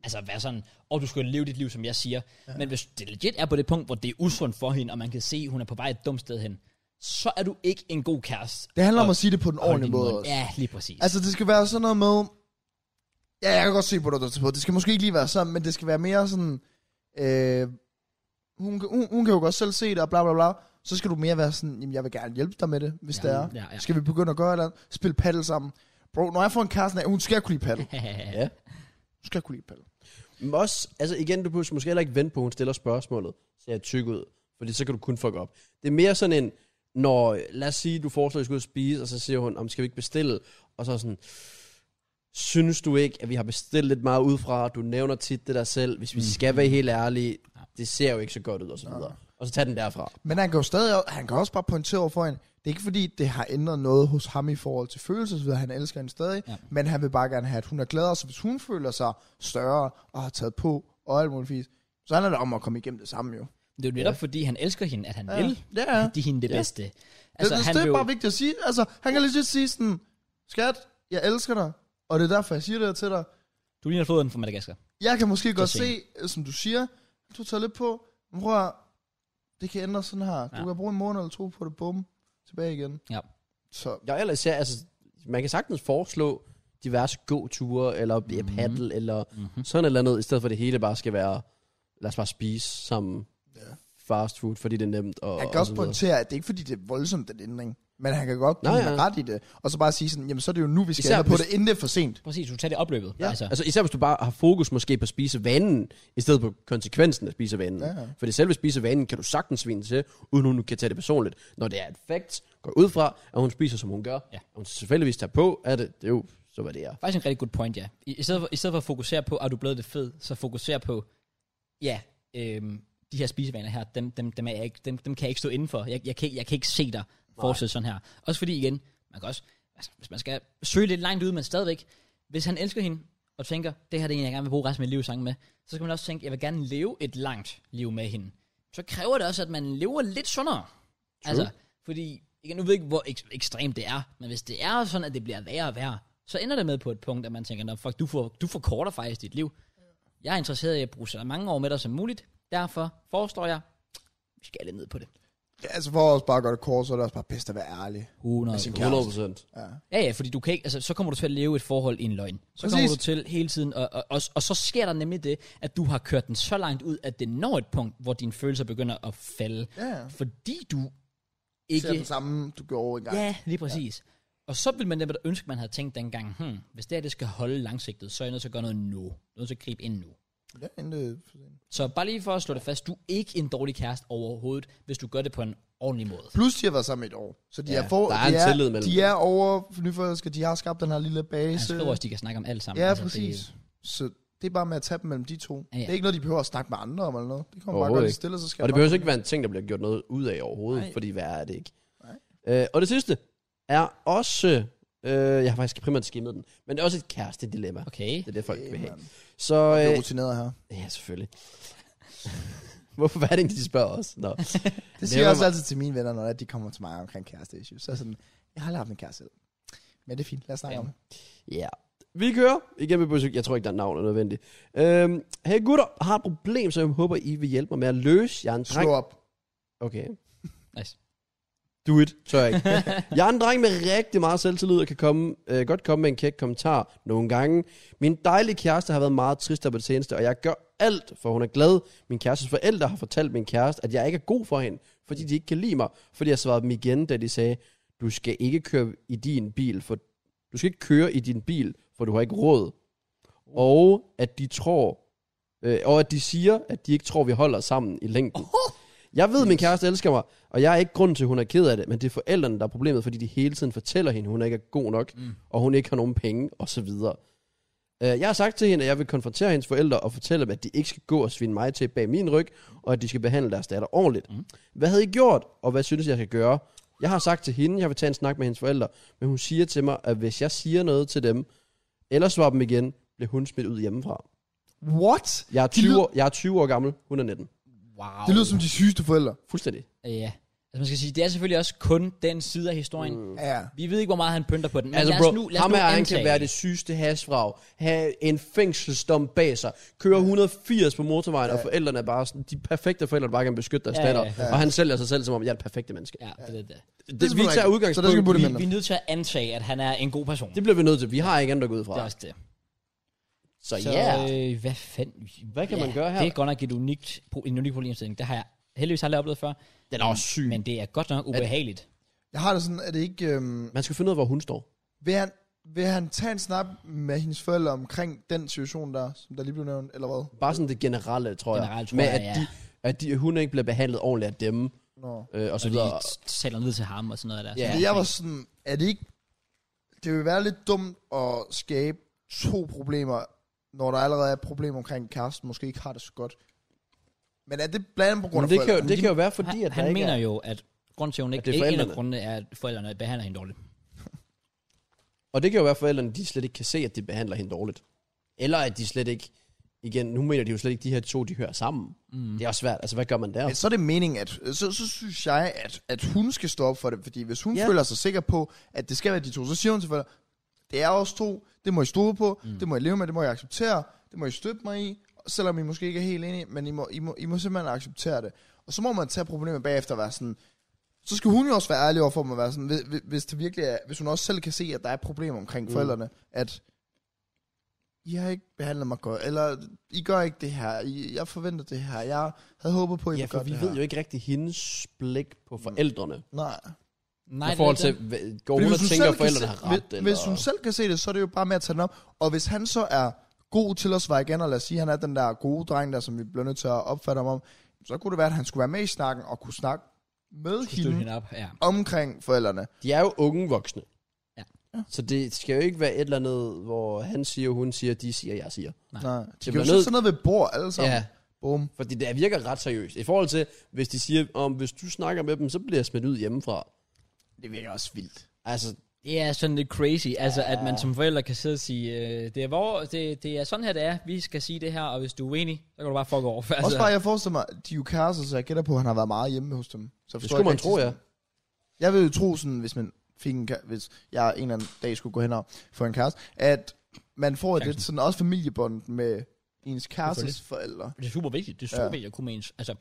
A: altså være sådan, og du skal leve dit liv, som jeg siger. Ja. Men hvis det legit er på det punkt, hvor det er usundt for hende, og man kan se, at hun er på vej et dumt sted hen, så er du ikke en god kæreste.
C: Det handler om
A: Og-
C: at sige det på den
A: Hold
C: ordentlige
A: din
C: måde
A: mund.
C: også.
A: Ja, lige præcis. Altså,
C: Altså, det skal være sådan noget med... Ja, jeg kan godt se på dig, du tager på. Det skal måske ikke lige være sådan, men det skal være mere sådan... Øh, hun, kan- hun, hun kan jo godt selv se det, og bla bla bla. Så skal du mere være sådan, jamen jeg vil gerne hjælpe dig med det, hvis
A: Ja,
C: det er.
A: ja, ja.
C: Skal vi begynde at gøre et eller andet? Spille paddle sammen. Bro, når jeg får en kæreste af, hun skal kunne lide paddle.
A: ja.
B: Ja.
C: Hun skal kunne lide paddle.
B: Men også, altså igen, du behøver måske heller ikke vente på, at hun stiller spørgsmålet, ser jeg tyk ud, fordi så kan du kun fuck op. Det er mere sådan en, når, lad os sige, du foreslår, at I skal ud og spise, og så siger hun, om skal vi ikke bestille, og så er sådan, synes du ikke, at vi har bestilt lidt meget udefra, du nævner tit det der selv, hvis vi skal være helt ærlige, det ser jo ikke så godt ud, og så videre. Og så tag den derfra.
C: Men han kan jo stadig, han kan også bare pointere over for hende. Det er ikke fordi, det har ændret noget hos ham i forhold til følelser, han elsker hende stadig,
A: Ja.
C: ja. men han vil bare gerne have, at hun er gladere, så hvis hun føler sig større og har taget på og alt muligt fisk, så handler det om at komme igennem det samme jo.
A: Det er jo netop, fordi han elsker hende, at han
C: Ja.
A: vil.
C: Ja, ja.
A: De er hende det
B: Ja.
A: bedste.
C: Altså, det, det, det er
A: vil jo-
C: bare vigtigt at sige. Altså, han kan lige sige sådan, skat, jeg elsker dig, og det er derfor, jeg siger det her til dig.
A: Du ligner floden fra Madagaskar.
C: Jeg kan måske godt
A: at
C: se, øh, som du siger, du tager lidt på, men prøv at, høre, det kan ændre sådan her. Du
A: Ja.
C: kan bruge en måned eller to på det, bum, tilbage igen.
A: Ja.
C: Så
B: Jeg ellers ser, altså, man kan sagtens foreslå diverse gåture, eller mm paddle, eller
A: Mm-hmm.
B: sådan et eller andet, i stedet for at det hele bare skal være, lad os bare spise sammen
C: Ja.
B: fast food, fordi det er nemt. Og,
C: han kan
B: og
C: også
B: så videre.
C: pointere, at det er ikke fordi, det er voldsomt, den ændring. Men han kan godt
B: Nå,
C: give
B: ja.
C: ja. ret i det. Og så bare sige sådan, jamen så er det jo nu, vi skal
B: Især
C: ændre på
B: hvis-
C: det, inden det er for sent.
A: Præcis, du tager det opløbet.
B: Ja, altså. altså især hvis du bare har fokus måske på spisevanen, i stedet for konsekvensen af spisevanen.
C: Ja, ja.
B: Fordi selve spisevanen kan du sagtens svine til, uden hun kan tage det personligt. Når det er et fact, går ud fra, at hun spiser, som hun gør.
A: Ja.
B: Og hun selvfølgelig tager på, er det, det er jo, så hvad det er.
A: Faktisk en rigtig god point, ja. I, i, stedet for, I stedet for at fokusere på, at du er blevet lidt fed, så fokuser på, ja, øhm, de her spisevaner her, dem, dem, dem, er jeg ikke, dem, dem kan jeg ikke stå indenfor. Jeg, jeg, kan, jeg kan ikke se dig fortsætte sådan her. Også fordi igen, man kan også, altså, hvis man skal søge lidt langt ud, men stadigvæk, hvis han elsker hende, og tænker, det her det er en, jeg gerne vil bruge resten af mit liv sammen med, så skal man også tænke, jeg vil gerne leve et langt liv med hende. Så kræver det også, at man lever lidt sundere. True. Altså, fordi, igen, nu ved jeg ikke, hvor ek- ekstremt det er, men hvis det er sådan, at det bliver værre og værre, så ender det med på et punkt, at man tænker, "Nå, fuck, du, får, du forkorter faktisk dit liv. Jeg er interesseret i at bruge så mange år med dig som muligt, derfor foreslår jeg, vi skal lidt ned på det.
C: Ja, altså for os bare at gøre det kort, så er det også bare bedst at være ærlig.
A: 100.
C: Med sin kæreste.
B: 100 procent.
C: Ja.
A: Ja, ja, fordi du kan ikke, altså, så kommer du til at leve et forhold i en løgn. Så Præcis.
C: Præcis.
A: kommer du til hele tiden, og, og, og, og så sker der nemlig det, at du har kørt den så langt ud, at det når et punkt, hvor dine følelser begynder at falde.
C: Ja.
A: Fordi du
C: Ikke... Ser
A: ikke
C: den samme, du gjorde engang.
A: Ja, lige præcis. Ja. Og så ville man nemlig ønske, man havde tænkt dengang, hmm, hvis det her det skal holde langsigtet, så er jeg nødt til at gøre noget nu. Jeg er nødt til at gribe ind nu.
C: Ja, inden det er for sent.
A: Så bare lige for at slå det fast, du er ikke en dårlig kæreste overhovedet, hvis du gør det på en ordentlig måde.
C: Plus, de har været sammen i et år. Så de,
B: Ja,
C: er, for,
B: der er
C: de,
B: en tillid
C: er,
B: mellem
C: de er over nyforelsker, de har skabt den her lille
A: Han
C: base.
A: skriver også, de kan snakke om alt sammen.
C: ja,
A: Altså,
C: præcis. Det... Så det er bare med at tage dem mellem de to.
A: Ja,
C: Ja,
A: ja.
C: ja. Det er ikke noget, de behøver at snakke med andre om eller noget. Det kommer bare
B: Overhovedet
C: godt
B: ikke.
C: lidt stille, så skal
B: Og det
C: nok-
B: behøver ikke være en ting, der bliver gjort noget ud af overhovedet, Nej.
C: Nej.
B: fordi hvad er det ikke?
C: Nej.
B: Øh, og det sidste er også, øh, jeg har faktisk primært skimmet den, men det er også et kæreste-dilemma. Okay.
A: Okay.
B: Det er det, folk vil have.
C: Jamen,
B: Så,
C: Vi
B: øh,
C: er rutineret her.
B: Ja, selvfølgelig. Hvorfor hvad er det egentlig, de spørger os? Nå.
C: Det siger jeg
B: Never
C: også
B: mind.
C: altid til mine venner, når de kommer til mig omkring kæreste issues. Så er jeg sådan, jeg har aldrig haft en kæreste selv. Men det er fint, lad os snakke
A: Ja.
C: ja. om det.
B: Ja. Vi kører igennem et besøg. Jeg tror ikke, der er navn er nødvendigt. Øhm, hey gutter, jeg har et problem, som jeg håber, I vil hjælpe mig med at løse. Jeg er en
C: Slå
B: dreng...
C: op.
B: Okay.
A: Nice.
B: Do it. Tør jeg ikke. jeg er en dreng med rigtig meget selvtillid og kan komme, øh, godt komme med en kæk kommentar nogle gange. Min dejlige kæreste har været meget trist her på det seneste, og jeg gør alt, for hun er glad. Min kærestes forældre har fortalt min kæreste, at jeg ikke er god for hende, fordi de ikke kan lide mig. Fordi jeg svarede dem igen, da de sagde, du skal ikke køre i din bil, for du skal ikke køre i din bil, for du har ikke råd. Og at de tror, øh, og at de siger, at de ikke tror, vi holder sammen i længden. Jeg ved, min kæreste elsker mig, og jeg er ikke grund til, at hun er ked af det, men det er forældrene, der er problemet, fordi de hele tiden fortæller hende, at hun ikke er god nok, mm. og hun ikke har nogen penge, osv. Øh, Jeg har sagt til hende, at jeg vil konfrontere hendes forældre og fortælle dem, at de ikke skal gå og svine mig til bag min ryg, og at de skal behandle deres datter ordentligt. Mm. Hvad havde I gjort, og hvad synes jeg, jeg skal gøre? Jeg har sagt til hende, at jeg vil tage en snak med hendes forældre, men hun siger til mig, at hvis jeg siger noget til dem, eller svarer dem igen, bliver hun smidt ud hjemmefra.
C: What?
B: Jeg er
C: Det
B: 20
C: lyder-
B: år, jeg er 20 år gammel, hun er 19.
A: Wow.
C: Det lyder som de sygeste forældre.
B: Fuldstændig.
A: Ja. Altså, man skal sige, det er selvfølgelig også kun den side af historien. Mm.
C: Ja.
A: Vi ved ikke, hvor meget han pynter på den. Men
B: Altså
A: lad
B: bro,
A: os nu, lad os
B: ham
A: nu
B: her, han
A: antage.
B: kan være det sygeste hasfrag, have en fængselsdom bag sig, køre 180 på motorvejen, ja. og forældrene er bare sådan, de perfekte forældre, der bare kan beskytte deres
A: Ja,
B: ja,
A: ja,
B: datter, ja, ja. og han sælger sig selv, som om jeg er det perfekte menneske. Ja.
A: Ja, det, det, det.
B: Det,
C: Det er
B: vi
C: selvfølgelig
B: tager
C: rigtigt.
B: udgangspunkt,
C: Så der skal vi putte
B: vi,
C: dem ind.
A: Vi er nødt til at antage, at han er en god person.
B: det
A: Det,
B: bliver vi nødt til, vi har ikke andet at gå ud fra.
A: det er også det.
B: Så
A: Så
B: ja,
A: yeah. øh, hvad fanden?
B: Hvad kan man gøre her?
A: Det er godt nok et unikt, pro- en unik problemstilling. Det har jeg heldigvis aldrig oplevet før.
B: den er også syg. Men,
A: Men det er godt nok ubehageligt.
C: Jeg har det sådan, at det ikke... Øhm,
B: man skal finde ud af, hvor hun står.
C: vil, han, vil han tage en snak med hendes forældre omkring den situation der, som der lige blev nævnt, eller hvad?
B: Bare sådan det generelle, tror jeg.
A: Generelt, tror
B: med
A: jeg,
B: at,
A: ja.
B: de, at de, hun ikke bliver behandlet ordentligt af dem,
C: Nå.
B: øh, og så
A: Og
B: videre.
A: lige t- taler ned til ham og sådan noget der.
B: Ja.
C: Ja, jeg var sådan, er det ikke... Det vil være lidt dumt at skabe to problemer, når der allerede er et problem omkring at kæresten, måske ikke har det så godt. Men er det blandt andet på
B: Men
C: grund af
B: det kan, jo,
C: forældrene?
B: det kan jo være fordi,
A: han,
B: at der
A: han
B: ikke
A: mener
B: er...
A: jo, at grunden til, at hun ikke,
B: det er
A: ikke en af
B: forældrene.
A: grundene er, at forældrene behandler hende dårligt.
B: Og det kan jo være, at forældrene de slet ikke kan se, at de behandler hende dårligt. Eller at de slet ikke... Igen, nu mener de jo slet ikke, at de her to, de hører sammen. Mm. Det er også svært. Altså, hvad gør man der?
C: Men så er det meningen, at øh, så, så synes jeg, at, at hun skal stå op for det. Fordi hvis hun
B: Ja.
C: yeah. føler sig sikker på, at det skal være de to, så siger hun til forældre, det er også to, det må I stole på, mm. det må I leve med, det må I acceptere, det må I støtte mig i, selvom I måske ikke er helt enige, men I må, I må, I må simpelthen acceptere det. Og så må man tage problemet bagefter og være sådan, så skal hun jo også være ærlig overfor mig, være sådan, hvis, hvis- hvis, det virkelig er, hvis hun også selv kan se, at der er et problem omkring mm. forældrene, at I har ikke behandlet mig godt, eller I gør ikke det her, I, jeg forventer det her, jeg havde håbet på, at I
B: Ja,
C: ville gøre
B: for vi
C: det
B: ved
C: her.
B: jo ikke rigtig hendes blik på forældrene. Mm.
C: Nej.
A: Nej,
B: I forhold til, hvad- går
C: Fordi
B: hun og
C: hvis hun
B: tænker,
C: selv
B: at
C: kan
B: forældrene
C: se-
B: har ret?
C: hvis, Hvis hun selv kan se det, så er det jo bare med at tage den op. Og hvis han så er god til at svare igen, og lad os sige, at han er den der gode dreng, der som vi bliver nødt til at opfatte ham om, så kunne det være, at han skulle være med i snakken og kunne snakke med
A: Støtte
C: hende
A: hende op, ja.
C: omkring forældrene.
B: De er jo unge voksne.
A: Ja.
B: Så det skal jo ikke være et eller andet, hvor han siger, hun siger, de siger, jeg siger.
A: Nej.
C: Nej. De kan
B: bliver
C: jo sætte
B: nødt-
C: sig ned ved et bord alle sammen.
B: Ja,
C: Boom.
B: fordi det virker ret seriøst. I forhold til, hvis de siger, om hvis du snakker med dem, så bliver jeg smidt ud hjemmefra.
C: Det virker også vildt.
B: Altså,
A: Det er sådan lidt crazy, altså at man som forældre kan sidde og sige, øh, det, er vor, det, det er sådan her, det er, vi skal sige det her, og hvis du er uenig, så kan du bare fuck over. Altså,
C: Altså, også bare, jeg forestiller mig, de er jo kærester, så jeg gætter på, at han har været meget hjemme hos dem. Så
B: det
C: forstår
B: skulle
C: jeg
B: man
C: ikke
B: tro,
C: rigtig
B: ja.
C: Jeg vil jo tro sådan, hvis man fik en, kæ- hvis jeg en eller anden dag skulle gå hen og få en kæreste, at man får et
A: Chancen.
C: lidt sådan også familiebånd med ens kærestes
A: Selvfølgelig.
C: forældre.
A: Det er super vigtigt, det er super
C: Ja.
A: ja. vigtigt at kunne mene, altså,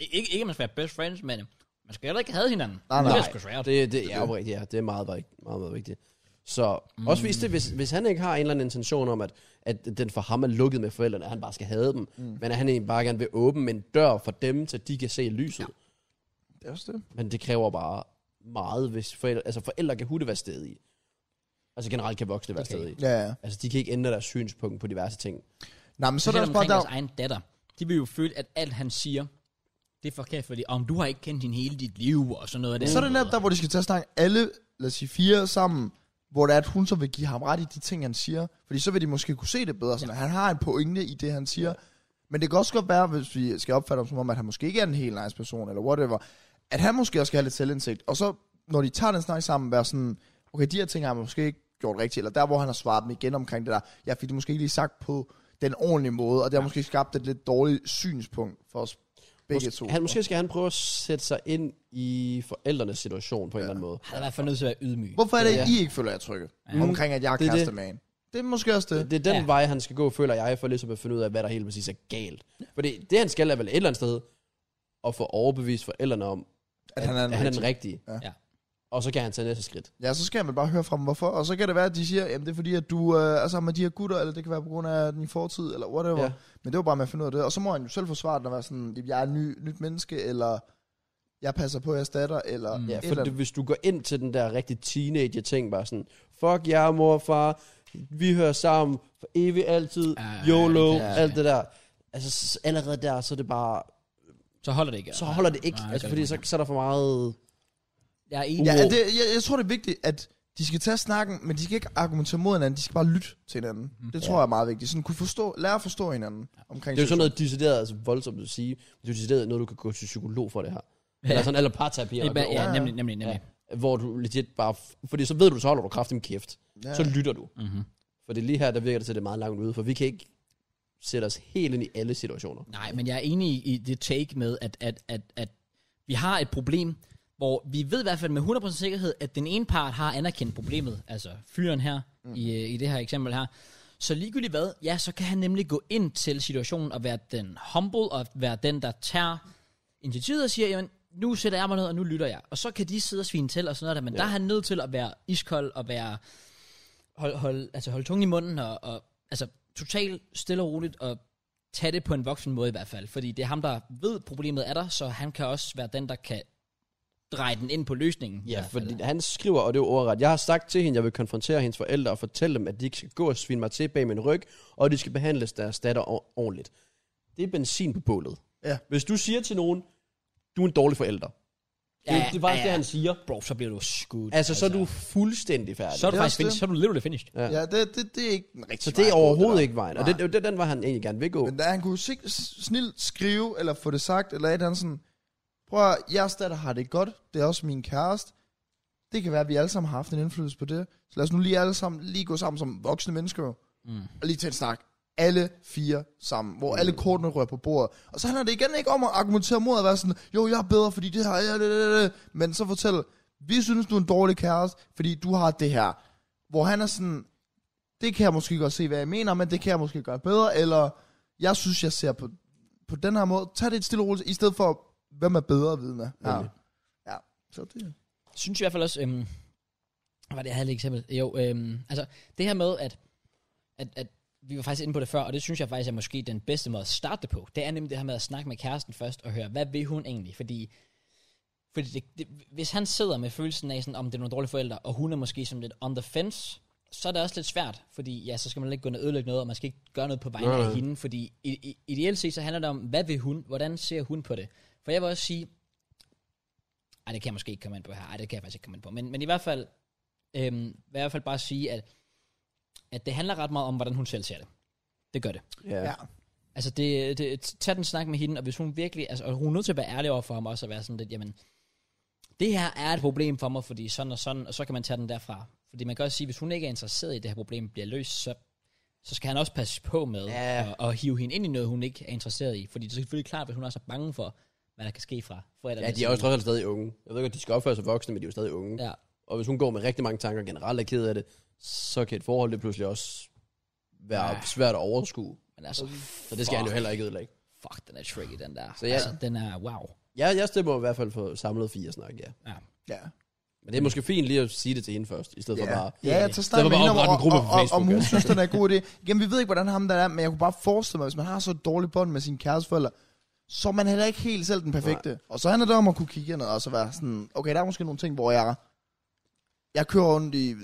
A: ikke, ikke at man skal være best friends, men man skal heller ikke have hinanden.
C: Nej, nej.
A: Det er sgu svært.
B: Det, det Mm. er jo rigtigt, ja. Det er meget, meget, meget, meget vigtigt. Så også hvis, det, hvis, hvis han ikke har en eller anden intention om, at, at den for ham er lukket med forældrene, at han bare skal have dem, mm. men at han egentlig bare gerne vil åbne en dør for dem, så de kan se lyset. Ja.
C: Det er også det.
B: Men det kræver bare meget, hvis forældre... Altså forældre kan hutte være stedige. Altså generelt kan voksne være
A: Det kan
B: stedige.
C: Ja, ja.
B: Altså de kan ikke ændre deres synspunkt på diverse ting.
C: Nej, men så
A: Så
C: er der
A: der
C: også bare
A: omkring deres
C: der...
A: egen datter. De vil jo føle, at alt han siger, det er forkert, fordi om du har ikke kendt hende hele dit liv, og sådan noget. af den
C: Så er det
A: måde.
C: netop der, hvor de skal tage at snakke alle, lad os sige, fire sammen, hvor det er, at hun så vil give ham ret i de ting, han siger. Fordi så vil de måske kunne se det bedre. Sådan, ja. Han har en pointe i det, han siger. Ja. Men det kan også godt være, hvis vi skal opfatte ham som om, at han måske ikke er en helt nice person, eller whatever, at han måske også skal have lidt selvindsigt. Og så, når de tager den snak sammen, være sådan, okay, de her ting har han måske ikke gjort rigtigt, eller der, hvor han har svaret dem igen omkring det der, jeg fik det måske ikke lige sagt på den ordentlige måde, og det har måske skabt et lidt dårligt synspunkt for os begge
B: Måske,
C: to.
B: han, måske skal han prøve at sætte sig ind i forældrenes situation på en eller anden måde.
A: Han er i hvert fald nødt til at være ydmyg.
C: Hvorfor er det,
B: Ja.
C: ja. I ikke føler jer trygge ja. omkring, at jeg er
B: Det er det.
C: kæreste med en? Det er måske også det.
B: Det er den
A: Ja.
B: ja. vej, han skal gå, føler jeg, for ligesom at finde ud af, hvad der helt præcis er galt. Fordi det, han skal, er vel et eller andet sted at få overbevist forældrene om,
C: At han er den
B: at han er den
C: rigtige.
B: rigtige.
C: Ja.
A: Ja.
B: Og så kan han tage næste skridt.
C: Ja, så skal man bare høre fra dem, hvorfor. Og så kan det være, at de siger, jamen det er fordi, at du øh, er sammen med de her gutter, eller det kan være på grund af din fortid, eller whatever. Ja.
B: Ja.
C: Men det var bare med at finde ud af det. Og så må han jo selv forsvare den og være sådan, "Jamen, jeg er en ny, nyt menneske, eller jeg passer på jeres datter, eller mm.
B: Ja, for
C: et eller
B: det,
C: andet.
B: hvis du går ind til den der rigtig teenager-ting, bare sådan, fuck jer, mor og far, vi hører sammen for evigt altid,
A: Ja,
B: YOLO,
A: det
B: ja,
A: kan-
B: alt det der. Altså s- allerede der, så er det bare,
A: Så holder det ikke.
B: så holder det ikke,
A: Nej,
B: nej,
A: det
B: altså,
A: gør
B: fordi
A: det
B: så, så er der for meget...
A: Jeg er enig.
C: Ja,
B: Wow.
C: det, jeg, jeg tror, det er vigtigt, at de skal tage snakken, men de skal ikke argumentere mod hinanden, de skal bare lytte til hinanden. Mm. Det tror jeg er meget vigtigt. Sådan kunne forstå, lære at forstå hinanden omkring
B: Mhm. Det er jo sådan noget decideret, altså voldsomt at sige, det er jo decideret noget, du kan gå til psykolog for det her. Ja. Eller sådan, eller parterapi,
A: Det er
B: eller
A: bare, ja,
B: ja.
A: nemlig, nemlig, nemlig.
B: hvor du legit bare, f- fordi så ved du, så holder du kraften kæft.
C: Ja.
B: Ja. Så lytter du.
A: Mhm.
B: For det lige her, der virker det til, at det er meget langt ude, for vi kan ikke sætte os helt ind i alle situationer.
A: Nej, men jeg er enig i- i det take med, at, at, at, at vi har et problem, hvor vi ved i hvert fald med 100% sikkerhed, at den ene part har anerkendt problemet, altså fyren her, mm. i, øh, i det her eksempel her. Så ligegyldigt hvad, ja, så kan han nemlig gå ind til situationen og være den humble, og være den, der tager initiativet og siger, jamen, nu sætter jeg mig ned, og nu lytter jeg. Og så kan de sidde og svine til og sådan noget der, men ja. der er han nødt til at være iskold og være hold, hold, altså hold tungen i munden og, og altså totalt stille og roligt og tage det på en voksen måde i hvert fald. Fordi det er ham, der ved problemet er der, så han kan også være den, der kan dreje den ind på løsningen. i
B: Ja,
A: hvert fald.
B: fordi han skriver, og det er jo ordret, jeg har sagt til hende, jeg vil konfrontere hendes forældre og fortælle dem, at de ikke skal gå og svine mig til bag min ryg, og de skal behandles deres datter or- ordentligt. Det er benzin på bålet.
C: Ja.
B: Hvis du siger til nogen, du er en dårlig forælder, Det, ja, det er faktisk ja, ja. det, han siger.
A: Bro, så bliver du skudt.
B: Altså, så er du fuldstændig færdig.
A: Så er du
C: Det er
A: faktisk
C: også
A: finished. Så er du literally finished.
B: Ja.
C: Ja, det, det, det er ikke en rigtig
B: så det er
C: vej at gå,
B: overhovedet
C: der.
B: ikke vejen. Og det, det, den var han egentlig gerne vil gå.
C: Men da han kunne sig, snilt skrive, eller få det sagt, eller et eller andet sådan, prøv at, jeres datter har det godt, det er også min kæreste. Det kan være, at vi alle sammen har haft en indflydelse på det. Så lad os nu lige alle sammen, lige gå sammen som voksne mennesker, jo.
A: Mm.
C: og lige til en snak. Alle fire sammen, hvor alle kortene rører på bordet. Og så handler det igen ikke om at argumentere mod at være sådan, jo, jeg er bedre, fordi det her, ja, det, det, det. men så fortæl, vi synes, du er en dårlig kæreste, fordi du har det her. Hvor han er sådan, det kan jeg måske godt se, hvad jeg mener, men det kan jeg måske gøre bedre, eller jeg synes, jeg ser på, på den her måde. Tag det et stille og roligt, i stedet for, hvem er bedre vidne. Ja.
B: Nemlig.
C: ja. Så det.
A: synes i hvert fald også, øhm, hvad var det, jeg havde et eksempel? Jo, øhm, altså det her med, at, at, at vi var faktisk inde på det før, og det synes jeg faktisk er måske den bedste måde at starte det på. Det er nemlig det her med at snakke med kæresten først og høre, hvad vil hun egentlig? Fordi, fordi det, det, hvis han sidder med følelsen af, sådan, om det er nogle dårlige forældre, og hun er måske sådan lidt on the fence, så er det også lidt svært, fordi ja, så skal man ikke gå ned og ødelægge noget, og man skal ikke gøre noget på vegne
B: Nej,
A: af
B: nej.
A: hende, fordi i, i, ideelt set så handler det om, hvad vil hun, hvordan ser hun på det? For jeg vil også sige, ej, det kan jeg måske ikke komme ind på her. Ej, det kan jeg faktisk ikke komme ind på. Men, men i hvert fald, øhm, vil jeg i hvert fald bare sige, at, at det handler ret meget om, hvordan hun selv ser det. Det gør det.
B: Ja.
C: Ja.
B: ja.
A: Altså, det, det, tag den snak med hende, og hvis hun virkelig, altså, og hun er nødt til at være ærlig over for ham også, og være sådan lidt, jamen, det her er et problem for mig, fordi sådan og sådan, og så kan man tage den derfra. Fordi man kan også sige, hvis hun ikke er interesseret i, at det her problem bliver løst, så, så skal han også passe på med
B: Ja.
A: at, at hive hende ind i noget, hun ikke er interesseret i. Fordi det er selvfølgelig klart, hvis hun også er bange for, hvad der kan ske fra forældrene.
B: de er også trods alt stadig unge. Jeg ved ikke, at de skal opføre sig voksne, men de er jo stadig unge.
A: Ja,
B: Og hvis hun går med rigtig mange tanker og generelt er ked af det, så kan et forhold det pludselig også være
A: Ja.
B: svært at overskue.
A: men altså,
B: Så det skal han jo heller ikke ødelægge.
A: Fuck, den er tricky, den der. Så
B: Så
A: ja.
B: ja.
A: Altså, den er wow.
B: Jeg, jeg stemmer i hvert fald for samlet fire snak, ja.
C: Ja.
B: Men det er måske fint lige at sige det til hende først, i stedet for bare...
A: Ja,
C: Ja, jeg
A: ja.
C: tager snart
B: Der var
C: med hende om,
B: oprettet
C: og,
B: en gruppe
C: og,
B: på Facebook,
C: og,
B: altså.
C: om hun
B: ja.
C: synes, den er en god idé. Igen, vi ved ikke, hvordan ham der er, men jeg kunne bare forestille mig, hvis man har så et dårligt bånd med sine kæresteforældre, så er man heller ikke helt selv den perfekte. Nej. Og så handler det om at kunne kigge ind og så være sådan, okay, der er måske nogle ting, hvor jeg jeg kører rundt i,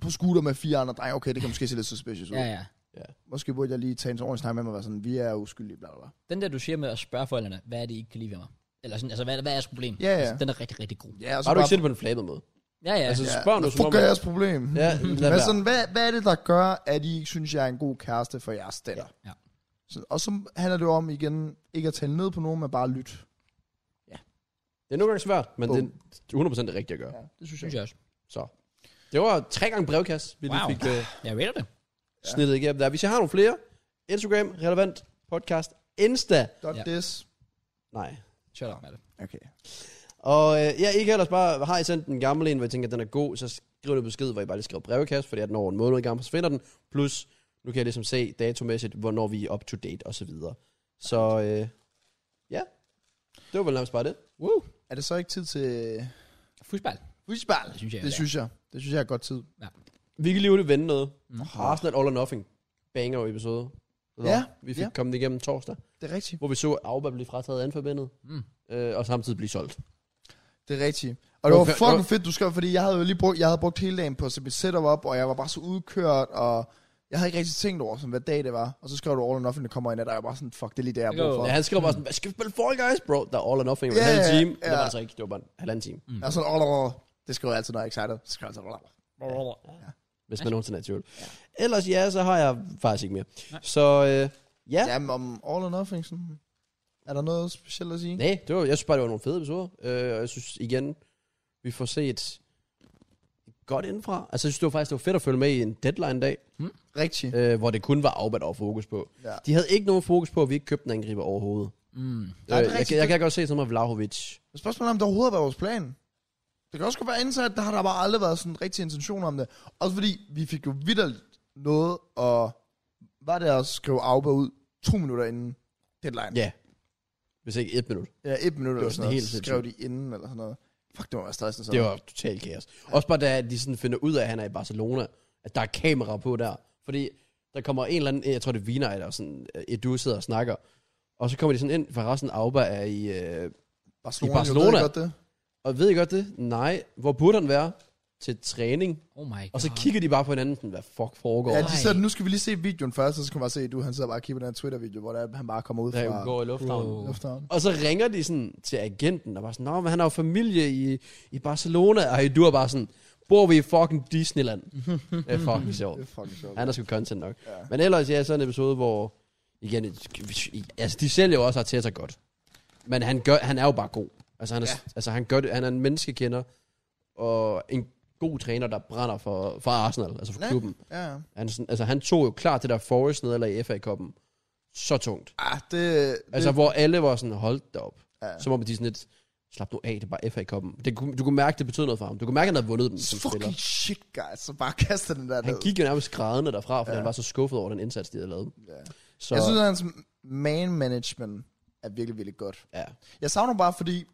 C: på scooter med fire andre drenge. Okay, det kan måske se lidt suspicious ud.
A: Ja,
C: Ja, ja.
A: ja.
C: Måske burde jeg lige tage en ordentlig snak med mig og være sådan, vi er uskyldige, bla bla bla.
A: Den der, du siger med at spørge forældrene, hvad er det, I ikke kan lide ved mig? Eller sådan, altså, hvad, hvad er jeres problem?
C: Ja, ja.
A: Altså, den er rigtig, rigtig god.
C: Ja, og
B: Har du ikke set det på en flabet måde?
A: Ja, ja.
B: Altså,
A: Altså,
B: så spørg nu, som
C: Fuck
B: om...
C: er jeres problem.
B: Ja, lad
C: Men
B: være.
C: sådan, hvad, hvad er det, der gør, at I ikke synes, jeg er en god kæreste for jeres datter?
A: Ja. Ja.
C: Så, og så handler det jo om igen, ikke at tale ned på nogen, men bare lytte.
B: Det er nogle gange svært, men det er 100% det rigtige at gøre.
C: Ja, det synes jeg.
A: synes jeg også.
B: Så. Det var tre gange brevkasse, vi lige
A: Wow.
B: fik uh,
A: Jeg rater det.
B: snittet igennem der. Hvis jeg har nogle flere, Instagram, relevant, podcast, Insta.
C: Dot
A: Ja.
C: ja. this.
B: Nej.
A: Shut up med det.
C: Okay.
B: Og øh, ja, I kan ellers bare, har I sendt en gammel en, hvor I tænker, at den er god, så skriv en besked, hvor I bare lige skriver brevkasse, fordi er den over en måned gammel, så finder den. Plus, nu kan jeg ligesom se datomæssigt, hvornår vi er up to date og Så, videre. så øh, ja, det var vel nærmest bare det.
A: Woo.
C: Er det så ikke tid til
A: Fusbal.
C: fodbold?
A: Det synes jeg,
C: Det
A: er.
C: synes jeg. Det synes jeg er godt tid.
B: Vi kan lige ud og vende noget.
A: Mm.
B: Mm. Arsenal All or Nothing. Banger jo episode. Så
C: Ja,
B: Vi fik
C: ja.
B: kommet igennem torsdag,
C: Det er rigtigt.
B: hvor vi så, at Auba blev frataget anforbindet,
A: Mm.
B: øh, og samtidig blive solgt.
C: Det er rigtigt. Og det var
B: Okay, det
C: fucking
B: var-
C: fedt, du skrev, fordi jeg havde jo lige brugt, jeg havde brugt hele dagen på at sætte mit setup op, og jeg var bare så udkørt, og jeg havde ikke rigtig tænkt over, sådan, hvad dag det var. Og så skrev du All or Nothing, der kommer ind, og der er bare sådan, fuck, det er lige det, jeg har brug
A: Jo.
C: for.
B: Ja, han skrev bare sådan, hvad skal vi spille Fall Guys, bro? Der er All or Nothing om
C: Ja,
B: en halv
C: ja,
B: time.
C: ja.
B: Det var altså ikke, det var bare en halvanden time.
C: Jeg er sådan, all, all, all. Det skriver jeg altid, når jeg er excited. Så skriver jeg altid, all, all.
B: Hvis man nogensinde er i tvivl. Ja. Ellers ja, så har jeg faktisk ikke mere. Nej. Så øh, ja.
C: Ja.
B: ja.
C: Jamen, om all or nothing, sådan, er der noget specielt at sige?
B: Nej, det var, jeg synes bare, det var nogle fede episoder. Øh, og jeg synes igen, vi får set godt indenfra. Altså jeg synes, det var faktisk det var fedt at følge med i en deadline-dag,
C: Rigtigt.
B: øh, hvor det kun var afbat og fokus på.
C: Ja.
B: De havde ikke nogen fokus på, at vi ikke købte en angriber overhovedet.
A: Mm.
C: Nej, det er
B: øh, jeg,
C: rigtigt.
B: kan- jeg, kan godt se som om Vlahovic.
C: Men Spørgsmålet er, om det overhovedet har været vores plan. Det kan også godt være indsat, der har der bare aldrig været sådan rigtig intention om det. Også fordi, vi fik jo vidderligt noget, og var det at skrive Auba ud to minutter inden deadline.
B: Ja. Hvis ikke et minut.
C: Ja, et minut eller
B: var
C: sådan
B: sådan
C: noget.
B: helt
C: Så skrev de inden eller sådan noget. Fuck, det må være stressende sådan.
B: Det var totalt kaos. Også bare da de sådan finder ud af, at han er i Barcelona, at der er kamera på der. Fordi der kommer en eller anden, jeg tror det er Wiener, eller sådan, øh, et du sidder og snakker. Og så kommer de sådan ind, for resten Auba er i, øh,
C: Barcelona,
B: i Barcelona.
C: Jeg ved godt det.
B: og ved I godt det? Nej. Hvor burde han være? til træning,
A: Oh my god.
B: og så kigger de bare på hinanden sådan, hvad fuck foregår
C: Ja,
B: der?
C: de
A: Ej.
C: sidder, nu skal vi lige se videoen først, og så kan man se, at du han sidder bare og kigger på den her Twitter-video, hvor der, er, han bare kommer ud
B: Der
C: fra
B: går i lufthavnen.
A: Wow.
C: lufthavnen.
B: Og så ringer de sådan til agenten, og bare sådan, Nå, men han har jo familie i, i Barcelona, og du er bare sådan, bor vi i fucking Disneyland? det er fucking sjovt.
C: Det er fucking sjovt.
B: Han er sgu content nok.
C: Ja.
B: Men ellers, ja, sådan en episode, hvor... Igen, altså, de sælger jo også Arteta godt. Men han, gør, han er jo bare god. Altså, han er, ja. altså, han, gør det, han er en menneskekender, og en god træner, der brænder for, for Arsenal, altså for
C: Ja.
B: klubben.
C: Ja, ja.
B: Han, er sådan- altså, han tog jo klart det der Forest nederlag i FA-koppen. Så tungt.
C: Ah, det...
B: Altså,
C: det,
B: hvor alle var sådan, hold da op.
C: ja.
B: Som om de sådan lidt, slap nu af, det er bare FA-koppen. Det, kunne- du kunne mærke, det betød noget for ham. Du kunne mærke, at han havde vundet den som spiller.
C: Fucking shit, guys. Så bare kaster den der
B: Han
C: ned.
B: gik jo nærmest grædende derfra, fordi
C: Ja.
B: ja. han var så skuffet over den indsats, de havde lavet.
C: Ja.
B: Så,
C: Jeg synes, at hans man management er virkelig, virkelig godt.
B: ja.
C: Jeg savner bare, fordi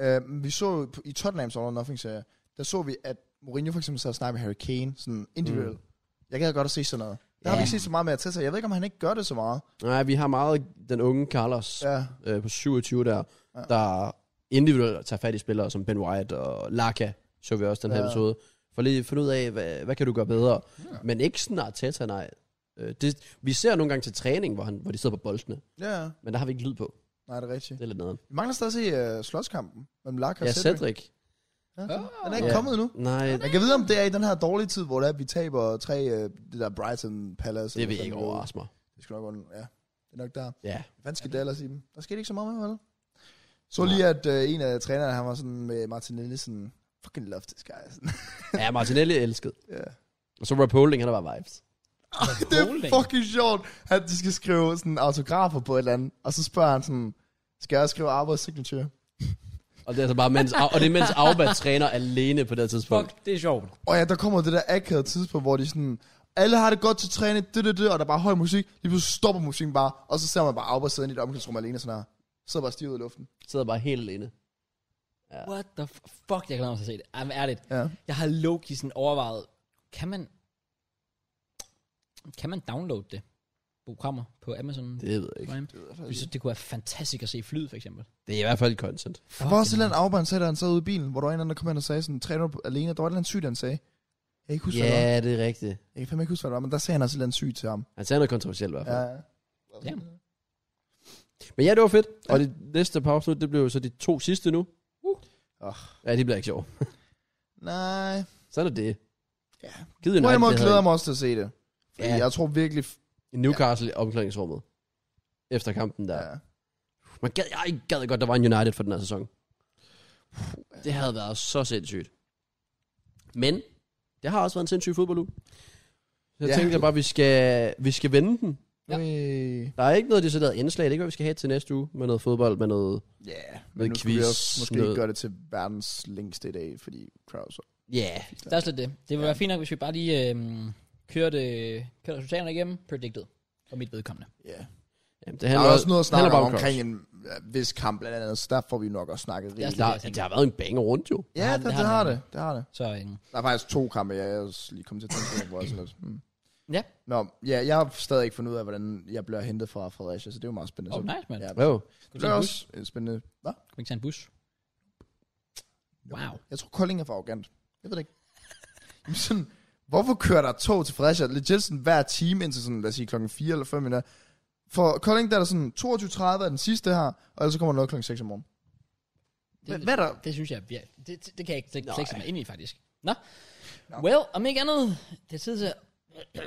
C: øh, vi så jo på- i Tottenhams All or Nothing serie, der så vi, at Mourinho for eksempel sad og snakkede med Harry Kane, sådan individuelt. Mm. Jeg gad godt at se sådan noget. Der ja. har vi
A: Ja.
C: ikke set så meget med Arteta. Jeg ved ikke, om han ikke gør det så meget.
B: Nej, vi har meget den unge Carlos ja.
C: Ja,
B: øh, på 27 der,
C: Ja.
B: ja. der individuelt tager fat i spillere som Ben White og Laka, så vi også den her
C: Ja.
B: ja. episode, for lige at finde ud af, hvad, hvad kan du gøre bedre.
C: Ja.
B: Ja. Men ikke sådan Arteta, nej. Øh, det, vi ser nogle gange til træning, hvor, han, hvor de sidder på boldene,
C: ja.
B: men der har vi ikke lyd på.
C: Nej, det er rigtigt.
B: Det er lidt nederen.
C: Vi mangler stadig at se uh, slåskampen mellem Laka og
B: Ja,
C: Cedric.
B: Cedric.
C: Ja, den er ikke
B: Ja.
C: kommet endnu.
B: Nej,
C: Jeg kan vide, om det er i den her dårlige tid, hvor det er, at vi taber tre, uh, det der Brighton Palace.
B: det
C: eller
B: vil
C: sådan
B: ikke
C: noget.
B: overraske mig.
C: Det skal nok under, ja. Det er nok der.
B: Ja.
C: Hvad skete der ellers i dem? Der skete ikke så meget med, vel? Så lige, at øh, en af trænerne, han var sådan med Martinelli, sådan, fucking love this guy. altså. Sådan,
B: ja, Martinelli er elsket.
C: ja.
B: Og så Rob Holding, han er bare vibes.
C: Det
A: Holding.
C: er fucking sjovt, at de skal skrive sådan autografer på et eller andet, og så spørger han sådan, skal jeg skrive Arbors signature?
B: Og det er altså bare mens, og det er mens Auba træner alene på det her tidspunkt.
A: Fuck, det er sjovt.
C: Og ja, der kommer det der akavede tidspunkt, hvor de sådan, alle har det godt til træning, det, det, det, og der er bare høj musik. Lige pludselig stopper musikken bare, og så ser man bare Arbors sidde i et omklædningsrum alene sådan her. Sidder bare stivet i luften.
B: Sidder bare helt alene.
A: What the f- fuck, jeg glæder mig til at se det. Jamen, ærligt.
C: Ja.
A: Jeg har low-key sådan overvejet, kan man, kan man downloade det? Programmer på Amazon
B: Det ved jeg ikke.
A: Prime. Jeg synes, det kunne være fantastisk at se i flyet, for eksempel.
B: Det er i hvert fald content.
C: Der var også et eller andet afbrænd, sagde, da han sad ude i bilen, hvor der var en eller anden, der kom hen og sagde sådan, træner du alene? Der var et eller andet sygt, han sagde. Jeg kan ikke huske, yeah. hvad det var.
B: Ja, det er rigtigt.
C: Jeg kan fandme ikke huske, hvad det var, men der sagde han også et eller andet sygt til ham.
B: Han sagde noget kontroversielt i hvert fald.
C: Ja.
B: Ja.
A: Ja.
B: Men ja, det var fedt. Og det næste pause det blev jo så de to sidste nu. Uh.
C: Åh.
B: Ja, det bliver ikke sjovt.
C: Nej.
B: Sådan er det.
C: Ja.
B: Givet
C: På en måde
B: det havde
C: glæder jeg mig også til at se det. Fordi
B: Ja.
C: jeg tror virkelig... f-
B: i Newcastle i omklædningsrummet. Efter kampen der.
C: Ja.
B: Ja. Man gad, jeg gad godt, der var en United for den her sæson. Det havde været så sindssygt. Men, det har også været en sindssyg fodbolduge. Så jeg
C: Ja.
B: ja. tænkte jeg bare, vi skal, vi skal vende den.
A: Ja.
C: Øh,
B: Der er ikke noget decideret indslag. Det er ikke, hvad vi skal have til næste uge med noget fodbold, med noget
C: Ja, men
B: Noget
C: nu kunne vi
B: quiz,
C: også måske
B: noget-
C: ikke gøre det til verdens længste i dag, fordi crowds er-
B: Ja, yeah.
A: Der er slet det. Det ville være fint nok, hvis vi bare lige øhm, kørte, kørte resultaterne igennem, predicted, for mit vedkommende.
C: Ja.
B: Jamen, det
C: Der
B: handler,
C: er også noget at snakke
B: handler
C: om
B: bare
C: omkring
B: Kraus.
C: en ja, vis kamp, blandt andet, så der får vi nok også snakket
A: er
C: rigtigt.
A: slet-
B: Der, det, der har været en banger rundt jo.
A: Det
C: Ja, det,
A: har-
C: det,
A: det
C: har
A: har
C: det. Det har det.
A: Så øhm,
C: Der er faktisk to kampe, jeg er også lige kommet til at tænke på, hvor jeg er sådan lidt. Hmm.
A: Ja.
C: Nå, ja, jeg har stadig ikke fundet ud af, hvordan jeg bliver hentet fra Fredericia, så det er jo meget spændende.
A: oh,
C: så,
A: nice, man.
C: Ja,
A: Ja.
B: Jo.
A: Skal
C: det
A: vi
C: er
A: tage en bus?
C: også øh, spændende. Hvad?
A: Skal vi ikke tage en bus? Wow.
C: Jeg tror, Kolding er for arrogant. Jeg ved det ikke. Jamen sådan, hvorfor kører der tog til Fredericia legit sådan hver time indtil sådan, lad os sige, klokken 4 eller 5 minutter? For Kolding, der er der sådan 22.30 er den sidste her, og ellers så kommer der noget klokken 6 om morgenen. Hvad- hvad er der-
A: Det synes jeg, ja, det, det, det kan jeg ikke slet
B: Nej.
A: ikke sætte mig ind i, faktisk. Nå. Well, om ikke andet, det er tid til...
C: Nå,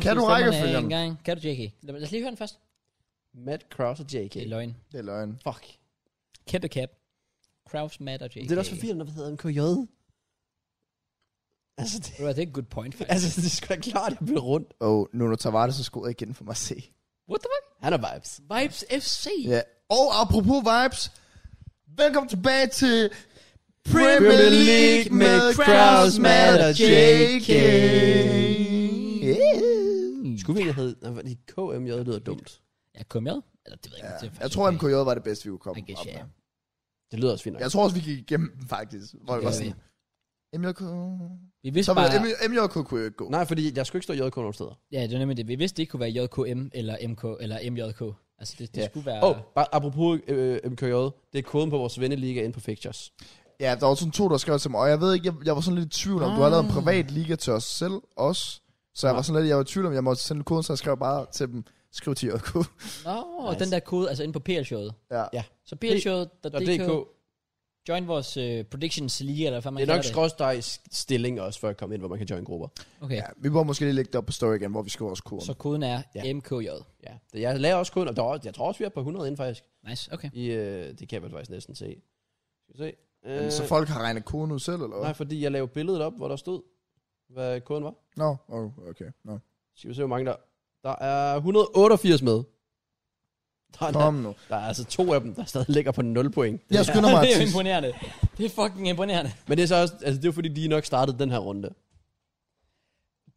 C: kan du række for dem?
A: gang. Kan du, JK? Lad, lad os lige høre den først.
B: Matt Kraus og JK.
A: Det er løgn.
C: Det er løgn.
B: Fuck.
A: Kæmpe cap. Kraus, Matt og JK.
B: Det er da også forvirrende, når vi hedder MKJ. Altså, det,
A: Ved du hvad, Det er et good point, faktisk.
B: altså, det er sgu da klart, at jeg bliver rundt.
C: Og oh, Nuno Tavares har skoet igen for mig at se.
A: What the fuck?
B: Han er vibes.
A: Vibes FC.
C: Ja. Og apropos vibes, velkommen tilbage til
B: Premier League med Kraus, Matt og JK.
C: Yeah.
B: Skulle vi egentlig have... Nej, var det KMJ lyder dumt.
A: Ja, kom med. Eller det ved jeg ikke. det er
C: Jeg
A: faktisk
C: tror,
A: okay.
C: MKJ var det bedste, vi kunne komme
A: I guess,
C: op
A: yeah.
C: med.
B: Det lyder også fint nok.
C: Jeg tror også, vi gik igennem den, faktisk. Hvor vi var
A: Ja.
C: sådan, MJK...
A: Vi vidste
C: Så var
A: bare,
C: M- MJK kunne jo ikke gå.
B: Nej, fordi jeg skulle ikke stå JK nogen steder.
A: ja, det var nemlig det. Vi vidste, det ikke kunne være JKM eller MK eller MJK. Altså, det, det
B: Ja.
A: skulle være...
B: Åh, oh, bare apropos øh, MKJ. Det er koden på vores venneliga inde på Fixtures.
C: Ja, der var sådan to, der skrev til mig, og jeg ved ikke, jeg, jeg var sådan lidt i tvivl om, du har lavet
B: Ah.
C: en privat liga til os selv også. Så jeg var sådan lidt, jeg var i tvivl om, jeg måtte sende koden, så jeg skrev bare til dem, skriv til JK.
A: Nå,
B: Nice.
A: nice. den der kode, altså inde på PL-showet.
C: ja.
B: Ja.
A: Så PLshowet.dk,
B: DK.
A: join vores uh, predictions league, eller hvad man
B: Det er nok
A: kalder
B: skråstrej stilling også, for at komme ind, hvor man kan join grupper.
A: det. Okay,
C: ja. Vi må måske lige lægge det op på story igen, hvor vi skriver vores koden.
A: så koden er
B: Ja.
A: MKJ.
B: Ja. Det- Jeg laver også kun, og der var, jeg tror også, vi er på 100 ind faktisk.
A: Nice, okay.
B: I, øh, det kan man faktisk næsten se. Skal vi se.
C: Men
B: Øh,
C: så folk har regnet koden ud selv, eller hvad?
B: Nej, fordi jeg lavede billedet op, hvor der stod, hvad koden var.
C: Nå, no. oh, okay. No.
B: Skal vi se, hvor mange der... Der er 188 med. Der er,
C: Kom
B: der,
C: nu.
B: der er altså to af dem, der stadig ligger på 0 point.
C: Jeg skynder mig
A: det er
C: til.
A: jo imponerende. Det er fucking imponerende.
B: Men det er så også... Altså, det er jo fordi, de nok startede den her runde.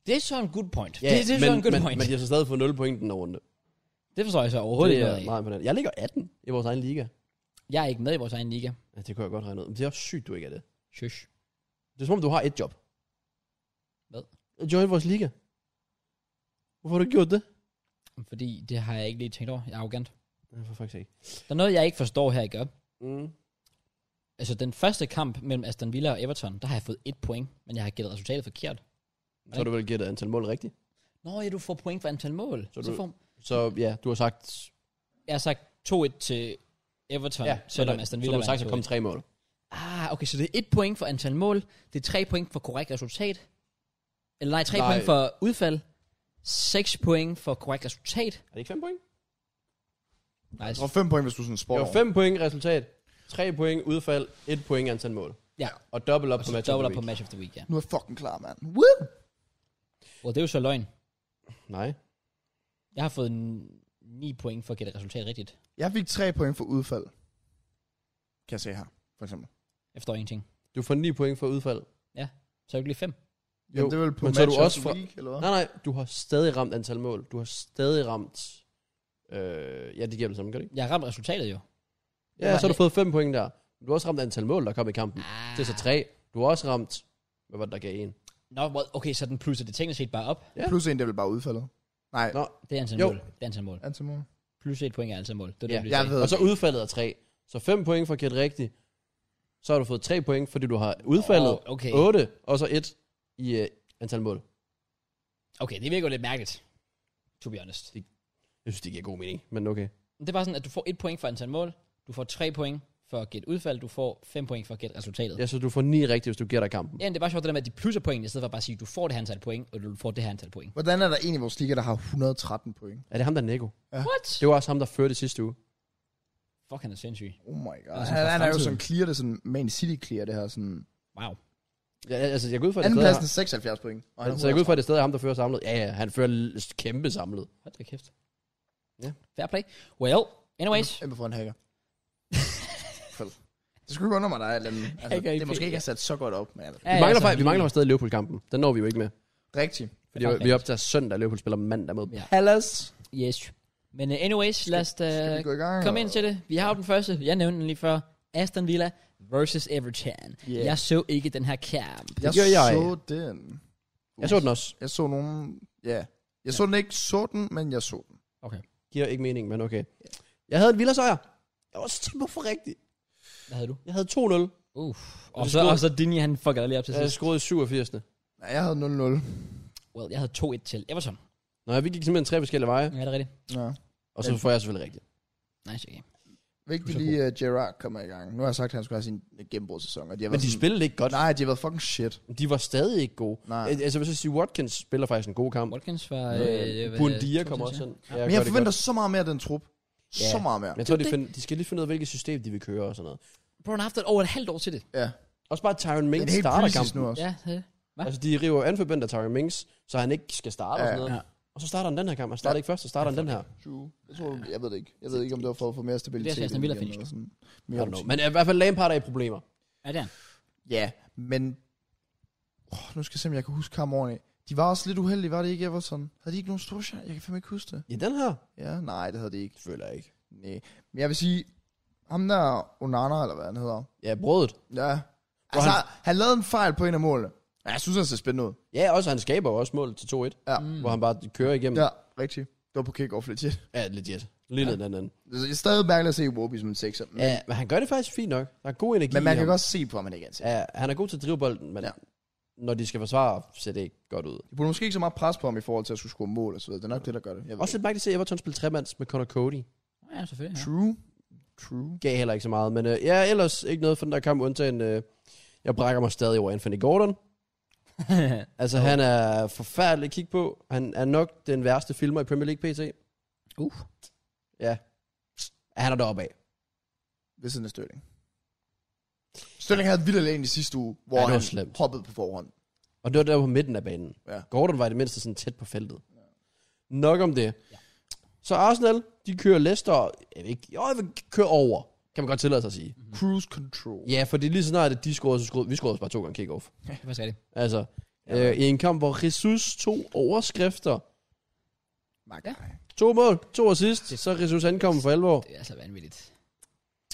A: Det er så en good point. det, det er så
B: men,
A: en good
B: men,
A: point.
B: Men de har så stadig fået 0 point den her runde.
A: det forstår jeg så overhovedet
B: det
A: ikke
B: er
A: noget af.
B: meget imponerende. Jeg ligger 18 i vores egen liga.
A: Jeg er ikke med i vores egen liga.
B: Ja, det kunne jeg godt regne ud. Men det er også sygt, du ikke er det.
A: Shush.
B: Det er som om, du har et job.
A: Hvad?
B: At join vores liga. Hvorfor har du ikke gjort det?
A: Fordi det har jeg ikke lige tænkt over. Jeg er arrogant.
B: Ja, for faktisk ikke.
A: Der er noget, jeg ikke forstår her, ikke op?
B: Mm.
A: Altså, den første kamp mellem Aston Villa og Everton, der har jeg fået et point, men jeg har gættet resultatet forkert.
B: Så har du vel gættet antal mål rigtigt.
A: Nå ja, du får point for antal mål. Så,
B: Så
A: du... så
B: du-
A: får...
B: Så ja, du har sagt
A: Jeg har sagt 2-1 til Everton, ja, selvom
B: der-
A: Aston
B: Så
A: Villa
B: du har
A: vandt
B: sagt, at kom
A: 2-1.
B: tre mål.
A: Ah, okay, så det er et point for antal mål, det er tre point for korrekt resultat, eller nej, tre
B: Nej.
A: point for udfald, seks point for korrekt resultat.
B: Er det ikke fem point?
C: Jeg
A: Nice.
C: tror fem point, hvis du er sådan
B: Det
C: spår.
B: var fem point resultat, tre point udfald, et point antal mål.
A: Ja,
B: Og dobbelt op
A: og så
B: på match.
A: dobbler på match of the week, ja.
C: Nu er jeg fucking klar, mand. Woo!
A: Og det er jo så løgn.
B: Nej.
A: Jeg har fået 9 point for at gætte resultat rigtigt.
C: Jeg fik tre point for udfald. Kan jeg se her, for eksempel.
A: Jeg forstår ingenting.
B: Du får 9 point for udfald.
A: Så er det ikke lige 5.
C: Jo, Jamen, det er vel på
B: men
C: men
B: så er
C: match
B: du
C: of
B: også
C: the
B: fra-
C: week, eller hvad?
B: Nej, nej, du har stadig ramt antal mål. Du har stadig ramt... Øh, ja, det giver det samme, gør det ikke?
A: Jeg har ramt resultatet jo.
B: Ja,
A: Ja,
B: så har du fået 5 point der. Du har også ramt antal mål, der kom i kampen.
A: Ah.
B: Det er så 3. Du har også ramt... Hvad var det, der gav en?
A: Nå, what? okay, så den plusser det teknisk set bare op.
B: Ja.
C: Plus en, det er vel bare udfaldet. Nej,
B: Nå,
A: Det er antal
B: Jo.
A: mål. Det er antal mål.
C: Antimor.
A: Plus et point er antal mål. Det er det,
B: Ja.
A: du lige
C: Jeg
A: sagde.
C: ved
B: og så udfaldet er 3. Så 5 point for at gætte rigtigt. Så har du fået 3 point, fordi du har udfaldet.
A: Åh, okay.
B: 8, og så 1 i øh, antal mål.
A: Okay, det virker jo lidt mærkeligt. To be honest.
B: Jeg synes, det giver god mening, men okay.
A: Det er bare sådan, at du får et point for antal mål. Du får tre point for at gætte udfald. Du får fem point for at gætte resultatet.
B: Ja, så du får 9 rigtigt, hvis du gætter kampen.
A: Ja, men det er bare sjovt det der med, at de plusser point, i stedet for bare at sige, du får det her antal point, og du får det her antal point.
C: Hvordan er der en i vores liga, der har 113 point?
B: Er det ham, der er Nico?
A: What?
B: Det var også ham, der førte sidste uge.
A: Fuck, han er sindssyg.
C: Oh my god.
A: Altså,
C: Altså,
A: fra
C: han, han, er jo
A: fremtiden.
C: sådan clear, det er sådan Man City clear, det her sådan...
A: Wow.
B: Ja, ja, altså, jeg går ud fra, at det stadig
C: Andenpladsen
B: er,
C: er 76 point. Og han
B: så jeg går ud fra, at det stadig er ham, der fører samlet. Ja, ja, han fører l- kæmpe samlet.
A: Hold da kæft.
B: Ja.
A: Fair play. Well, anyways.
C: Kæmpe for en hacker. Fed. det skulle ikke undre mig, der er et eller andet. Altså,
A: Hacker i
C: det er
A: P,
C: måske
A: ja.
C: ikke er sat så godt op, men altså,
A: Ja,
B: Vi
A: ja,
B: mangler,
A: så-
B: faktisk, vi mangler stadig Liverpool-kampen. Den når vi jo ikke med.
C: rigtig.
B: Fordi
A: faktisk
B: vi optager søndag, Liverpool spiller mandag mod
A: Ja.
B: Palace.
A: Yes. Men uh, anyways, lad os da
C: Skal vi gå i gang?
A: Øh, Kom ind til det. Vi har jo den første. Jeg nævnte den lige før. Aston Villa versus Everton. Yeah.
C: Yeah.
A: Jeg så ikke den her kamp.
C: Jeg,
B: gør jeg.
C: jeg så den.
B: Jeg så den også.
C: Jeg så nogen... Ja. Jeg så den ikke så den, men jeg så den.
B: Giver ikke mening, men okay. Jeg havde en vildere sejr. Jeg var så tæt på for rigtigt.
A: Hvad havde du?
B: Jeg havde 2-0.
A: Uff. Og,
B: Og
A: så,
B: scorede-
A: og så Dini, han fucker lige op til
B: Jeg
A: sidst.
B: scorede i 87.
C: Nej, jeg havde 0-0.
A: Well, jeg havde 2-1 til Everton.
B: Nå, vi gik simpelthen tre forskellige veje,
A: Ja, det er rigtigt.
C: Ja.
B: og så får jeg selvfølgelig rigtigt.
A: Nice, okay.
C: Vigtigt
B: Du er så
C: lige, at Gerard kommer i gang. Nu har jeg sagt, at han skulle have sin gennembrudssæson. Og de har
B: Men
C: været
B: de
C: sådan-
B: spillede ikke godt.
C: Nej, de har været fucking shit. Øh,
B: De var stadig ikke gode.
C: Nej.
B: Al- Altså, hvis jeg siger, Watkins spiller faktisk en god kamp.
A: Watkins var...
B: Øh, Bundia kommer også ind. Ja, gør
C: Men jeg
B: det
C: forventer
B: godt.
C: så meget mere af den trup.
B: Ja.
C: Så meget mere.
B: Men jeg tror,
A: Det er
B: de,
A: det.
B: find, de skal lige finde ud af, hvilket system de vil køre og sådan noget.
A: Bro, han har haft et- over et halvt år til det.
C: Ja.
B: Også bare Tyron
C: Men
B: Mings
C: det er helt
B: starter
C: præcis
B: kampen.
C: nu også.
A: Ja, det. Hva?
B: Altså, de river anforbandt af Tyron Mings, så han ikke skal starte og
C: Ja,
B: sådan noget. Og så starter han den her kamp. Han starter ikke først, så starter han den her.
C: True. Jeg, tror, jeg ved det ikke. Jeg ved ikke, om det var for at få mere stabilitet.
B: altså
A: Det er Aston Villa
C: end de
A: finish.
C: andre, sådan
B: I
C: mere
B: don't know. Men i hvert fald Lampard er i problemer.
A: Ja, det er han.
C: Ja, men... Oh, nu skal jeg se, om jeg kan huske kampen ordentligt. De var også lidt uheldige, var det ikke, Everton? Havde de ikke nogen store chancer? Jeg kan fandme ikke huske det.
B: I den her?
C: Ja, nej, det havde de ikke.
B: Føler jeg ikke.
C: Nej. Men jeg vil sige, ham der Onana, eller hvad han hedder.
B: Ja, brødet.
C: Ja. Altså, han... han lavede en fejl på en af målene. Ja, jeg synes, han ser spændende ud.
B: Ja, også han skaber jo også mål til 2-1,
C: Ja,
A: Mm.
B: hvor han bare kører igennem.
C: ja rigtigt. Det var på kick-off legit.
B: Ja, legit. Lige ja. den anden.
C: Det er stadig mærkeligt at se Iwobi som en sekser. Men,
B: Ja, men han gør det faktisk fint nok. Der er god energi
C: men man
B: i
C: kan
B: ham.
C: godt se på, at man ikke er en sekser.
B: Ja, han er god til at drive bolden, men ja.
C: Ja.
B: når de skal forsvare, ser det ikke godt ud.
C: De burde måske ikke så meget pres på ham i forhold til at skulle score mål og så videre. Det er nok det, der gør det. Jeg ved
B: Også lidt mærkeligt at se Everton spille tremands med Connor Cody.
A: Ja, selvfølgelig.
C: ikke.
A: Ja.
C: True. True.
B: Gav heller ikke så meget, men øh, ja, ellers ikke noget for den der kamp, undtagen øh, jeg brækker mig stadig over Anthony Gordon. Altså, oh. han er forfærdelig at kigge på. Han er nok den værste filmer i Premier League PT.
A: uh.
B: Ja. Han er deroppe af.
C: Ved siden af Stølling. Stølling havde vildt alene i sidste uge, hvor
B: Ja, det var
C: han
B: slemt. Mhm.
C: hoppede på forhånd.
B: Og det var der på midten af banen.
C: Ja.
B: Gordon var i det mindste sådan tæt på feltet. Ja. Nok om det. Ja. Så Arsenal, de kører Leicester, jeg ved ikke, jo, jeg vil køre over, kan man godt tillade sig at sige. Mm.
C: Cruise control.
B: Ja, fordi lige så snart, at de scorede, så scorede, vi scorede også bare to gange kick-off.
A: Det var det.
B: Altså, ja. øh, i en kamp, hvor Jesus tog overskrifter,
C: Mark.
A: Ja.
B: to mål, to assist, så er Jesus ankommet for alvor.
A: Det er altså vanvittigt.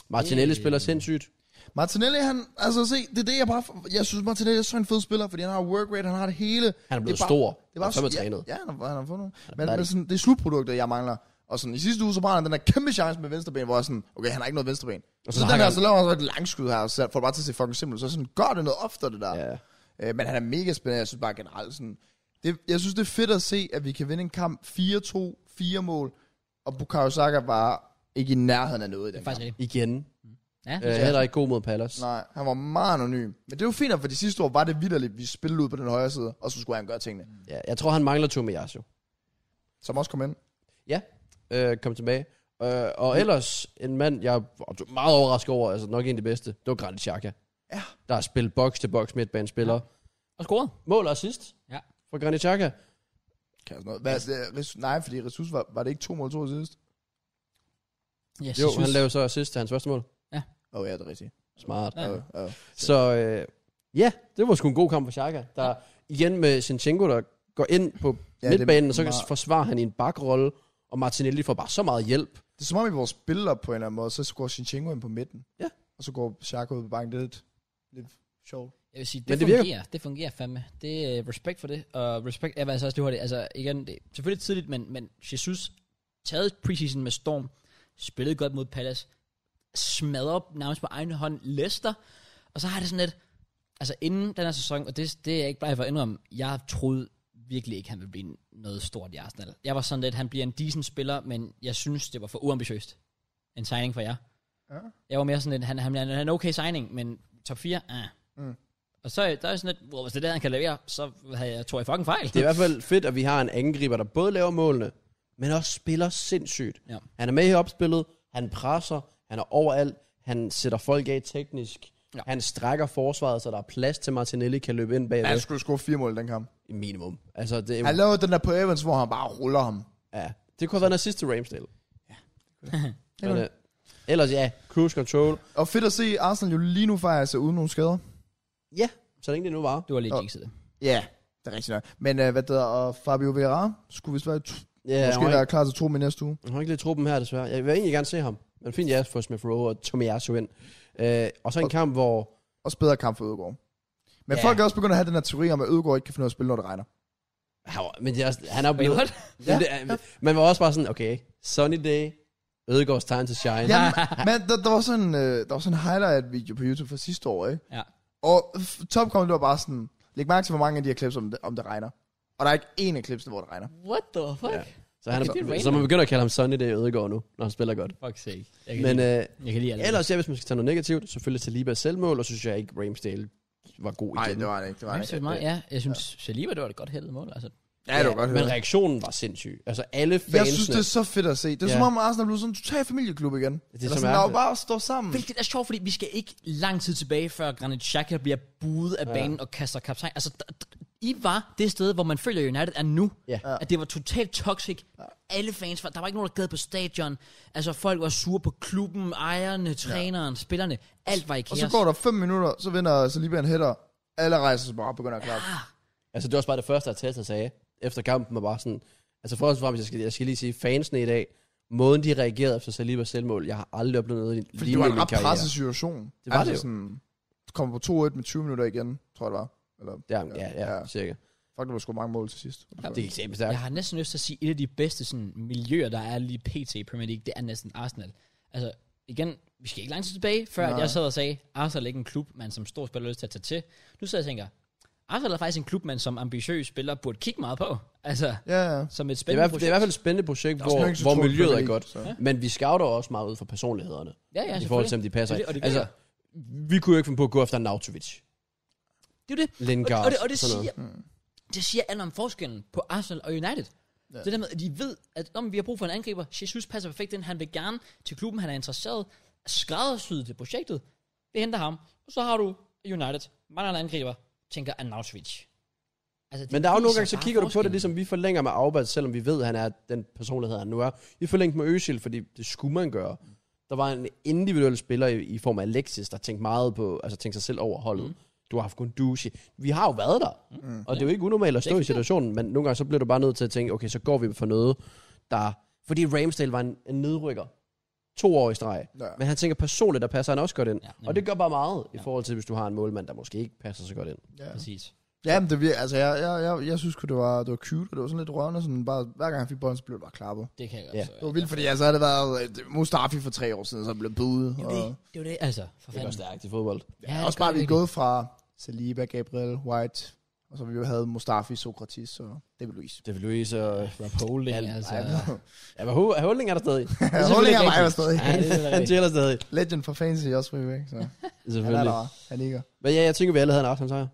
B: Martinelli
A: Det-
B: spiller sindssygt.
C: Martinelli, han, altså se, det er det, jeg bare, jeg synes, Martinelli er så en fed spiller, fordi han har work rate, han har det hele.
B: Han er blevet
C: det er bare-
B: stor,
C: Det var
B: og så er man trænet.
C: Ja, ja han, har, han har fået noget. Men,
B: færdig.
C: men sådan, det er slutprodukter, jeg mangler. Og sådan, i sidste uge, så brænder han den der kæmpe chance med venstreben, hvor jeg sådan, okay, han har ikke noget venstreben.
B: Og
C: Og
B: så
C: så, så den
B: hakker
C: her,
B: han-
C: så laver han så et langskud her, og så får det bare til at se fucking simpelt. ud. Så sådan, gør det noget oftere, det der.
B: Ja.
C: Øh, men han er mega spændende, jeg synes bare generelt sådan. Det, jeg synes, det er fedt at se, at vi kan vinde en kamp 4-2, 4 mål, og Bukayo Saka var ikke i nærheden af noget
A: Det
C: i den
A: er
C: kamp.
A: faktisk rigtigt.
B: Igen.
A: Ja,
B: Øh, heller ikke god mod Palace.
C: Nej, han var meget anonym. Men det var fint, nok, for de sidste år var det vidderligt, vi spillede ud på den højre side, og så skulle han gøre tingene.
B: Ja, jeg tror, han mangler Tomiyasu.
C: Som også kom ind.
B: Ja, øh, kom tilbage. Øh, og ellers en mand, jeg var meget overrasket over, altså nok en af de bedste, det var Granit Xhaka.
C: Ja.
B: Der har spillet box til box midtbanespiller. Ja.
A: Og scoret.
B: Mål og assist
A: Ja.
B: for Granit Xhaka.
C: Kan jeg sådan noget. Hvad, altså, det, Res- nej, fordi Ressus var, var det ikke to mål to sidst?
A: Yes,
B: Jo, han lavede så assist til hans første mål.
C: Åh oh, ja, det er rigtigt.
B: Smart. Ja.
A: Ja.
C: Ja. Oh, oh.
B: Så øh, ja, det var sgu en god kamp for Xhaka. Der igen med Sinchenko, der går ind på ja,
C: Ja, det er
B: midtbanen, og så meget...
C: meget-
B: forsvarer han i en bakrolle, og Martinelli får bare så meget hjælp.
C: Det er som om i vores spiller på en eller anden måde, så går Shinchenko ind på midten.
B: Ja.
C: Og så går Xhaka ud på banken. Det er lidt, lidt sjovt.
A: Jeg vil sige, det, det
B: Men det virker.
A: fungerer. Det fungerer fandme. Det er uh, respekt for det. Og respekt, jeg var altså også lige hurtigt. Altså igen, det er selvfølgelig tidligt, men, men Jesus taget preseason med storm, spillede godt mod Palace, smadrede op nærmest på egen hånd Leicester, og så har det sådan lidt, altså inden den her sæson, og det, det er jeg ikke bare for at indrømme, jeg troede virkelig ikke, han ville blive noget stort i Arsenal. Jeg var sådan lidt, han bliver en decent spiller, men jeg synes, det var for uambitiøst. En signing for jer.
C: Ja.
A: Jeg var mere sådan lidt, han, han, han er en okay signing, men top 4, ah.
C: Mm.
A: Og så øh, der er sådan lidt, wow, hvis det er det, han kan levere, så havde jeg, tror jeg fucking fejl.
B: Det er i hvert fald fedt, at vi har en angriber, der både laver målene, men også spiller sindssygt.
A: Ja.
B: Han er med i opspillet, han presser, han er overalt, han sætter folk af teknisk, ja.
A: Ja.
B: han strækker forsvaret, så der er plads til Martinelli kan løbe ind bagved.
C: Han skulle score fire mål i den kamp.
B: I minimum. Altså, det,
C: Han
B: er,
C: lavede den der på Evans, hvor han bare ruller ham.
B: ja, det kunne have været en sidste Ramsdale. Ja.
C: kunne
B: Men, øh, ellers ja, cruise control.
C: Og fedt at se Arsenal jo lige nu faktisk er uden nogen skader.
B: Ja, så længe det nu var.
A: Du var lidt
C: Og-
A: jinxet det.
C: Ja, det er rigtigt nok. Men øh, hvad der og Fabio Vieira skulle vist være, t-
B: Ja,
C: måske
B: jeg, har
C: være
B: ikke,
C: klar til to med næste uge.
B: jeg har ikke lige truppen her, desværre. Jeg vil egentlig gerne se ham. Men fint, ja, for Smith Rowe og Tomiyasu ind. Øh, og så en kamp, hvor...
C: Også bedre kamp for Ødegaard. Men
B: Ja.
C: ja. folk er også begyndt at have den her teori om, at Ødegaard ikke kan finde ud af at spille, når det regner.
B: Han, var- men det er, også- han er blevet...
A: Hvad?
B: Ja, det, er- Man var også bare sådan, okay, sunny day, Ødegaards time to shine.
C: Ja, men der, der, var sådan, øh, der var sådan en highlight-video på YouTube fra sidste år, ikke?
A: Ja.
C: Og f- topkommet, det var bare sådan, læg mærke til, hvor mange af de her klips, om det, om det regner. Og der er ikke én af klipsene, hvor det regner.
A: What the fuck?
B: Ja. Så, han
A: Okay, det
B: er,
A: er
B: så man begynder at kalde ham sunny day Ødegaard nu, når han spiller godt.
A: Fuck sake. Jeg kan,
B: Men
A: lide,
B: øh,
A: jeg kan lide alt.
B: ellers, ja, hvis man skal tage noget negativt, selvfølgelig Talibas selvmål, og så synes jeg ikke, Ramsdale var god igen.
C: Nej, det var det ikke. Det var
A: Nej,
C: det ikke.
A: meget, ja. Jeg synes, ja. Saliba, det var et godt hættet mål. Altså.
C: Ja, det var godt.
B: Men
C: hørt.
B: reaktionen var sindssyg. Altså alle fansene...
C: Jeg synes, det er så fedt at se. Det er
B: Ja.
C: ja. som om Arsenal er blevet sådan en total familieklub igen. Det
B: så
C: er sådan, der jo
B: mærkeligt.
C: bare står sammen.
A: Hvilket er sjovt, fordi vi skal ikke lang tid tilbage, før Granit Xhaka bliver buet af banen og kaster kaptajn. Altså, d- d- I var det sted, hvor man føler, at United er nu.
B: Ja.
A: At det var totalt toxic. Alle fans var... Der var ikke nogen, der gad på stadion. Altså, folk var sure på klubben, ejerne, træneren, spillerne. Alt var i kaos.
C: Og så går der fem minutter, så vinder Saliba en hætter. Alle rejser sig bare og begynder at klappe.
B: Altså, det var også bare det første, Arteta sagde efter kampen, var bare sådan... Altså, for og fremmest, jeg skal, jeg skal lige sige, fansene i dag, måden de reagerede efter Salibas selvmål, jeg har aldrig oplevet noget lignende i
C: Fordi det var en
B: min
C: ret
B: karriere.
C: presset situation. Altså
B: Det var det jo.
C: Sådan, du kommer på 2-1 med 20 minutter igen, tror jeg det var. Eller,
B: Der, ja, ja, ja,
C: Ja.
B: cirka.
C: Fuck, du har sgu mange mål til sidst.
A: Ja.
B: Det gik ekstremt stærkt.
A: Jeg har næsten lyst til at sige, et af de bedste sådan, miljøer, der er lige pt. i Premier League, det er næsten Arsenal. Altså, igen, vi skal ikke langt tilbage, før
C: Nej.
A: Nej. jeg sad og sagde, Arsenal er ikke en klub, man som stor spiller har lyst til at tage til. Nu sidder jeg og tænker, Arsenal er faktisk en klub, man som ambitiøs spiller burde kigge meget på. Altså,
C: Ja, ja.
A: som et
B: Det er, i
A: spændende
B: hvert fald, det er i hvert fald et spændende projekt,
C: også
B: hvor,
C: nok ikke så
B: hvor
C: tungt,
B: miljøet er
C: Premier
B: godt.
C: League,
B: Men vi scouter også meget ud fra personlighederne.
A: Ja, ja,
B: I forhold til, om de passer.
A: Det er det, og det
B: altså, vi kunne jo ikke finde på at gå efter Nautovic,
A: Det er jo det.
B: Lingard,
A: og det, og det
B: sådan
A: siger, Mm. det siger alt om forskellen på Arsenal og United. Ja. Det der med, at de ved, at om vi har brug for en angriber, Jesus passer perfekt ind, han vil gerne til klubben, han er interesseret, skræddersyet til projektet, vi henter ham, og så har du United, mangler en angriber, tænker Arnautovic. Altså, det
B: Men der er jo nogle
A: viser
B: gange, så
A: bare
B: kigger du på det,
A: forskellen.
B: ligesom vi forlænger med Aubat, selvom vi ved, at han er den personlighed, han nu er. Vi forlængte med Øsil, fordi det skulle man gøre. Der var en individuel spiller i, i form af Alexis, der tænkte meget på, altså tænkte sig selv over holdet. Mm. Du har haft Gunduzi. Vi har jo været der. Mm. Og det er jo ikke unormalt at
A: Det er
B: stå i
A: ikke forkert.
B: situationen, men nogle gange så bliver du bare nødt til at tænke, okay, så går vi for noget, der... Fordi Ramsdale var en, en nedrykker. To år i streg.
C: Ja.
B: Men han tænker personligt, der passer han også godt ind.
A: Ja,
B: Ja,
A: nemlig.
B: og det gør bare meget i forhold til, hvis du har en målmand, der måske ikke passer så godt ind.
C: ja.
A: Præcis.
C: Ja, men det vir- altså, jeg, jeg, jeg, jeg synes sgu, det var, det var cute, og det var sådan lidt rørende, sådan bare, hver gang han fik bolden, så blev det bare klappet.
A: Det kan jeg godt
B: Ja.
A: forstå,
C: Det var vildt, fordi altså, havde det været øh, Mustafi for tre år siden, så blev budet. Og,
A: Det, det er jo det, altså. For
B: Det er
A: fanden.
B: stærkt i fodbold.
A: Ja,
C: også
A: det
C: bare,
A: gør
C: vi er
A: virkelig.
C: gået fra Saliba, Gabriel, White, og så vi jo havde Mustafi, Sokratis og David Luiz.
B: Det vil Louise og
A: Holding,
B: Al-
A: altså.
B: Ej, Ja, men Ho- Holding er der stadig.
A: Det er
C: Holding
A: selvfølgelig
C: er mig
A: rigtigt.
C: jo stadig.
A: Ja, det er selvfølgelig
B: Han
A: rigtigt.
B: tjener stadig.
C: Legend for fantasy også ryger væk, så han er
B: Selvfølgelig.
C: der, han ligger.
B: Men ja, jeg tænker, vi alle havde en aften sejr.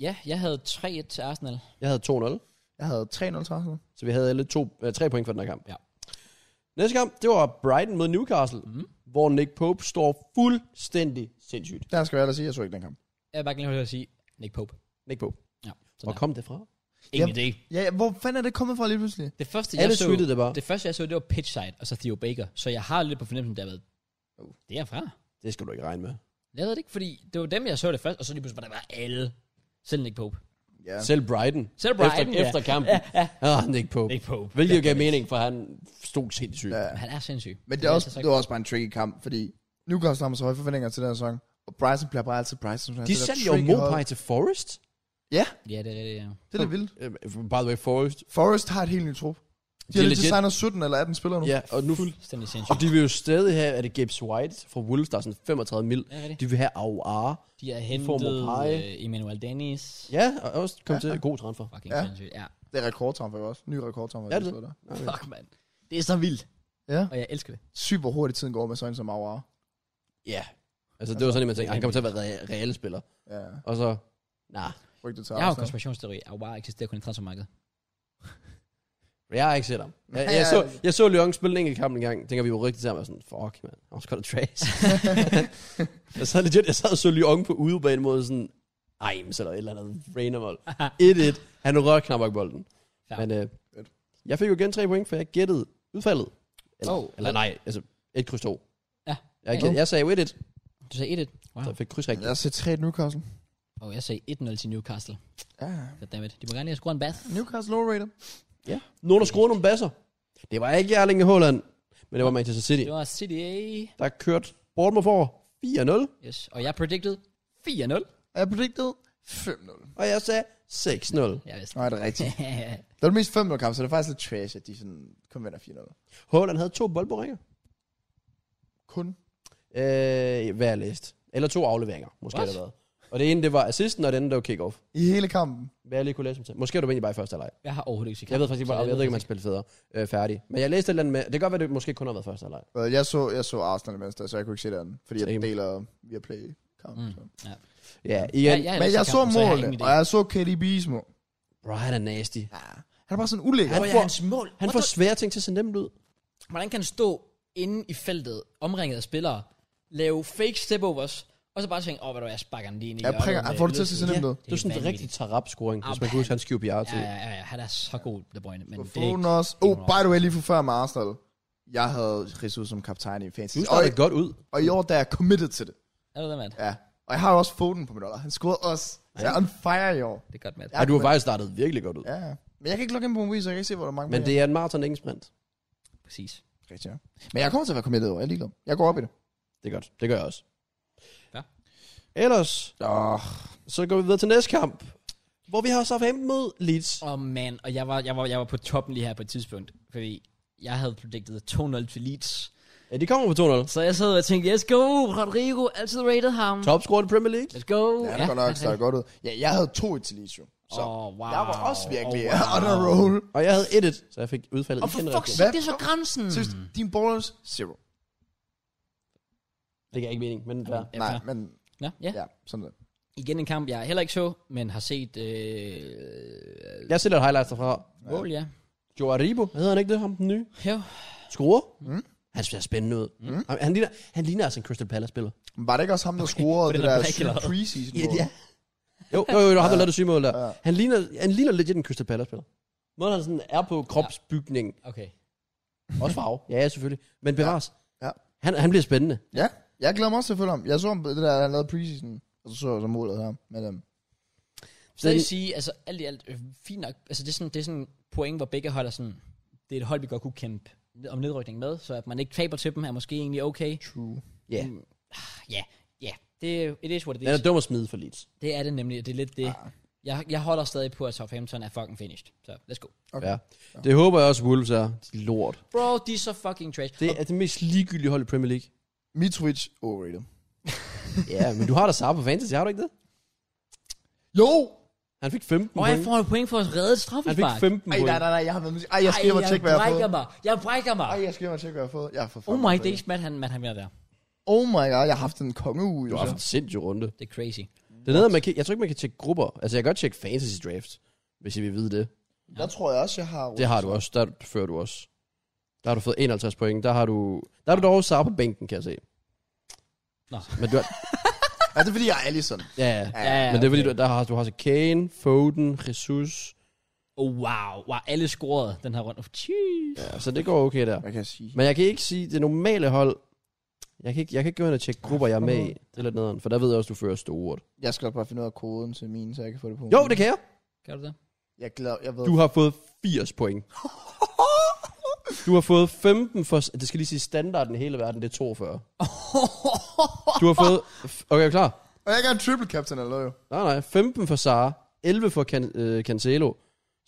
A: Ja, jeg havde 3-1 til Arsenal.
B: Jeg havde 2-0,
C: Jeg havde 3-0 til Arsenal.
B: så vi havde alle to, øh, tre point for den her kamp.
A: Ja.
B: Næste kamp, det var Brighton mod Newcastle,
A: Mhm.
B: mm. hvor Nick Pope står fuldstændig sindssygt.
C: Der skal jeg ellers sige, jeg så ikke den kamp.
A: Jeg vil bare gerne at sige, Nick Pope.
B: Nick Pope.
A: Ja,
B: Hvor
A: sådan der.
B: kom det fra?
A: Ingen idé.
C: Ja, ja, hvor fanden er det kommet fra lige pludselig?
A: Det første, jeg
B: Alle
A: så...
B: tweetede det bare. Det,
A: Det første, jeg så, det var Pitchside, og så Theo Baker. Så jeg har lidt på fornemmelsen, der har været,
C: Oh.
A: det er fra.
B: det skal du ikke regne med.
A: Jeg ved det ikke, fordi det var dem, jeg så det først, og så lige pludselig var der bare alle. Selv Nick Pope.
C: Ja.
B: Ja. Selv Brighton.
A: Selv Brighton,
B: efter,
A: ja.
B: efter kampen. Ja, ja. Ah, Nick Pope.
A: Nick Pope.
B: Hvilket jo gav mening, for han stod sindssygt. Ja.
C: ja.
A: Han er sindssyg.
C: Men det, er også,
A: altså så-
C: det var også bare en tricky kamp, fordi Newcastle har så høje forventninger til den her sæson, og Bryson bliver bare altid Bryson.
B: De satte jo Mopai til Forest.
C: Ja,
A: Ja, det er det, ja.
C: det er det vildt.
B: Øh, By the way, Forest.
C: Forrest har et helt nyt trup. De
B: er
C: har lige
B: legit.
C: designet 17 eller 18 spillere nu.
B: Ja, og nu,
A: Fuldstændig
B: Og
A: sindssyg.
B: de vil jo stadig have, at det Gibbs White fra Wolves, der er sådan 35 mil.
A: Ja, rigtigt.
B: De vil have Aouar.
A: De har
B: får
A: hentet
B: Mopai.
A: øh, Emmanuel Dennis.
B: Ja, og også kom ja. til god transfer.
A: Fucking
C: Ja.
A: sindssyg. Ja.
C: Det er rekordtransfer også. Ny rekordtransfer.
B: Ja, det er
C: der.
A: Fuck, mand. Det er så vildt.
C: Ja.
A: Og jeg elsker det.
C: Sygt, hvor hurtigt tiden går med sådan en som Aura.
B: Ja. Altså, det var sådan, at man tænkte, han kommer til at være re- reelle spiller.
C: Ja,
B: Og så, nej,
C: rygtet til
A: Jeg har jo en
C: Arsenal.
A: konspirationsteori. Aouar eksisterer kun i transfermarkedet.
B: jeg har ikke set ham. Jeg, jeg, så, jeg så Lyon spille en enkelt kamp en gang, tænker vi var rigtig sammen, og sådan, fuck, man, han var sgu da trash. jeg sad legit, jeg sad og så Lyon på udebane mod sådan, Ejms eller et eller andet, Rainervold. 1-1, han rørte knap nok bolden.
A: Ja.
B: Ja. Men øh,
C: Fedt.
B: jeg fik jo igen tre point, for jeg gættede udfaldet. Eller,
A: Oh.
B: oh. eller nej, altså 1 kryds 2.
A: Ja.
B: Jeg,
A: Ja.
B: jeg, jeg sagde jo 1-1, så
A: Du sagde 1-1. Wow.
B: jeg fik kryds rigtigt.
C: Jeg ser 3 Newcastle.
A: Og jeg sagde 1-0 til Newcastle.
C: Ja.
A: Goddammit. De må gerne lige have scoret en bath.
C: Newcastle overrated.
B: Ja. Nogen, der skruede nogle basser. Det var ikke Erling Haaland, men det var Manchester City,
A: Det var City A.
B: der kørte Bournemouth over 4-0,
A: Yes. Og jeg predicted 4-0.
C: Jeg predicted 5-0.
B: og jeg sagde 6-0.
A: Jeg vidste.
C: Nej, det er rigtigt. Det var det mest 5-0 kamp, så det er faktisk lidt trash, at de sådan kun vinder 4-0.
B: Haaland havde to boldboringer.
C: Kun.
B: Øh, hvad jeg læste. Eller to afleveringer, måske
A: What?
B: eller hvad. Og det ene, det var assisten, og det andet, det var kick-off.
C: I hele kampen.
B: Hvad jeg lige kunne læse som tal. Måske er du egentlig bare i første halvleg.
A: jeg har overhovedet ikke set
B: Jeg ved faktisk ikke,
A: kampen,
B: hvor-
A: så
B: jeg ved ikke, om han spillede federe øh, færdig. Men jeg læste et eller andet med, det kan godt være, det måske kun har været første halvleg.
C: Øh, Jeg så, jeg så Arsenal imens, da, så jeg kunne ikke se det andet, fordi jeg
B: Same.
C: deler via play kamp.
A: Mm.
C: Mm.
A: Ja.
B: Ja,
A: Ja,
B: igen.
A: jeg har
C: Men
A: ikke
C: jeg
A: set
C: så
A: kampen, så jeg har
C: målene,
A: ingen idé.
C: og jeg så KDB's mål.
B: Bro, han er nasty.
C: Ja. Han er bare sådan ulækker.
B: Han
A: Hvor er
B: får-
A: hans mål?
B: Han
A: What
B: får
A: the-
B: svære ting til at se nemt ud.
A: Hvordan kan han stå inde i feltet, omringet af spillere, lave fake stepovers, og så bare tænke, åh, oh, hvad du er, jeg sparker den lige ind i
C: Jeg
A: hjørnet
C: prikker- han
A: med
C: får det til at se
A: lydsiden."
C: sådan ud.
B: Det er sådan en rigtig
A: vanvittigt.
B: tarap-scoring,
A: Ah,
B: hvis man kan huske hans QPR til.
A: Ja, ja, ja, ja, han er så god, De Bruyne, men det er
C: Foden
A: ikke...
C: også. Oh, by the way, lige for før med Arsenal. Jeg havde Jesus som kaptajn i fantasy.
B: Du
C: Og,
B: starter godt ud.
C: og i år, der er jeg committed til det.
A: Er det det, mand?
C: Ja. Og jeg har jo også Foden på mit hold. og Han scorede også. Så jeg er on fire i år.
A: Det er godt, mand.
B: Ja, du har faktisk startet virkelig godt ud.
C: Ja, ja. Men jeg kan ikke logge ind på Movie, så jeg kan ikke se, hvor der er mange
B: Men
C: mere.
B: det er en maraton, ikke en sprint.
A: Præcis.
C: Rigtigt, ja. Men jeg kommer til at være committed over. Jeg er ligeglad. Jeg går op i det.
B: Det er godt. Det gør jeg også.
A: Ja.
B: Ellers,
C: Åh,
B: så går vi videre til næste kamp. hvor vi har Southampton mod Leeds.
A: Åh, oh, man. Og jeg var, jeg, var, jeg var på toppen lige her på et tidspunkt, fordi jeg havde predicted 2-0 til Leeds.
B: Ja, de kommer på 2-0.
A: Så jeg sad og tænkte, let's go, Rodrigo, altid rated ham.
B: Top scorer i Premier League.
A: Let's go.
C: Ja, det er godt nok startet godt ud. Ja, jeg havde to i Talisio. Så
A: Åh, oh, wow.
C: jeg var også
B: Ah,
C: virkelig oh, wow. on a roll.
B: Og jeg havde 1-1, så jeg fik udfaldet
A: Og for
B: igen
A: fuck's
B: rigtigt.
A: sake, det er så grænsen.
B: Hmm.
C: Seriøst, din ballers, zero.
B: Det giver ikke mening, men ja.
A: Ja,
C: Nej,
A: fair.
C: men
A: Nå, ja.
C: ja, sådan der.
A: Igen en kamp, jeg heller ikke så, men har set øh,
B: Jeg sætter highlights derfra.
A: mål, ja.
B: Joe Aribo, hedder han ikke det, ham den nye?
A: Jo.
B: Skruer. Mm. Han ser spændende ud. Mm. Han, han, ligner, han ligner altså en Crystal Palace-spiller.
C: Men var det ikke også ham, der scorede
A: for
C: det
A: den er
C: der
A: black
C: syge
A: eller hvad?
C: preseason mål?
B: Jo, jo, jo, jo han har lavet det syge mål der.
C: Ja.
B: Han ligner, han ligner legit en Crystal Palace-spiller. Måden han sådan er på kropsbygning,
A: Okay.
B: også farve, ja, ja, selvfølgelig, men bevares.
C: Ja.
B: Han, han bliver spændende.
C: Ja, jeg glæder mig også til at følge ham. Jeg så ham på det der, han lavede preseason, og så så jeg så målet her. Men, øhm,
A: Så jeg sige, altså alt i alt, øh, fint nok. Altså det er sådan, det er sådan en point, hvor begge hold er sådan, det er et hold, vi godt kunne kæmpe om nedrykning med, så at man ikke taber til dem, er måske egentlig okay.
C: true.
B: Ja.
A: Mm. Ja, ja. Det er, it is what it
B: Den er
A: is.
B: dum at smide for Leeds.
A: Det er det nemlig, og det er lidt det.
B: Ah.
A: Jeg, jeg holder stadig på, at Southampton er fucking finished. Så let's go.
B: Okay. Ja. Det håber jeg også, Wolves er. De er lort.
A: Bro, de er så fucking trash.
B: Det er det mest ligegyldige hold i Premier League.
C: Mitrovic, overrated.
B: ja, men du har da Sar på fantasy, har du ikke det?
C: Jo!
B: Han fik 15
A: Og jeg
B: point.
A: får et point for at redde et straffespark.
B: Han fik 15
C: Ej,
B: point.
C: nej, nej, nej, jeg har været musik. Ej, jeg skal hjem og
A: Ej,
C: tjekke, hvad jeg har
A: brækker
C: fået.
A: mig. Jeg brækker mig.
C: Ej, jeg skal hjem og tjekke, hvad jeg har fået. Jeg har fået
A: oh
C: fucking
A: my,
C: fået
A: det er ikke smat, han, man har været der.
C: Oh my god, jeg har haft en altså. kongeuge.
B: Du
C: jo,
B: har
C: så.
B: haft en sindssyg runde.
A: Det er crazy.
B: Det er noget, man kan, jeg tror ikke, man kan tjekke grupper. Altså, jeg kan godt tjekke fantasy draft, hvis I vil vide det.
C: Der tror jeg også, jeg har...
B: Det har du også. Der fører du også. Der har du fået 51 point. Der har du... Der har du dog Sar på bænken, kan jeg se.
A: Nå.
B: Men du har,
C: Ja, det er fordi, jeg er Allison.
B: ja, ja.
A: Ja, ja,
B: Men det er fordi,
A: okay.
B: du, der har, du har så Kane, Foden, Jesus.
A: Oh, wow. wow. Alle scorede den her runde. Oh, jeez.
B: Ja, så det går okay der.
C: Hvad kan jeg sige?
B: Men jeg kan ikke sige, det normale hold... Jeg kan ikke, jeg kan ikke gå ind og tjekke grupper, jeg er med i. Det er lidt nederen, for der ved jeg også, du fører stort.
C: Jeg skal bare finde ud af koden til min, så jeg kan få det på.
B: Jo, det kan jeg.
A: Gør du det?
C: Jeg glæder, jeg ved...
B: Du har fået 80 point. Du har fået 15 for... Det skal lige sige, standarden i hele verden, det er 42.
A: Ah,
B: Du har fået... Okay, er du klar?
C: Og jeg kan en triple captain, eller jo.
B: Nej, nej. 15 for Sara, 11 for Can- øh, Cancelo.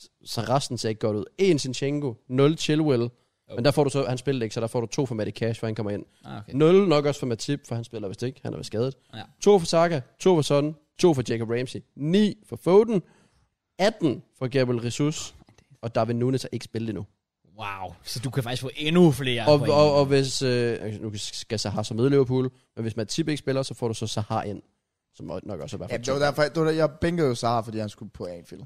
B: S- Så resten ser ikke godt ud. 1 Sinchenko, 0 Chilwell. Men der får du så, han spillede ikke, så der får du to for Matty Cash, for han kommer ind.
A: Ah, okay.
B: 0 nok også for Matip, for han spiller vist ikke, han er vist skadet.
A: Ja.
B: 2 for Saka, 2 for Son, 2 for Jacob Ramsey, 9 for Foden, 18 for Gabriel Jesus, og Darwin Nunes har ikke spillet endnu.
A: Wow. Så du kan faktisk få endnu flere
B: Og,
A: point.
B: og, og hvis, øh, nu skal Sahar så med i Liverpool, men hvis Matip ikke spiller, så får du så Sahar ind, som nok også er i hvert
C: Ja,
B: fald
C: det var derfor, det var der, jeg bænkede jo Sara, fordi han skulle på Anfield.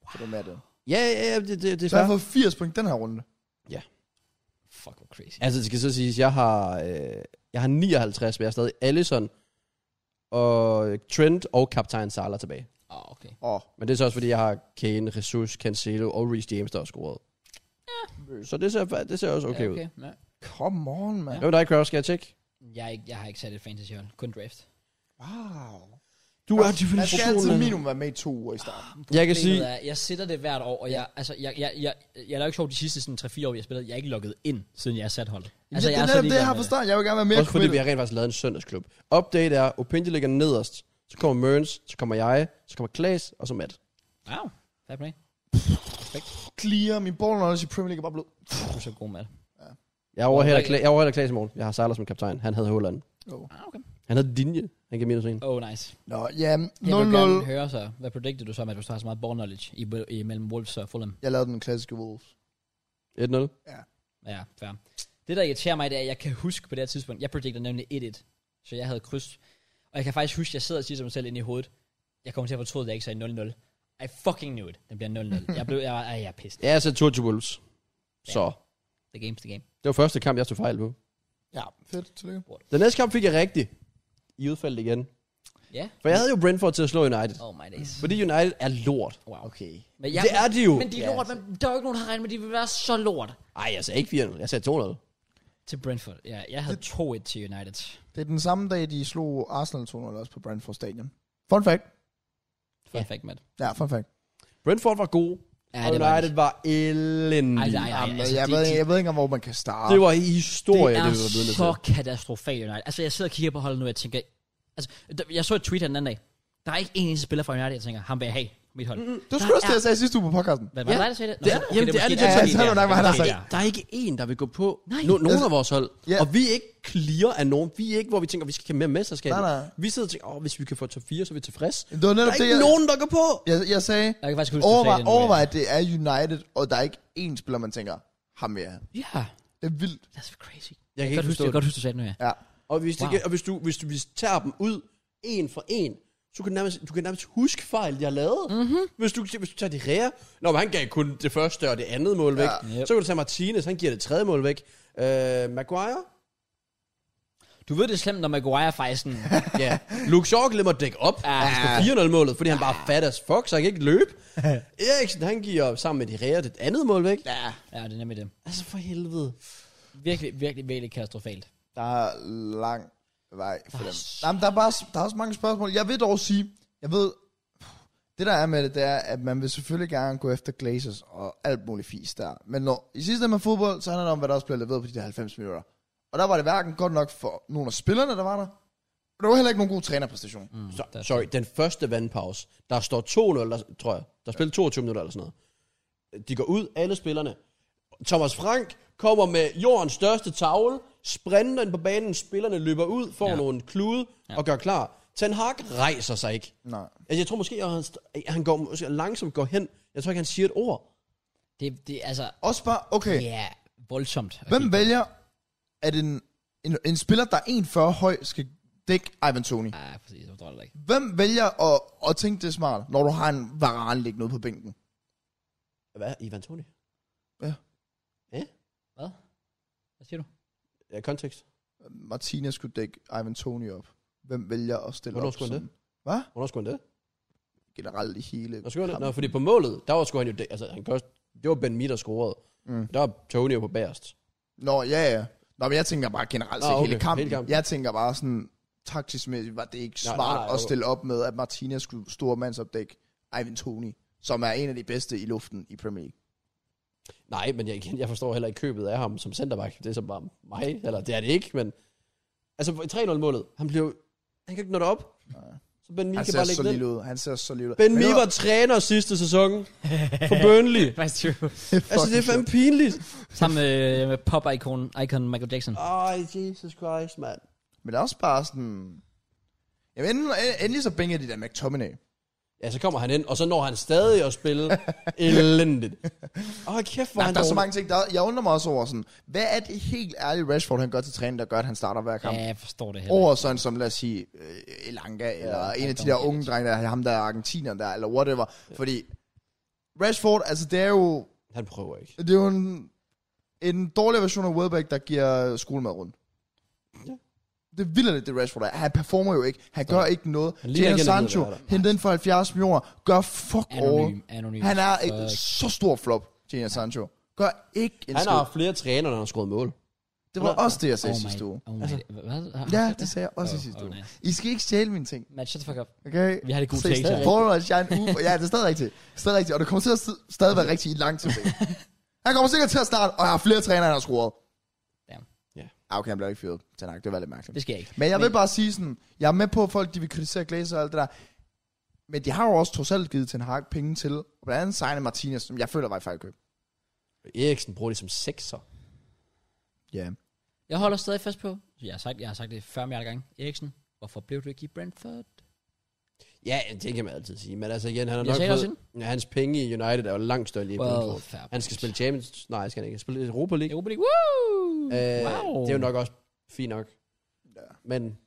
C: Så det var med det.
B: Ja, ja, ja, det, det, det er
C: Så jeg har
B: fair.
C: fået 80 point den her runde.
A: Fuck, hvor crazy.
B: Altså, det skal så siges, jeg har, øh, jeg har 59, men jeg har stadig Allison og Trent og Kaptajn Salah tilbage.
A: Åh, oh, okay.
C: Åh,
B: Men det er så også, fordi jeg har Kane, Jesus, Cancelo og Reece James, der har scoret. Ja. Så det ser, fa- det ser også okay,
A: Ja,
B: okay. ud.
A: Ja.
C: come on, man.
B: Hvem er dig, Kraus? Skal jeg tjekke?
A: Jeg, er ikke, jeg har ikke sat et fantasy hold. Kun draft.
C: Wow.
B: Du er
C: Man skal altid
B: definitionen.
C: minimum være med i to uger i starten.
B: Jeg
A: Problemet
B: kan sige,
A: er, jeg sætter det hvert år, og jeg, altså, jeg, jeg, jeg, jeg, jeg er jo ikke sjov de sidste sådan, 3-4 år, jeg spillede. Jeg er ikke logget ind, siden jeg er sat holdet.
C: Altså, det,
A: jeg
C: er
A: så
C: netop det,
A: ligeglad
C: jeg har
A: med
C: på starten. Jeg vil gerne være mere
B: også fordi vi
C: committed.
B: har rent faktisk lavet en søndagsklub. Update er, Opinji ligger nederst, så kommer Mørns, så kommer jeg, så kommer Klaas, og så Matt.
A: det. Wow. Fair play.
C: Clear min ball knowledge i Premier League er bare blevet.
A: Du er så god med det.
B: Jeg overhælder
A: Okay.
B: Kla- jeg overhælder Klaas i morgen. Jeg har Salah som kaptajn. Han havde Holland.
A: Ah, okay.
B: Han havde Dinje. Han kan minus en.
A: Oh, nice.
C: Nå, ja,
A: Jeg vil gerne
C: 0-0.
A: høre så, hvad predicted du så med, at du har så meget ball knowledge i, i mellem Wolves og Fulham?
C: Jeg lavede den klassiske Wolves.
B: 1-0.
A: Ja, fair. Det, der irriterer mig, det er, at jeg kan huske på det her tidspunkt, jeg predicted nemlig 1-1, så jeg havde kryds. Og jeg kan faktisk huske, at jeg sidder og siger til mig selv ind i hovedet, jeg kommer til at fortryde, at jeg ikke sagde 0-0. I fucking knew it. Den bliver 0-0. jeg blev, jeg var, ej, jeg er pissed.
B: Ja, så Turkey Wolves. Så.
A: The game's the game.
B: Det var første kamp, jeg stod fejl på.
C: Ja, fedt. Tillykke.
B: Den næste kamp fik jeg rigtigt. I udfaldt igen.
A: Ja.
B: For jeg havde jo Brentford til at slå United.
A: Oh my days.
B: Fordi United er lort.
A: Wow.
C: Okay.
A: Men
B: det er de jo.
A: Men de er
C: Ja,
A: lort, men der er jo ikke nogen, der har regnet med, at de vil være så lort.
B: Ej, jeg sagde ikke 400. Jeg sagde 200.
A: Til Brentford. Ja, jeg havde 2-1 til United.
C: Det er den samme dag, de slog Arsenal 2-0 også på Brentford Stadion. Fun fact.
A: Fun fact, Matt.
C: Ja, fun fact.
B: Brentford var god.
A: Ja,
B: Ja,
A: det var
B: United var elendig.
A: Ej, nej, nej.
C: Jamen,
A: altså,
C: jeg,
A: de-
C: ved,
A: de-
C: jeg ved ikke engang, hvor man kan starte.
B: Det var i historie, det,
A: det er
B: det vi var
A: så
B: blevet til.
A: katastrofalt United. Altså, jeg sidder og kigger på holdet nu, og jeg tænker... Altså, d- jeg så et tweet her den anden dag. Der er ikke en eneste spiller fra United, jeg tænker, ham vil jeg have. mit hold. Mm,
C: Du skulle også det, jeg sagde sidste uge på podcasten.
A: Hvad var det,
B: Ja.
A: dig, der sagde det? Nå,
B: Det er-
A: okay,
B: jamen, det er
A: måske
B: det,
A: dig,
B: jeg
A: der
B: sagde.
A: sagde
C: Ja, så er det nok mig, der har
A: Det
C: sagt
A: er
B: Der er ikke en, der vil gå på
A: Nej.
B: no, nogen af vores hold.
C: Ja.
B: Og vi er ikke clear af nogen. Vi er ikke, hvor vi tænker, vi skal kæmpe mere mesterskab.
C: Nej, nej.
B: Vi sidder og tænker, åh, hvis vi kan få top 4, så er vi tilfredse.
C: Det var
B: Der
C: netop
B: er
C: det,
B: ikke
C: jeg,
B: nogen, der går på.
C: jeg, jeg sagde.
A: Jeg kan faktisk huske, du sagde
C: Overvej,
A: det nu, ja.
C: overvej, at det er United, og der er ikke én spiller, man tænker, ham vil jeg have.
A: Ja,
C: Det er vildt.
A: that's crazy. Jeg
B: Jeg kan
A: kan
B: ikke
A: godt huske,
B: forstå
A: jeg kan
B: det.
A: godt huske, du sagde det nu, ja.
C: Ja.
B: Og hvis, wow.
A: Wow.
B: det, og hvis, du, hvis du hvis du tager dem ud, en for en, så kan du nærmest, du kan nærmest huske fejl, de har lavet. Mm-hmm. Hvis, du, hvis du tager de rære, når han gav kun det første og det andet mål væk,
A: Ja.
B: ja. så kan du tage Martinez, han giver det tredje mål væk. Øh, Maguire?
A: Du ved, det er slemt, når Maguire faktisk sådan...
B: Ja. Ah. Luke Shaw glemmer at dække op.
A: Ja.
B: Ja. Han skal 4-0 målet, fordi han bare er fat as fuck, så han kan ikke løbe. Eriksen, han giver sammen med de rære det andet mål væk. Ja.
A: ja, det er nemlig det.
B: Altså for helvede.
A: Virkelig, virkelig, virkelig katastrofalt.
C: Der er lang vej for dem. Jamen, der er bare der er også mange spørgsmål. Jeg vil dog sige, jeg ved, det der er med det, det er, at man vil selvfølgelig gerne gå efter Glazers og alt muligt fis der. Men når, i sidste ende med fodbold, så handler det om, hvad der også bliver leveret på de der 90 minutter. Og der var det hverken godt nok for nogle af spillerne, der var der, og der var heller ikke nogen god trænerpræstation. Mm.
B: Så, sorry, den første vandpause, der står 2-0, der, tror jeg, der spiller 22 minutter eller sådan noget. De går ud, alle spillerne. Thomas Frank kommer med jordens største tavle, sprinter ind på banen, spillerne løber ud, får
A: Ja.
B: ja. nogle klude ja. og gør klar. Ten Hag rejser sig ikke.
C: Nej.
B: Altså, jeg tror måske, at han, st- han går, måske langsomt går hen. Jeg tror ikke, han siger et ord.
A: Det, det er altså...
C: Også bare, okay,
A: Ja, voldsomt. at
C: Hvem
A: kigge på.
C: vælger, at en, en, en spiller, der er 1,40 høj, skal dække Ivan Toni?
A: Ja, præcis. Jeg forstår det ikke.
C: Hvem vælger at, at tænke det smart, når du har en varan liggende ude på bænken?
B: Hvad? Ivan Toni?
C: Ja.
B: Ja?
A: Hvad? Hvad siger du?
B: Ja, kontekst.
C: Martinez skulle dække Ivan Toni op. Hvem vælger at stille
B: Hvornår
C: op?
B: skulle han
C: sådan? Hvad?
B: Hvornår skulle han det?
C: Generelt i hele
B: Nå, skulle han det? Nå,
C: kampen.
B: fordi på målet, der var sgu han jo... dæ- Altså, han gør, det var Ben Mee, der scorede. Mm. Der var Tony jo på bagerst.
C: Nå, ja, ja. Nå, men jeg tænker bare generelt
B: Nå,
C: til
B: Ah, okay.
C: hele, kampen.
B: Hele kampen.
C: Jeg tænker bare sådan, taktisk mæssigt var det ikke
B: Nej,
C: smart
B: nej, nej,
C: at
B: okay.
C: stille op med, at Martinez skulle store mandsopdække Ivan Toni, som er en af de bedste i luften i Premier League.
B: Nej, men jeg, igen, jeg forstår heller ikke købet af ham som centerback. Det er så bare mig, eller det er det ikke, men... Altså, 3-0-målet, han blev... Han kan ikke nå det op. Så Ben Mee
C: Han
B: kan
C: ser
B: bare
C: så
B: lægge
C: lille
B: den.
C: ud. Han ser så lille ud.
B: Ben
C: Men
B: Mee
C: nu-
B: var træner sidste sæson for Burnley.
A: Faktisk true.
B: altså, det er fandme pinligt.
A: Sammen med, med pop-ikonen, icon Michael Jackson.
B: Ej, Jesus Christ, mand.
C: Men også bare sådan... Jamen, endelig, endelig så bænger de der McTominay.
B: Ja, så kommer han ind, og så når han stadig at spille elendigt. Åh, oh, kæft, hvor er
C: Nej,
B: han
C: der er så
B: dårlig.
C: mange ting, der... Jeg undrer mig også over sådan... Hvad er det helt ærlige Rashford, han gør til træning, der gør, at han starter hver
A: Ja,
C: kamp? Ja,
A: jeg forstår det heller ikke.
C: over sådan som, lad os sige, øh, Elanga, ja, eller en af de der
A: Antonio.
C: unge drenge, der ham der er argentiner der, eller whatever. Ja. Fordi Rashford, altså det er jo,
B: Han prøver ikke.
C: det er jo en, en dårlig version af Welbeck, der giver skolemad rundt.
B: Ja.
C: Det er vildt, det Rashford er. Han performer jo ikke. Han gør ikke noget.
B: Han ligner
C: Jadon
B: ikke en, der
C: Sancho,
B: ved, hvad der er.
C: hente den for 70 millioner, gør fuck all.
A: Anonym, anonym.
C: Han er et
A: Fuck.
C: så stor flop, Gina Sancho. Gør ikke en
B: Han
C: skid.
B: har haft flere træner, når han har skåret mål.
C: Det var
B: han er-
C: også det, jeg sagde
A: Oh
C: oh
A: my-
C: sidste uge.
A: oh my- Hvad? Har- har-
C: Ja, det sagde jeg også oh,
A: Åh,
C: i sidste
A: åh,
C: uge.
A: nice.
C: I skal ikke stjæle mine ting,
A: Matt, shut the fuck up.
C: okay?
A: Vi har det gode
C: Se,
A: takes
C: stadig
A: her.
C: Forholdet, jeg er en uge. Ja, det er stadig rigtigt. Stadig rigtigt. Og det kommer til at sid- stadig være rigtigt i lang tid. ikke? Han kommer sikkert til at starte, og jeg har flere trænere, end har scoret.
A: Damn.
B: Ja.
C: Ah, okay, han bliver ikke fyret. Tanak, det var lidt
A: Det
C: mærkeligt.
A: skal jeg ikke.
C: Men jeg vil bare sige sådan, jeg er med på, at folk de vil kritisere Glazer og alt det der. Men de har jo også trods alt givet Ten Hag penge til, og blandt andet Signe Martinez, som jeg føler var et fejlkøb.
B: Eriksen bruger det som sekser.
C: Ja. Yeah.
A: Jeg holder stadig fast på, jeg har sagt, jeg har sagt det 40 milliarder gange, Eriksen, hvorfor blev du ikke i Brentford?
B: Ja, det kan man altid sige. Men altså igen, han har
A: Jeg sagde
B: nok
A: også
B: fået, ja, hans penge i United er jo langt større end lige i
A: Well,
B: Brentford.
A: fair point.
B: Han skal spille Champions... Nej, skal han ikke. Spille Europa League.
A: Europa League, woo!
B: Øh,
A: wow!
B: Det er jo nok også fint nok. Ja. Men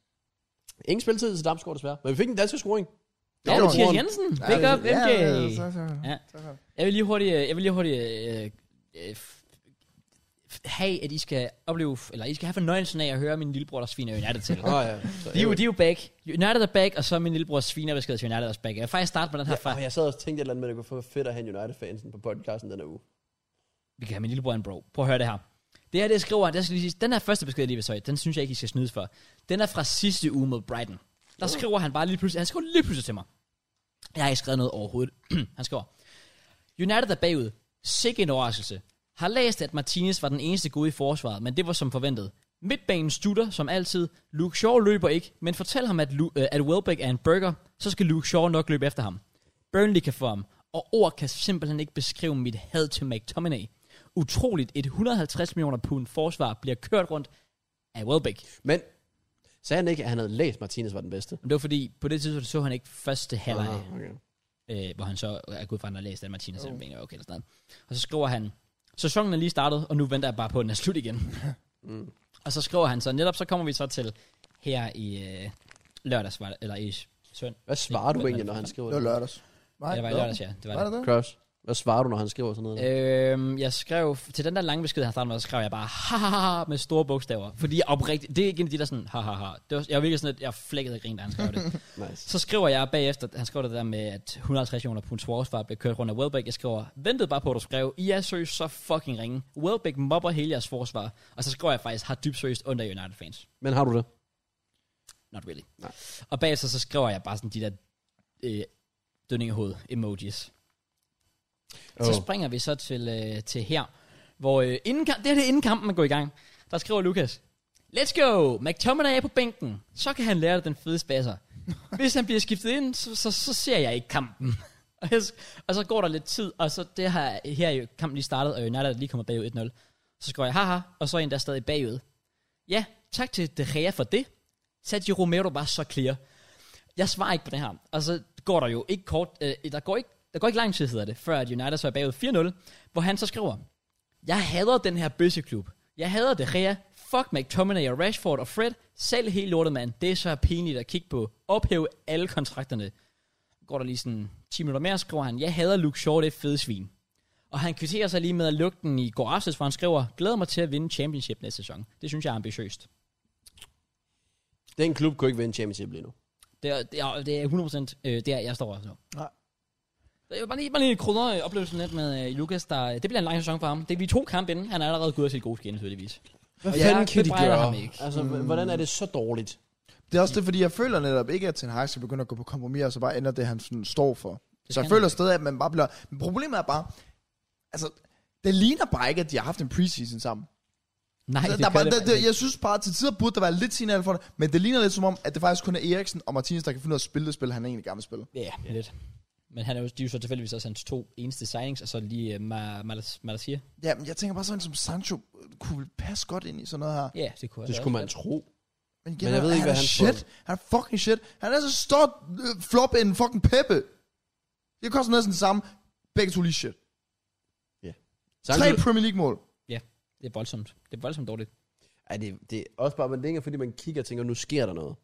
B: ingen spilletid til Damsgaard desværre. Men vi fik en dansk scoring.
A: Ja,
C: Nå,
A: Mathias
B: Morten.
A: Jensen, big up, MJ!
C: altså.
A: Ja. Jeg vil lige hurtigt, øh, jeg vil lige hurtigt øh, øh, f- f- have, at I skal opleve, eller I skal have fornøjelsen af at høre min lillebror, der sviner United til.
B: Åh oh, ja. Så,
A: De er jo, de er jo back. United er back, og så er min lillebror sviner, der skal til United også back. Jeg vil faktisk starte med den her fra.
B: Og jeg sad og tænkte et eller andet med, at det kunne få fedt at have en United-fansen på podcasten den her uge.
A: Vi kan have min lillebror en bro. Prøv at høre det her. Det her, det jeg skriver, der skal lige sige, den her første besked, jeg lige vil sige, den synes jeg ikke, I skal snydes for. Den er fra sidste uge mod Brighton. Der skriver han bare lige pludselig, han skriver lige pludselig til mig. Jeg har ikke skrevet noget overhovedet. han skriver, United er bagud. Sikke en overraskelse. Har læst, at Martinez var den eneste gode i forsvaret, men det var som forventet. Midtbanen stutter, som altid. Luke Shaw løber ikke, men fortæl ham, at, Lu- øh, at Welbeck er en burger, så skal Luke Shaw nok løbe efter ham. Burnley kan få ham, og ord kan simpelthen ikke beskrive mit had til McTominay. Utroligt, et 150 millioner pund forsvar bliver kørt rundt af Welbeck.
B: Men sagde han ikke, at han havde læst, at Martinez var den bedste?
A: Men det var fordi, på det tidspunkt så han ikke første halvleg,
B: Ah, okay.
A: øh, hvor han så er gået fra, at han har læst den Martinez, oh. okay, eller sådan noget. Og så skriver han, sæsonen er lige startet, og nu venter jeg bare på, at den er slut igen.
B: Mm.
A: Og så skriver han så, netop så kommer vi så til her i øh, lørdags, var det- eller i søndag.
B: Hvad svarer du
A: Hvad-
B: egentlig,
A: hvad-
B: når han skriver
C: Det var
B: det?
C: lørdags. Nej,
A: Ja, det var i lørdags, ja. Det var,
C: Var
A: det.
C: det det?
B: Cross. Hvad svarer du, når han skriver sådan noget? der?
A: Øhm, jeg skrev, til den der lange besked, jeg har med, så skrev jeg bare, ha, ha, ha, med store bogstaver. Fordi jeg oprigtigt, det er ikke en af de der sådan, ha, ha, ha. Det var, jeg var virkelig sådan, at jeg flækkede og grin, da han skrev det.
B: Nice.
A: Så skriver jeg bagefter, han skrev det der med, at 150 millioner pund forsvar blev kørt rundt af Welbeck. Jeg skriver, ventede bare på, at du skrev, I er seriøst så fucking ringe. Welbeck mobber hele jeres forsvar. Og så skriver jeg faktisk, har dybt seriøst under United fans.
B: Men har du det?
A: Not really.
B: Nej.
A: Og bagefter så skriver jeg bare sådan de der øh, dønning i hovedet emojis. Oh. Så
B: Åh.
A: springer vi så til, øh, til her, hvor øh, inden, kam- det her det er inden kampen går i gang. Der skriver Lukas, Let's go! McTominay er på bænken. Så kan han lære dig den fede spasser. Hvis han bliver skiftet ind, så, så, så ser jeg ikke kampen. og, jeg, sk- og så går der lidt tid, og så det her, her er jo kampen lige startet, og United er lige kommer bagud 1-0. Så skriver jeg, haha, og så er en, der er stadig bagud. Ja, tak til De Gea for det. Sergio Romero var så clear. Jeg svarer ikke på det her. Og så går der jo ikke kort, øh, der, går ikke, der går ikke lang tid, hedder det, før at United så er bagud 4-0, hvor han så skriver, jeg hader den her bøsseklub. Jeg hader det, Rea. Fuck McTominay og Rashford og Fred. Selv helt lortet, mand. Det er så pinligt at kigge på. Ophæv alle kontrakterne. Går der lige sådan 10 minutter mere, skriver han, jeg hader Luke Shaw, det er fede svin. Og han kvitterer sig lige med at lukke den i går aftes, hvor han skriver, glæder mig til at vinde championship næste sæson. Det synes jeg er ambitiøst.
B: Den klub kunne ikke vinde championship lige nu.
A: Det er, det er, det er 100% øh, der, jeg står også nu.
C: Nej.
A: Det er jo bare lige, bare lige krydder øh, oplevelsen lidt med øh, Lukas, der, det bliver en lang sæson for ham. Det er vi er to kampe inden, han er allerede gået af sit gode skin, tydeligvis.
B: Hvad
A: Og jeg bebrejder ham ikke.
B: Altså, mm. hvordan er det så dårligt?
C: Det er også det, fordi jeg føler netop ikke, at Ten Hag skal begynde at gå på kompromis, og så bare ændre det, han sådan står for.
A: Det
C: Så jeg
A: skal
C: føler
A: han
C: stadig, at man bare bliver... Men problemet er bare... Altså, det ligner bare ikke, at de har haft en preseason sammen.
A: Nej,
C: Altså,
A: det
C: der
A: gør
C: bare,
A: det
C: der,
A: faktisk
C: der,
A: ikke.
C: jeg synes bare, at til tider burde der være lidt signal for det, men det ligner lidt som om, at det faktisk kun er Eriksen og Martinez, der kan finde ud af at spille det spil, han egentlig gerne vil spille.
A: Ja, yeah, lidt. Men han er jo, de er jo så tilfældigvis også hans to eneste signings, og så lige uh, Malasir.
C: Ja, men jeg tænker bare sådan som Sancho øh, kunne vel passe godt ind i sådan noget her.
A: Ja, yeah, det kunne
B: Det skulle man tro.
C: Men,
B: Men jeg ved ikke,
C: han
B: hvad
C: er
B: han
C: shit. Han er fucking shit. Han er så stort øh, flop end fucking Peppe. Det koster næsten det samme. Begge to lige shit. Tre
B: Samtidig,
C: Premier League-mål.
A: Det er voldsomt. Det er voldsomt dårligt.
B: er det, det er også bare, men det er ikke, fordi man kigger og tænker, nu sker der noget.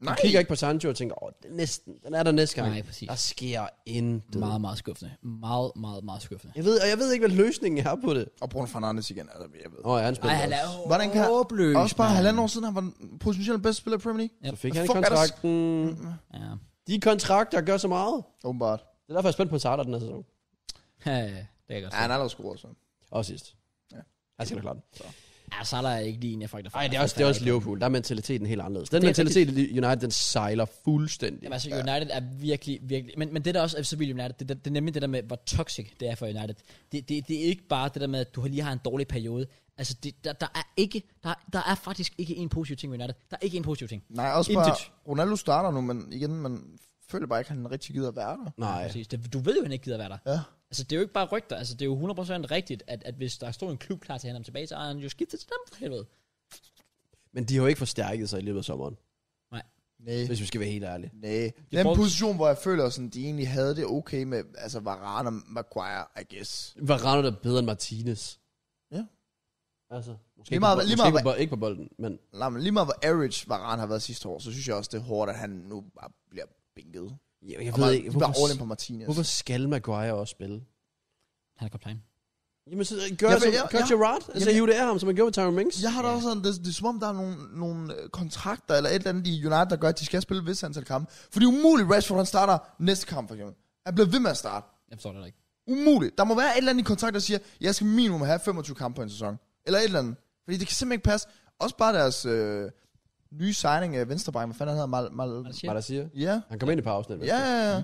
B: Man
C: Nej.
B: kigger ikke på Sancho og tænker, åh, det er næsten, den er der næste gang.
A: Nej, præcis.
B: Der sker intet.
A: Meget, meget skuffende. Meget, meget, meget skuffende.
B: Jeg ved, og jeg ved ikke, hvad løsningen er på det.
C: Og Bruno Fernandes igen, altså, jeg ved.
B: Åh, oh, ja, han
A: Ej,
B: spiller
A: han er
B: også.
C: Hvordan kan-
A: håbløs,
C: Også bare
A: mand.
C: halvandet år siden, han var den potentielt bedste spiller i Premier League.
B: Så fik han
C: Fuck, er der-
B: kontrakten.
A: Ja.
B: De kontrakter gør så meget.
C: Åbenbart.
B: Det er derfor, jeg er spændt på Sartre den her sæson.
A: det kan jeg godt
C: Ja, han er da scoret, så.
B: Og sidst.
C: Ja.
B: Han skal da klare den.
A: Ja, Salah er ikke lige en, jeg frygter for. Altså,
B: Nej, det er også, det er også Liverpool. Der er mentaliteten helt anderledes. Den
A: Det er
B: mentalitet i United, den sejler fuldstændig.
A: Jamen, altså, United er virkelig, virkelig... Men, men det der også er så vildt United, det, det, det, er nemlig det der med, hvor toxic det er for United. Det, det, det er ikke bare det der med, at du lige har en dårlig periode. Altså, det, der, der, er ikke... Der, der er faktisk ikke en positiv ting ved United. Der er ikke en positiv ting.
C: Nej, også
A: Intet.
C: bare, Ronaldo starter nu, men igen, man føler bare ikke, at han rigtig gider at være der.
B: Nej.
A: Præcis. Det, du ved jo, at han ikke gider være der.
C: Ja.
A: Altså, det er jo ikke bare rygter. Altså, det er jo 100% rigtigt, at, at hvis der stod en klub klar til at hente ham tilbage, så har han jo skiftet til dem, for helvede.
B: Men de har jo ikke forstærket sig i løbet af sommeren,
C: Nej.
B: hvis vi skal være helt ærlige.
C: Nej. Den
A: brugte-
C: position, hvor jeg føler, sådan, de egentlig havde det okay med, altså Varane og Maguire, I guess.
B: Varane der bedre end Martinez.
C: Ja.
B: Altså, måske,
C: Lige
B: ikke,
C: meget-
B: på, bo-
C: lige
B: måske
C: meget-
B: ikke, på, bo- ikke på bolden, men
C: Nej, men lige meget hvor average Varane har været sidste år, så synes jeg også, det er hårdt, at han nu bare bliver binket.
B: jeg, jeg
C: Og
B: ved
C: man-
B: ikke,
C: de er bare all in
B: hvorfor,
C: på Martinez.
B: hvorfor skal Maguire også spille?
A: Han er kaptajn.
B: Jamen, så gør,
C: Ja,
B: ja,
C: for
B: som,
C: jeg-
B: gør
C: jeg-
B: Gerrard, altså
C: Jamen,
B: hiv det af ham, som man gjorde med Tyron Mings.
C: Jeg har da
A: Ja.
C: også sådan, det, det er som om, der er nogle, nogle øh, kontrakter eller et eller andet i United, der gør, at de skal spille et vist antal kampe. For det er umuligt, Rashford han starter næste kamp for eksempel. Han bliver ved med at starte.
A: Jeg forstår det heller ikke.
C: Umuligt. Der må være et eller andet i kontrakt, der siger, jeg skal minimum have 25 kampe på en sæson. Eller et eller andet. Fordi det kan simpelthen ikke passe. Også bare deres øh, nye signing af Venstrebank, hvad fanden han hedder, Mal...
A: Hvad
C: Mal
A: der
B: Hvad
A: siger?
B: der siger?
C: ja.
B: Han kom ind i pausen.
C: Ja, ja, ja.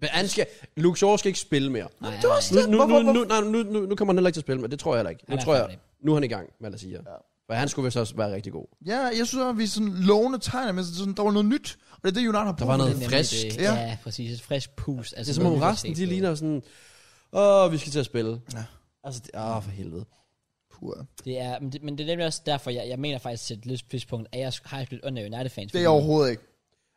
B: Men han skal, Luke Shaw skal ikke spille mere.
A: Nej,
C: Det var også
B: Nu,
C: det.
B: nu,
C: Hvorfor,
B: nu,
C: hvorfor?
B: nu, nej, nu, nu, nu kommer han heller ikke til at spille, men det tror jeg heller ikke. Nu
A: Han er
B: tror jeg,
A: fandme
B: nu er han i gang med at sige.
C: Ja.
B: For han skulle vist også være rigtig god.
C: Ja, jeg synes, at vi sådan lovende tegner, men sådan, der var noget nyt. Og Og det er det, United har brug
B: Der var
C: for.
B: noget
A: Nemlig
B: frisk.
A: Det,
C: Ja.
A: ja. ja, præcis. Et frisk pust. Altså,
B: Det er som om
A: noget, vi kan
B: resten,
A: se
B: de
A: på.
B: ligner sådan, åh, vi skal til at spille.
C: Ja.
B: Altså, det, åh, for helvede.
C: Puh, ja.
A: Det er, men, det, men det er nemlig også derfor, jeg, jeg mener faktisk til et lidt tidspunkt, at jeg har et lidt under United-fans.
C: Det er jeg overhovedet ikke.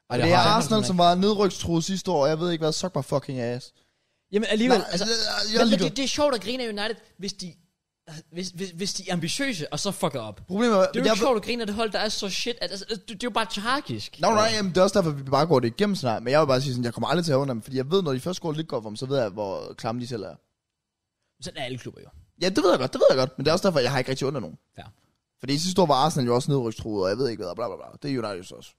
B: Ej,
C: Det er
B: har jeg.
C: Arsenal, som var nedrykstruet sidste år, og jeg ved ikke, hvad suck my fucking ass.
A: Jamen alligevel,
C: Nej,
A: altså,
C: jeg
A: men,
C: er
A: men
C: ligeglad.
A: det, det er sjovt at grine af United, hvis de, hvis, hvis, hvis de er ambitiøse, og så fucker op. Det
C: Problemet er,
A: er jo
C: jeg,
A: ikke sjovt at grine af det hold, der er så shit, at, altså, det, det er jo bare tragisk.
C: Nå, nej, jamen, det er også derfor, at vi bare går det igennem snart. Men jeg vil bare sige sådan, jeg kommer aldrig til at under dem, fordi jeg ved, når de først går lidt godt for dem, så ved jeg, hvor klamme de selv er.
A: Sådan er alle klubber jo.
C: Ja, det ved jeg godt, det ved jeg godt. Men det er også derfor, jeg har ikke rigtig under nogen.
A: Fair.
C: Fordi sidste år var Arsenal jo også nedrykstruet, og jeg ved ikke hvad, og bla bla bla. Det er United jo så også.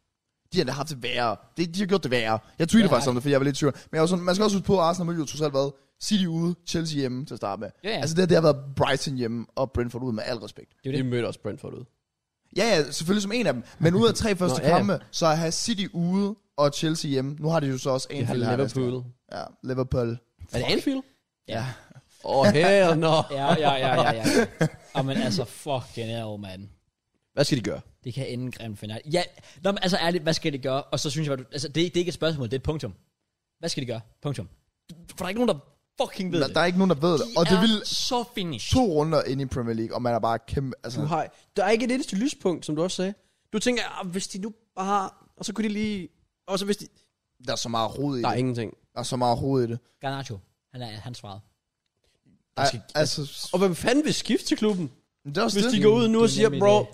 C: De har da haft det værre. De, de har gjort det værre. Jeg tweetede
A: Ja.
C: faktisk om det, fordi jeg var lidt i tvivl. Men jeg var sådan, man skal også huske på, at Arsenal har jo trods alt været City ude, Chelsea hjemme til at starte med.
A: Ja, ja.
C: Altså det, her, det har været Brighton hjemme og Brentford ude med al respekt.
A: Det er jo
B: Vi
A: det.
B: mødte også Brentford ud.
C: Ja, ja, selvfølgelig som en af dem. Men ud af tre første
B: Nå, ja, ja.
C: kampe, så har jeg City ude og Chelsea hjemme. Nu har de jo så også
B: Vi har
C: Anfield her næste
B: Liverpool.
C: gang. Ja, Liverpool.
B: Er det Anfield?
A: Ja.
B: Åh, oh, hell no.
A: Ja, ja, ja, ja, ja. Og men altså, fucking hell, mand.
B: Hvad skal de gøre?
A: Det kan ende grimt for United. Ja, nå, men altså ærligt, hvad skal de gøre? Og så synes jeg, bare, du, altså, det, er- det er ikke et spørgsmål, det er et punktum. Hvad skal de gøre? Punktum. For der er ikke nogen, der fucking ved
C: Der,
A: det.
C: der er ikke nogen, der ved det.
A: De
C: Og det
A: er
C: vil
A: så finished.
C: to runder ind i Premier League, og man er bare kæmpe... Altså,
B: Du har, der er ikke et eneste lyspunkt, som du også sagde. Du tænker, ah, hvis de nu bare... Og så kunne de lige... Og så hvis de...
C: der er så meget rod i
B: Der er
C: det.
B: ingenting.
C: Der er så meget rod i det.
A: Garnacho, han er han svarede.
C: Ej,
B: skal-
C: altså,
B: Og hvem fanden vil skifte til klubben?
C: det er også
B: Hvis
C: det.
B: de går ud nu
A: det
B: og
A: er
B: siger,
A: nemlig
B: bro,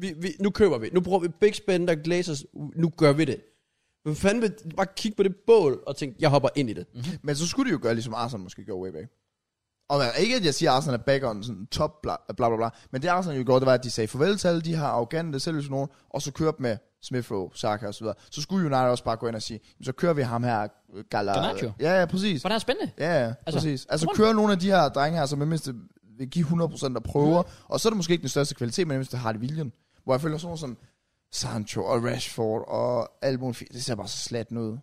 B: vi, vi, nu køber vi. Nu bruger vi Big Spender, Glazers. Nu gør vi det. Hvem fanden vil bare kigge på det bål og tænke, jeg hopper ind i det.
C: Men så skulle de jo gøre, ligesom Arsenal måske gjorde way back. Og man, ikke, at jeg siger, at Arsenal er back on sådan top, bla, bla, bla, bla. Men det Arsenal jo gjorde, det var, at de sagde farvel til alle de her arrogante, selvløse nogen, og så kørte med Smith Rowe, Saka og så videre. Så skulle United også bare gå ind og sige, "Jamen, så kører vi ham her, øh, Gala.
A: Garnacho.
C: Ja, ja, præcis.
A: For det er spændende.
C: Ja, ja,
A: Altså,
C: altså, præcis. Altså
A: come on.
C: kører nogle af de her drenge her, som i det mindste vil give 100% og prøver, og så er det måske ikke den største kvalitet, men i det mindste har det viljen. Hvor jeg føler sådan noget som Sancho og Rashford og alt muligt, fint. det ser bare så slat ud.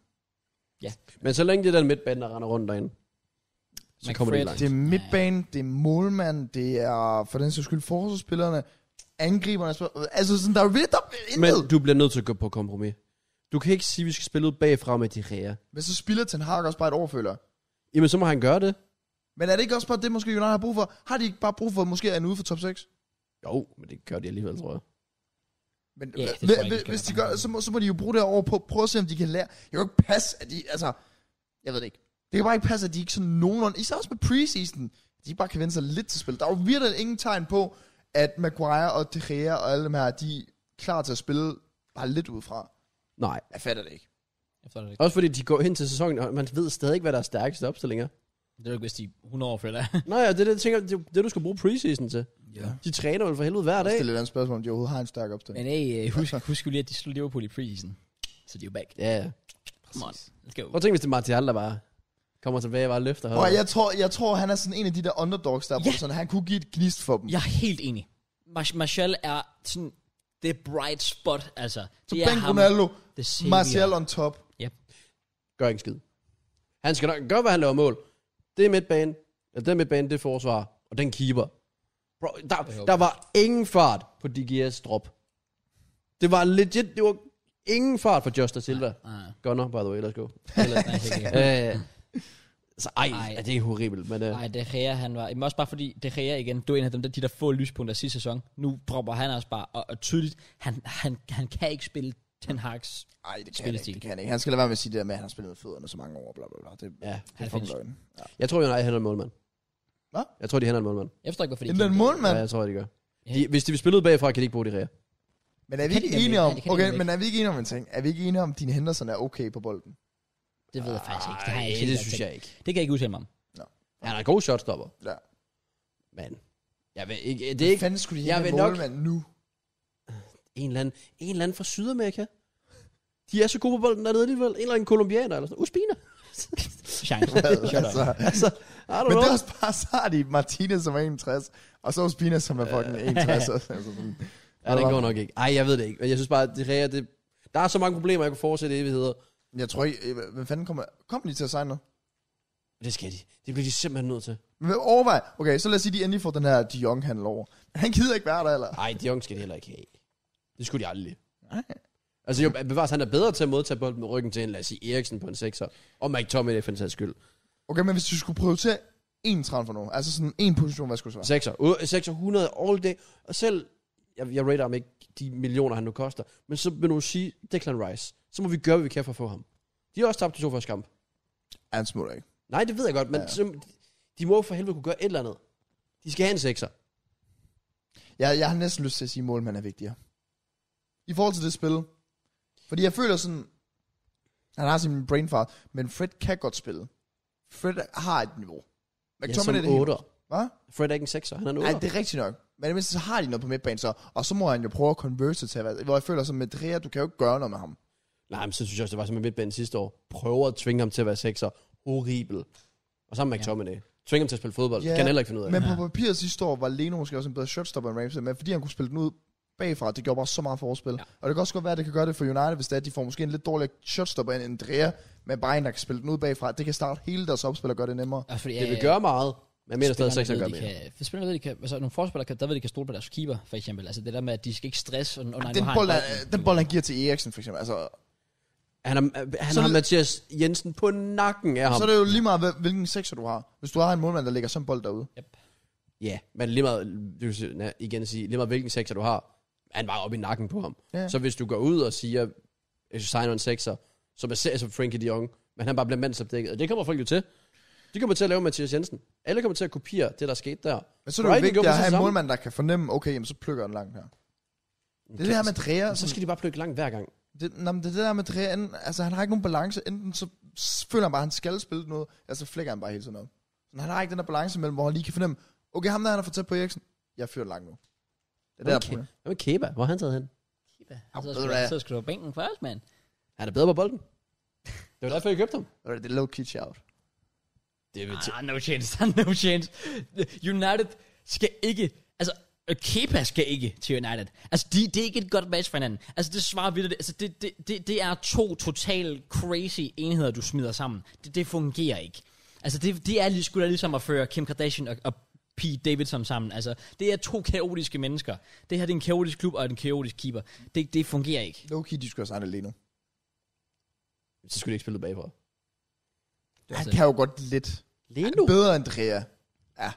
B: Men så længe det der midtbane, der render rundt derinde, så
A: McFred.
B: kommer det langt.
C: Det er midtbane, det er målmand, det er for den sags skyld forsvarsspillerne, angriberne, spiller- altså sådan, der er jo vildt, der er intet.
B: Men
C: Men,
B: du bliver nødt til at gå på kompromis. Du kan ikke sige, at vi skal spille ud bagfra med de ræer.
C: men så spiller Ten Hag også bare et overføler.
B: Jamen, så må han gøre det.
C: Men er det ikke også bare det, måske United har brug for? Har de ikke bare brug for, måske er en ude for top 6?
B: Jo, men det gør de alligevel, tror jeg.
C: Men
A: Ja,
C: ja,
A: det tror
C: hvis,
A: jeg ikke, vi skal
C: hvis de
A: være
C: gør
A: bange
C: det,
A: for.
C: så må, så må de jo bruge det her over på at prøve at se, om de kan lære. Jeg kan jo ikke passe, at de... Altså, jeg ved det ikke. Det kan bare ikke passe, at de ikke sådan nogenlunde... Især også med preseason. De bare kan vende sig lidt til spil. Der er jo virkelig ingen tegn på, at Maguire og De Gea og alle dem her, de er klar til at spille bare lidt udefra.
B: Nej.
C: Jeg fatter det ikke.
A: Jeg forstår det ikke.
B: Også fordi de går hen til sæsonen, og man ved stadig ikke, hvad der er stærkeste opstillinger.
A: Det er jo ikke, hvis de er 100 år før der.
B: Nej, ja, det er det, jeg tænker, det, er det, du skal bruge preseason til.
C: Ja.
B: De træner vel for helvede hver
C: Det
B: dag.
C: er et lidt andet spørgsmål, om de overhovedet har en stærk
A: Men
C: opstilling.
A: hey, øh, husk, husk jo lige, at de slog Liverpool i preseason. Så de er jo back.
B: Ja, ja.
A: Come on, let's go.
B: Prøv at tænke, hvis det er Martial, der bare kommer tilbage og bare løfter
C: Og
B: holdet.
C: jeg tror, jeg tror, han er sådan en af de der underdogs, der, ja. hvor
A: Ja.
C: sådan, han kunne give et gnist for dem.
A: Jeg er helt enig. Mar- Martial er sådan det bright spot, altså.
C: Så
A: det er
C: bænk
A: ham.
C: Ronaldo,
A: The savior.
C: Martial on top.
B: Gør ikke en skid. Han skal nok gøre, hvad han laver mål. Det er midtbane. Eller den midtbane, det er forsvar. Og den keeper. Bro, der,
A: håber
B: der var ingen fart på DGS drop. Det var legit, det var ingen fart for Josta Silva.
A: Ah,
B: Gunner, by the way, let's go.
A: nej, det er ikke.
B: Øh, så ej,
A: Ej.
B: ej. det er horribelt, men øh,
A: Nej, De Gea, han var... Men også bare fordi, De Gea igen, du er en af dem, der, de der få lyspunkter sidste sæson. Nu dropper han også bare, og, og tydeligt, han, han, han kan ikke spille Ten Hag's
C: Nej, det kan, han ikke,
A: Spillestil.
C: det kan han ikke. Han skal lade være med at sige det der med, at han har spillet med fødderne så mange år, bla bla bla. Det, det
B: ja.
C: er
A: Han
C: fucking
A: findes.
C: løgn.
B: Jeg tror, United henter en målmand.
C: Hvad?
B: Jeg tror, de henter en målmand.
A: Jeg forstår ikke, hvorfor de
C: En den
A: kan-
B: Ja,
C: målmand.
B: jeg tror, de gør.
A: Ja.
B: De, hvis de vil spille ud bagfra, kan de ikke bruge de ræer.
C: Men er vi
A: Kan de
C: ikke
A: nemlig
C: enige
A: ikke.
C: om,
A: Nej, det kan de
C: okay,
A: nemlig
C: men er vi ikke enige om en ting? Er vi ikke enige om, at dine Henderson er okay på bolden?
A: Det ved jeg faktisk ikke. Det, har jeg
B: Ej,
A: ikke
B: det
A: set,
B: synes
A: altså.
B: jeg ikke.
A: Det kan jeg ikke udtale mig om.
B: Han er en god shotstopper,
C: Ja.
B: men jeg ved ikke, det
C: Det
B: er
C: ikke,
B: ikke
C: fanden skulle de
B: jeg
C: have en
B: vil nok-
C: målmand nu?
B: en eller, anden, en eller anden fra Sydamerika. De er så gode på bolden dernede alligevel. En eller anden kolumbianer eller sådan Uspina.
A: Chance. Shut up.
C: altså,
B: altså, I don't
C: men det
B: know.
C: er også bare, så har de Martinez, som er 61, og så Spina, som er fucking 61. altså, sådan.
B: Ja, den går nok ikke. Ej, jeg ved det ikke. Men jeg synes bare, at de ræer, det... Der er så mange problemer, jeg kunne fortsætte i evigheder.
C: Jeg tror ikke, øh, hvem fanden kommer, kommer de til at signe noget?
B: Det skal de. Det bliver de simpelthen nødt til.
C: Men overvej, okay, så lad os sige, de endelig får den her De Jong-handel over. Han gider ikke være der, eller?
B: Nej, de unge skal de heller ikke have. Det skulle de aldrig.
C: Nej.
B: Altså jo, bevares, han er bedre til at modtage bolden med ryggen til en, lad os sige, Eriksen på en 6'er, og McTominay for en sags skyld.
A: Ah.
C: Okay, men hvis du skulle prioritere en transfer nu, altså sådan en position, hvad
A: Altså,
C: skulle du så?
B: 6'er, U- 6'er, 100 all day, og selv, jeg, jeg rater ham ikke de millioner, han nu koster, men så vil du sige, Declan Rice, så må vi gøre, hvad vi kan for at få ham. De har også tabt de to første kamp.
C: Ja, Han smutter ikke.
B: Nej, det ved jeg godt, men
C: Ja.
B: ja. så, de må for helvede kunne gøre et eller andet. De skal have en 6'er.
C: Jeg, jeg har næsten lyst til at sige, at målmand er vigtigere. I forhold til det spil. Fordi jeg føler sådan, han har sin brain fart, men Fred kan godt spille. Fred har et niveau. McTominay er det
B: ja,
C: helt-
B: som 8'er.
C: Hvad?
B: Fred er ikke en 6'er, han er en 8'er.
C: Nej, det er rigtigt nok. Men det mindste, så har de noget på midtbanen så, og så må han jo prøve at converse til, hvad- hvor jeg føler som med Drea, du kan jo ikke gøre noget med ham.
B: Nej, men så synes jeg også, det var som med midtbanen sidste år. Prøver at tvinge ham til at være sekser. Horribel. Og sammen med McTominay. Tvinge ham til at spille fodbold.
C: Ja,
B: Ja, kan han heller ikke finde ud af.
C: Men
B: Men,
C: på papiret sidste år var Leno måske også en bedre shotstopper end Ramsey, men fordi han kunne spille den ud bagfra, det gjorde bare så meget forspil. Ja. Og det kan også godt være, at det kan gøre det for United, hvis det er, at de får måske en lidt dårligere shotstopper end Andrea, men bare en, der kan spille den ud bagfra. Det kan starte hele deres opspil og gøre det nemmere.
A: Også fordi, øh,
B: det vil gøre meget. Men jeg mener stadig, at sekser gør
A: mere.
B: mere.
A: Kan, for spillerne ved, de kan, altså nogle forspillere, kan, der ved, de kan stole på deres keeper, for eksempel. Altså det der med, at de skal ikke stresse, og, oh, nej,
C: Den
A: nu har
C: bold,
A: han
C: er,
A: bolden.
C: den bold, han giver til Eriksen, for eksempel. Altså,
B: Han, er, han
C: Så-
B: har Mathias Jensen på nakken af ham.
C: så er det jo lige meget, hvil- hvilken sekser du har. Hvis du har en målmand, der lægger sådan en bold derude.
A: Yep.
B: Ja, men lige meget, du kan sige- nej, igen sige, lige meget hvilken sekser du har, han var oppe i nakken på ham.
C: Ja.
B: Ja. Så hvis du går ud og siger, at du signer en sekser, som er seriøst som Frankie de Jong, men han bare bliver mandsopdækket, og det kommer folk jo til. De kommer til at lave Mathias Jensen. Alle kommer til at kopiere det, der skete der.
C: Men så er det jo
B: Brighton
C: vigtigt
B: gjorde
C: at
B: præcis
C: have
B: det
C: en
B: samme.
C: målmand, der kan fornemme, okay, jamen, så plukker den langt her. Det er det her med Drea.
B: Og så skal de bare plukke langt hver gang.
C: Det, nå, men det er det der med Drea, enten, altså han har ikke nogen balance, enten så s- føler han bare, at han skal spille noget, eller så flækker han bare hele tiden op. Så han har ikke den der balance mellem, hvor han lige kan fornemme, okay, ham der han er for tæt på Eriksen, jeg fyrer langt nu. Det er
B: Okay.
C: okay. der,
B: Hvad med Keba? Hvor er han taget hen?
A: Så
C: ved
A: skal
C: du
A: du-
C: hvad?
A: Så skal du på bænken først, mand.
B: Han er bedre på bolden. Det var derfor, jeg købte ham.
C: der, det er low key out.
B: Det er
A: Ah, no chance, der er no chance. United skal ikke, altså Kepa skal ikke til United. Altså, de, det er ikke et godt match for hinanden. Altså, det svarer vi det. Altså, det, det, det, det er to total crazy enheder, du smider sammen. Det, det fungerer ikke. Altså, det, det er lige, sgu da ligesom at føre Kim Kardashian og, og Pete Davidson sammen. Altså, det er to kaotiske mennesker. Det her det er en kaotisk klub og en kaotisk keeper. Det, det fungerer ikke.
C: Low key, de skulle have signet Leno.
B: Så skulle de ikke spille ud bagfra.
C: Han kan jo godt lidt.
B: Leno?
C: Bedre end Drea. Ja.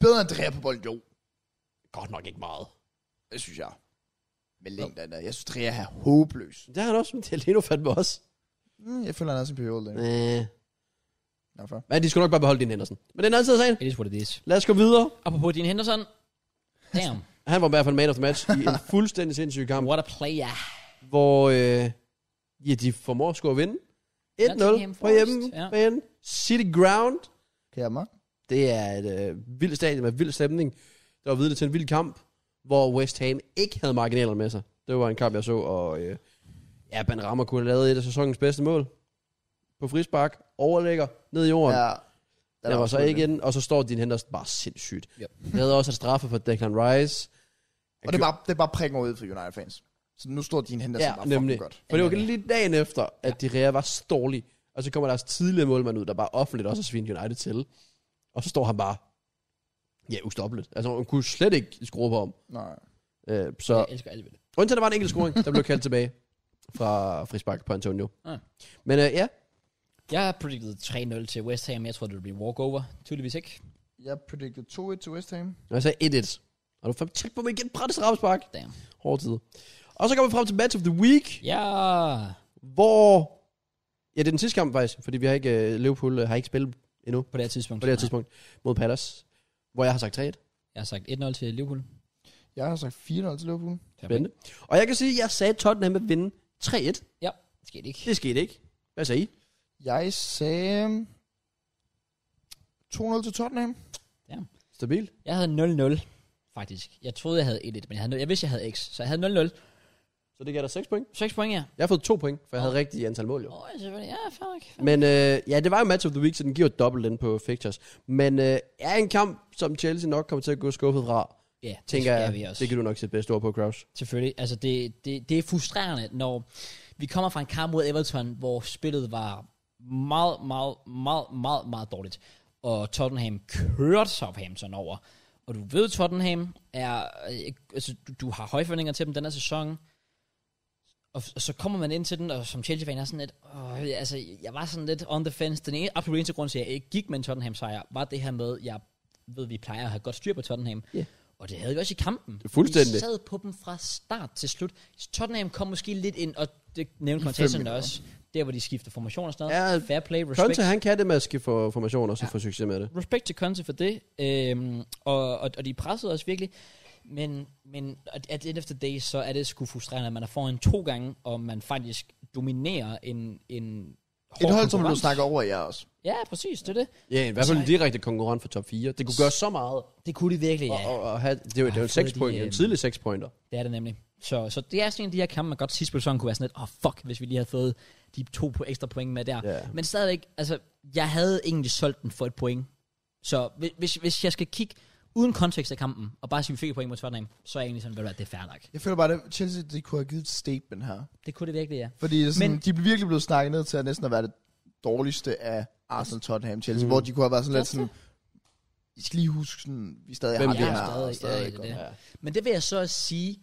C: Bedre end Drea på bolden, jo.
B: Godt nok ikke meget.
C: Det synes jeg. Men længden der. Jeg synes, Drea er håbløs.
B: Det er han også, men det er Leno fandme også.
C: Mm, jeg føler, han er sin periode længere.
B: Øh.
C: Nå, for.
B: Men de skulle nok bare beholde din Henderson. Men den anden side af sagen.
A: It is what it is.
B: Lad os gå videre.
A: Apropos din Henderson. Damn.
B: Han var i hvert fald man of the match i en fuldstændig sindssyg kamp,
A: What a player.
B: hvor øh, ja, de formår at score og vinde. 1-0
A: Nottingham
B: på
A: Forest,
B: hjemmebane. City Ground.
C: Kan jeg mig?
B: Det er et øh, vildt stadion med vild stemning. Der var vidne til en vild kamp, hvor West Ham ikke havde marginalerne med sig. Det var en kamp, jeg så, og øh, ja, Ben Rammer kunne have lavet et af sæsonens bedste mål. På frispark, overlægger, ned i jorden. Ja,
C: Den
B: der var så
C: afslutning.
B: ikke inden, og så står din Henderson bare sindssygt.
A: Ja.
B: Ja. Jeg havde også et straffe for Declan Rice.
C: Og det er bare, det er bare prikken ud for United fans. Så nu står din Henderson ja, bare fucking godt.
B: For det var lige dagen efter, at de Rea var stårlig. Og så kommer deres tidligere målmand ud, der bare offentligt også har svinet United til. Og så står han bare, ja, ustoppeligt. Altså, hun kunne slet ikke skrue på ham.
C: Nej.
B: Øh,
A: Jeg
B: så
A: elsker alle ved det.
B: undtagen der var en enkelt scoring, der blev kaldt tilbage fra frispark på Antonio.
A: Ah.
B: Men øh, ja,
A: Jeg har predicted 3-0 til West Ham. Jeg tror, det vil blive walkover. Tydeligvis ikke.
C: Jeg predicted 2-1 til West Ham.
B: når jeg sagde 1-1, og du fandme tæt på mig igen, Brattes Rapspark.
A: Damn.
B: Hårde tider. Og så kommer vi frem til match of the week,
A: Ja.
B: hvor... Ja, det er den sidste kamp faktisk, fordi vi har ikke, øh, Liverpool øh, har ikke spillet endnu
A: På det her tidspunkt.
B: på det her tidspunkt mod Palace, hvor jeg har sagt 3
A: Jeg har sagt 1-0 til Liverpool.
C: Jeg har sagt 4-0 til Liverpool.
B: Spændende. Og jeg kan sige, at jeg sagde, at Tottenham vil vinde 3-1.
A: Ja, det skete ikke.
B: Det skete ikke. Hvad sagde I?
C: Jeg sagde 2-0 til Tottenham.
B: Stabil.
A: Jeg havde 0-0, faktisk. Jeg troede, jeg havde 1-1, men jeg, havde, jeg vidste, jeg havde X. Så jeg havde 0-0.
B: Så det gav dig 6 point.
A: 6 point, ja.
B: Jeg har fået 2 point, for jeg havde rigtigt antal mål jo.
A: Åh, oh, selvfølgelig. Ja, fair nok. Fair nok.
B: Men øh, ja, det var jo match of the week, så den giver dobbelt den på fixtures. Men øh, er en kamp, som Chelsea nok kommer til at gå skuffet fra,
A: Ja, det
B: tænker
A: skal vi
B: jeg,
A: også.
B: det kan du nok sætte bedste ord på, Kraus.
A: Selvfølgelig. Altså, det, det, det er frustrerende, når vi kommer fra en kamp mod Everton, hvor spillet var meget, meget, meget, meget, meget dårligt. Og Tottenham kørte Southampton over. Og du ved, Tottenham er... øh, Altså, du, du har høje forventninger til dem den her sæson. Og, f- og så kommer man ind til den, og som Chelsea-fan er sådan lidt, åh, altså, jeg var sådan lidt on the fence. Den ene, absolut eneste grund til, at jeg ikke gik med en Tottenham-sejr, var det her med, jeg ved, vi plejer at have godt styr på Tottenham.
B: Ja.
A: Og det havde vi også i kampen.
B: Fuldstændig.
A: Vi sad på dem fra start til slut. Tottenham kom måske lidt ind, og det nævnte
C: fem
A: kommentatoren
C: minutter.
A: også, der hvor de skifter formation og sådan noget.
B: Ja,
A: Fair play, respect.
B: Conte, han kan det med at skifte for- formationer, så ja. får succes med det.
A: respekt til Conte for det, øhm, og, og, og de pressede os virkelig, men, men at at the end of the day, så er det sgu frustrerende, at man er foran to gange, og man faktisk dominerer en, en hård
C: Et hold, som er blevet
A: konkurrence.
C: snakket over i jer også.
A: Ja, præcis, det er det.
B: Ja, i hvert fald en direkte konkurrent for top 4. Det kunne gøre så meget.
A: Det kunne de virkelig,
B: Og,
A: ja.
B: og, og have, det er jo- det er jo en
A: Og have
B: 6
A: fået
B: point,
A: de,
B: det er
A: øhm,
B: en tidlig 6 pointer.
A: Det er det nemlig. Så, så det er sådan en af de her kampe, man godt sidst på sæsonen kunne være sådan lidt, åh oh, fuck, hvis vi lige havde fået de to på ekstra point med der.
B: Ja.
A: Men stadigvæk, altså, jeg havde egentlig solgt den for et point. Så hvis- hvis, hvis jeg skal kigge uden kontekst af kampen, og bare sige, at vi fik et point mod Tottenham, så er jeg egentlig sådan, ved du hvad, det er fair nok.
C: Jeg føler bare, at Chelsea de kunne have givet et statement her.
A: Det kunne det virkelig, ja.
C: Fordi det er sådan,
A: Men-
C: Men, de blev virkelig blevet snakket ned til at næsten at være det dårligste af Arsenal, Tottenham, Chelsea, mm. hvor de kunne have været sådan lidt sådan, I skal lige huske sådan, vi stadig
B: Hvem
C: har
B: vi
C: det
B: er.
C: her.
A: Stadig,
C: og stadig
A: ja,
C: godt."
A: det er
B: Ja.
A: Men det vil jeg så også sige,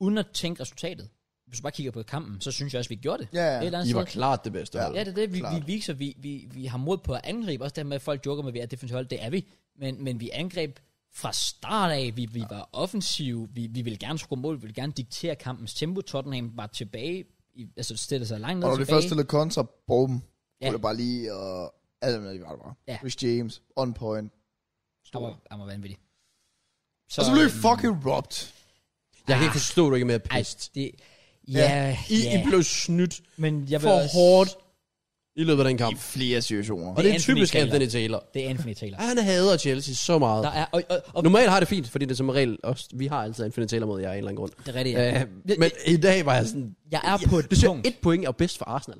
A: uden at tænke resultatet. Hvis du bare kigger på kampen, så synes jeg også, vi gjorde det.
C: Ja, ja.
A: Et eller andet
B: I var
A: sted.
B: klart det bedste.
C: Ja.
B: hold.
A: Ja, det er det. Vi, vi
C: Klart.
A: viser, vi, vi, vi har mod på at angribe. Også det med, at folk joker med, at vi er et defensivt hold. Det er vi. Men, men vi angreb fra start af. Vi, vi var offensive. Vi, vi ville gerne score mål. Vi ville gerne diktere kampens tempo. Tottenham var tilbage. I, altså stillede sig langt ned
C: Og når de
A: tilbage.
C: først stillede kontra, bum,
A: Ja.
C: ja. det bare lige, øh, og alle med, de var der bare.
A: Ja.
C: Ja. Rich James, on
A: Han
C: point. Stor.
A: var, han var vanvittig.
C: Og så blev vi
A: øhm,
C: fucking robbed.
B: Jeg kan ikke forstå, at du ikke er mere
A: Ej,
B: pist.
A: det, ja,
B: I,
A: ja.
B: I blev snydt
A: men jeg vil
B: for
A: også-
B: hårdt i løbet af den kamp.
C: flere situationer.
B: Og det er
A: Anthony
B: typisk
A: Taylor.
B: Anthony Taylor.
A: Det er Anthony Taylor.
B: Ja, Han hader Chelsea så meget.
A: Der er, og, og, og,
B: Normalt har det fint, fordi det er som regel også, vi har altid Anthony Taylor mod jer af en eller anden grund.
A: det er rigtigt, ja.
B: Ja. men i dag var jeg sådan,
A: Jeg er på et
B: det synes Øh, jeg,
A: punkt.
B: et point er jo bedst for Arsenal,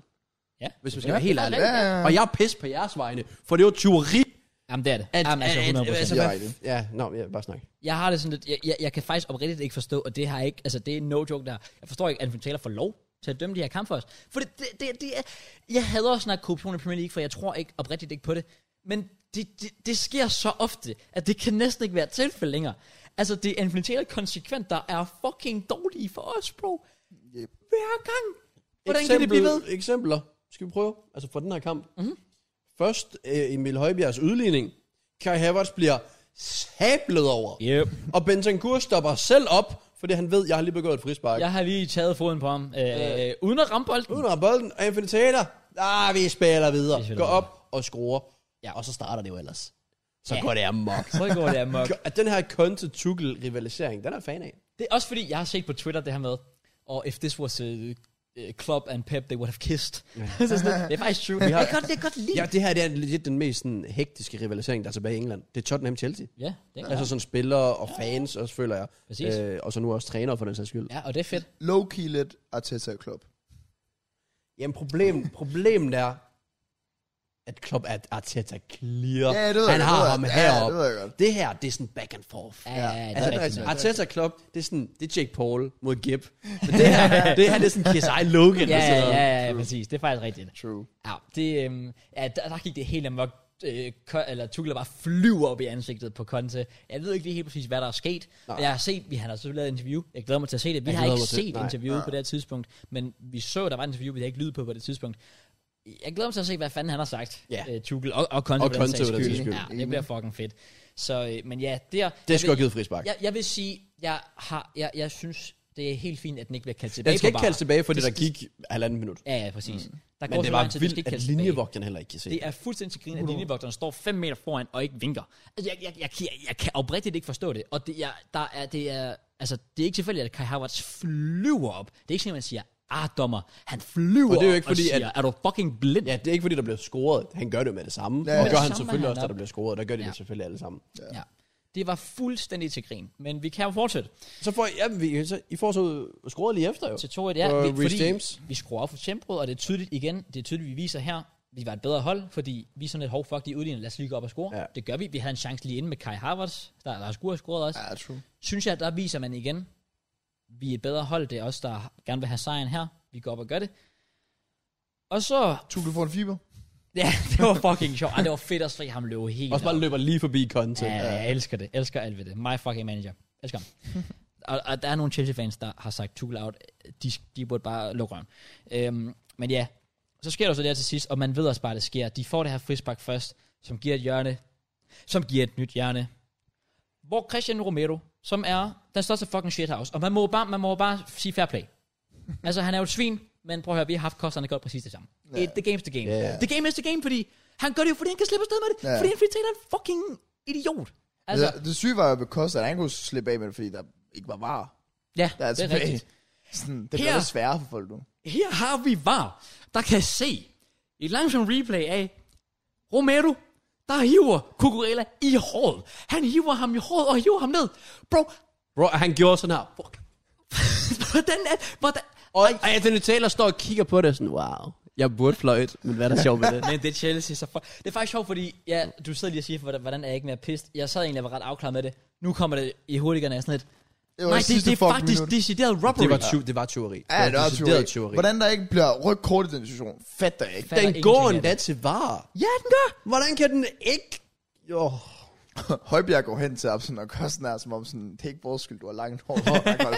A: Ja.
B: hvis man skal
A: Ja,
B: være helt
A: det er
B: ærlig.
A: rigtigt,
C: ja.
B: Og jeg er pis på jeres vegne, for det var tyveri.
A: Jamen, det er det. Jamen, altså 100
B: altså,
C: Ja,
B: hvad,
C: det er det.
B: ja, nå, ja, bare snak.
A: Jeg har det sådan lidt, jeg, jeg, jeg kan faktisk oprigtigt ikke forstå, og det har jeg ikke, altså det er no joke der. Jeg forstår ikke, at Anthony Taylor får lov til at dømme de her kampe for os. For det, det, det, det er, jeg hader at snakke korruption i Premier League, for jeg tror ikke oprigtigt ikke på det. Men det, det, det sker så ofte, at det kan næsten ikke være et tilfælde længere. Altså, det er Anthony Taylor konsekvent, der er fucking dårlige for os, bro.
C: Yep.
A: Hver gang. Hvordan kan det blive ved? Mhm.
B: Eksempler. Skal vi prøve? Altså fra den her kamp. Mm-hmm. Først øh, Emil Højbjergs udligning. Kai Havertz bliver sablet over.
A: Yep.
B: Og Bentancur stopper selv op, fordi han ved, jeg har lige begået et frispark.
A: Jeg har lige taget foden på ham, øh, øh, uden at ramme bolden.
B: Uden at have bolden, og Anthony Taylor, ah, vi spiller videre.
A: Vi spiller
B: Går
A: videre.
B: op og skruer.
A: Ja.
B: Ja. Og så starter det jo ellers.
A: Ja.
B: Så ja. går det amok.
A: Så går det amok.
B: At den her Conte-Tuchel-rivalisering, den er jeg fan af.
A: Det er også fordi, jeg har set på Twitter det her med, og if this was a, a club and Pep, they would have kissed. Yeah. så sådan, lidt, det er faktisk true.
B: har-
A: Jeg kan godt, jeg kan godt lide.
B: Ja, det her det er lidt den mest sådan, hektiske rivalisering, der er tilbage i England. Det er Tottenham-Chelsea.
A: Ja, det er
B: Altså
A: klart.
B: sådan spillere og fans også, føler jeg.
A: Præcis.
B: Øh, og så nu også trænere for den sags skyld. Ja.
A: Ja, og det er fedt.
C: Low-key lidt Arteta Club.
B: Jamen problem, problemet er, at Klopp er at Arteta clear.
C: Ja, det ved
B: Han
C: jeg,
B: har
C: det ved
B: ham
C: jeg. Ja,
B: heroppe.
C: det ved jeg godt.
B: det her, det er sådan back and forth.
A: Ja, ja, ja, det er
B: Altså,
A: rigtigt.
B: altså,
A: nok.
B: Arteta Klopp, det er sådan, det er Jake Paul mod Gibb. Men det her, det her, det er sådan Kiss Eye Logan. altså.
A: Ja,
B: og
A: ja,
B: sådan noget.
A: ja, ja, præcis. Det er faktisk rigtigt.
C: True.
A: Ja, det, øhm, ja der, der gik det helt amok. Øh, Ko- eller Tuchel bare flyver op i ansigtet på Conte. Jeg ved ikke lige helt præcis, hvad der er sket.
B: Nej.
A: Jeg har set, vi han har selvfølgelig lavet et interview. Jeg glæder mig til at se det. Vi
B: Jeg
A: har
B: glæder
A: ikke
B: mig til-
A: set
B: nej.
A: interviewet på det her tidspunkt, men vi så, der var et interview, vi havde ikke lyd på på det tidspunkt. Jeg glæder mig til at se, hvad fanden han har sagt,
B: Ja.
A: øh, Tuchel og, og Conte.
B: Og
A: på den
B: Conte
A: sags
B: på den sags
A: skyld.
B: skyld.
A: Ja, det bliver fucking fedt. Så, øh, men ja, der...
B: Det skulle have givet frispark.
A: jeg, jeg vil sige, jeg, har, jeg, jeg synes, det er helt fint, at den ikke bliver kaldt tilbage
B: Den skal
A: på
B: ikke kaldes
A: VAR.
B: tilbage, fordi der gik halvanden minut.
A: Ja, ja, præcis. Mm. Der
B: Men
A: så
B: det
A: lang tid,
B: var
A: den skal ikke
B: vildt, at Uh-huh.
A: kaldes tilbage.
B: linjevogteren heller ikke kan se.
A: Det er fuldstændig til grin, at linjevogteren står 5 meter foran og ikke vinker. Altså, jeg, jeg, jeg, jeg, jeg kan oprigtigt ikke forstå det. Og det, jeg, der er, det er, altså, det er ikke tilfældigt, at Kai Havertz flyver op. Det er ikke sådan, at man siger, ah, dommer, han flyver
B: Og det er jo
A: op
B: ikke fordi,
A: og siger, er du fucking blind?
B: Ja, det er ikke fordi, der bliver scoret. Han gør det med det samme.
C: Ja.
B: Ja, og
C: Med
B: gør
A: det
B: han
A: samme
B: selvfølgelig
A: er
B: også,
A: han
B: da der bliver scoret. Der gør de
A: Ja.
B: det selvfølgelig alle sammen.
A: ja. Det var fuldstændig til grin. Men vi kan jo fortsætte
B: Så får ja, vi, så, I får så scoret lige efter jo.
A: til 2 1 ja,
B: Og
A: vi,
B: Reece James.
A: vi skruer op for tempoet, og det er tydeligt igen, det er tydeligt, vi viser her, vi var et bedre hold, fordi vi er sådan et hårdt fuck, de udligner, lad os lige gå op og score.
B: Ja.
A: Det gør vi. Vi havde en chance lige inden med Kai Havertz, der, der skulle have scoret også.
C: Ja, true.
A: synes jeg, der viser man igen, vi er et bedre hold, det er os, der gerne vil have sejren her. Vi går op og gør det. Og så,
C: Tuchel får en fiber.
A: ja, det var fucking sjovt. Ej, det var fedt at se ham løbe helt
B: Også bare
A: op.
B: løber lige forbi Conte.
A: ja,
B: Ja.
A: jeg elsker det. Elsker alt ved det. My fucking manager. Elsker ham. og, og der er nogle Chelsea-fans, der har sagt Tuchel out. De, de burde bare lukke røven. Øhm, men ja, så sker der så der til sidst, og man ved også bare, at det sker. De får det her frispark først, som giver et hjørne, som giver et nyt hjørne. Hvor Christian Romero, som er den største fucking shithouse, og man må bare, man må bare sige fair play. altså, han er jo et svin, men prøv at høre, vi har haft kosterne godt præcis det samme. Yeah. The game's the game.
B: Ja.
A: Yeah. The game is the game, fordi han gør det jo, fordi han kan slippe afsted med det.
C: Ja.
A: Yeah. Fordi han fritaler en fucking idiot. Altså,
C: Altså, det, det syge var jo ved Costa, at han kunne slippe af med det, fordi der ikke var var.
A: ja,
C: Der er
A: det er
C: tilbage.
A: rigtigt.
C: Sådan, det
A: Her-
C: bliver lidt sværere for folk nu.
A: Her har vi var, der kan se et langsomt replay af Romero, der hiver Kukurela i håret. Han hiver ham i håret og hiver ham ned. Bro,
B: Bro, han gjorde sådan her. Fuck.
A: hvordan er... Hvordan?
B: Og, og Anthony Taylor står og kigger på det sådan, wow, jeg burde fløjt, men hvad er der sjovt med det?
A: Men det er Chelsea, så for... Det er faktisk sjovt, fordi ja, du sidder lige og siger, hvordan, hvordan er jeg ikke mere pissed. Jeg sad egentlig og var ret afklaret med det. Nu kommer det i hurtigerne af sådan lidt.
C: Det
A: Nej, det, det, er faktisk
C: minut.
A: decideret robbery.
B: Det var, ty- det var tyveri.
C: Ja, det var
B: decideret
C: tyveri. Hvordan der ikke bliver rødt kort i den situation, fatter jeg ikke.
A: Fatter
B: Den
A: ingenting
B: går
A: af
B: endda
A: det.
B: til var.
A: Ja, den gør.
B: Hvordan kan den ikke... Jo.
C: Højbjerg går hen til Absen og gør sådan her, som om sådan, det er ikke vores skyld, du har langt hår.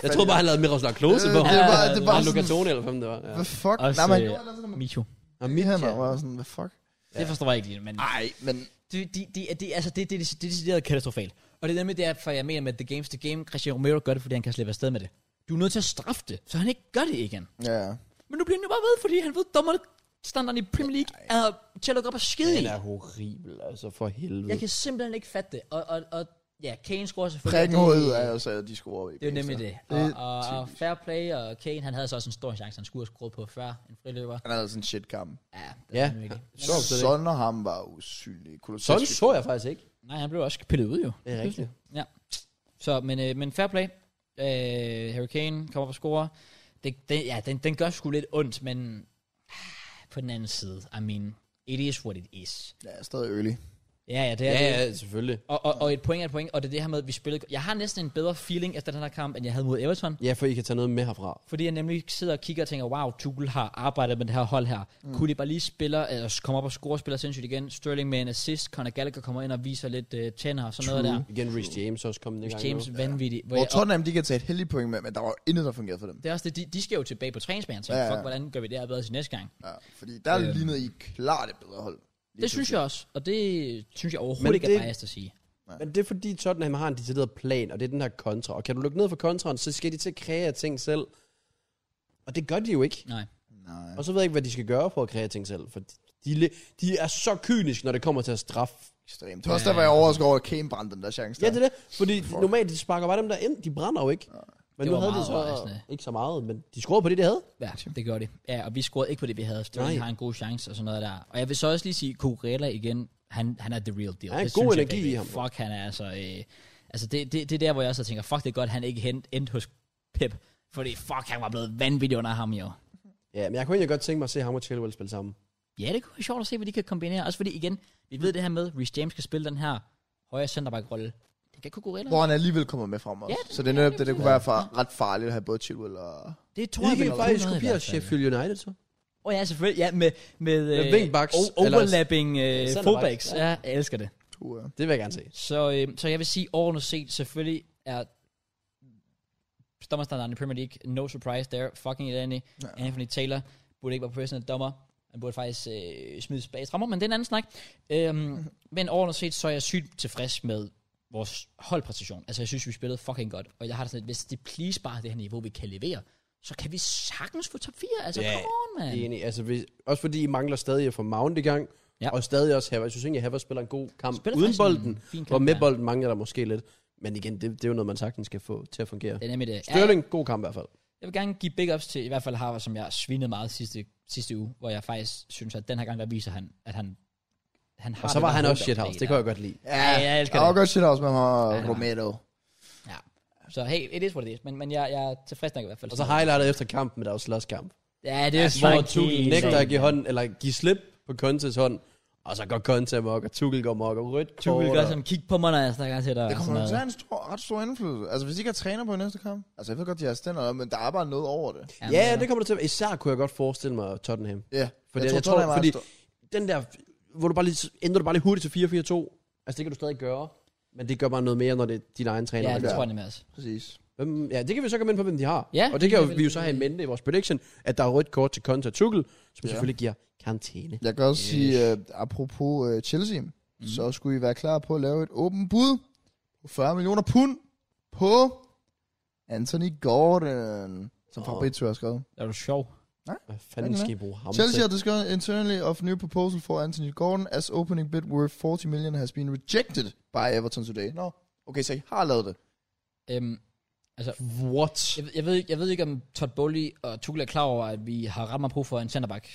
B: Jeg troede bare, han lavede Miroslav Klose på.
C: Øh, det er bare, det er
B: Var
C: bare
B: det
C: sådan,
B: Luca Toni, eller hvem det var? Ja. øh,
C: hvad fuck? Nej, men han gjorde ellers sådan,
A: Micho.
B: Og
C: mit
B: mit,
C: hænder, og
B: ja.
C: jeg var sådan, hvad fuck?
A: Det forstår jeg ikke lige, men...
B: Ah.
C: Nej, men
A: De, de, de, de, altså, det, det, det, det er decideret katastrofalt. Og det er nemlig derfor, jeg mener med The Games The Game. Christian Romero gør det, fordi han kan slippe afsted med det. Du er nødt til at straffe det, så han ikke gør det igen.
C: ja, ja.
A: Men nu bliver han jo bare ved, fordi han ved, dommerne standarden i Premier League er til at lukke op og skide i.
B: Den er horribel, altså for helvede.
A: Jeg kan simpelthen ikke fatte det. Og, og, og ja, Kane scorer selvfølgelig.
C: prikken
A: Det-
C: ud af, og så de scorer i
A: Det er jo nemlig
C: begge
A: det.
C: steder.
A: Og, og, og fair play, og Kane, han havde så også en stor chance, han skulle have skruet på før en friløber.
C: Han havde sådan en shit kamp.
A: Ja, det
B: Ja.
A: er nemlig ikke.
B: Så så det.
C: Son og ham var usynlige.
B: Sådan så jeg faktisk ikke.
A: Nej, han blev også pillet ud jo.
B: Det er rigtigt.
A: Ja. Så, men, øh, men fair play. Øh, Harry Kane kommer på score. Det, den, ja, den, den gør sgu lidt ondt, men ah, på den anden side, I mean, it is what it is.
C: Ja, stadig ølig.
A: Ja, ja, det er
B: Ja,
A: det.
B: ja, selvfølgelig.
A: Og, og, og et point er et point, og det er det her med, at vi spillede... Jeg har næsten en bedre feeling efter den her kamp, end jeg havde mod Everton.
B: Ja, for I kan tage noget med herfra.
A: Fordi jeg nemlig sidder og kigger og tænker, wow, Tuchel har arbejdet med det her hold her. Mm. Kunne de bare lige spille, eller komme op og score og spiller sindssygt igen. Sterling med en assist, Conor Gallagher kommer ind og viser lidt uh, tænder og sådan noget der.
B: Igen, Rich James er også kommet en gang nu.
A: James vanvittig. Hvor
C: Hvor
A: jeg-
C: Tottenham, de kan tage et heldigt point med, men der var jo intet, der fungerede for dem.
A: Det er også det, de, de skal jo tilbage på træningsbanen og tænke,
C: Ja, ja.
A: fuck, hvordan gør vi det her bedre til næste gang?
C: Ja, fordi der
A: Øhm.
C: lignede I klart et bedre hold. Lige
A: Det synes jeg også, og det synes jeg overhovedet
B: Men
A: ikke er
B: det-
A: biased at sige.
B: Men det er fordi Tottenham har en decideret plan, og det er den her kontra. Og kan du lukke ned for kontraen, så skal de til at kreere ting selv. Og det gør de jo ikke.
A: Nej.
C: Nej.
B: Og så ved jeg ikke, hvad de skal gøre for at kreere ting selv. For de, de, de er så kyniske, når det kommer til at straffe.
C: Ekstremt. Det var også der, var jeg overrasket over, at Kane brændte den der chance.
B: Ja,
C: der.
B: det er det. Fordi Fuck. normalt, de sparker bare dem der ind. De brænder jo ikke. Men
A: Det
B: nu
A: var
B: havde de
A: meget
B: så
A: overraskende.
B: ikke så meget, men de scorede på det, de havde.
A: Ja, det gør det. Ja, og vi scorede ikke på det, vi havde. Sterling
B: Nej.
A: har en god chance og sådan noget der. Og jeg vil så også lige sige, Kukurella igen, han, han er the real deal.
B: Han er
A: Det
B: god
A: synes jeg
B: energi
A: virkelig.
B: i ham.
A: Fuck, han er altså... Øh, altså, det, det, det er der, hvor jeg også tænker, fuck, det er godt, han ikke hent, endte hos Pep. Fordi fuck, han var blevet vanvittig under ham jo.
B: Ja, men jeg kunne egentlig godt tænke mig at se ham og Chilwell spille sammen.
A: Ja, det kunne være sjovt at se, hvad de kan kombinere. Også fordi, igen, vi ved det her med, Rhys James skal spille den her højre centerback-rolle. Det kan Kukurella.
C: Hvor han alligevel kommer med frem også.
A: Ja,
C: Ja,
A: det-
C: så det er netop det, det kunne være for, ret farligt at have både Chilwell og...
A: Det tror
B: De
A: jeg,
B: kan
A: vel 100
B: faktisk
A: i
B: kopiere
A: hvert fald.
B: Sheffield United, så.
A: Åh oh, ja, selvfølgelig. Ja, med, med, øh,
B: Med wingbacks,
A: o-
B: eller-
A: overlapping øh,
B: Centerbacks,
A: fullbacks. Ja.
B: ja.
A: jeg elsker det.
C: Uh, ja.
B: Det vil jeg gerne se.
A: Så, øh, så jeg vil sige, overordnet set, selvfølgelig er dommerstandarden i Premier League, no surprise there, fucking et andet.
C: Ja.
A: Anthony Taylor burde ikke være professionel dommer. Han burde faktisk øh, smides bag strammer, men det er en anden snak. Øhm, men overordnet set, så er jeg sygt tilfreds med vores holdpræstation. Altså, jeg synes, vi spillede fucking godt. Og jeg har det sådan lidt, hvis det please bare er det her niveau, vi kan levere, så kan vi sagtens få top 4. Altså,
B: Ja.
A: yeah. come on, man.
B: Jeg er enig. Altså, hvis, også fordi I mangler stadig at få Mount i gang,
A: Ja.
B: ja. og stadig også Havertz. Jeg synes egentlig, at Havertz spiller en god kamp
A: Spiller
B: spiller uden
A: faktisk en
B: bolden,
A: fin kamp,
B: og med
A: ja.
B: bolden mangler der måske lidt. Men igen, det, det er jo noget, man sagtens skal få til at fungere.
A: Det er nemlig det. Ja,
B: Sterling, god kamp i hvert fald.
A: Jeg vil gerne give big ups til i hvert fald Harvard, som jeg svinede meget sidste, sidste uge, hvor jeg faktisk synes, at den her gang, der viser han, at han, han har
B: Og så
A: det
B: var
A: der
B: han også
A: hold der
B: shithouse,
A: bag
B: det
A: der.
B: kunne jeg godt lide.
A: Ja, jeg elsker
C: det. Jeg
A: det.
C: godt shit også med ham og
A: Ja.
C: Romero.
A: Så hey, it is what it is, men, men jeg, jeg er tilfreds nok i hvert fald.
B: Og så highlightet efter kampen, der var slåskamp.
A: Ja, det er
B: Hvor
A: snakket
B: Tuchel
A: helt
B: nægter at
A: vildt.
B: give, hånden, eller give slip på Kontes hånd, og så går Konte amok, og Tuchel går amok, og rødt kort.
A: Tuchel gør
B: og-
A: sådan, kig på mig, når jeg snakker til dig.
C: Det
A: og
C: kommer
A: sådan
C: til at
A: noget.
C: have en stor, ret stor indflydelse. Altså, hvis de ikke har træner på i næste kamp. Altså, jeg ved godt, de har stænder, men der er bare noget over det.
A: Ja,
B: Ja, det kommer der til. at- Især kunne jeg godt forestille mig Tottenham.
C: Ja.
B: Fordi jeg, jeg tror,
C: Tottenham
B: tror
C: er
B: fordi
C: stor-
B: den der, hvor du bare lige, ændrer du bare lige hurtigt til 4-4-2, altså det kan du stadig gøre, men det gør bare noget mere, når det er din egen træner.
A: ja,
B: der
A: det
B: gør.
A: tror jeg nemlig også.
C: Præcis.
B: Hvem, ja, det kan vi så komme ind på, hvem de har.
A: Ja,
B: og det,
A: det
B: kan
A: kan
B: jo,
A: vi-
B: vi jo så have en mente i vores prediction, at der er rødt kort til Konta Tuchel, som
C: Ja.
B: selvfølgelig giver karantæne.
C: Jeg kan også yes. sige, uh, apropos uh, Chelsea, mm. så skulle I være klar på at lave et åbent bud på 40 millioner pund på Anthony Gordon, som
B: Åh.
C: Fabrizio har skrevet.
A: Er du sjov?
B: Hvad
C: Ja, den
B: fanden
C: er.
B: skal I bruge ham
C: Chelsea
B: til?
C: har discovered internally of new proposal for Anthony Gordon as opening bid worth 40 million has been rejected by Everton today. Nå, no. okay, så I har lavet det.
A: Øhm,
B: What?
A: jeg, ved- jeg, ved, ikke- jeg ved ikke, om Todd Bowley og Tuchel er klar over, at vi har ret meget brug for en centerback.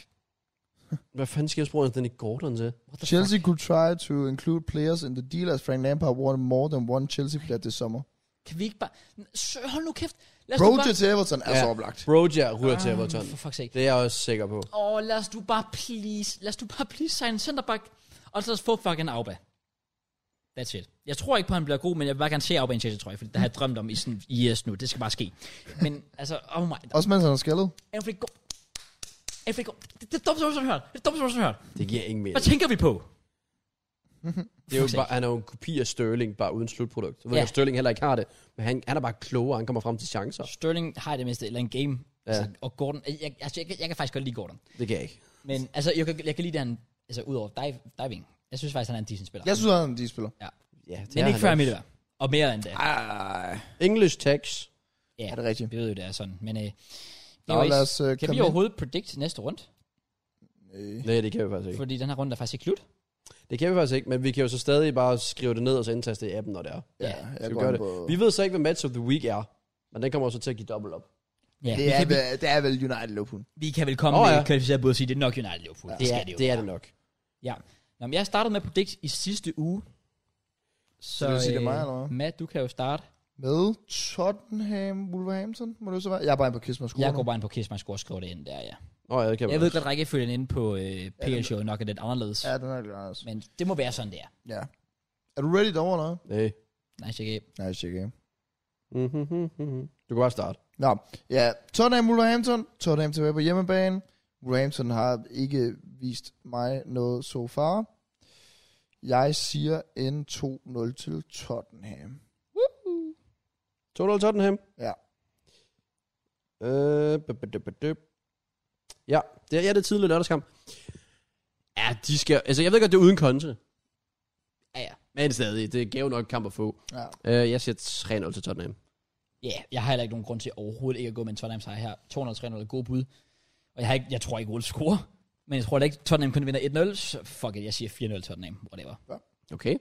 B: Hvad fanden skal jeg bruge Anthony Gordon til? What the
C: Chelsea could try to include players in the deal as Frank Lampard wanted more than one Chelsea player this summer.
A: Kan vi ikke bare... Sø- Hold nu kæft. Lad os nu
C: Roger
A: bare...
C: til Everton er
B: Ja.
C: så oplagt.
B: Broja ryger til
A: Ah,
B: Everton.
A: For fuck's sake.
B: Det er jeg også sikker på.
A: Åh, lad os du bare please, lad os du bare please signe en centerback, og så lad os få fucking Auba. That's it. Jeg tror ikke på, at han bliver god, men jeg vil bare gerne se Auba i en Chelsea, tror jeg, for det har jeg drømt om i sådan IS nu. Det skal bare ske. Men altså, oh my god.
C: Også mens han har skaldet.
A: Anfri god. Anfri god. Det det er dumt, som du har hørt. Det er dumt, som du har hørt.
B: Det giver ingen mening.
A: Hvad tænker vi på?
B: Det er jo
A: Fuck's
B: bare, han er jo en kopi af Sterling, bare uden slutprodukt. Så ved
A: Ja.
B: ja. jeg, Sterling heller ikke har det, men han, han er bare klogere, han kommer frem til chancer.
A: Sterling har i det mindste, eller en game.
B: Ja.
A: Altså, og Gordon, jeg, altså, jeg, kan- jeg, kan faktisk godt lide Gordon.
B: Det kan jeg ikke.
A: Men altså, jeg, kan, jeg kan lide, at han, altså, udover dive, diving, jeg synes faktisk, han er en decent spiller.
C: Jeg synes, han er en D-spiller.
B: Ja, det
A: men
B: er
A: ikke
B: han
A: før i
B: også.
A: midtvær. Og mere end det.
C: Ej,
B: English tax.
A: Ja,
C: er det rigtigt?
A: Vi ved jo, det er sådan. Men øh,
C: Nå,
A: anyways,
C: lad os øh,
A: kan
C: komme
A: vi
C: ind.
A: overhovedet predict næste runde?
C: Øh,
B: Nej, det kan vi faktisk ikke.
A: Fordi den her runde er faktisk ikke slut.
B: Det kan vi faktisk ikke, men vi kan jo så stadig bare skrive det ned og så indtaste det i appen, når det er.
A: Ja,
C: Ja, jeg
B: vi
C: går
B: gøre
C: ind på...
B: Vi ved så ikke, hvad match of the week er, men den kommer også til at give dobbelt op.
A: Ja,
C: Det
A: vi,
C: er,
A: kan, vi,
C: vel, det er vel United Liverpool.
A: vi kan vel komme
B: Åh,
A: oh,
B: ja.
A: ja. kvalificeret bud og sige, det er nok United Liverpool. Ja, det,
B: er,
A: skal det jo.
B: det er det nok.
A: Nå, men jeg startede med at predict i sidste uge. Så,
C: Så vil du sige, det er mig,
A: øh,
C: eller hvad?
A: Matt, du kan jo starte.
C: Med Tottenham, Wolverhampton, må det så være? Jeg er bare inde på Kismas
A: Jeg går bare ind på Kiss, man skulle også skrive det ind der, ja.
B: Nå, ja, det kan vi
A: Jeg ved
B: også.
A: godt, rækkefølgen inde på øh, PL Show nok er lidt anderledes.
C: Ja, den er lidt anderledes.
A: Men det må være sådan, det er.
C: Ja. Er du ready derovre, eller hvad?
B: Nej.
A: Nej, ikke.
C: Nej, jeg ikke.
B: Mhm, mhm. Du kan bare starte.
C: Nå, ja. Tottenham, Wolverhampton. Tottenham tilbage på hjemmebane. Wolverhampton har ikke vist mig noget so far. Jeg siger en 2-0 til Tottenham.
B: 2-0 Tottenham.
C: Ja.
B: Øh, bu- bu- bu- bu- ja, det er, ja, det er tidlig lørdagskamp. Ja, de skal... Altså, jeg ved godt, det er uden konte.
A: Ja, ja.
B: Men stadig, det gav nok kamp at få.
C: Ja.
B: Øh, jeg siger 3-0 til Tottenham.
A: Ja, yeah, jeg har heller ikke nogen grund til overhovedet ikke at gå med en Tottenham sejr her. 200-300 er gode bud. Og jeg, har ikke, jeg tror ikke, Ole scorer. Men jeg tror da ikke, Tottenham kun vinder 1-0. Så fuck it, jeg siger 4-0 Tottenham. Whatever.
B: Okay.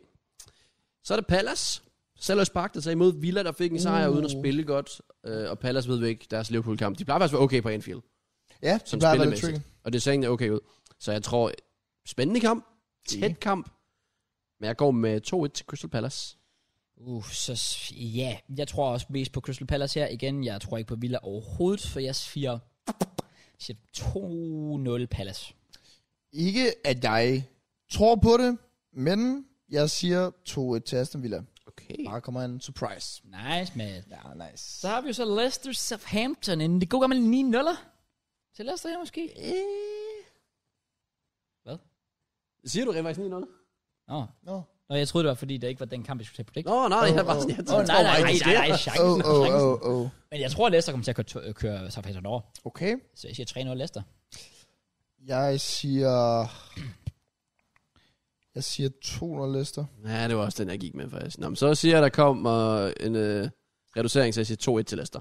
B: Så er det Palace. Sellers Park, der tager imod Villa, der fik en sejr
C: Uh.
B: uden at spille godt. Øh, og Palace ved vi ikke deres Liverpool-kamp. De plejer faktisk at være okay på Anfield.
C: Ja, det
B: Sådan
C: plejer at være lidt tricky.
B: spillemæssigt. Og det ser egentlig okay ud. Så jeg tror, spændende kamp. Tæt kamp. Men jeg går med 2-1 til Crystal Palace.
A: Uh, så s- ja. Yeah. Jeg tror også mest på Crystal Palace her. Igen, jeg tror ikke på Villa overhovedet, for jeg siger, jeg siger 2-0 Palace.
C: Ikke at jeg tror på det, men jeg siger 2-1 til Aston Villa.
B: Okay.
C: Bare kommer en surprise.
A: Nice, man.
C: Ja, nice.
A: Så har vi jo så Leicester Southampton inden det gode gamle 9 0 Til Leicester her måske? Øh.
B: Siger du rent faktisk 9-0?
A: Nå.
C: Nå.
A: Nå, jeg troede, det var fordi, det ikke var den kamp, vi skulle tage på det.
B: Nå, nej,
C: Åh,
B: jeg er bare
C: åh.
B: sådan, jeg
A: Åh, oh,
B: tænkte,
A: nej,
B: tror
A: nej,
B: bare
A: nej,
B: ikke,
A: nej,
B: det
A: nej,
B: er.
A: chancen,
C: Oh, oh,
A: chancen.
C: oh, oh.
A: Men jeg tror, at Leicester kommer til at køre, to- øh, køre Southampton over.
C: Okay.
A: Så jeg siger 3-0 Leicester.
C: Jeg siger... Jeg siger 200 lister.
B: Ja, det var også den, jeg gik med faktisk. Nå, men så siger jeg, der kom øh, en øh, reducering, så jeg siger 2-1 til Leicester.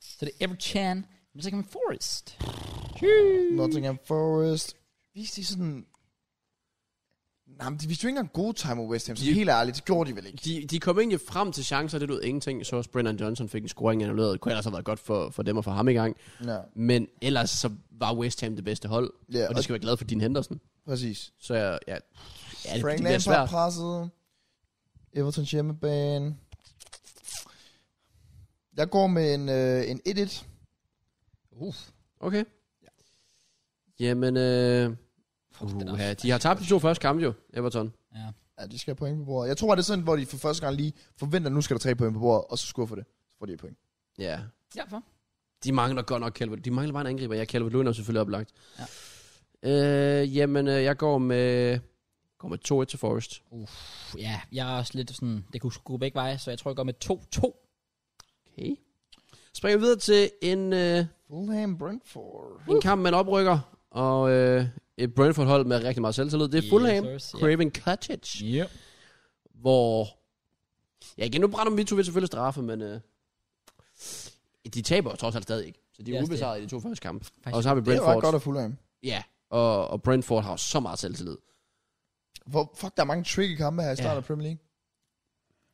A: Så det er Everton, men så kan man Forest.
C: Nottingham Forest. Viste de sådan... Nej, men de viste jo ikke engang gode time over West Ham, så
B: De-
C: helt ærligt, det gjorde de vel ikke.
B: De, de kom egentlig frem til chancer, det lød ingenting. Så også Brennan Johnson fik en scoring annulleret. Det kunne ellers have været godt for, for dem og for ham i gang.
C: Ja,
B: Men ellers så var West Ham det bedste hold.
C: ja
B: Og
C: og
B: det skal være glad for din Henderson.
C: præcis.
B: Så jeg, ja, ja det, det
C: Frank
B: bliver
C: Lampard
B: svært.
C: presset. Evertons hjemmebane. Jeg går med en, øh, en 1-1.
A: Uff.
B: Okay. Jamen, øh, uh, ja, de har tabt de to første kampe jo, Everton.
A: Ja.
C: Ja, de skal have point på bordet. Jeg tror, det er sådan, hvor de for første gang lige forventer, at nu skal der tre point på bordet, og så skuffer det. Så får de et point.
B: Ja.
A: Ja, for.
B: De mangler godt nok Calvert. De mangler bare en angriber. Ja, Calvert Lewin er selvfølgelig oplagt.
A: Ja.
B: Øh, jamen, øh, jeg går med Kommer 2-1 til Forest.
A: Puh, Ja, jeg er også lidt sådan, det kunne sgu gå begge veje, så jeg tror, jeg går med 2-2.
B: Okay. Springer videre til en, øh,
C: Fulham Brentford.
B: en kamp med en oprykker, og øh, et Brentford-hold med rigtig meget selvtillid. Det er Fulham,
A: Yes, ja.
B: Craven Cottage,
A: Yep.
B: hvor... Ja, igen, nu brænder Mitrovic selvfølgelig straffe, men øh, de taber trods alt stadig ikke. Så de
A: Ja,
B: er
A: det-
B: ubesejret i de to første kampe.
A: Faktisk-
B: Og så har vi
C: Det er jo ret
B: Brentford.
C: godt af Fulham.
B: Ja, og, og Brentford har jo så meget selvtillid.
C: Hvor, fuck, der er mange tricky kampe her i starten
B: Ja.
C: af Premier League.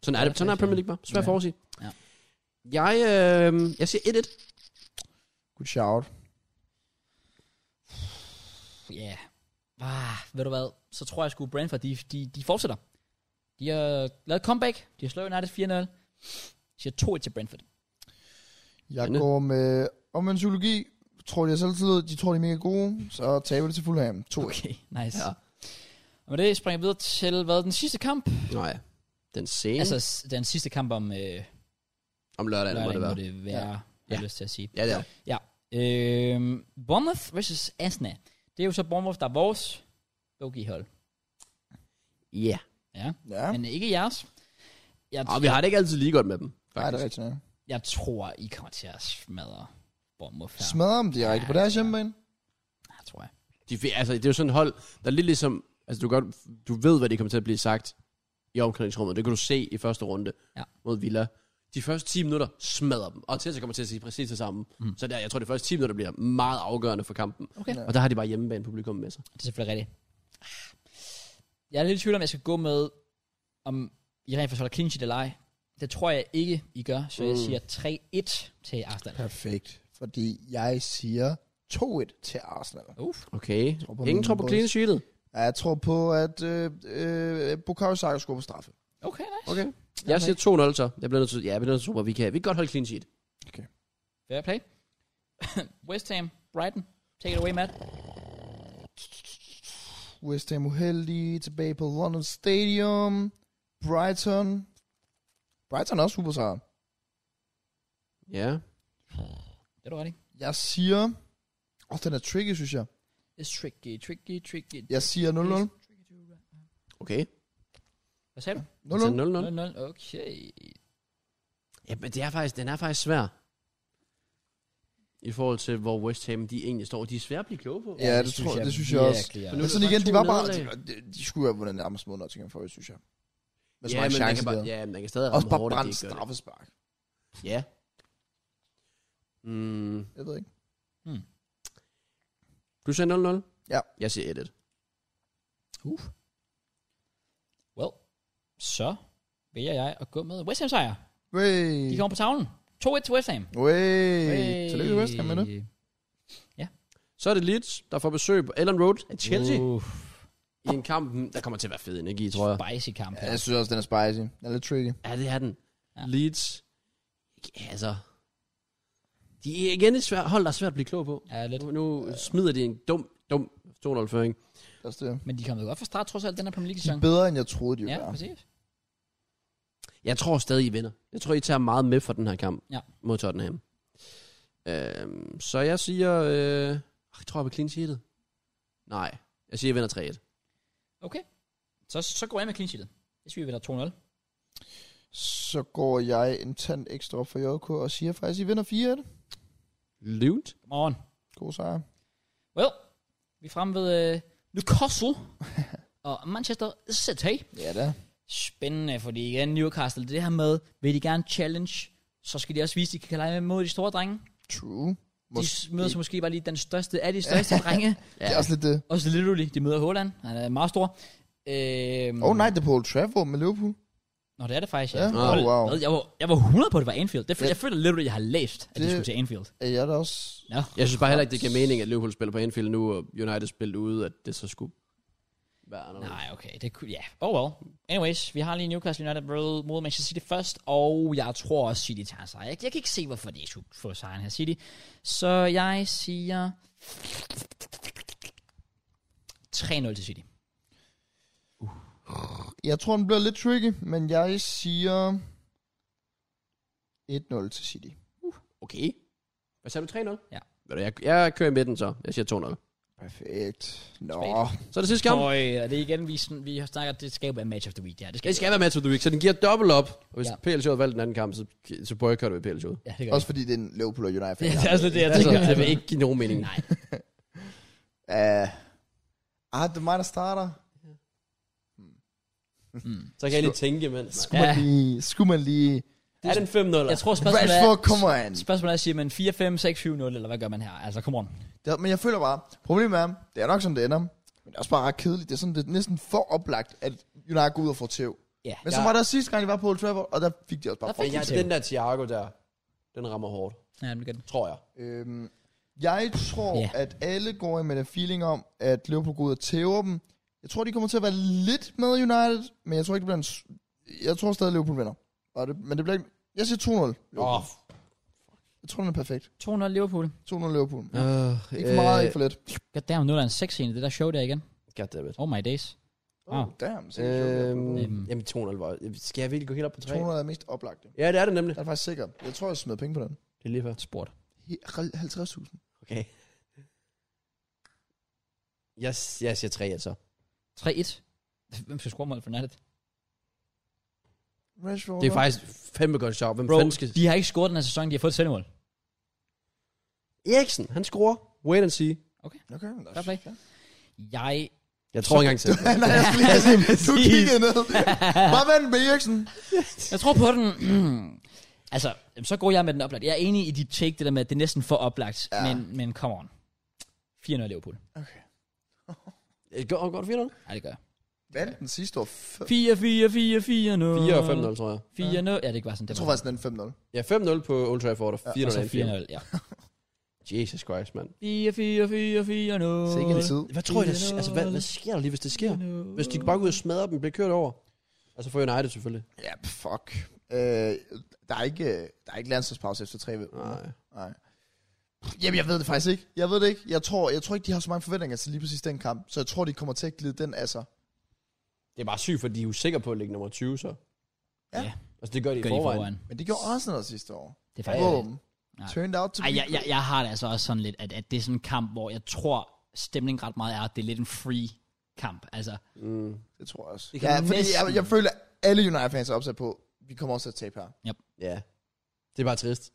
B: Sådan er
A: Ja,
B: det. Sådan er
A: faktisk,
B: Premier League bare. Svært
A: Ja.
B: ja. forudsige.
A: Ja.
B: Jeg, øh, jeg siger 1-1.
C: Good shout.
A: Ja. Ah, ved du hvad? Så tror jeg sgu, Brentford, de, de, de fortsætter. De har lavet comeback. De har slået United 4-0. Jeg siger 2-1 til Brentford.
C: Jeg
B: Spændende.
C: går med omvendt psykologi. Tror de er selvtillid, de tror de er mega gode, så taber det til Fulham. 2
A: Okay, nice.
B: Ja.
A: Ja. Og med det springer vi videre til, hvad, den sidste kamp?
B: Nej, den scene altså,
A: Altså, s- den sidste kamp om øh,
B: om lørdagen, lørdagen må
A: lørdagen,
B: det
A: må
B: være.
A: det være, ja. jeg har lyst til at sige.
B: Ja, det er. det.
A: Øhm, Bournemouth versus Asna. Det er jo så Bournemouth, der er vores bogeyhold.
B: Ja.
A: Ja.
C: Ja,
A: ja. Men ikke jeres. Jeg,
B: Og Ah, vi har det ikke altid lige godt med dem.
C: Nej, det er
B: Faktisk.
C: rigtigt. Ja.
A: jeg tror, I kommer til at smadre Bournemouth her.
C: Smadrer dem direkte på deres hjemmebane.
A: Ja, tror jeg.
B: De, fi- altså, det er jo sådan et hold, der er lidt ligesom... Altså, du, godt, du ved, hvad det kommer til at blive sagt i omklædningsrummet. Det kan du se i første runde
A: Ja.
B: mod Villa. De første 10 minutter smadrer dem, og Tessa kommer til at sige præcis det samme. Mm. Så der, jeg tror, de første 10 minutter bliver meget afgørende for kampen.
A: Okay.
B: Og der har de bare hjemmebane publikum med sig.
A: Det er selvfølgelig rigtigt. Jeg er lidt i tvivl om, jeg skal gå med, om I rent faktisk holder clean sheet eller ej. Det tror jeg ikke, I gør, så
B: Mm.
A: jeg siger 3-1 til Arsenal.
C: Perfekt. Fordi jeg siger 2-1 til Arsenal.
A: Uff.
B: Okay.
C: tror på
B: Ingen
C: min
B: tror på
C: boys.
B: clean sheetet.
C: Ja, Jeg tror på, at øh, øh, Bukayo Saka skulle på straffe.
A: Okay, nice.
B: Okay. Jeg siger 2-0 så. Jeg bliver nødt til, ja, jeg bliver nødt til at tro, at vi kan, vi kan godt holde clean sheet.
A: Fair play. West Ham, Brighton. Take it away, Matt.
C: West Ham uheldige, tilbage på London Stadium. Brighton. Brighton er også supersejr.
B: Ja.
A: Det er du ret i.
C: Jeg siger... Åh, oh, den er tricky, synes jeg.
A: It's tricky, tricky, tricky.
C: Jeg siger 0-0.
B: Okay.
A: Hvad sagde du?
C: 0-0.
B: 0-0.
A: 0-0. Okay.
B: Ja, men det er faktisk, den er faktisk svær. I forhold til, hvor West Ham de egentlig står. De er svære at blive kloge på.
C: Ja, det, tror, jeg, det synes jeg også.
A: virkelig,
B: Men nu
C: Men
B: er
C: sådan
B: det
C: igen,
B: bare
C: de
B: to
C: var bare...
B: nederlag.
C: De, de, de skulle have vundet nærmest mod Nottingham Forest, synes jeg. Med så
B: ja,
C: mange
B: men man kan,
C: chancer
B: bare,
C: der.
B: ja, man kan stadig
C: Også
B: ramme
C: bare
B: hårdt, at de ikke
C: brændt
B: gør det.
C: straffespark.
B: Ja. Mm.
C: Jeg ved ikke.
B: Du siger 0-0?
C: Ja.
B: Jeg siger 1-1.
A: Uh. Well, så vælger jeg at gå med West Ham sejr.
C: Wey.
A: De kommer på tavlen. 2-1 til West Ham.
C: Wey. Tillykke til West Ham med det.
B: Så er det Leeds, der får besøg på Ellen Road af Chelsea. Uh.
A: Uh,
B: I en kamp, hmm, der kommer til at være fed energi, tror jeg.
A: spicy kamp
C: Ja, altså-
A: her.
C: jeg synes også, den er spicy. Den er lidt tricky.
B: Ja, det er den.
A: Ja.
B: Ja. Leeds. Ja, altså. De er igen et svært hold, der er svært at blive klog på.
A: Ja, lidt.
B: Nu, nu smider de en dum, dum 2-0-føring.
C: Det er også det.
A: Men de kommer jo godt fra start, trods alt, den her Premier
C: De
A: League-sæson.
C: er bedre, end jeg troede, de ville
A: Ja,
C: være.
A: præcis.
B: Jeg tror stadig, I vinder. Jeg tror, I tager meget med fra den her kamp
A: Ja.
B: mod Tottenham. Øhm, så jeg siger... Øh, jeg tror, jeg vil clean sheetet. Nej, jeg siger, I vinder 3-1.
A: Okay. Så, så går jeg med clean sheetet. Jeg synes, vi vinder 2-0.
C: Så går jeg en tand ekstra op for JK og siger faktisk, I vinder 4 1
B: Lund?
A: Come on.
C: God sejr.
A: Well, vi er fremme ved øh, Newcastle og Manchester City.
C: Ja da.
A: Spændende, fordi igen Newcastle, det her med, vil de gerne challenge, så skal de også vise, at de kan lege mod de store drenge.
C: True.
A: De
C: Mås-
A: møder så måske bare lige den største af de største drenge.
C: ja. Det er også lidt det.
A: Og så literally, de møder Holland. Han er meget stor. Øhm,
C: Åh oh, nej, det er på Old Trafford med Liverpool.
A: Nå, det er det faktisk, ja.
C: Ja.
A: Hold-
C: Oh, wow.
A: Hvad? Jeg, var, jeg var 100 på, at det var Anfield. Det,
C: Ja.
A: yeah. Jeg føler literally, jeg har læst, at det,
C: Det-
A: det skulle til Anfield.
C: Er jeg da også...
A: Ja.
B: Jeg synes bare heller ikke, det giver mening, at Liverpool spiller på Anfield nu, og United spiller ude, at det så skulle være anderledes.
A: Nej, okay. Det kunne, ja. Oh well. Anyways, vi har lige Newcastle United mod- mod Manchester City først, og jeg tror også, City tager sig. Jeg, jeg kan ikke se, hvorfor de skulle få sejren her City. Så jeg siger... 3-0 til City.
C: Jeg tror, den bliver lidt tricky, men jeg siger... 1-0 til City.
B: Okay. Hvad sagde du? 3-0?
A: Ja.
B: Ved du, Jeg, jeg kører i midten så. Jeg siger 2-0.
C: Perfekt. Nå.
A: Spæt.
B: Så er det sidste kamp.
A: Og øh, er det er igen, vi, sådan, vi har snakket, at det skal jo være match of the week, det her. Det skal,
B: Det skal være match of the week, så den giver dobbelt op. Og hvis
A: Ja.
B: ja. PLC havde valgt den anden kamp, så, så boykotter vi PLC.
A: Ja, det gør
C: Også fordi det er en Liverpool og United.
A: det. Det er også lidt det, jeg
B: Altså,
A: tænker.
B: det vil ikke give nogen mening.
A: Nej.
C: Uh, ah, det er mig, der starter.
A: Mm.
B: Så kan jeg lige tænke, mens.
C: Skulle, ja. man, lige, skulle man lige...
B: Er det en 5 0
A: Jeg tror, spørgsmålet er,
C: Rashford, come on!
A: spørgsmålet er, siger man 4, 5, 6, 7, 0, eller hvad gør man her? Altså, come on.
C: Det, men jeg føler bare, problemet er, det er nok sådan, det ender. Men det er også bare ret kedeligt. Det er, sådan, det er næsten for oplagt, at United går ud og får tæv.
A: Ja.
C: Men så var der sidste gang, de var på Old Trafford, og der fik de også bare
A: Der fik
C: fucking
A: jeg-
C: tæv.
B: Den der Thiago der, den rammer hårdt,
A: Ja, men det gør den.
B: tror jeg.
C: Øhm, jeg tror,
A: Ja.
C: yeah. at alle går med den feeling om, at Liverpool går ud og tæver dem. Jeg tror, de kommer til at være lidt med United, men jeg tror ikke, det bliver en... s- Jeg tror stadig, Liverpool vinder. Og det, men det bliver ikke... Jeg siger 2-0.
B: Åh,
C: Liverpool.
B: f-
C: Jeg tror, den er perfekt.
A: 2-0 Liverpool.
C: 2-0 Liverpool. Ja.
B: Øh,
C: Ikke for meget, ikke for lidt.
A: Goddamn, nu er der en 6 scene det der show der igen.
B: Øh, Goddammit.
A: Oh my days. Wow.
C: Damn, så
B: Øhm,
C: øhm,
A: Øhm.
B: jamen 200 var... Skal jeg virkelig gå helt op på 3?
C: 200 er mest oplagt.
B: Ja, det er det nemlig.
C: Der er faktisk sikker. Jeg tror, jeg smed penge på den.
B: Det er lige før.
A: Sport.
C: He- 50.000.
B: Okay. Jeg, s- jeg siger 3, altså.
A: 3-1. Hvem skal score mål for United?
C: Rashford.
B: Det er faktisk fandme godt sjovt. Hvem
A: Bro,
B: fanden skal...
A: de har ikke scoret den her sæson, de har fået et selvmål.
B: Eriksen, han scorer. Wait and see.
C: Okay, men der
A: Fair play.
C: Ja.
A: Jeg...
B: Jeg tror ikke engang til det.
C: Nej, jeg skulle lige have
A: Ja,
C: set. Du
A: præcis.
C: kiggede ned. Bare vent med Eriksen.
A: Jeg tror på den. altså, jamen, så går jeg med den oplagt. Jeg er enig i dit take, det der med, at det er næsten for oplagt.
C: Ja.
A: Men, men come on. 4-0 Liverpool.
B: Øh, Går går det 4
A: Ja, det gør jeg.
C: Vandt den sidste år. F-
A: 4 4 4 4 0
B: 4 og 5-0, tror jeg.
A: 4 0 Ja, det er ikke bare sådan.
C: jeg
A: Det
C: tror
A: var-
C: faktisk, den er 5-0.
B: Ja, 5-0 på Old Trafford og 4-0.
A: Og så
B: Ja,
A: 4-0, ja.
B: Jesus Christ, mand.
A: 4 4 4 4 0
C: Sikke en tid.
B: Hvad tror I, der, altså, hvad, hvad sker der lige, hvis det sker? Hvis de bare går ud og smadrer dem, bliver kørt over. Altså for United selvfølgelig.
C: Ja, fuck. Øh, der er ikke, øh, der er ikke landsholdspause efter tre uger.
B: Nej.
C: Nej. Jamen, jeg ved det faktisk ikke. Jeg ved det ikke. Jeg tror, jeg tror ikke, de har så mange forventninger til lige præcis den kamp. Så jeg tror, de kommer til at glide den af sig.
B: Det er bare sygt, for de er jo sikre på at ligge nummer 20, så.
C: Ja.
A: Ja.
B: Altså det gør de i
A: Gør de
B: forvejen.
A: foran.
C: Men det gjorde Arsenal sidste år.
A: Det er faktisk...
C: Boom.
A: Nej.
C: Turned out to
A: Ej,
C: be
A: jeg, jeg, jeg har det altså også sådan lidt, at, at det er sådan en kamp, hvor jeg tror, stemningen ret meget er, at det er lidt en free kamp. Altså,
B: Mm.
C: Det tror jeg også.
A: Det kan
C: Ja, fordi
A: næsten-
C: jeg, jeg føler, at alle United-fans er opsat på, vi kommer også til at tabe her.
B: Ja. Det er bare trist.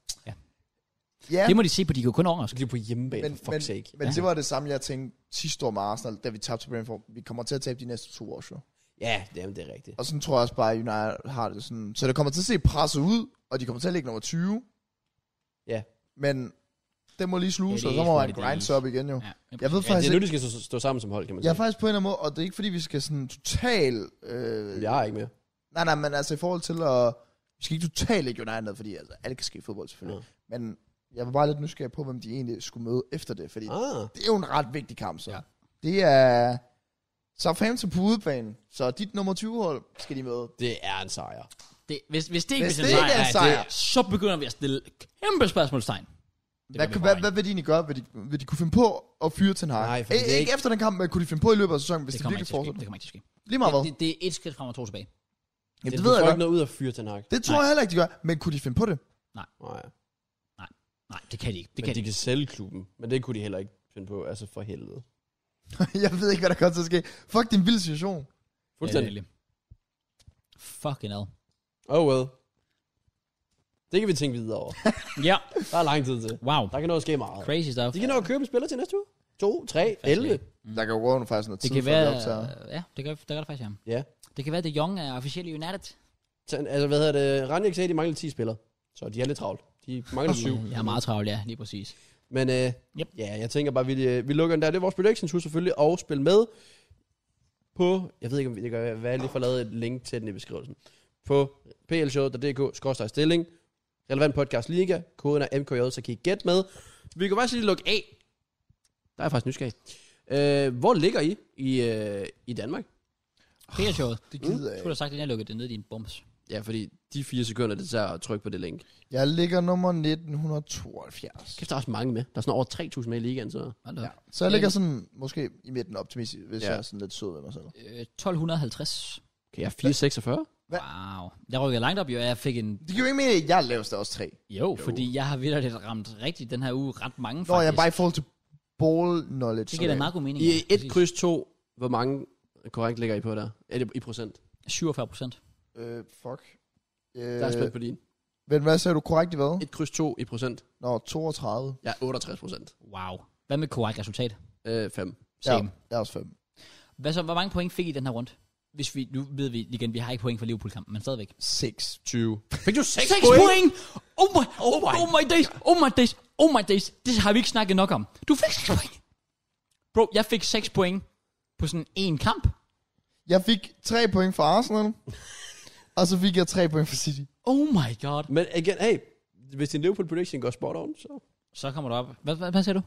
C: Ja,
A: det må de se på, de går kun
B: Så
A: overraske.
B: kan de på hjemmebane,
C: men,
B: for fuck's
C: men,
B: sake.
C: men det var det samme, jeg tænkte sidste år med Arsenal, da vi tabte til Brentford. Vi kommer til at tabe de næste to år, jo.
B: Ja, jamen, det er rigtigt.
C: Og sådan tror jeg også bare, at United har det sådan. Så det kommer til at se presset ud, og de kommer til at ligge nummer 20.
B: Ja.
C: Men den må lige sluse,
A: Ja,
C: og
A: det
C: så
A: er
C: må
A: for
C: man
A: det, det
C: grind
A: er.
C: sig op igen, jo.
A: Ja,
C: Jeg ved
B: Ja, det
C: faktisk
B: er nu,
C: ikke,
B: de skal stå, stå sammen som hold, kan man
C: jeg er
B: sige.
C: faktisk på en eller anden måde, og det er ikke fordi, vi skal sådan total... Øh,
B: Jeg er ikke mere.
C: Nej, nej, men altså i forhold til at... Vi skal ikke totalt ikke United ned, fordi altså, alt kan ske i fodbold selvfølgelig. Ja. Men jeg var bare lidt nysgerrig på, hvem de egentlig skulle møde efter det, fordi
B: Ah,
C: det er jo en ret vigtig kamp, så.
A: Ja.
C: Ja. Det er Southampton på udebane, så dit nummer 20-hold skal de møde.
B: det er en sejr.
A: Det, hvis, hvis det ikke,
C: Hvis
A: hvis
C: det ikke er en sejr.
A: så begynder vi at stille kæmpe spørgsmålstegn. Det
C: Hvad,
A: gør vi
C: hvad,
A: bare
C: hvad, hvad vil de egentlig gøre? Vil de, vil de kunne finde på at fyre til en hak?
B: Nej, fordi det er
C: ikke
B: ikke-
C: efter den kamp, men kunne de finde på i løbet af sæsonen, hvis
A: Det
C: det,
A: kommer
C: virkelig
A: ikke til at ske.
C: fortsætter?
A: Det kommer ikke til at ske.
C: Lige meget hvad.
A: Det, det, det er et skridt frem og to tilbage.
C: Jamen,
B: du
C: det ved jeg
B: får
C: godt.
B: ikke noget ud af fyre til hak.
C: Det tror
A: Nej.
C: jeg heller ikke, de gør. Men kunne de finde på det?
B: Nej.
A: Nej, det kan de ikke. Det
B: Det
A: kan
B: men de kan sælge klubben. Men det kunne de heller ikke finde på. Altså for helvede.
C: jeg ved ikke, hvad der kommer til at ske. Fuck, det er en vild situation.
B: Fuldstændig.
A: Ja, Fucking hell.
B: oh well. Det kan vi tænke videre over.
A: Ja,
B: Der er lang tid til.
A: wow.
B: Der kan nå at ske meget.
A: Crazy stuff.
B: De kan nå at købe en spiller til næste uge. 2, 3, 11.
C: Mm. Der kan jo gå under faktisk noget
A: Det
C: tid,
A: kan
C: før vi
A: være...
C: optager.
A: Ja, det gør, det gør det faktisk, ja.
B: Ja.
A: Det kan være, at De Jong er officielt i United.
B: Så, altså, hvad hedder det? Ranjek sagde, at de mangler 10 spillere. Så de er lidt travlt. De mangler 7.
A: Jeg er meget travlt, ja, lige præcis.
B: Men øh,
A: Yep.
B: yep. ja, jeg tænker bare, vi, øh, vi lukker den der. Det er vores predictions hus selvfølgelig, og spil med på, jeg ved ikke, om vi det gør, hvad jeg lige får lavet et link til den i beskrivelsen, på plshow.dk, stilling, relevant podcast liga, koden er MKJ, så kan I gætte med. Vi kan faktisk lige lukke af. Der er jeg faktisk nysgerrig. Øh, hvor ligger I i, øh, i Danmark?
A: PR-showet.
C: Det gider
A: Jeg
C: jeg
A: skulle
C: ikke.
A: have sagt, at jeg lukkede det ned i en bums.
B: Ja, fordi de fire sekunder, det tager at trykke på det link.
C: Jeg ligger nummer 1972.
B: Kæft, der er også mange med. Der er sådan over 3.000 med i ligaen, så...
A: Hold da op.
C: Så jeg ligger sådan, måske i midten optimistisk, hvis
B: Ja.
C: ja. jeg er sådan lidt sød ved mig selv.
A: Øh, 1250.
B: Okay, jeg er 4.46.
C: Hvad?
A: Wow. Jeg rykkede langt op, jo. Jeg fik en...
C: Det kan jo ikke mene, at jeg er lavest af os tre.
A: Jo, jo. fordi jeg har virkelig ramt rigtigt den her uge. Ret mange,
C: Nå,
A: faktisk.
C: jeg er bare i forhold til ball knowledge.
A: Det giver da meget god mening.
B: I
A: ja,
B: et
A: præcis.
B: kryds to, hvor mange korrekt ligger I på der? Er det i procent?
A: 47 procent.
C: Øh, fuck. Øh,
B: Der er spændt på din.
C: men hvad sagde du korrekt i hvad?
B: Et kryds to i procent.
C: Nå, 32.
B: Ja, 68 procent.
A: Wow. Hvad med korrekt resultat?
B: Øh, fem.
A: Same.
C: Ja, jeg er også 5.
A: Hvad så, hvor mange point fik I den her rundt? Hvis vi, nu ved vi igen, vi har ikke point for Liverpool-kampen, men stadigvæk.
C: 6.
B: 20. Fik du 6,
A: 6 point! point! Oh, my, oh, my. oh my days, oh my days, oh my days. Det har vi ikke snakket nok om. Du fik 6 point! Bro, jeg fik 6 point på sådan en kamp.
C: Jeg fik 3 point for Arsenal. og så fik jeg 3 point for City.
A: Oh my god.
B: Men igen, hey, hvis din Liverpool prediction går spot on, så...
A: Så kommer du op. Hvad, hvad, hvad sagde du?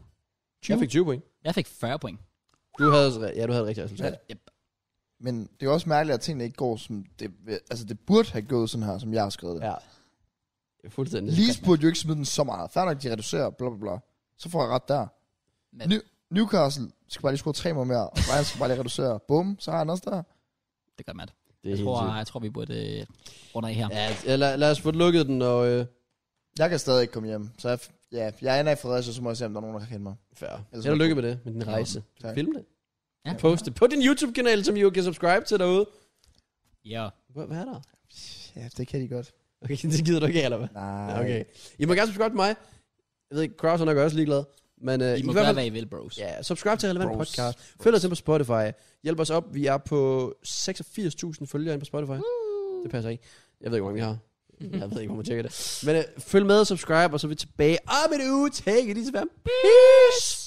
A: 20?
B: Jeg fik 20 point.
A: Jeg fik 40 point.
B: Du havde, ja, du havde et rigtigt resultat.
A: Yep.
C: Men det er også mærkeligt, at tingene ikke går som det, altså det burde have gået sådan her, som jeg har skrevet det. Ja.
B: Ja. ja. Fuldstændig.
C: Leeds burde jo ikke smide den så meget. Færdig nok, de reducerer, bla bla bla. Så får jeg ret der.
A: Men-
C: New, Newcastle skal bare lige score tre mål mere, og Ryan skal bare lige reducere. Bum, så har han også der.
A: Det gør Matt.
B: Det er
A: Jeg
B: helt
A: tror,
B: sygt.
A: jeg tror, vi burde øh, runde af her.
B: Ja, ja lad, lad os få lukket den, og... Øh,
C: Jeg kan stadig ikke komme hjem, så jeg, f- ja, jeg ender i Fredericia, så må jeg se, om der er nogen, der kan kende mig.
B: Færre.
C: Ellers
B: Held og
C: er det
B: lykke med det, med din rejse.
C: Tak.
B: Film det.
A: Ja.
B: Post det på din YouTube-kanal, som I jo kan subscribe til derude.
A: Ja.
B: Hvad, hvad er der?
C: Ja, det kan de godt.
B: Okay, det gider du ikke af, eller hvad?
C: Nej.
B: Ja, Okay. I må gerne subscribe til mig. Jeg ved ikke, Kraus er nok også ligeglad. Men uh,
A: I må gøre, hvad I vil, bros.
B: Ja, subscribe til Relevant
C: Bros.
B: Podcast. Følg os ind på Spotify. Hjælp os op. Vi er på 86.000 følgere inde på Spotify. Det passer ikke. Jeg ved ikke, hvor mange vi har. Jeg ved ikke, hvor man øh, tjekker det. Men uh, følg med og subscribe, og så er vi tilbage om en uge. Take it easy, fam. Peace!